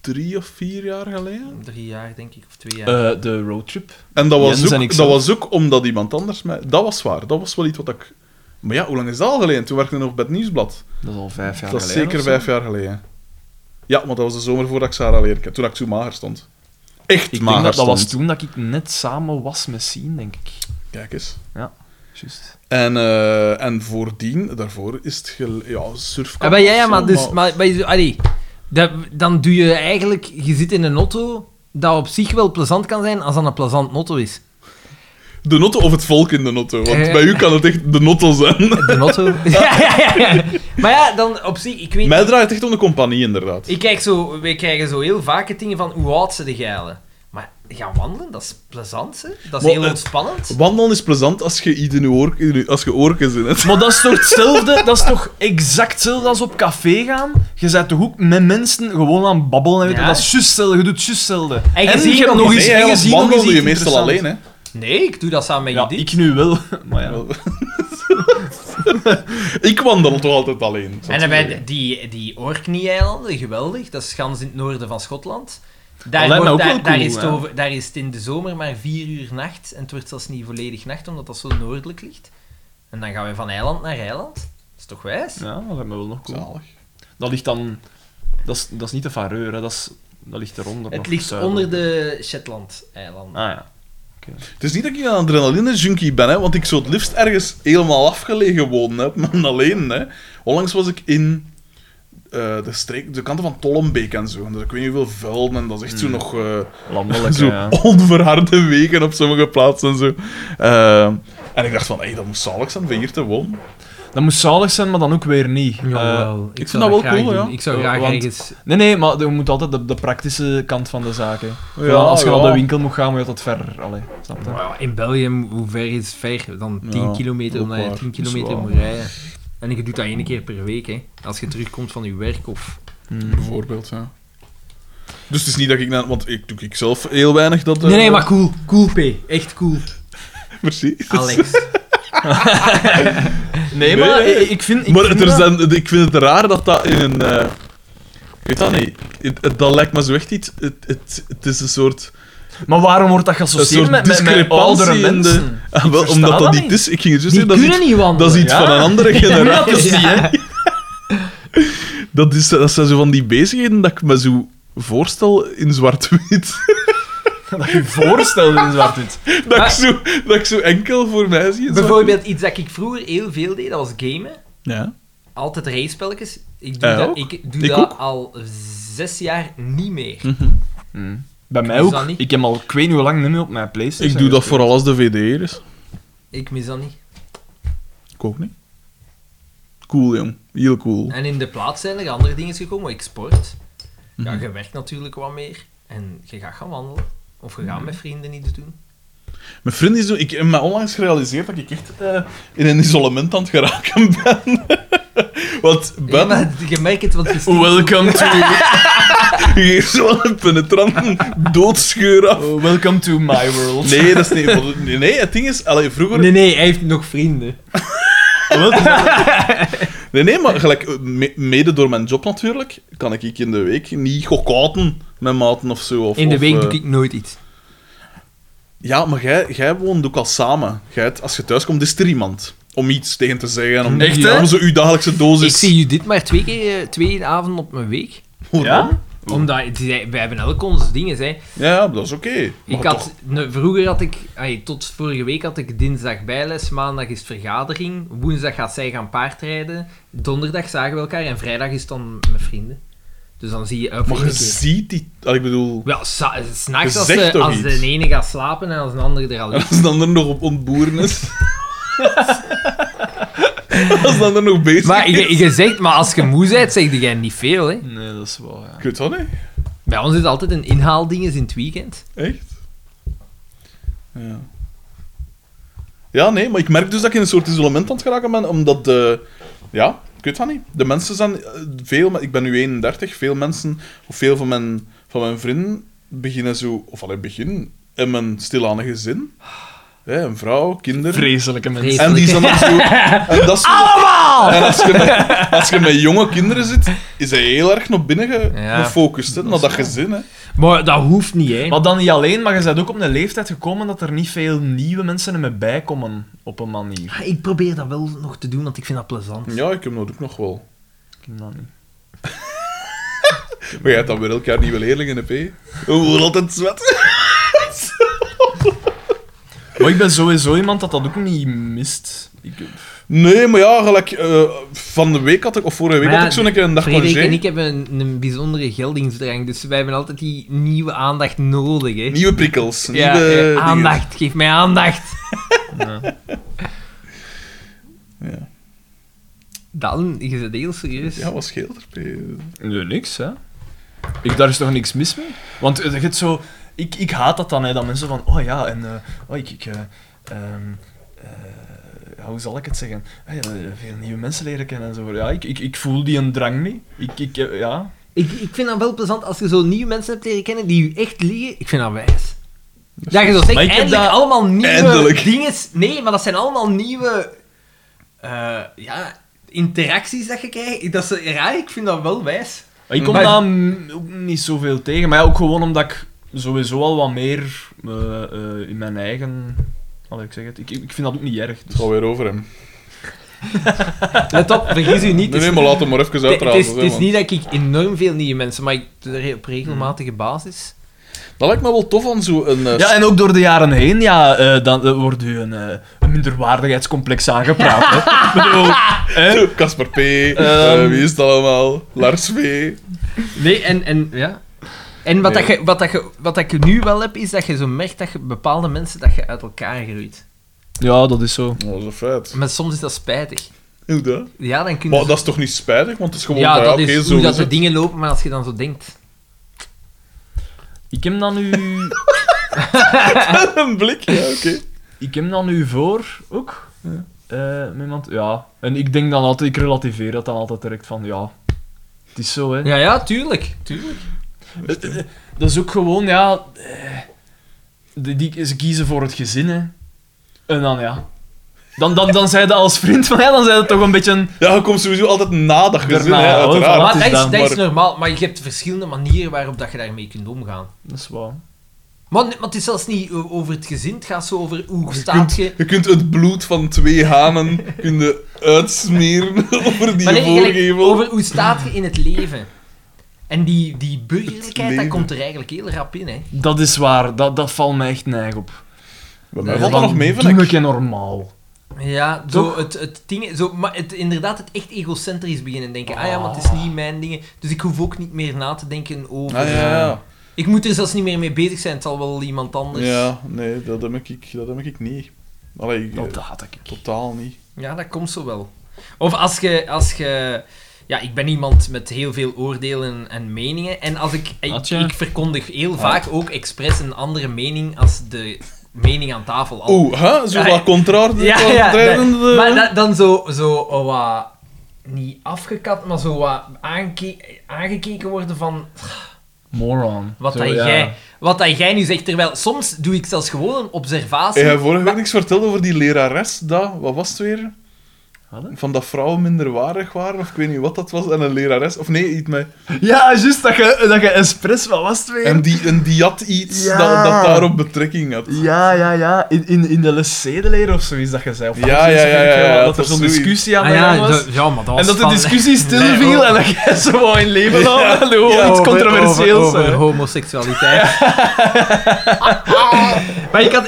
[SPEAKER 1] Drie of vier jaar geleden.
[SPEAKER 3] Drie jaar, denk ik, of twee jaar.
[SPEAKER 2] Eh, de roadtrip.
[SPEAKER 1] En dat was,
[SPEAKER 2] Jens en
[SPEAKER 1] ook,
[SPEAKER 2] ik
[SPEAKER 1] dat
[SPEAKER 2] zelf.
[SPEAKER 1] was ook omdat iemand anders mij... Dat was waar. Dat was wel iets wat ik... Maar ja, hoe lang is dat al geleden? Toen werkte ik nog bij het Nieuwsblad.
[SPEAKER 2] Dat is al vijf jaar
[SPEAKER 1] dat is
[SPEAKER 2] geleden.
[SPEAKER 1] zeker
[SPEAKER 2] of zo.
[SPEAKER 1] vijf jaar geleden. Ja, want dat was de zomer voordat ik Sarah leerde kennen. Toen ik zo mager stond. Echt
[SPEAKER 2] Ik
[SPEAKER 1] mager
[SPEAKER 2] denk dat dat
[SPEAKER 1] stond.
[SPEAKER 2] was toen dat ik net samen was met Sien, denk ik.
[SPEAKER 1] Kijk eens.
[SPEAKER 2] Juist.
[SPEAKER 1] En, eh, en voordien, daarvoor is het gel- ja, surfkamp.
[SPEAKER 3] Ah, maar ja, ja,
[SPEAKER 1] of zo,
[SPEAKER 3] maar dus... Maar, maar, je- allee, dat, dan doe je eigenlijk... Je zit in een auto dat op zich wel plezant kan zijn als dat een plezant auto is.
[SPEAKER 1] De notto of het volk in de notto. Want
[SPEAKER 3] Eh.
[SPEAKER 1] bij u kan het echt de notto
[SPEAKER 3] *laughs*
[SPEAKER 1] zijn.
[SPEAKER 3] De
[SPEAKER 1] *laughs*
[SPEAKER 3] auto. ja, ja, ja, ja. Maar ja, dan op zich... Ik weet
[SPEAKER 1] Mij draait het echt om de compagnie, inderdaad.
[SPEAKER 3] Ik kijk zo, wij krijgen zo heel vaak het ding van hoe oud ze de geilen. Maar gaan wandelen, dat is plezant, hè? Dat is
[SPEAKER 1] Maar,
[SPEAKER 3] heel
[SPEAKER 1] eh,
[SPEAKER 3] ontspannend.
[SPEAKER 1] Wandelen is plezant als je iets in je, oor, in je- als je oorken zit. hè.
[SPEAKER 2] Maar dat is toch hetzelfde? Dat is toch exact hetzelfde als op café gaan? Je bent toch ook met mensen gewoon aan het babbelen en weet je,
[SPEAKER 3] Ja.
[SPEAKER 2] dat is juist hetzelfde. Je doet juist hetzelfde.
[SPEAKER 3] En je ziet
[SPEAKER 2] hebt
[SPEAKER 3] nog
[SPEAKER 2] nog eens...
[SPEAKER 3] eens-
[SPEAKER 1] Nee,
[SPEAKER 2] en
[SPEAKER 1] hè,
[SPEAKER 2] je
[SPEAKER 1] want
[SPEAKER 2] ziet nog eens
[SPEAKER 1] wandelen je
[SPEAKER 2] iets
[SPEAKER 1] meestal
[SPEAKER 2] interessants.
[SPEAKER 1] alleen, hè.
[SPEAKER 3] Nee, ik doe dat samen met
[SPEAKER 2] Ja,
[SPEAKER 3] Judith.
[SPEAKER 2] ik nu wel. *laughs* Maar ja.
[SPEAKER 1] *laughs* Ik wandel toch altijd alleen. zou
[SPEAKER 3] En
[SPEAKER 1] ik
[SPEAKER 3] dan bij
[SPEAKER 1] zeggen.
[SPEAKER 3] die, die Orkney-eilanden, geweldig. Dat is gans in het noorden van Schotland.
[SPEAKER 2] Dat
[SPEAKER 3] Daar,
[SPEAKER 2] lijkt me
[SPEAKER 3] wordt-
[SPEAKER 2] ook
[SPEAKER 3] daar,
[SPEAKER 2] wel
[SPEAKER 3] daar
[SPEAKER 2] cool,
[SPEAKER 3] is het
[SPEAKER 2] hè.
[SPEAKER 3] over, daar is het in de zomer maar vier uur nacht. En het wordt zelfs niet volledig nacht, omdat dat zo noordelijk ligt. En dan gaan we van eiland naar eiland. Dat is toch wijs?
[SPEAKER 2] ja, dat lijkt me wel nog cool.
[SPEAKER 1] Zalig.
[SPEAKER 2] Dat ligt dan... Dat is, dat is niet de Vareur, hè. Dat, is, dat ligt eronder.
[SPEAKER 3] Het
[SPEAKER 2] nog,
[SPEAKER 3] ligt
[SPEAKER 2] zuidelijk.
[SPEAKER 3] onder de Shetland-eilanden.
[SPEAKER 2] Ah ja.
[SPEAKER 1] Het is niet dat ik een adrenaline-junkie ben, hè, want ik zou het liefst ergens helemaal afgelegen wonen, hè, maar alleen. Hè. Onlangs was ik in eh, de, streek, de kanten van Tollenbeek en zo. En dus ik weet niet hoeveel vuil, en dat is echt zo nog eh,
[SPEAKER 2] Hmm. Landelijk,
[SPEAKER 1] *laughs* zo
[SPEAKER 2] ja.
[SPEAKER 1] onverharde wegen op sommige plaatsen en zo. Eh, en ik dacht van, hey, dat moet zalig zijn om hier te wonen.
[SPEAKER 2] Dat moest zalig zijn, maar dan ook weer niet. Eh,
[SPEAKER 15] Jawel, zou
[SPEAKER 1] ik vind dat wel
[SPEAKER 15] graag
[SPEAKER 1] cool,
[SPEAKER 15] doen.
[SPEAKER 1] ja.
[SPEAKER 15] Ik zou
[SPEAKER 2] Eh,
[SPEAKER 15] graag
[SPEAKER 2] want-
[SPEAKER 15] ergens...
[SPEAKER 2] Nee, nee, maar je moet altijd de, de praktische kant van de zaken.
[SPEAKER 1] Ja,
[SPEAKER 2] als je
[SPEAKER 1] ja.
[SPEAKER 2] naar de winkel moet gaan, moet je dat ver. Allee, snap je?
[SPEAKER 15] Maar In België, hoe ver is het ver? Dan 10
[SPEAKER 1] Ja,
[SPEAKER 15] kilometer,
[SPEAKER 1] ook
[SPEAKER 15] omdat je
[SPEAKER 1] waar.
[SPEAKER 15] 10
[SPEAKER 1] Dat is
[SPEAKER 15] kilometer
[SPEAKER 1] waar.
[SPEAKER 15] moet rijden. En je doet dat één keer per week, hè. Als je terugkomt van je werk of...
[SPEAKER 2] Hmm.
[SPEAKER 1] Bijvoorbeeld, ja. Dus het is niet dat ik... na- want ik doe ik zelf heel weinig dat... eh,
[SPEAKER 15] Nee,
[SPEAKER 1] *laughs*
[SPEAKER 15] nee, maar cool. Cool, P. Echt cool.
[SPEAKER 1] Merci.
[SPEAKER 15] Alex.
[SPEAKER 2] Nee, maar ik- ik vind... Ik
[SPEAKER 1] maar
[SPEAKER 2] vind
[SPEAKER 1] het- er
[SPEAKER 2] dat-
[SPEAKER 1] zijn, ik vind het raar dat dat in een. eh, ik weet dat niet. Het- het- dat lijkt me zo echt iets. Het, het, het is een soort,
[SPEAKER 2] Maar waarom wordt dat
[SPEAKER 1] een
[SPEAKER 2] geassocieerd
[SPEAKER 1] soort
[SPEAKER 2] met, met, met oudere
[SPEAKER 1] discrepantie. in de-
[SPEAKER 2] mensen?
[SPEAKER 1] Ah, wel,
[SPEAKER 2] versta
[SPEAKER 1] omdat dat,
[SPEAKER 2] dat
[SPEAKER 1] niet
[SPEAKER 2] niet.
[SPEAKER 1] is. Ik ging het juist
[SPEAKER 16] Die
[SPEAKER 1] zeggen, dat is
[SPEAKER 16] kunnen
[SPEAKER 1] iets,
[SPEAKER 16] niet wandelen.
[SPEAKER 1] dat is
[SPEAKER 2] *laughs*
[SPEAKER 1] iets
[SPEAKER 2] Ja.
[SPEAKER 1] van een andere
[SPEAKER 2] Ja, dat
[SPEAKER 1] generatie.
[SPEAKER 2] is die, hè.
[SPEAKER 1] dat, is, dat zijn zo van die bezigheden dat ik me zo voorstel in zwart-wit. *laughs*
[SPEAKER 2] Dat je voorstelde in zwart-wit.
[SPEAKER 1] dat, ik zo, dat ik zo enkel voor mij zie. in zwart-wit.
[SPEAKER 3] *laughs* Bijvoorbeeld iets dat ik vroeger heel veel deed, dat was gamen.
[SPEAKER 1] Ja.
[SPEAKER 3] Altijd racepelletjes. Ik doe
[SPEAKER 1] Eh,
[SPEAKER 3] dat,
[SPEAKER 1] ook.
[SPEAKER 3] ik doe
[SPEAKER 1] Ik
[SPEAKER 3] dat
[SPEAKER 1] ook. Hm.
[SPEAKER 3] al zes jaar niet meer.
[SPEAKER 2] Bij mij
[SPEAKER 3] Is
[SPEAKER 2] ook.
[SPEAKER 3] dat niet?
[SPEAKER 2] Ik heb al, ik weet niet hoe lang niet meer op mijn PlayStation.
[SPEAKER 1] Ik doe dat
[SPEAKER 2] gespeeld.
[SPEAKER 1] vooral als de VDR is.
[SPEAKER 3] Ik mis dat niet.
[SPEAKER 1] Ik ook niet. Cool, jong. Heel cool.
[SPEAKER 3] En in de plaats zijn er andere dingen gekomen. Ik sport.
[SPEAKER 1] Hm.
[SPEAKER 3] Ja, je werkt natuurlijk wat meer. En je gaat gaan wandelen. Of je gaat
[SPEAKER 1] Hm.
[SPEAKER 3] met vrienden niet doen.
[SPEAKER 1] Mijn vriend is zo... Ik heb me onlangs gerealiseerd dat ik echt eh, in een isolement aan het geraken ben. *laughs* Want
[SPEAKER 3] Ja,
[SPEAKER 1] Ben
[SPEAKER 3] maar je merkt het, want
[SPEAKER 1] *laughs*
[SPEAKER 3] je steekt-
[SPEAKER 2] Oh, Welcome to,
[SPEAKER 1] geeft zo een penetrant doodscheur af.
[SPEAKER 2] oh, welcome to my world.
[SPEAKER 1] Nee, dat is niet... want- Nee, nee het ding is... Allee, vroeger... Nee,
[SPEAKER 3] nee, hij heeft nog vrienden.
[SPEAKER 1] *laughs* nee, maar gelijk, eh, me- mede door mijn job natuurlijk, kan ik in de week niet gokken met maten of zo. Of,
[SPEAKER 3] In de
[SPEAKER 1] of,
[SPEAKER 3] week
[SPEAKER 1] eh,
[SPEAKER 3] doe ik nooit iets.
[SPEAKER 1] Ja, maar jij, jij woont ook al samen. Jij, hebt- als je thuis komt, is er iemand om iets tegen te zeggen. Om,
[SPEAKER 2] Echt,
[SPEAKER 1] ja,
[SPEAKER 2] hè?
[SPEAKER 1] om zo uw dagelijkse
[SPEAKER 3] Ik
[SPEAKER 1] dosis...
[SPEAKER 3] zie je dit maar twee keer, eh, twee avonden op mijn week.
[SPEAKER 1] Hoe
[SPEAKER 2] Ja?
[SPEAKER 1] dan?
[SPEAKER 3] Omdat, het is- wij hebben elk onze dingen, hè.
[SPEAKER 1] Ja, dat is oké. Maar toch-
[SPEAKER 3] Ik had, ne- vroeger had ik, ai, tot vorige week had ik dinsdag bijles, maandag is vergadering, woensdag gaat zij gaan paardrijden, donderdag zagen we elkaar en vrijdag is het dan met vrienden. Dus dan zie je... eh,
[SPEAKER 1] Maar je
[SPEAKER 3] volgende keer.
[SPEAKER 1] ziet die... ah, Ik bedoel...
[SPEAKER 3] Wel, sa- s'nachts
[SPEAKER 1] Je
[SPEAKER 3] als,
[SPEAKER 1] zegt
[SPEAKER 3] de,
[SPEAKER 1] toch
[SPEAKER 3] als de
[SPEAKER 1] iets?
[SPEAKER 3] ene gaat slapen en als de andere er
[SPEAKER 1] *laughs*
[SPEAKER 3] al is.
[SPEAKER 1] Als dan er nog op ontboeren
[SPEAKER 3] *laughs*
[SPEAKER 1] is. Als dan er nog bezig
[SPEAKER 3] Maar
[SPEAKER 1] is.
[SPEAKER 3] je, je zegt, maar als je moe bent, zeg jij niet veel, hè.
[SPEAKER 2] Nee, dat is wel, ja.
[SPEAKER 1] Ik weet dat niet.
[SPEAKER 3] Bij ons is altijd een inhaalding in het weekend.
[SPEAKER 1] Echt? Ja. Ja, nee, maar ik merk dus dat ik in een soort isolement aan het geraken ben, omdat de... Ja, ik weet dat niet. De mensen zijn eh, veel... me- Ik ben nu 31, veel mensen, of veel van mijn, van mijn vrienden, beginnen zo... Of allee, begin in mijn stilaan een gezin. Hè, een vrouw, kinderen.
[SPEAKER 2] Vreselijke mensen.
[SPEAKER 1] En die zijn dan zo...
[SPEAKER 3] *laughs*
[SPEAKER 1] En dat is Allemaal! En als je, met, als je met jonge kinderen zit, is hij heel erg naar binnen ge-
[SPEAKER 3] Ja.
[SPEAKER 1] gefocust, hè, naar dat gezin. Hè.
[SPEAKER 3] Maar dat hoeft niet, hè.
[SPEAKER 2] Maar dan niet alleen, maar je bent ook op een leeftijd gekomen dat er niet veel nieuwe mensen er mee bijkomen op een manier.
[SPEAKER 3] Ah, Ik probeer dat wel nog te doen, want ik vind dat plezant.
[SPEAKER 1] Ja, ik heb dat ook nog wel.
[SPEAKER 2] Ik ken dat niet.
[SPEAKER 1] Maar jij hebt dan weer elk jaar nieuwe leerlingen, hè, P? We worden altijd zwet.
[SPEAKER 2] Maar ik ben sowieso iemand dat dat ook niet mist. Ik,
[SPEAKER 1] Nee, maar ja, gelijk... eh, van de week had ik, of vorige week
[SPEAKER 3] Maar
[SPEAKER 1] had ik
[SPEAKER 3] ja,
[SPEAKER 1] zo een keer een dag
[SPEAKER 3] Frederik en ik
[SPEAKER 1] congé.
[SPEAKER 3] hebben een, een bijzondere geldingsdrang, dus wij hebben altijd die nieuwe aandacht nodig. Hè.
[SPEAKER 1] Nieuwe prikkels.
[SPEAKER 3] ja,
[SPEAKER 1] nieuwe
[SPEAKER 3] eh,
[SPEAKER 1] dingen.
[SPEAKER 3] aandacht, geef mij
[SPEAKER 1] *laughs*
[SPEAKER 3] aandacht.
[SPEAKER 1] Ja.
[SPEAKER 3] Dan, je bent heel serieus.
[SPEAKER 1] Ja, wat scheelt er, P?
[SPEAKER 2] Nee, niks, hè. Ik, daar is toch niks mis mee? Want eh, je hebt zo... Ik, ik haat dat dan, hè, dat mensen van... Oh ja, en... eh, oh, ik... ik eh, ehm, eh, ja, hoe zal ik het zeggen? Ah, ja, eh, veel nieuwe mensen leren kennen en zo. Ja, ik, ik, ik voel die een drang mee. Ik, ik, eh, ja.
[SPEAKER 3] Ik, ik vind dat wel plezant als je zo nieuwe mensen hebt leren kennen die je echt liegen. Ik vind dat wijs. Dat je zo zegt,
[SPEAKER 2] Maar ik heb
[SPEAKER 3] eindelijk
[SPEAKER 2] dat-
[SPEAKER 3] allemaal nieuwe
[SPEAKER 1] Eindelijk.
[SPEAKER 3] dingen. Nee, maar dat zijn allemaal nieuwe eh, ja, interacties dat je krijgt. Dat is raar, ik vind dat wel wijs.
[SPEAKER 2] Maar ik kom
[SPEAKER 3] Maar-
[SPEAKER 2] daar mm, ook niet zoveel tegen. Maar ja, ook gewoon omdat ik sowieso al wat meer eh, eh, in mijn eigen... Allee, ik zeg het. Ik, ik ik vind dat ook niet erg. dus-
[SPEAKER 1] Het gaat weer over hem.
[SPEAKER 3] Let op, vergis u niet.
[SPEAKER 1] Nee, nee, maar laat hem maar even
[SPEAKER 3] Het
[SPEAKER 1] uitrazen.
[SPEAKER 3] is,
[SPEAKER 1] hè,
[SPEAKER 3] het is
[SPEAKER 1] man.
[SPEAKER 3] niet dat ik enorm veel nieuwe mensen, maar ik doe dat op regelmatige basis.
[SPEAKER 1] Dat lijkt me wel tof aan zo'n... eh,
[SPEAKER 2] Ja, en ook door de jaren heen, ja, eh, dan eh, wordt u een, eh, een minderwaardigheidscomplex aangepraat. hè. Ik bedoel, hè?
[SPEAKER 1] Casper P.
[SPEAKER 3] Ehm.
[SPEAKER 1] eh, wie is dat allemaal? Lars V.
[SPEAKER 3] Nee, en, en ja. En wat,
[SPEAKER 1] Nee.
[SPEAKER 3] dat je, wat, dat je, wat dat je nu wel hebt, is dat je zo merkt dat je bepaalde mensen dat je uit elkaar groeit.
[SPEAKER 2] Ja, dat is zo.
[SPEAKER 1] Oh, dat is een feit.
[SPEAKER 3] Maar soms is dat spijtig.
[SPEAKER 1] Hoe dat?
[SPEAKER 3] Ja, dan kun je...
[SPEAKER 1] Maar dat is toch niet spijtig, want het is gewoon...
[SPEAKER 3] ja,
[SPEAKER 1] nou
[SPEAKER 3] dat
[SPEAKER 1] oké,
[SPEAKER 3] is
[SPEAKER 1] zo
[SPEAKER 3] hoe dat
[SPEAKER 1] is
[SPEAKER 3] de
[SPEAKER 1] het.
[SPEAKER 3] dingen lopen, maar als je dan zo denkt...
[SPEAKER 2] Ik heb dan nu...
[SPEAKER 1] *laughs* een blik. Ja, oké.
[SPEAKER 2] Ik heb dan nu voor, ook. eh, met iemand, ja. En ik denk dan altijd, ik relativeer dat dan altijd direct van, ja... Het is zo, hè.
[SPEAKER 3] Ja, ja, tuurlijk. tuurlijk.
[SPEAKER 2] Het- eh, Dat is ook gewoon, ja... eh, die, die- ze kiezen voor het gezin, hè. En dan, ja... Dan, dan, dan zei je als vriend *laughs* van ja, dan zei je toch een beetje. een-
[SPEAKER 1] Ja, je komt sowieso altijd na dat gezin,
[SPEAKER 2] Daarna,
[SPEAKER 1] hè,
[SPEAKER 2] hoor,
[SPEAKER 1] uiteraard.
[SPEAKER 2] voilà.
[SPEAKER 3] Maar dat is, dat is
[SPEAKER 1] maar-
[SPEAKER 3] normaal, maar je hebt verschillende manieren waarop dat je daarmee kunt omgaan.
[SPEAKER 2] Dat is waar.
[SPEAKER 3] Maar, maar het is zelfs niet o- over het gezin, het gaat zo over hoe staat je...
[SPEAKER 1] Je kunt het bloed van twee
[SPEAKER 3] *laughs*
[SPEAKER 1] hanen kun je uitsmeren *laughs* over die
[SPEAKER 3] Maar nee, eigenlijk
[SPEAKER 1] voorgevel.
[SPEAKER 3] over hoe staat je in het leven. En die, die burgerlijkheid, dat
[SPEAKER 1] leven.
[SPEAKER 3] komt er eigenlijk heel rap in, hè.
[SPEAKER 2] Dat is waar, dat, dat valt mij echt neig op.
[SPEAKER 1] Bij mij
[SPEAKER 3] Nee,
[SPEAKER 1] valt dat
[SPEAKER 3] dan
[SPEAKER 1] nog mee,
[SPEAKER 2] Doe
[SPEAKER 1] vind
[SPEAKER 2] een
[SPEAKER 1] ik.
[SPEAKER 2] keer normaal.
[SPEAKER 3] Ja, zo
[SPEAKER 2] Toch?
[SPEAKER 3] het, het ding, zo, maar het, inderdaad het echt egocentrisch beginnen denken. Ah ja, want het is niet mijn dingen, dus ik hoef ook niet meer na te denken over...
[SPEAKER 1] Ah, ja, ja.
[SPEAKER 3] Ik moet er zelfs niet meer mee bezig zijn, het zal wel iemand anders...
[SPEAKER 1] ja, nee, dat heb ik, dat heb ik niet. Allee, ik, eh,
[SPEAKER 2] Dat haat ik.
[SPEAKER 1] totaal niet.
[SPEAKER 3] Ja, dat komt zo wel. Of als je... Als je ja, ik ben iemand met heel veel oordelen en meningen. En als ik, ik,
[SPEAKER 2] Atja.
[SPEAKER 3] ik verkondig heel vaak ook expres een andere mening als de mening aan tafel. al.
[SPEAKER 1] Oeh, Oh, hè? Zo
[SPEAKER 3] Ja,
[SPEAKER 1] wat eh, contrar.
[SPEAKER 3] *laughs* ja, ja,
[SPEAKER 1] contrarijdende-
[SPEAKER 3] nee. Maar dat- dan zo, zo oh, wat... Niet afgekapt, maar zo wat aanke- aangekeken worden van...
[SPEAKER 2] Moron.
[SPEAKER 3] Wat,
[SPEAKER 2] Zo,
[SPEAKER 3] dat,
[SPEAKER 2] ja.
[SPEAKER 3] jij, wat dat jij nu zegt. Terwijl soms doe ik zelfs gewoon een observatie.
[SPEAKER 1] Heb jij vorige week niks verteld over die lerares? Dat, wat was het weer?
[SPEAKER 2] Wat, hè?
[SPEAKER 1] Van dat vrouwen minderwaardig waren, of ik weet niet wat dat was, en een lerares, of nee, iets met...
[SPEAKER 2] Ja, juist dat je, dat je expres, wat was het weer?
[SPEAKER 1] En die, en die had iets
[SPEAKER 2] Ja.
[SPEAKER 1] dat, dat daarop betrekking had.
[SPEAKER 2] Ja, ja, ja. In, in, in de leer of zoiets dat je zei. Of
[SPEAKER 1] Ja,
[SPEAKER 2] zoiets,
[SPEAKER 1] ja, ja,
[SPEAKER 2] weet ik
[SPEAKER 1] ja,
[SPEAKER 2] wel,
[SPEAKER 1] ja,
[SPEAKER 2] Dat er zo'n
[SPEAKER 1] dat was zoiets.
[SPEAKER 2] discussie aan
[SPEAKER 3] Ah
[SPEAKER 2] de gang
[SPEAKER 3] ja,
[SPEAKER 2] was.
[SPEAKER 3] dat- ja, maar dat
[SPEAKER 2] en
[SPEAKER 3] was
[SPEAKER 2] dat de
[SPEAKER 3] van-
[SPEAKER 2] discussie stilviel
[SPEAKER 3] oh.
[SPEAKER 2] en dat jij zo wou in
[SPEAKER 3] *laughs*
[SPEAKER 2] leven houden. en dan gewoon iets
[SPEAKER 3] Over-
[SPEAKER 2] controversieels.
[SPEAKER 3] over,
[SPEAKER 2] hè. *laughs*
[SPEAKER 3] homoseksualiteit. *laughs* maar ik had,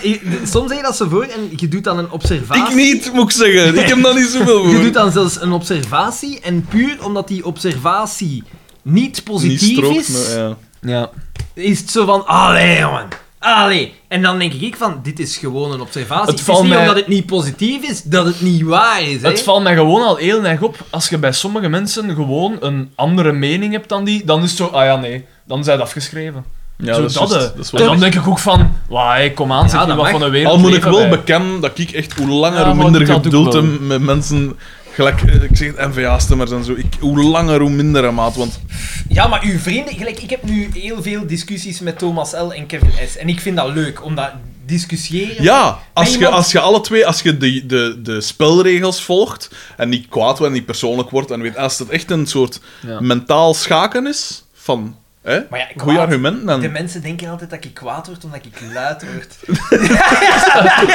[SPEAKER 3] soms zeg je dat zo voor en je doet dan een observatie.
[SPEAKER 1] Ik niet, moet ik zeggen. Ik heb daar niet zoveel
[SPEAKER 3] Je
[SPEAKER 1] voor.
[SPEAKER 3] doet dan zelfs een observatie en puur omdat die observatie niet
[SPEAKER 1] Niet
[SPEAKER 3] positief
[SPEAKER 1] strookt,
[SPEAKER 3] is,
[SPEAKER 1] maar ja.
[SPEAKER 17] Ja.
[SPEAKER 3] is het zo van, allee jongen, allee. En dan denk ik van, dit is gewoon een observatie. Het,
[SPEAKER 17] valt
[SPEAKER 3] is niet
[SPEAKER 17] mij-
[SPEAKER 3] omdat het niet positief is, dat het niet waar is. hè.
[SPEAKER 17] Het valt mij gewoon al heel erg op als je bij sommige mensen gewoon een andere mening hebt dan die, dan is het zo, ah ja, nee, dan zijn het afgeschreven.
[SPEAKER 1] Ja,
[SPEAKER 17] zo
[SPEAKER 1] dat is
[SPEAKER 17] dat,
[SPEAKER 1] juist,
[SPEAKER 17] hè.
[SPEAKER 2] eh,
[SPEAKER 1] dat is
[SPEAKER 17] en
[SPEAKER 1] wel-
[SPEAKER 17] dan denk ik ook van, wauw, kom aan, zeg
[SPEAKER 3] Ja,
[SPEAKER 17] je
[SPEAKER 3] dat
[SPEAKER 17] wat
[SPEAKER 3] mag.
[SPEAKER 17] van een wereld
[SPEAKER 1] Al moet ik
[SPEAKER 17] leven
[SPEAKER 1] wel
[SPEAKER 17] wij.
[SPEAKER 1] bekennen dat ik echt hoe langer
[SPEAKER 17] Ja,
[SPEAKER 1] hoe
[SPEAKER 17] maar
[SPEAKER 1] minder
[SPEAKER 17] dat doe ik
[SPEAKER 1] geduld
[SPEAKER 17] wel.
[SPEAKER 1] heb met mensen... Gelijk, eh, ik zeg het, NVA-stemmers en zo. Ik, hoe langer, hoe minder, hè, maat. Want
[SPEAKER 3] Ja, maar uw vrienden, gelijk, ik heb nu heel veel discussies met Thomas L. en Kevin S. En ik vind dat leuk, omdat discussiëren.
[SPEAKER 1] Ja, als je,
[SPEAKER 3] iemand-
[SPEAKER 1] als je alle twee, als je de, de, de spelregels volgt en niet kwaad wordt en niet persoonlijk wordt, en weet, als het echt een soort
[SPEAKER 17] Ja.
[SPEAKER 1] mentaal schaken is van hè,
[SPEAKER 3] Maar ja, kwaad.
[SPEAKER 1] goede argumenten.
[SPEAKER 3] De
[SPEAKER 1] En,
[SPEAKER 3] mensen denken altijd dat ik kwaad word omdat ik luid word.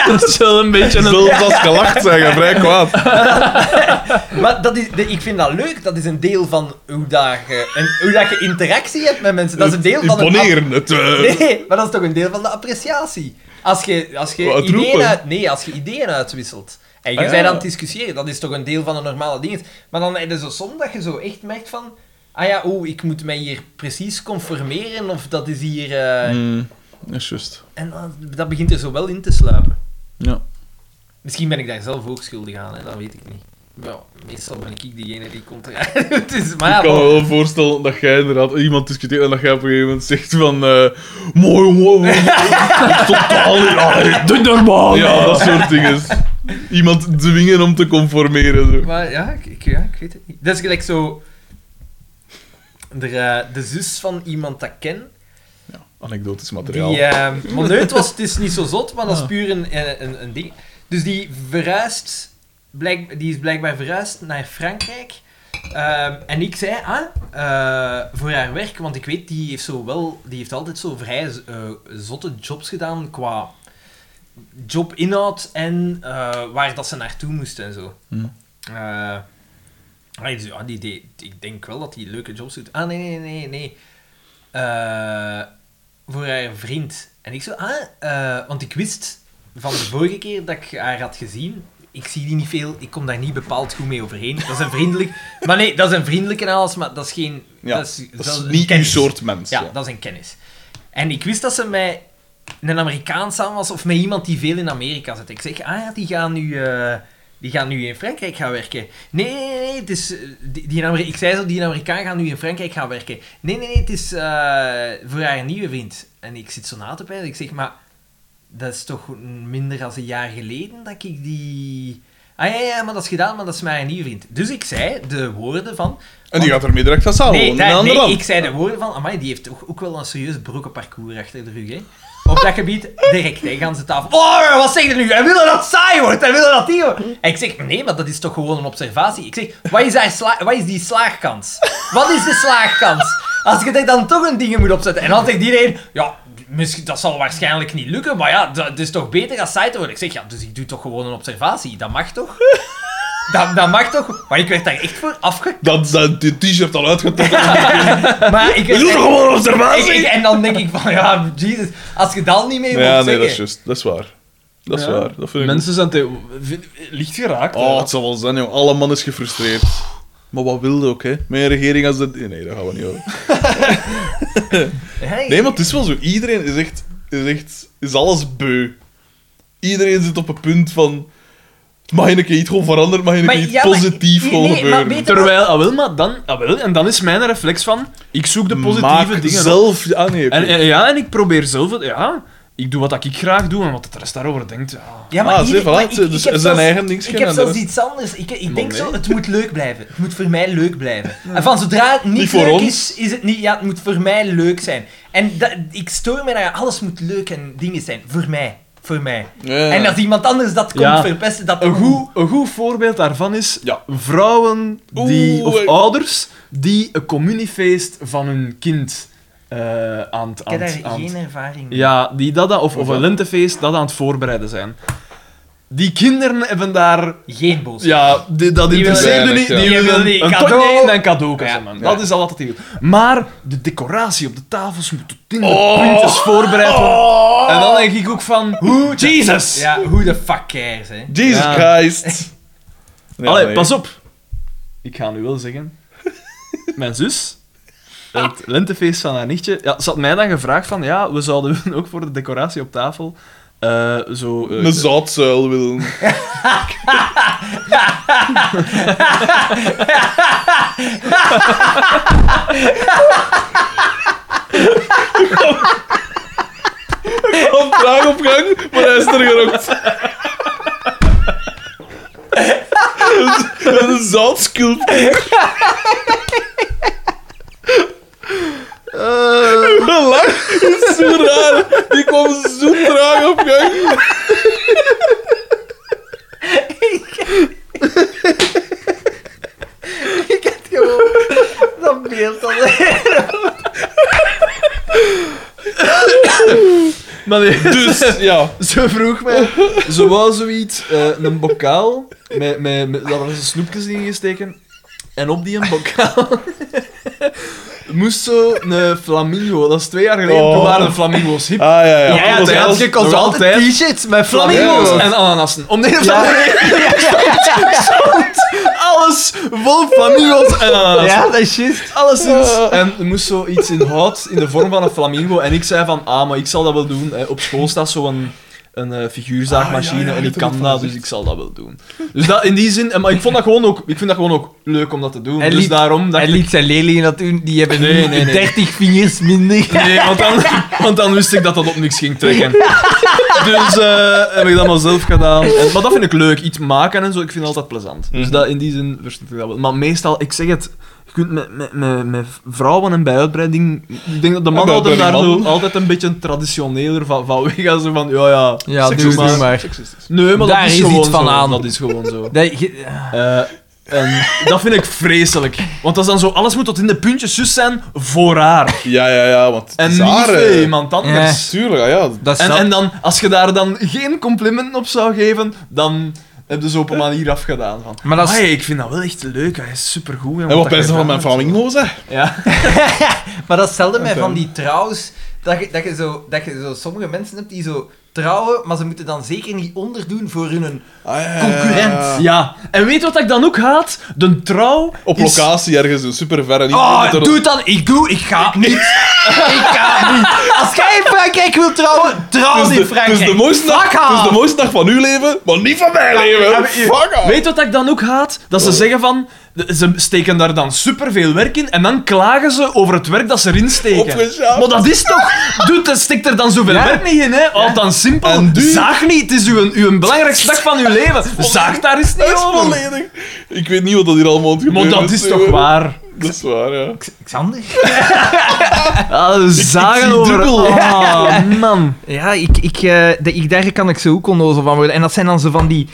[SPEAKER 2] *laughs*
[SPEAKER 17] Dat is wel een beetje een...
[SPEAKER 1] zelfs als je lacht, zijn je vrij kwaad.
[SPEAKER 3] maar dat is, de- ik vind dat leuk, dat is een deel van hoe, dat je, en hoe dat je interactie hebt met mensen. *laughs* Dat is een deel van het
[SPEAKER 1] Imponeren. Het, eh,
[SPEAKER 3] Nee, maar dat is toch een deel van de appreciatie. Als je, als
[SPEAKER 1] Wat,
[SPEAKER 3] je,
[SPEAKER 1] het
[SPEAKER 3] ideeën,
[SPEAKER 1] roepen?
[SPEAKER 3] uit, nee, als je ideeën uitwisselt. En je
[SPEAKER 1] Ah, ja.
[SPEAKER 3] bent aan het discussiëren, dat is toch een deel van de normale dingen. Maar dan heb je zo soms dat je zo echt merkt van... Ah ja, oeh, ik moet mij hier precies conformeren, of dat is hier... eh,
[SPEAKER 1] Mm, dat is juist.
[SPEAKER 3] En dan- dat begint er zo wel in te sluipen.
[SPEAKER 1] Ja.
[SPEAKER 3] Misschien ben ik daar zelf ook schuldig aan, hè, dat weet ik niet. Ja, meestal ben ik diegene die komt *laughs* eruit. Dus, maar ja,
[SPEAKER 1] ik kan me
[SPEAKER 3] bon.
[SPEAKER 1] wel voorstellen dat jij inderdaad iemand discuteert en dat jij op een gegeven moment zegt van... eh mooi, mooi,
[SPEAKER 3] *laughs*
[SPEAKER 1] mooi. Totaal. Ja,
[SPEAKER 17] Doe normaal!
[SPEAKER 1] ja, dat soort dingen. Iemand dwingen om te conformeren. Zo.
[SPEAKER 3] Maar ja ik, ik- ja, ik weet het niet. Dat is gelijk zo... De, eh, de zus van iemand dat ik ken,
[SPEAKER 1] Anekdotisch
[SPEAKER 3] die...
[SPEAKER 1] materiaal.
[SPEAKER 3] eh maar nee, het, was, het is niet zo zot, maar dat is puur een, eh, een, een ding. Dus die verhuist... Blijk, die is blijkbaar verhuisd naar Frankrijk. Ehm, en ik zei, ah, eh, voor haar werk, want ik weet, die heeft, zo wel, die heeft altijd zo vrij eh, zotte jobs gedaan qua jobinhoud en eh, waar dat ze naartoe moest en zo.
[SPEAKER 1] Hmm.
[SPEAKER 3] Eh, ah, dus, ja, die deed- ik denk wel dat die leuke jobs doet. Ah, nee, nee, nee, nee. Eh, voor haar vriend. En ik zo, ah, eh, want ik wist van de vorige keer dat ik haar had gezien, ik zie die niet veel, ik kom daar niet bepaald goed mee overheen. Dat is een vriendelijk... *laughs* Maar nee, dat is een vriendelijke en alles, maar dat is geen...
[SPEAKER 1] Ja,
[SPEAKER 3] dat
[SPEAKER 1] Dat is
[SPEAKER 3] een
[SPEAKER 1] niet uw
[SPEAKER 3] kennis.
[SPEAKER 1] soort mens.
[SPEAKER 3] Ja, dat is een kennis. En ik wist dat ze met een Amerikaan samen was of met iemand die veel in Amerika zit. Ik zeg, ah ja, die gaan nu, eh, die gaan nu in Frankrijk gaan werken. Nee, nee, nee, nee, het is... eh, Die, die Ameri- ik zei zo, die Amerikaan gaat nu in Frankrijk gaan werken. Nee, nee, nee, het is eh, voor haar nieuwe vriend. En ik zit zo na te pijlen. Ik zeg, maar dat is toch minder dan een jaar geleden dat ik die... Ah ja, ja, maar dat is gedaan, maar dat is mijn nieuwe vriend. Dus ik zei de woorden van...
[SPEAKER 1] En die gaat ermee direct gaan samenwonen
[SPEAKER 3] Nee,
[SPEAKER 1] in
[SPEAKER 3] daar-
[SPEAKER 1] Oh, een ander
[SPEAKER 3] nee,
[SPEAKER 1] land.
[SPEAKER 3] ik zei de woorden van, amai, die heeft toch ook wel een serieus brokken parcours achter de rug, hè. Op dat gebied, direct, hè, gans de tafel. Oh, wat zeg je nu? Hij wil dat het saai wordt, hij wil dat het die wordt. En ik zeg, nee, maar dat is toch gewoon een observatie. Ik zeg, wat is, daar sla- wat is die slaagkans? Wat is de slaagkans? Als je er dan toch een ding in moet opzetten. En dan zegt iedereen, ja, misschien, dat zal waarschijnlijk niet lukken, maar ja, dat is toch beter als saai te worden. Ik zeg, ja, dus ik doe toch gewoon een observatie. Dat mag toch? Dat, dat mag toch? Maar ik werd daar echt voor afgekeken.
[SPEAKER 1] Dat, dat die t-shirt al
[SPEAKER 3] *laughs*
[SPEAKER 1] uitgetrokken.
[SPEAKER 3] Maar ik
[SPEAKER 1] Ik
[SPEAKER 3] werd
[SPEAKER 1] doe toch
[SPEAKER 3] echt-
[SPEAKER 1] gewoon een
[SPEAKER 3] ik- ik-
[SPEAKER 1] observatie?
[SPEAKER 3] en dan denk ik van, ja, Jesus, als je dat al niet mee wilt
[SPEAKER 1] Ja, nee,
[SPEAKER 3] zeggen.
[SPEAKER 1] dat is juist. Dat is waar. Dat is
[SPEAKER 2] Ja.
[SPEAKER 1] waar. Dat vind ik
[SPEAKER 2] Mensen zijn te... licht geraakt. hè.
[SPEAKER 1] Oh, het zal wel zijn, joh. Alle man is gefrustreerd. Maar wat wilde ook, hè? Met een regering als dat... Nee, dat gaan we niet over. Nee, maar het is wel zo. Iedereen is echt... Is, echt, is alles beu. Iedereen zit op een punt van... Mag je een keer iets gewoon veranderen? Mag je een
[SPEAKER 3] Maar
[SPEAKER 1] keer iets
[SPEAKER 3] ja, maar-
[SPEAKER 1] positiefs
[SPEAKER 3] nee,
[SPEAKER 1] gewoon
[SPEAKER 3] maar
[SPEAKER 1] gebeuren?
[SPEAKER 3] weet je-
[SPEAKER 2] Terwijl, ah wel, maar dan, ah wel, en dan is mijn reflex van, ik zoek de positieve
[SPEAKER 1] Maak
[SPEAKER 2] dingen op.
[SPEAKER 1] zelf... Ah, nee.
[SPEAKER 2] En, en- ja, en ik probeer zelf, het- ja, ik doe wat ik graag doe en wat de rest daarover denkt. Ja.
[SPEAKER 3] Ja,
[SPEAKER 1] Ah, zie,
[SPEAKER 3] ieder-
[SPEAKER 1] voilà,
[SPEAKER 3] maar ik-
[SPEAKER 1] ze-
[SPEAKER 3] ik
[SPEAKER 1] dus
[SPEAKER 3] heb
[SPEAKER 1] zijn
[SPEAKER 3] zelfs-
[SPEAKER 1] eigen dings
[SPEAKER 3] Ik
[SPEAKER 1] kennen
[SPEAKER 3] heb
[SPEAKER 1] en
[SPEAKER 3] zelfs
[SPEAKER 1] dat is-
[SPEAKER 3] iets anders. Ik, ik denk
[SPEAKER 1] nee.
[SPEAKER 3] zo, het moet leuk blijven. Het moet voor mij leuk
[SPEAKER 1] *laughs*
[SPEAKER 3] blijven. En van zodra het niet,
[SPEAKER 1] Niet voor
[SPEAKER 3] leuk
[SPEAKER 1] ons.
[SPEAKER 3] is, is het niet... Ja, het moet voor mij leuk zijn. En dat, ik stoor me naar... Alles moet leuk en dingen zijn. Voor mij. Voor mij.
[SPEAKER 1] Ja.
[SPEAKER 3] En als iemand anders dat komt
[SPEAKER 2] Ja.
[SPEAKER 3] verpesten, dat...
[SPEAKER 2] Een, goed, een goed voorbeeld daarvan is
[SPEAKER 1] Ja.
[SPEAKER 2] vrouwen die,
[SPEAKER 1] Oeh,
[SPEAKER 2] of
[SPEAKER 1] ik-
[SPEAKER 2] ouders die een communiefeest van hun kind eh, aan het...
[SPEAKER 3] Ik heb
[SPEAKER 2] aan
[SPEAKER 3] daar
[SPEAKER 2] het- aan het-
[SPEAKER 3] geen ervaring mee.
[SPEAKER 2] Ja, die dat, aan- of, of een lentefeest dat aan het voorbereiden zijn. Die kinderen hebben daar
[SPEAKER 3] Geen boos.
[SPEAKER 2] Ja, die- dat
[SPEAKER 3] Die
[SPEAKER 2] interesseert
[SPEAKER 1] willen-
[SPEAKER 2] me niet. Die
[SPEAKER 1] Die
[SPEAKER 2] willen
[SPEAKER 3] willen
[SPEAKER 2] een
[SPEAKER 3] cadeau.
[SPEAKER 2] toneel en cadeau.
[SPEAKER 3] Ja.
[SPEAKER 2] man. Dat is al wat die wil. Maar de decoratie op de tafels moet tot in de puntjes voorbereid worden.
[SPEAKER 1] Oh!
[SPEAKER 2] En dan denk ik ook van... Hoe? Jesus!
[SPEAKER 3] Ja, hoe de fuck cares, hè.
[SPEAKER 1] Jesus
[SPEAKER 2] Ja.
[SPEAKER 1] Christ. Ja,
[SPEAKER 2] Allee,
[SPEAKER 1] nee.
[SPEAKER 2] pas op. Ik ga nu wel zeggen... *laughs* Mijn zus... Het lentefeest van haar nichtje... Ja, ze had mij dan gevraagd van... Ja, we zouden *laughs* ook voor de decoratie op tafel... eh, zo... eh,
[SPEAKER 1] Een zaadzuil willen. Kom traag op gang, maar hij is er gerokt. Een- Een zoutsculptuur. Hoe lang? is zo raar. Die kwam zo traag op gang.
[SPEAKER 3] Ik had gewoon dat beeld al.
[SPEAKER 1] Ah,
[SPEAKER 2] maar nee, *laughs*
[SPEAKER 1] Dus, ja.
[SPEAKER 2] Ze vroeg mij, ze wou zoiets, eh, een bokaal, met, met, met, daar was een snoepjes in gesteken. En op die een bokaal *laughs* moest zo een flamingo, dat is twee jaar geleden,
[SPEAKER 1] Oh.
[SPEAKER 2] toen waren de flamingo's hip.
[SPEAKER 1] Ah, ja, ja.
[SPEAKER 2] ja,
[SPEAKER 1] Alles-
[SPEAKER 2] ja,
[SPEAKER 1] alles-
[SPEAKER 2] je kon
[SPEAKER 1] nog
[SPEAKER 2] zo
[SPEAKER 1] altijd-
[SPEAKER 2] altijd
[SPEAKER 18] T-shirts met
[SPEAKER 2] flamingo's
[SPEAKER 1] Ja.
[SPEAKER 2] en ananassen. Om de een of andere reden *laughs* stond *laughs* alles vol flamingo's en ananassen.
[SPEAKER 18] Ja, dat is juist.
[SPEAKER 2] Alleszins. En er moest zo iets in hout in de vorm van een flamingo. En ik zei van, ah, maar ik zal dat wel doen. hè. Op school staat zo'n een, eh, figuurzaagmachine
[SPEAKER 1] Ah, ja, ja,
[SPEAKER 2] en
[SPEAKER 1] ik
[SPEAKER 2] ik
[SPEAKER 1] heb
[SPEAKER 2] kan
[SPEAKER 1] ervan
[SPEAKER 2] dat,
[SPEAKER 1] gezien.
[SPEAKER 2] dus ik zal dat wel doen. Dus dat, in die zin... en Maar ik vond dat gewoon ook, ik vind dat gewoon ook leuk om dat te doen.
[SPEAKER 18] Hij
[SPEAKER 2] dus
[SPEAKER 18] liet-
[SPEAKER 2] daarom dacht
[SPEAKER 18] Hij
[SPEAKER 2] ik...
[SPEAKER 18] liet zijn leerlingen dat doen, die hebben
[SPEAKER 2] Nee,
[SPEAKER 18] nu
[SPEAKER 2] nee, nee.
[SPEAKER 18] 30 vingers minder.
[SPEAKER 2] Nee, want dan, want dan wist ik dat dat op niks ging trekken. Dus eh, heb ik dat maar zelf gedaan. En- maar dat vind ik leuk. Iets maken en zo, ik vind het altijd plezant.
[SPEAKER 1] Mhm.
[SPEAKER 2] Dus dat, in die zin verstond ik dat wel. Maar meestal, ik zeg het, je kunt met, met, met, met vrouwen en bij uitbreiding... Ik denk dat de mannen
[SPEAKER 1] bij
[SPEAKER 2] altijd, daar
[SPEAKER 1] uitbreiding
[SPEAKER 2] zo, altijd een beetje traditioneler van, van weggaan. Zo van, ja, ja.
[SPEAKER 18] Ja, doe
[SPEAKER 2] Seksistisch.
[SPEAKER 18] maar. maar.
[SPEAKER 2] Nee, maar
[SPEAKER 18] Daar
[SPEAKER 2] dat is,
[SPEAKER 18] is
[SPEAKER 2] gewoon
[SPEAKER 18] iets van
[SPEAKER 2] zo.
[SPEAKER 18] aan.
[SPEAKER 2] Dat is gewoon zo.
[SPEAKER 18] Dat, je-
[SPEAKER 2] Eh, en dat vind ik vreselijk. Want dat is dan zo, alles moet tot in de puntjes zus zijn voor haar.
[SPEAKER 1] Ja, ja, ja, want het
[SPEAKER 2] En
[SPEAKER 1] is
[SPEAKER 2] niet
[SPEAKER 1] haar,
[SPEAKER 2] voor
[SPEAKER 1] eh.
[SPEAKER 2] iemand anders.
[SPEAKER 18] Ja.
[SPEAKER 1] Tuurlijk, ah, ja, ja.
[SPEAKER 18] dat is
[SPEAKER 2] En,
[SPEAKER 18] dat-
[SPEAKER 2] en dan, als je daar dan geen complimenten op zou geven, dan heb je ze op een manier afgedaan. Van,
[SPEAKER 18] Maar dat is-
[SPEAKER 2] "Amai, ik vind dat wel echt leuk, hij is supergoed.
[SPEAKER 1] En wat pensen van mijn flamingo's, hè?
[SPEAKER 2] Ja.
[SPEAKER 3] *laughs* Maar dat is zelden met
[SPEAKER 1] Oké.
[SPEAKER 3] van die trouws. Dat je, dat, je zo, dat je zo sommige mensen hebt die zo trouwen, maar ze moeten dan zeker niet onderdoen voor hun...
[SPEAKER 1] Ah, ja, ja, ja.
[SPEAKER 3] Concurrent.
[SPEAKER 2] ja. En weet wat ik dan ook haat? De trouw
[SPEAKER 1] Op
[SPEAKER 2] is-
[SPEAKER 1] locatie ergens, een superverre. niet
[SPEAKER 3] Oh,
[SPEAKER 1] dat er-
[SPEAKER 3] doe dan! Ik doe, ik ga niet! ik ga niet! Als jij in Frankrijk wilt trouwen, trouw
[SPEAKER 1] Het is
[SPEAKER 3] in
[SPEAKER 1] dus de- het is
[SPEAKER 3] Frankrijk!
[SPEAKER 1] de mooiste dag-
[SPEAKER 3] Fuck
[SPEAKER 1] het is de
[SPEAKER 3] off.
[SPEAKER 1] mooiste dag van uw leven, maar niet van mijn leven. Fuck off. Oh.
[SPEAKER 2] Weet wat ik dan ook haat? Dat ze zeggen van... de- ze steken daar dan superveel werk in en dan klagen ze over het werk dat ze erin steken.
[SPEAKER 1] Opgeschaafd.
[SPEAKER 2] Maar dat is toch... Doe, dat stikt er dan zoveel werk niet in, hè? Al dan simpel.
[SPEAKER 1] En duur.
[SPEAKER 2] Zaag niet, het is uw, uw belangrijkste dag van uw
[SPEAKER 1] *laughs*
[SPEAKER 2] leven. Zaag daar eens niet
[SPEAKER 1] Dat is
[SPEAKER 2] over.
[SPEAKER 1] volledig. Ik weet niet wat dat hier allemaal aan het
[SPEAKER 2] Maar
[SPEAKER 1] gebeuren dus, eh,
[SPEAKER 2] dat is toch waar?
[SPEAKER 1] Dat is waar, ja.
[SPEAKER 19] Xander?
[SPEAKER 20] Ah, zagen
[SPEAKER 1] zie
[SPEAKER 20] over...
[SPEAKER 1] dubbel.
[SPEAKER 20] Ah, man.
[SPEAKER 3] Ja, ik, ik, eh, de- ik, daar kan ik zo ook onnozel van worden. En dat zijn dan zo van die...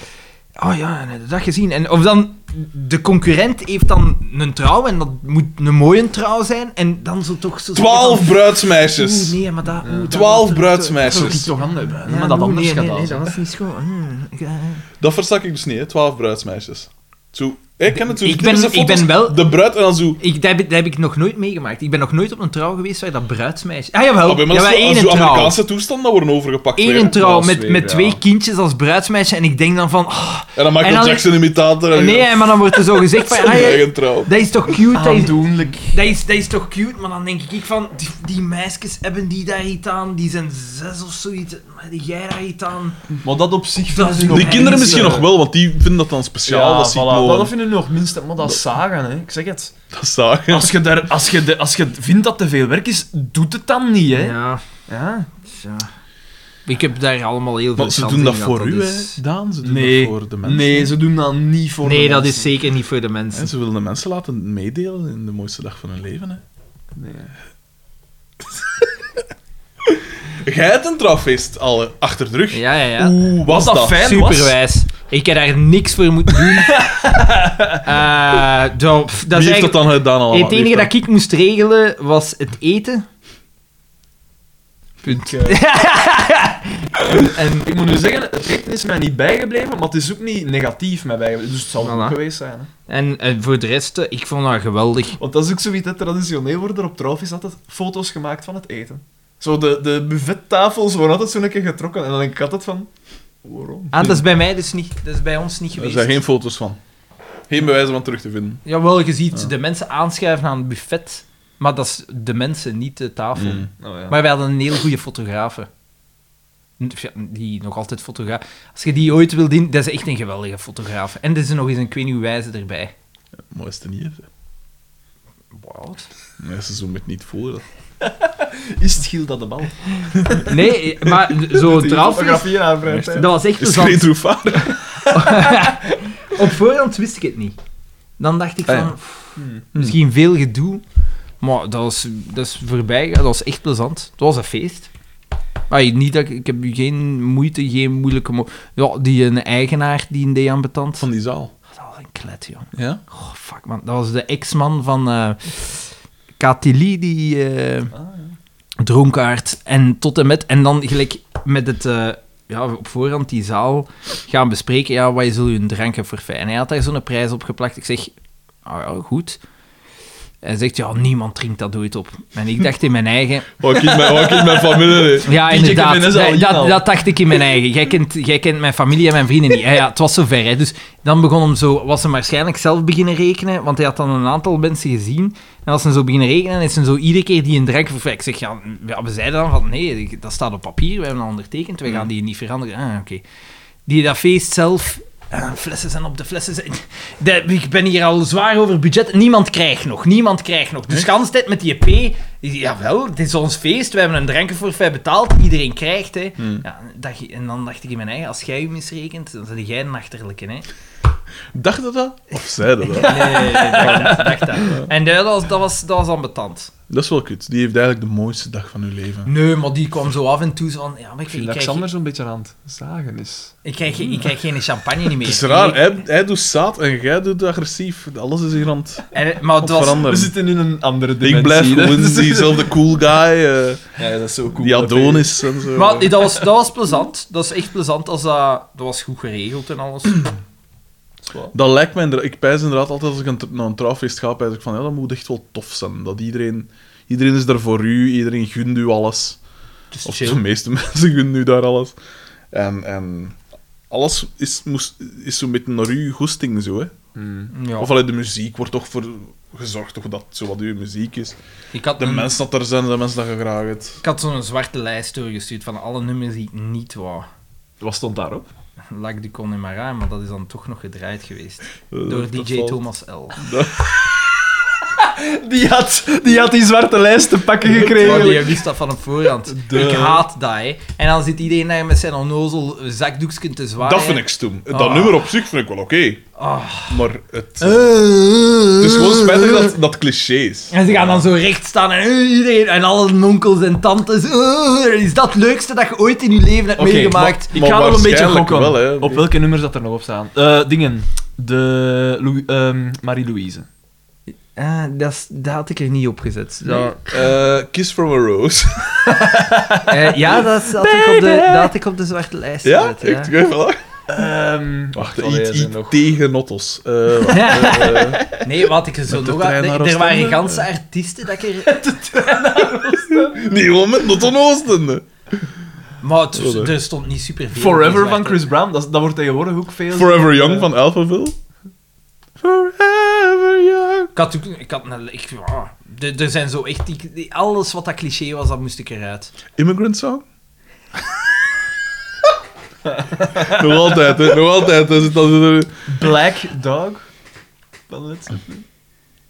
[SPEAKER 3] Oh ja, dat dag gezien. En, of dan, de concurrent heeft dan een trouw en dat moet een mooie trouw zijn. En dan zo toch zo...
[SPEAKER 1] Twaalf bruidsmeisjes.
[SPEAKER 3] Oeh, nee, maar dat... oeh, dat
[SPEAKER 1] Twaalf
[SPEAKER 3] was er-
[SPEAKER 1] bruidsmeisjes.
[SPEAKER 20] toch anders, hè?
[SPEAKER 3] Ja,
[SPEAKER 20] maar dat
[SPEAKER 3] oeh,
[SPEAKER 20] anders
[SPEAKER 3] nee,
[SPEAKER 20] gaat
[SPEAKER 3] nee, nee,
[SPEAKER 20] dat
[SPEAKER 3] dat was niet schoon. Hmm, ja, ja.
[SPEAKER 1] Dat versta ik dus niet, hè. Twaalf bruidsmeisjes. Zo... Ik ken natuurlijk
[SPEAKER 3] Ik ben-
[SPEAKER 1] typische
[SPEAKER 3] ik ben
[SPEAKER 1] foto's.
[SPEAKER 3] wel-
[SPEAKER 1] De bruid en dan zo...
[SPEAKER 3] Ik, dat, heb, dat heb ik nog nooit meegemaakt. Ik ben nog nooit op een trouw geweest waar dat bruidsmeisje... Ah, jawel.
[SPEAKER 1] Oh, bij mij is
[SPEAKER 3] jawel,
[SPEAKER 1] het
[SPEAKER 3] één
[SPEAKER 1] zo-
[SPEAKER 3] een
[SPEAKER 1] zo
[SPEAKER 3] trouw.
[SPEAKER 1] Amerikaanse toestanden worden overgepakt.
[SPEAKER 3] Eén
[SPEAKER 1] weer.
[SPEAKER 3] een trouw
[SPEAKER 20] Dat is
[SPEAKER 3] met,
[SPEAKER 20] weer,
[SPEAKER 3] met
[SPEAKER 20] ja.
[SPEAKER 3] twee kindjes als bruidsmeisje. En ik denk dan van... ah,
[SPEAKER 1] En dan Michael
[SPEAKER 3] En dan-
[SPEAKER 1] Jackson-imitator. en-
[SPEAKER 3] nee, maar dan wordt er zo
[SPEAKER 1] *laughs*
[SPEAKER 3] gezegd van...
[SPEAKER 1] Zijn
[SPEAKER 3] ah, ja,
[SPEAKER 1] eigen trouw.
[SPEAKER 3] dat is toch cute,
[SPEAKER 1] Ah,
[SPEAKER 3] dat is,
[SPEAKER 20] Aandoenlijk.
[SPEAKER 3] dat, is, dat is toch cute? Maar dan denk ik van... Die, die meisjes hebben die daar iets aan. Die zijn zes of zoiets. Maar die jij daar iets aan.
[SPEAKER 2] Maar dat op zich...
[SPEAKER 3] Dat is nog
[SPEAKER 1] Die kinderen
[SPEAKER 3] eens,
[SPEAKER 1] misschien
[SPEAKER 3] eh,
[SPEAKER 1] nog wel, want die vinden dat dan speciaal.
[SPEAKER 2] Ja,
[SPEAKER 1] dat zie ik
[SPEAKER 2] voilà.
[SPEAKER 1] mooi.
[SPEAKER 2] dat vinden we nog minstens, maar dat is zagen, hè. Ik zeg het.
[SPEAKER 1] Dat zagen.
[SPEAKER 2] Als je, daar, als, je de, als je vindt dat te veel werk is, doet het dan niet, hè? Ja.
[SPEAKER 3] Ik heb daar allemaal heel veel
[SPEAKER 1] Maar ze
[SPEAKER 3] zand
[SPEAKER 1] doen
[SPEAKER 3] in
[SPEAKER 1] dat
[SPEAKER 3] gehad,
[SPEAKER 1] voor u,
[SPEAKER 3] is-
[SPEAKER 1] hè, Daan. Ze doen
[SPEAKER 2] Nee.
[SPEAKER 1] dat voor de mensen.
[SPEAKER 2] Nee, ze doen dat niet voor
[SPEAKER 3] Nee,
[SPEAKER 2] de
[SPEAKER 3] dat
[SPEAKER 2] mensen.
[SPEAKER 3] is zeker niet voor de
[SPEAKER 1] Hè,
[SPEAKER 3] mensen.
[SPEAKER 1] ze willen de mensen laten meedelen in de mooiste dag van hun leven, hè. Nee. *laughs* Jij hebt een trouwfeest al eh, achter de rug.
[SPEAKER 3] Ja, ja, ja.
[SPEAKER 1] Oeh, was
[SPEAKER 2] Was dat
[SPEAKER 1] dat?
[SPEAKER 2] fijn? was?
[SPEAKER 3] Superwijs. Ik heb daar niks voor moeten
[SPEAKER 1] *laughs*
[SPEAKER 3] doen. Eh, dat, pff,
[SPEAKER 1] Wie
[SPEAKER 3] dat is
[SPEAKER 1] heeft dat
[SPEAKER 3] eigenlijk...
[SPEAKER 1] dan gedaan allemaal?
[SPEAKER 3] Het
[SPEAKER 1] Wie heeft
[SPEAKER 3] enige dat ik moest regelen was het eten.
[SPEAKER 2] Punt. en eh, ik moet nu zeggen, het eten is mij niet bijgebleven, maar het is ook niet negatief mij bijgebleven. Dus het zal
[SPEAKER 3] Voilà.
[SPEAKER 2] ook geweest zijn. Hè.
[SPEAKER 3] En, eh, voor de rest, eh, ik vond dat geweldig.
[SPEAKER 2] Want dat is ook zoiets, hè, traditioneel worden er op trouwfeest altijd foto's gemaakt van het eten. Zo, de, de buffettafels worden altijd zo'n keer getrokken. En dan denk ik altijd van, waarom?
[SPEAKER 3] Ah, dat is bij mij dus niet. Dat is bij ons niet
[SPEAKER 1] Er
[SPEAKER 3] geweest.
[SPEAKER 1] zijn geen foto's van. Geen bewijzen van terug te vinden.
[SPEAKER 3] Jawel, je ziet de mensen aanschuiven aan het buffet. Maar dat is de mensen, niet de tafel.
[SPEAKER 1] Mm.
[SPEAKER 2] Nou ja.
[SPEAKER 3] Maar wij hadden een heel goede fotograaf. hè. Ja, Die nog altijd fotograaf. Als je die ooit wil dienen, dat is echt een geweldige fotograaf. En er is nog eens een kwenuw wijze erbij.
[SPEAKER 1] Mooiste niet, hè.
[SPEAKER 3] Wat?
[SPEAKER 1] Nee, ze zoomen het niet *laughs* voor.
[SPEAKER 2] Is het Giel dat de bal?
[SPEAKER 3] Nee,
[SPEAKER 1] *laughs*
[SPEAKER 3] eh, maar zo
[SPEAKER 2] Die
[SPEAKER 3] trouwens.
[SPEAKER 2] fotografie aan vrij tijd.
[SPEAKER 3] Dat was echt
[SPEAKER 1] Is geen
[SPEAKER 3] plezant.
[SPEAKER 1] troefaar?
[SPEAKER 3] *laughs* Op voorhand wist ik het niet. Dan dacht ik
[SPEAKER 1] Ah, ja.
[SPEAKER 3] van, pff,
[SPEAKER 2] Hmm.
[SPEAKER 3] misschien veel gedoe. Maar dat is, dat is voorbij. gegaan. Dat was echt plezant. Het was een feest. Ai, niet dat ik, ik heb geen moeite, geen moeilijke... mo- ja, die een eigenaar, die een dejan betant.
[SPEAKER 1] Van die zaal.
[SPEAKER 3] Dat was een klet, joh.
[SPEAKER 1] Ja?
[SPEAKER 3] Oh, fuck, man. Dat was de ex-man van eh Katili, die eh dronkaard. En tot en met... En dan gelijk met het... eh, ja, op voorhand die zaal gaan bespreken. Ja, wat zul je een drankje voor fijn? En hij had daar zo'n prijs op geplakt. Ik zeg, ah ja, goed. Hij zegt, ja, niemand drinkt dat ooit op. En ik dacht in mijn eigen...
[SPEAKER 1] Wat ik mijn, wat ik mijn familie... hè.
[SPEAKER 3] Ja,
[SPEAKER 2] Die
[SPEAKER 3] inderdaad.
[SPEAKER 2] checken we net al,
[SPEAKER 3] Dat, dat,
[SPEAKER 2] Jan.
[SPEAKER 3] dat dacht ik in mijn eigen. Jij kent, jij kent mijn familie en mijn vrienden niet. Ja, ja, het was zover. Hè. Dus dan begon hem zo, was hem waarschijnlijk zelf beginnen rekenen, want hij had dan een aantal mensen gezien. En als ze zo beginnen rekenen, is ze zo iedere keer die een drank vervrijkt. Ik zeg, ja, ja, we zeiden dan van, nee, dat staat op papier, we hebben dat ondertekend, we gaan die niet veranderen. Ah, oké. Die dat feest zelf... ah, flessen zijn op de flessen. Zijn. Dat- ik ben hier al zwaar over budget. Niemand krijgt nog. Niemand krijgt nog. Dus gans tijd met die EP. Jawel, het is ons feest. We hebben een drankenforfait betaald. Iedereen krijgt. Hè. Ja, dat, je- en dan dacht ik in mijn eigen, als jij je misrekent, dan ben jij een achterlijke. Hè.
[SPEAKER 1] Dacht dat dat? Of zeiden
[SPEAKER 3] *laughs*
[SPEAKER 1] dat?
[SPEAKER 3] Nee, nee, nee, nee, dacht dat, dacht dat. En dat was, dat was, dat was ambetant.
[SPEAKER 1] Dat is wel kut. Die heeft eigenlijk de mooiste dag van uw leven.
[SPEAKER 3] Nee, maar die kwam zo af en toe zo van... Ja, maar ik,
[SPEAKER 20] Ik vind
[SPEAKER 3] ik,
[SPEAKER 20] dat
[SPEAKER 3] krijg,
[SPEAKER 20] Xander zo'n beetje aan het zagen is.
[SPEAKER 3] ik, krijg, ik krijg geen champagne niet meer.
[SPEAKER 1] Het is raar,
[SPEAKER 3] Nee.
[SPEAKER 1] hij, hij doet zaad en jij doet agressief. Alles is hier aan het
[SPEAKER 3] En, maar het was,
[SPEAKER 2] We
[SPEAKER 1] veranderen.
[SPEAKER 2] zitten in een andere dimensie.
[SPEAKER 1] Ik blijf
[SPEAKER 2] hè. *laughs*
[SPEAKER 1] gewoon diezelfde cool guy, eh,
[SPEAKER 2] Ja, dat is zo cool.
[SPEAKER 1] die Adonis en zo.
[SPEAKER 3] Maar nee, dat, was, dat was plezant. Dat is echt plezant. Als dat, dat was goed geregeld en
[SPEAKER 1] *clears throat*
[SPEAKER 3] alles.
[SPEAKER 1] Dat lijkt mij inderdaad... Ik pijs inderdaad altijd als ik een tr- naar een trouwfeest ga, pijs ik van, ja, dat moet echt wel tof zijn. Dat iedereen... Iedereen is daar voor u, iedereen gunt u alles.
[SPEAKER 3] Dus
[SPEAKER 1] Of de meeste *laughs* mensen gunnen u daar alles. En, en alles is, moest, is zo'n beetje naar uw goesting, zo, hè.
[SPEAKER 2] Hmm.
[SPEAKER 3] Ja.
[SPEAKER 1] Of alleen de muziek wordt toch voor gezorgd toch dat zo wat uw muziek is.
[SPEAKER 3] Ik had,
[SPEAKER 1] De
[SPEAKER 3] een-
[SPEAKER 1] mensen dat er zijn, de mensen dat je graag hebt.
[SPEAKER 3] ik had zo'n zwarte lijst doorgestuurd van alle nummers die ik niet wou.
[SPEAKER 20] Wat stond daarop?
[SPEAKER 3] Lac du Connemara, maar dat is dan toch nog gedraaid geweest.
[SPEAKER 1] Eh,
[SPEAKER 3] Door
[SPEAKER 1] dat
[SPEAKER 3] DJ
[SPEAKER 1] valt- *laughs*
[SPEAKER 3] Thomas L.
[SPEAKER 6] Die had, die had die zwarte lijst te pakken
[SPEAKER 3] Maar
[SPEAKER 6] gekregen.
[SPEAKER 3] die wist dat van op voorhand.
[SPEAKER 1] *laughs* De-
[SPEAKER 3] Ik haat dat, hè. En dan zit iedereen daar met zijn onnozel zakdoekje te zwaaien.
[SPEAKER 1] Dat vind ik stoem. Dat
[SPEAKER 3] Ah.
[SPEAKER 1] nummer op zich vind ik wel oké.
[SPEAKER 3] Ah.
[SPEAKER 1] Maar het... Het
[SPEAKER 2] Dus
[SPEAKER 1] is
[SPEAKER 2] Eh,
[SPEAKER 1] gewoon spijtig dat dat cliché is.
[SPEAKER 3] En ze gaan dan zo recht staan en eh, iedereen en alle onkels en tantes. eh, is dat het leukste dat je ooit in je leven hebt
[SPEAKER 2] Oké,
[SPEAKER 3] meegemaakt?
[SPEAKER 2] eh, Ik
[SPEAKER 1] Maar
[SPEAKER 2] ga nog een beetje
[SPEAKER 1] waarschijnlijk
[SPEAKER 2] gokken.
[SPEAKER 1] wel, hè.
[SPEAKER 2] Op welke nummers dat er nog op staan? Eh, dingen. De Lou- ehm, Marie-Louise.
[SPEAKER 3] Ah, dat, is- dat had ik er niet op gezet. Dat-
[SPEAKER 1] Eh, Kiss from a Rose.
[SPEAKER 3] eh, ja, dat had, ik op de, dat had ik op de zwarte lijst
[SPEAKER 1] ja?
[SPEAKER 3] gezet. ja.
[SPEAKER 1] Echt? Ja, voilà.
[SPEAKER 2] Ehm,
[SPEAKER 1] Wacht,
[SPEAKER 2] allee, er
[SPEAKER 1] iets
[SPEAKER 2] zijn
[SPEAKER 1] iets
[SPEAKER 2] nog-
[SPEAKER 1] tegen Nottos. Eh, *laughs* wacht, eh, eh.
[SPEAKER 3] Nee, wat ik er zo
[SPEAKER 1] Met de
[SPEAKER 3] nog
[SPEAKER 1] trein
[SPEAKER 3] had...
[SPEAKER 1] naar
[SPEAKER 3] Er er
[SPEAKER 1] Oostende?
[SPEAKER 3] waren ganse artiesten dat ik
[SPEAKER 1] *laughs*
[SPEAKER 3] er...
[SPEAKER 1] Nee, gewoon met Notto Oosten.
[SPEAKER 3] Maar het- er stond niet superveel. op die
[SPEAKER 2] Forever
[SPEAKER 3] zwarte.
[SPEAKER 2] van Chris Brown. Dat, is- dat wordt tegenwoordig ook veel... Eh,
[SPEAKER 1] Forever Young van Alphaville. Forever Young.
[SPEAKER 3] Ik had, ook- ik had een... Ik, ah, er- er zijn zo echt... die- die- alles wat dat cliché was, dat moest ik eruit.
[SPEAKER 1] Immigrant Song? *laughs* nog altijd, hè. Nog altijd. hè. Zit Dat er-
[SPEAKER 2] Black Dog. Van Led Zeppelin.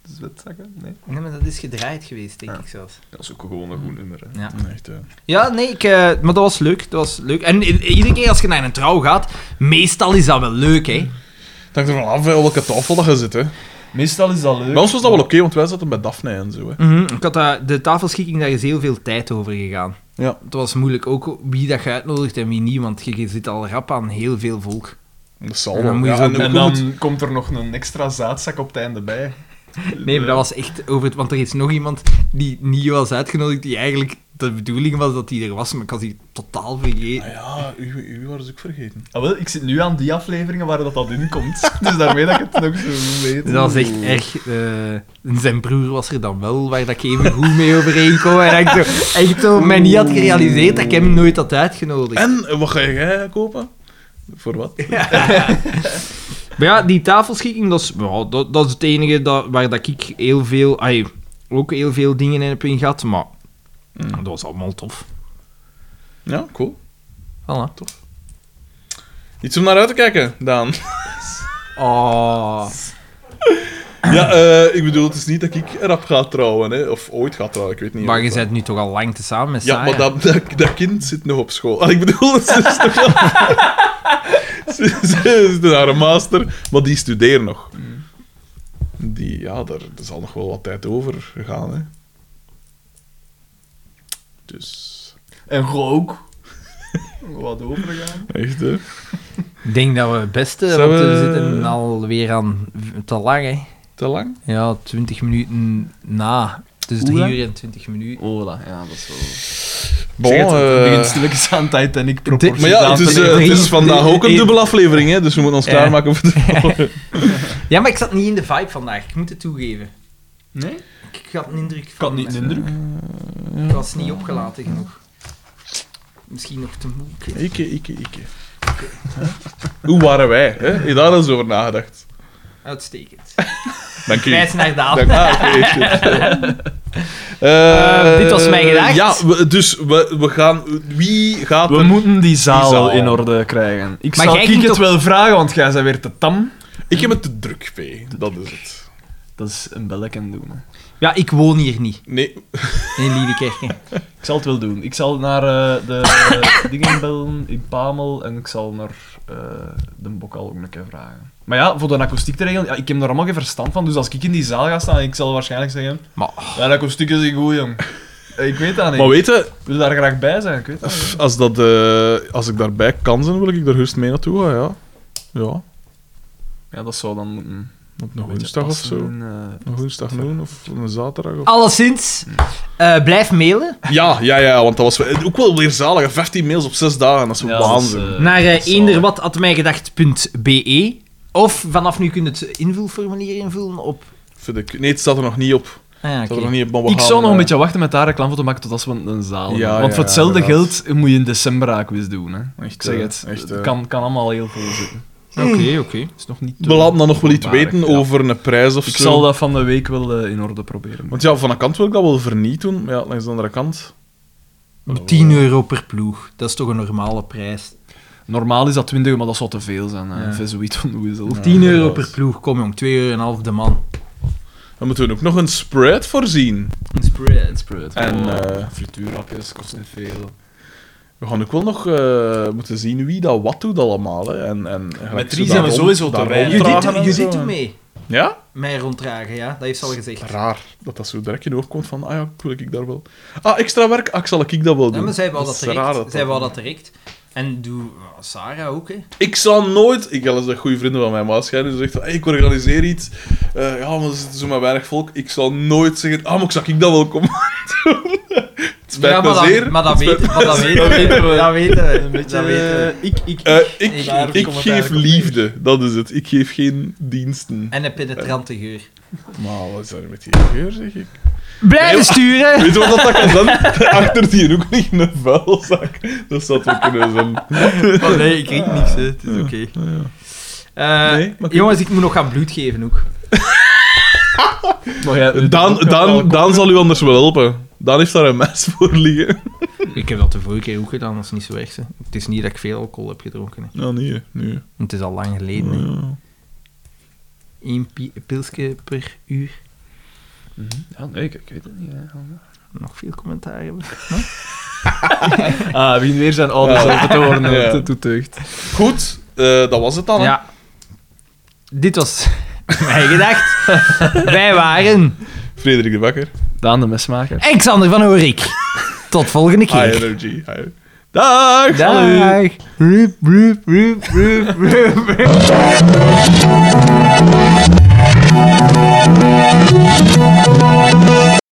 [SPEAKER 2] Is dat zakken? Nee.
[SPEAKER 3] Nee, maar dat is gedraaid geweest, denk ik zelfs.
[SPEAKER 2] Dat is ook gewoon een goed nummer.
[SPEAKER 1] Ah, Echt, hè.
[SPEAKER 3] Ja, nee, ik, eh, maar dat was leuk. Dat was leuk. En i- iedere keer als je naar een trouw gaat, meestal is dat wel leuk, hè?
[SPEAKER 1] Het hangt ervan af hè, op ah, welke tafel dat je zit. Hè.
[SPEAKER 2] Meestal is dat leuk.
[SPEAKER 1] Bij ons was dat wel oké, want wij zaten bij Daphne en zo. Hè.
[SPEAKER 3] Mhm. Ik had daar- de tafelschikking, daar is heel veel tijd over gegaan.
[SPEAKER 1] Ja.
[SPEAKER 3] Het was moeilijk ook wie dat je uitnodigt en wie niet, want je je zit al rap aan heel veel volk.
[SPEAKER 1] Dat zal
[SPEAKER 3] En dan
[SPEAKER 1] wel.
[SPEAKER 3] moet je
[SPEAKER 1] Ja,
[SPEAKER 3] zo-
[SPEAKER 1] en ook
[SPEAKER 2] En
[SPEAKER 1] wel
[SPEAKER 2] dan
[SPEAKER 1] moet-
[SPEAKER 2] komt er nog een extra zaadzak op het einde bij.
[SPEAKER 3] Nee, maar dat was echt over het... Want er is nog iemand die niet was uitgenodigd, die eigenlijk de bedoeling was dat hij er was, maar ik had die totaal vergeten.
[SPEAKER 1] Ah ja, u, u waren ze ook vergeten.
[SPEAKER 2] Ah, wel, ik zit nu aan die afleveringen waar dat, dat in komt. *laughs* Dus daarmee dat ik het nog zo goed weet.
[SPEAKER 3] Dus dat was echt erg. eh, en zijn broer was er dan wel, waar dat ik even goed mee overeenkom. En dat ik zo, echt zo, mij niet had gerealiseerd dat ik hem nooit had uitgenodigd.
[SPEAKER 1] En eh, wat ga jij kopen? Voor wat?
[SPEAKER 3] Maar ja, die tafelschikking, dat is, ja, dat, dat is het enige dat, waar dat ik heel veel, ai, ook heel veel dingen in heb in gehad. Maar dat was allemaal tof.
[SPEAKER 1] Ja, cool.
[SPEAKER 3] Voilà.
[SPEAKER 1] Iets om naar uit te kijken, Daan.
[SPEAKER 3] Oh.
[SPEAKER 1] *laughs* Ja, eh, ik bedoel, het is niet dat ik rap ga trouwen, hè. of ooit ga trouwen, ik weet niet.
[SPEAKER 3] Maar
[SPEAKER 1] of-
[SPEAKER 3] je bent nu toch al lang te samen met
[SPEAKER 1] Ja,
[SPEAKER 3] Sarah.
[SPEAKER 1] maar dat, dat, dat kind zit nog op school. Ah, ik bedoel, dat is nog
[SPEAKER 3] *laughs*
[SPEAKER 1] wel... ze, ze is naar een master, maar die studeert nog.
[SPEAKER 3] Mm.
[SPEAKER 1] Die, ja, daar, daar zal nog wel wat tijd over gaan, hè. Dus...
[SPEAKER 2] En rook. Wat overgaan.
[SPEAKER 1] Echt, hè?
[SPEAKER 3] Ik denk dat we het beste,
[SPEAKER 1] Zullen
[SPEAKER 3] want we
[SPEAKER 1] we-
[SPEAKER 3] zitten alweer aan v- te lang, hè.
[SPEAKER 1] Te lang?
[SPEAKER 3] Ja, 20 minuten na. Dus 3
[SPEAKER 2] lang?
[SPEAKER 3] uur en 20 minuten.
[SPEAKER 2] Ola, ja, dat is wel...
[SPEAKER 1] Bon,
[SPEAKER 2] Zeg het, het
[SPEAKER 1] eh,
[SPEAKER 2] begint stilletjes aan Titanic proporties
[SPEAKER 1] maar ja,
[SPEAKER 2] aan
[SPEAKER 1] het is,
[SPEAKER 2] te
[SPEAKER 1] eh,
[SPEAKER 2] nemen.
[SPEAKER 1] het is vandaag ook een
[SPEAKER 3] eh,
[SPEAKER 1] dubbele aflevering, hè, dus we moeten ons
[SPEAKER 3] Ja.
[SPEAKER 1] klaarmaken voor
[SPEAKER 3] *laughs*
[SPEAKER 1] de volgende.
[SPEAKER 3] Ja, maar ik zat niet in de vibe vandaag, ik moet het toegeven.
[SPEAKER 2] Nee?
[SPEAKER 3] Ik had een indruk
[SPEAKER 2] Ik
[SPEAKER 3] van...
[SPEAKER 2] had niet de
[SPEAKER 3] eh,
[SPEAKER 2] indruk.
[SPEAKER 3] Ik was niet opgelaten genoeg. Misschien nog te moe. ik weet het
[SPEAKER 1] Ikke, ikke, ikke. Hoe waren wij? Hè? Heb je daar eens over nagedacht?
[SPEAKER 3] niet. Uitstekend.
[SPEAKER 1] Dank u.
[SPEAKER 3] Wijs naar Daan.
[SPEAKER 1] Dank, ah, oké,
[SPEAKER 3] *laughs*
[SPEAKER 1] shit. Eh,
[SPEAKER 3] Eh, dit was mijn gedacht.
[SPEAKER 1] Ja, we- dus we, we gaan... Wie gaat
[SPEAKER 6] We
[SPEAKER 1] er...
[SPEAKER 6] moeten die zaal,
[SPEAKER 1] zaal.
[SPEAKER 6] in orde krijgen. Ik
[SPEAKER 3] Maar
[SPEAKER 6] zal
[SPEAKER 3] jij
[SPEAKER 6] Kiek
[SPEAKER 3] ging
[SPEAKER 6] het
[SPEAKER 3] toch-
[SPEAKER 6] wel vragen, want jij bent weer te tam.
[SPEAKER 1] Ik heb het te druk, P. Dat is het.
[SPEAKER 6] Dat is een belleken doen. hè.
[SPEAKER 3] Ja, ik woon hier niet,
[SPEAKER 1] Nee,
[SPEAKER 3] in Liedekerken.
[SPEAKER 6] Ik zal het wel doen. Ik zal naar eh, de *coughs* eh, dingen bellen in Pamel en ik zal naar eh, de Bokal ook een keer vragen. Maar ja, voor de akoestiek te regelen, ja, ik heb er allemaal geen verstand van. Dus als ik in die zaal ga staan, ik zal waarschijnlijk zeggen...
[SPEAKER 3] Maar-
[SPEAKER 6] Ja, de akoestiek is niet goed, jong. Eh, Ik weet dat niet.
[SPEAKER 1] maar weet je,
[SPEAKER 6] Ik wil daar graag bij zijn, ik weet dat niet.
[SPEAKER 1] pff, als, dat, eh, als ik daarbij kan zijn, wil ik er heus mee naartoe gaan, ja. Ja,
[SPEAKER 6] Ja, dat zou dan moeten...
[SPEAKER 1] op
[SPEAKER 6] een
[SPEAKER 1] een
[SPEAKER 6] beetje
[SPEAKER 1] woensdag of
[SPEAKER 6] passen
[SPEAKER 1] zo.
[SPEAKER 6] in, eh,
[SPEAKER 1] Een woensdag doen, of een zaterdag. Of...
[SPEAKER 3] Alleszins, eh, blijf mailen
[SPEAKER 1] Ja, ja, ja, want dat was eh, ook wel weer zalig. hè. 15 mails op 6 dagen, dat is
[SPEAKER 6] ja, dat is,
[SPEAKER 1] waanzin.
[SPEAKER 6] eh,
[SPEAKER 3] naar
[SPEAKER 6] dat
[SPEAKER 3] eh,
[SPEAKER 6] zal-
[SPEAKER 3] eenderwat.mijgedacht.be of vanaf nu kun je het invulformulier invullen op...
[SPEAKER 1] Vind ik. Nee, het staat er nog niet op. Het
[SPEAKER 3] Ah, ja,
[SPEAKER 1] staat
[SPEAKER 3] oké.
[SPEAKER 1] er nog niet op, maar we
[SPEAKER 6] Ik
[SPEAKER 1] gaan,
[SPEAKER 6] zou nog
[SPEAKER 1] eh,
[SPEAKER 6] een beetje wachten met daar reclame voor te maken tot als we een zaal hebben.
[SPEAKER 1] Ja,
[SPEAKER 6] Want
[SPEAKER 1] ja,
[SPEAKER 6] voor hetzelfde
[SPEAKER 1] inderdaad.
[SPEAKER 6] geld moet je in december aakwiz doen. Hè.
[SPEAKER 1] Echt,
[SPEAKER 6] ik zeg
[SPEAKER 1] eh,
[SPEAKER 6] het,
[SPEAKER 1] echt,
[SPEAKER 6] het
[SPEAKER 1] eh.
[SPEAKER 6] kan, kan allemaal heel veel zitten.
[SPEAKER 3] Oké, oké.
[SPEAKER 6] Het is nog niet te-
[SPEAKER 1] We laten dan nog eh, wel iets
[SPEAKER 6] voorbarig,
[SPEAKER 1] weten
[SPEAKER 6] ja.
[SPEAKER 1] over een prijs of
[SPEAKER 6] Ik
[SPEAKER 1] zo.
[SPEAKER 6] zal dat van de week wel eh, in orde proberen.
[SPEAKER 1] Want ja, van een kant wil ik dat wel verniet doen, maar ja, langs de andere kant...
[SPEAKER 3] 10 euro per ploeg, dat is toch een normale prijs.
[SPEAKER 6] Normaal is dat 20, maar dat zou te veel zijn. hè. Een Vezoïd van Weasel.
[SPEAKER 3] 10 euro
[SPEAKER 1] inderdaad.
[SPEAKER 3] per ploeg, kom jong, 2 euro en een half de man.
[SPEAKER 1] Dan moeten we ook nog een spread voorzien.
[SPEAKER 3] Spread.
[SPEAKER 1] En
[SPEAKER 6] En
[SPEAKER 1] eh,
[SPEAKER 6] frituurhapjes Oh. kost niet veel.
[SPEAKER 1] We gaan ook wel nog eh, moeten zien wie dat wat doet allemaal. Hè. En, en,
[SPEAKER 2] Met drie zijn we sowieso te weinig.
[SPEAKER 1] Je
[SPEAKER 3] Judith, Judith doet mee.
[SPEAKER 1] Ja?
[SPEAKER 3] Mij ronddragen, ja. Dat heeft ze al gezegd.
[SPEAKER 1] Raar dat dat zo direct in je hoofd komt van, ah ja, wil ik daar wel... Ah, extra werk? Ah, zal ik dat wel doen?
[SPEAKER 3] Ja, maar zij wou dat,
[SPEAKER 1] is raar
[SPEAKER 3] direct. zij
[SPEAKER 1] dat-
[SPEAKER 3] wou dat direct. En doe oh, Sarah ook, hè.
[SPEAKER 1] Ik zal nooit... Ik al eens een goede vrienden van mijn maat schijnen. Ze zegt van, hey, ik organiseer iets. Eh, ja, maar er zit zo maar weinig volk. Ik zal nooit zeggen, ah, maar zal ik dat wel komen doen? *laughs* Het spijt
[SPEAKER 3] ja,
[SPEAKER 1] me
[SPEAKER 3] maar,
[SPEAKER 1] zeer.
[SPEAKER 3] dat, maar dat,
[SPEAKER 1] Het spijt
[SPEAKER 3] weet, maar dat weten
[SPEAKER 2] Dat
[SPEAKER 3] we.
[SPEAKER 2] weten we.
[SPEAKER 3] Dat weten we. dat weten we.
[SPEAKER 2] Eh, ik, ik,
[SPEAKER 1] Eh, ik,
[SPEAKER 3] Ik-
[SPEAKER 1] ik,
[SPEAKER 2] daar komt het
[SPEAKER 1] geef
[SPEAKER 2] eigenlijk op
[SPEAKER 1] liefde, dat is het. Ik geef geen diensten.
[SPEAKER 3] En een penetrante geur.
[SPEAKER 1] Maar wat is er met die geur, zeg ik?
[SPEAKER 4] Blijven
[SPEAKER 1] Nee,
[SPEAKER 4] sturen!
[SPEAKER 1] Weet je wat dat kan zijn? *laughs* Achter die hoek ligt een vuilzak. Dat zou toch kunnen zijn.
[SPEAKER 3] Oh, nee, ik riep niks, hè. Het is oké. Eh,
[SPEAKER 1] Nee, maar-
[SPEAKER 3] jongens, ik moet nog gaan bloed geven ook.
[SPEAKER 2] Maar jij-
[SPEAKER 1] Daan, Daan, Daan zal u anders wel helpen. Daan heeft daar een mes *laughs* voor liggen.
[SPEAKER 3] Ik heb dat de vorige keer ook gedaan, dat is niet zo erg. hè. Het is niet dat ik veel alcohol heb gedronken. hè.
[SPEAKER 1] Nou, nee, nee.
[SPEAKER 3] Het is al lang geleden. hè. Eén pi- pilsje per uur.
[SPEAKER 6] Ja, nee, ik, ik weet het niet. hè.
[SPEAKER 3] Nog veel commentaar hebben.
[SPEAKER 6] Ah, wie weer zijn ouders
[SPEAKER 1] Ja.
[SPEAKER 6] ja. te horen
[SPEAKER 1] Ja.
[SPEAKER 6] ja. toetuigt.
[SPEAKER 1] Goed, eh, dat was het dan. hè?
[SPEAKER 3] Ja. Dit was *laughs* mijn gedacht. Wij waren
[SPEAKER 1] Frederik de Bakker.
[SPEAKER 6] Daan de mesmaker.
[SPEAKER 3] en Xander van Oorik. Tot volgende
[SPEAKER 1] High
[SPEAKER 3] keer.
[SPEAKER 1] energy. High. Dag! Salut.
[SPEAKER 3] Dag. Rup, rup, rup, rup, rup.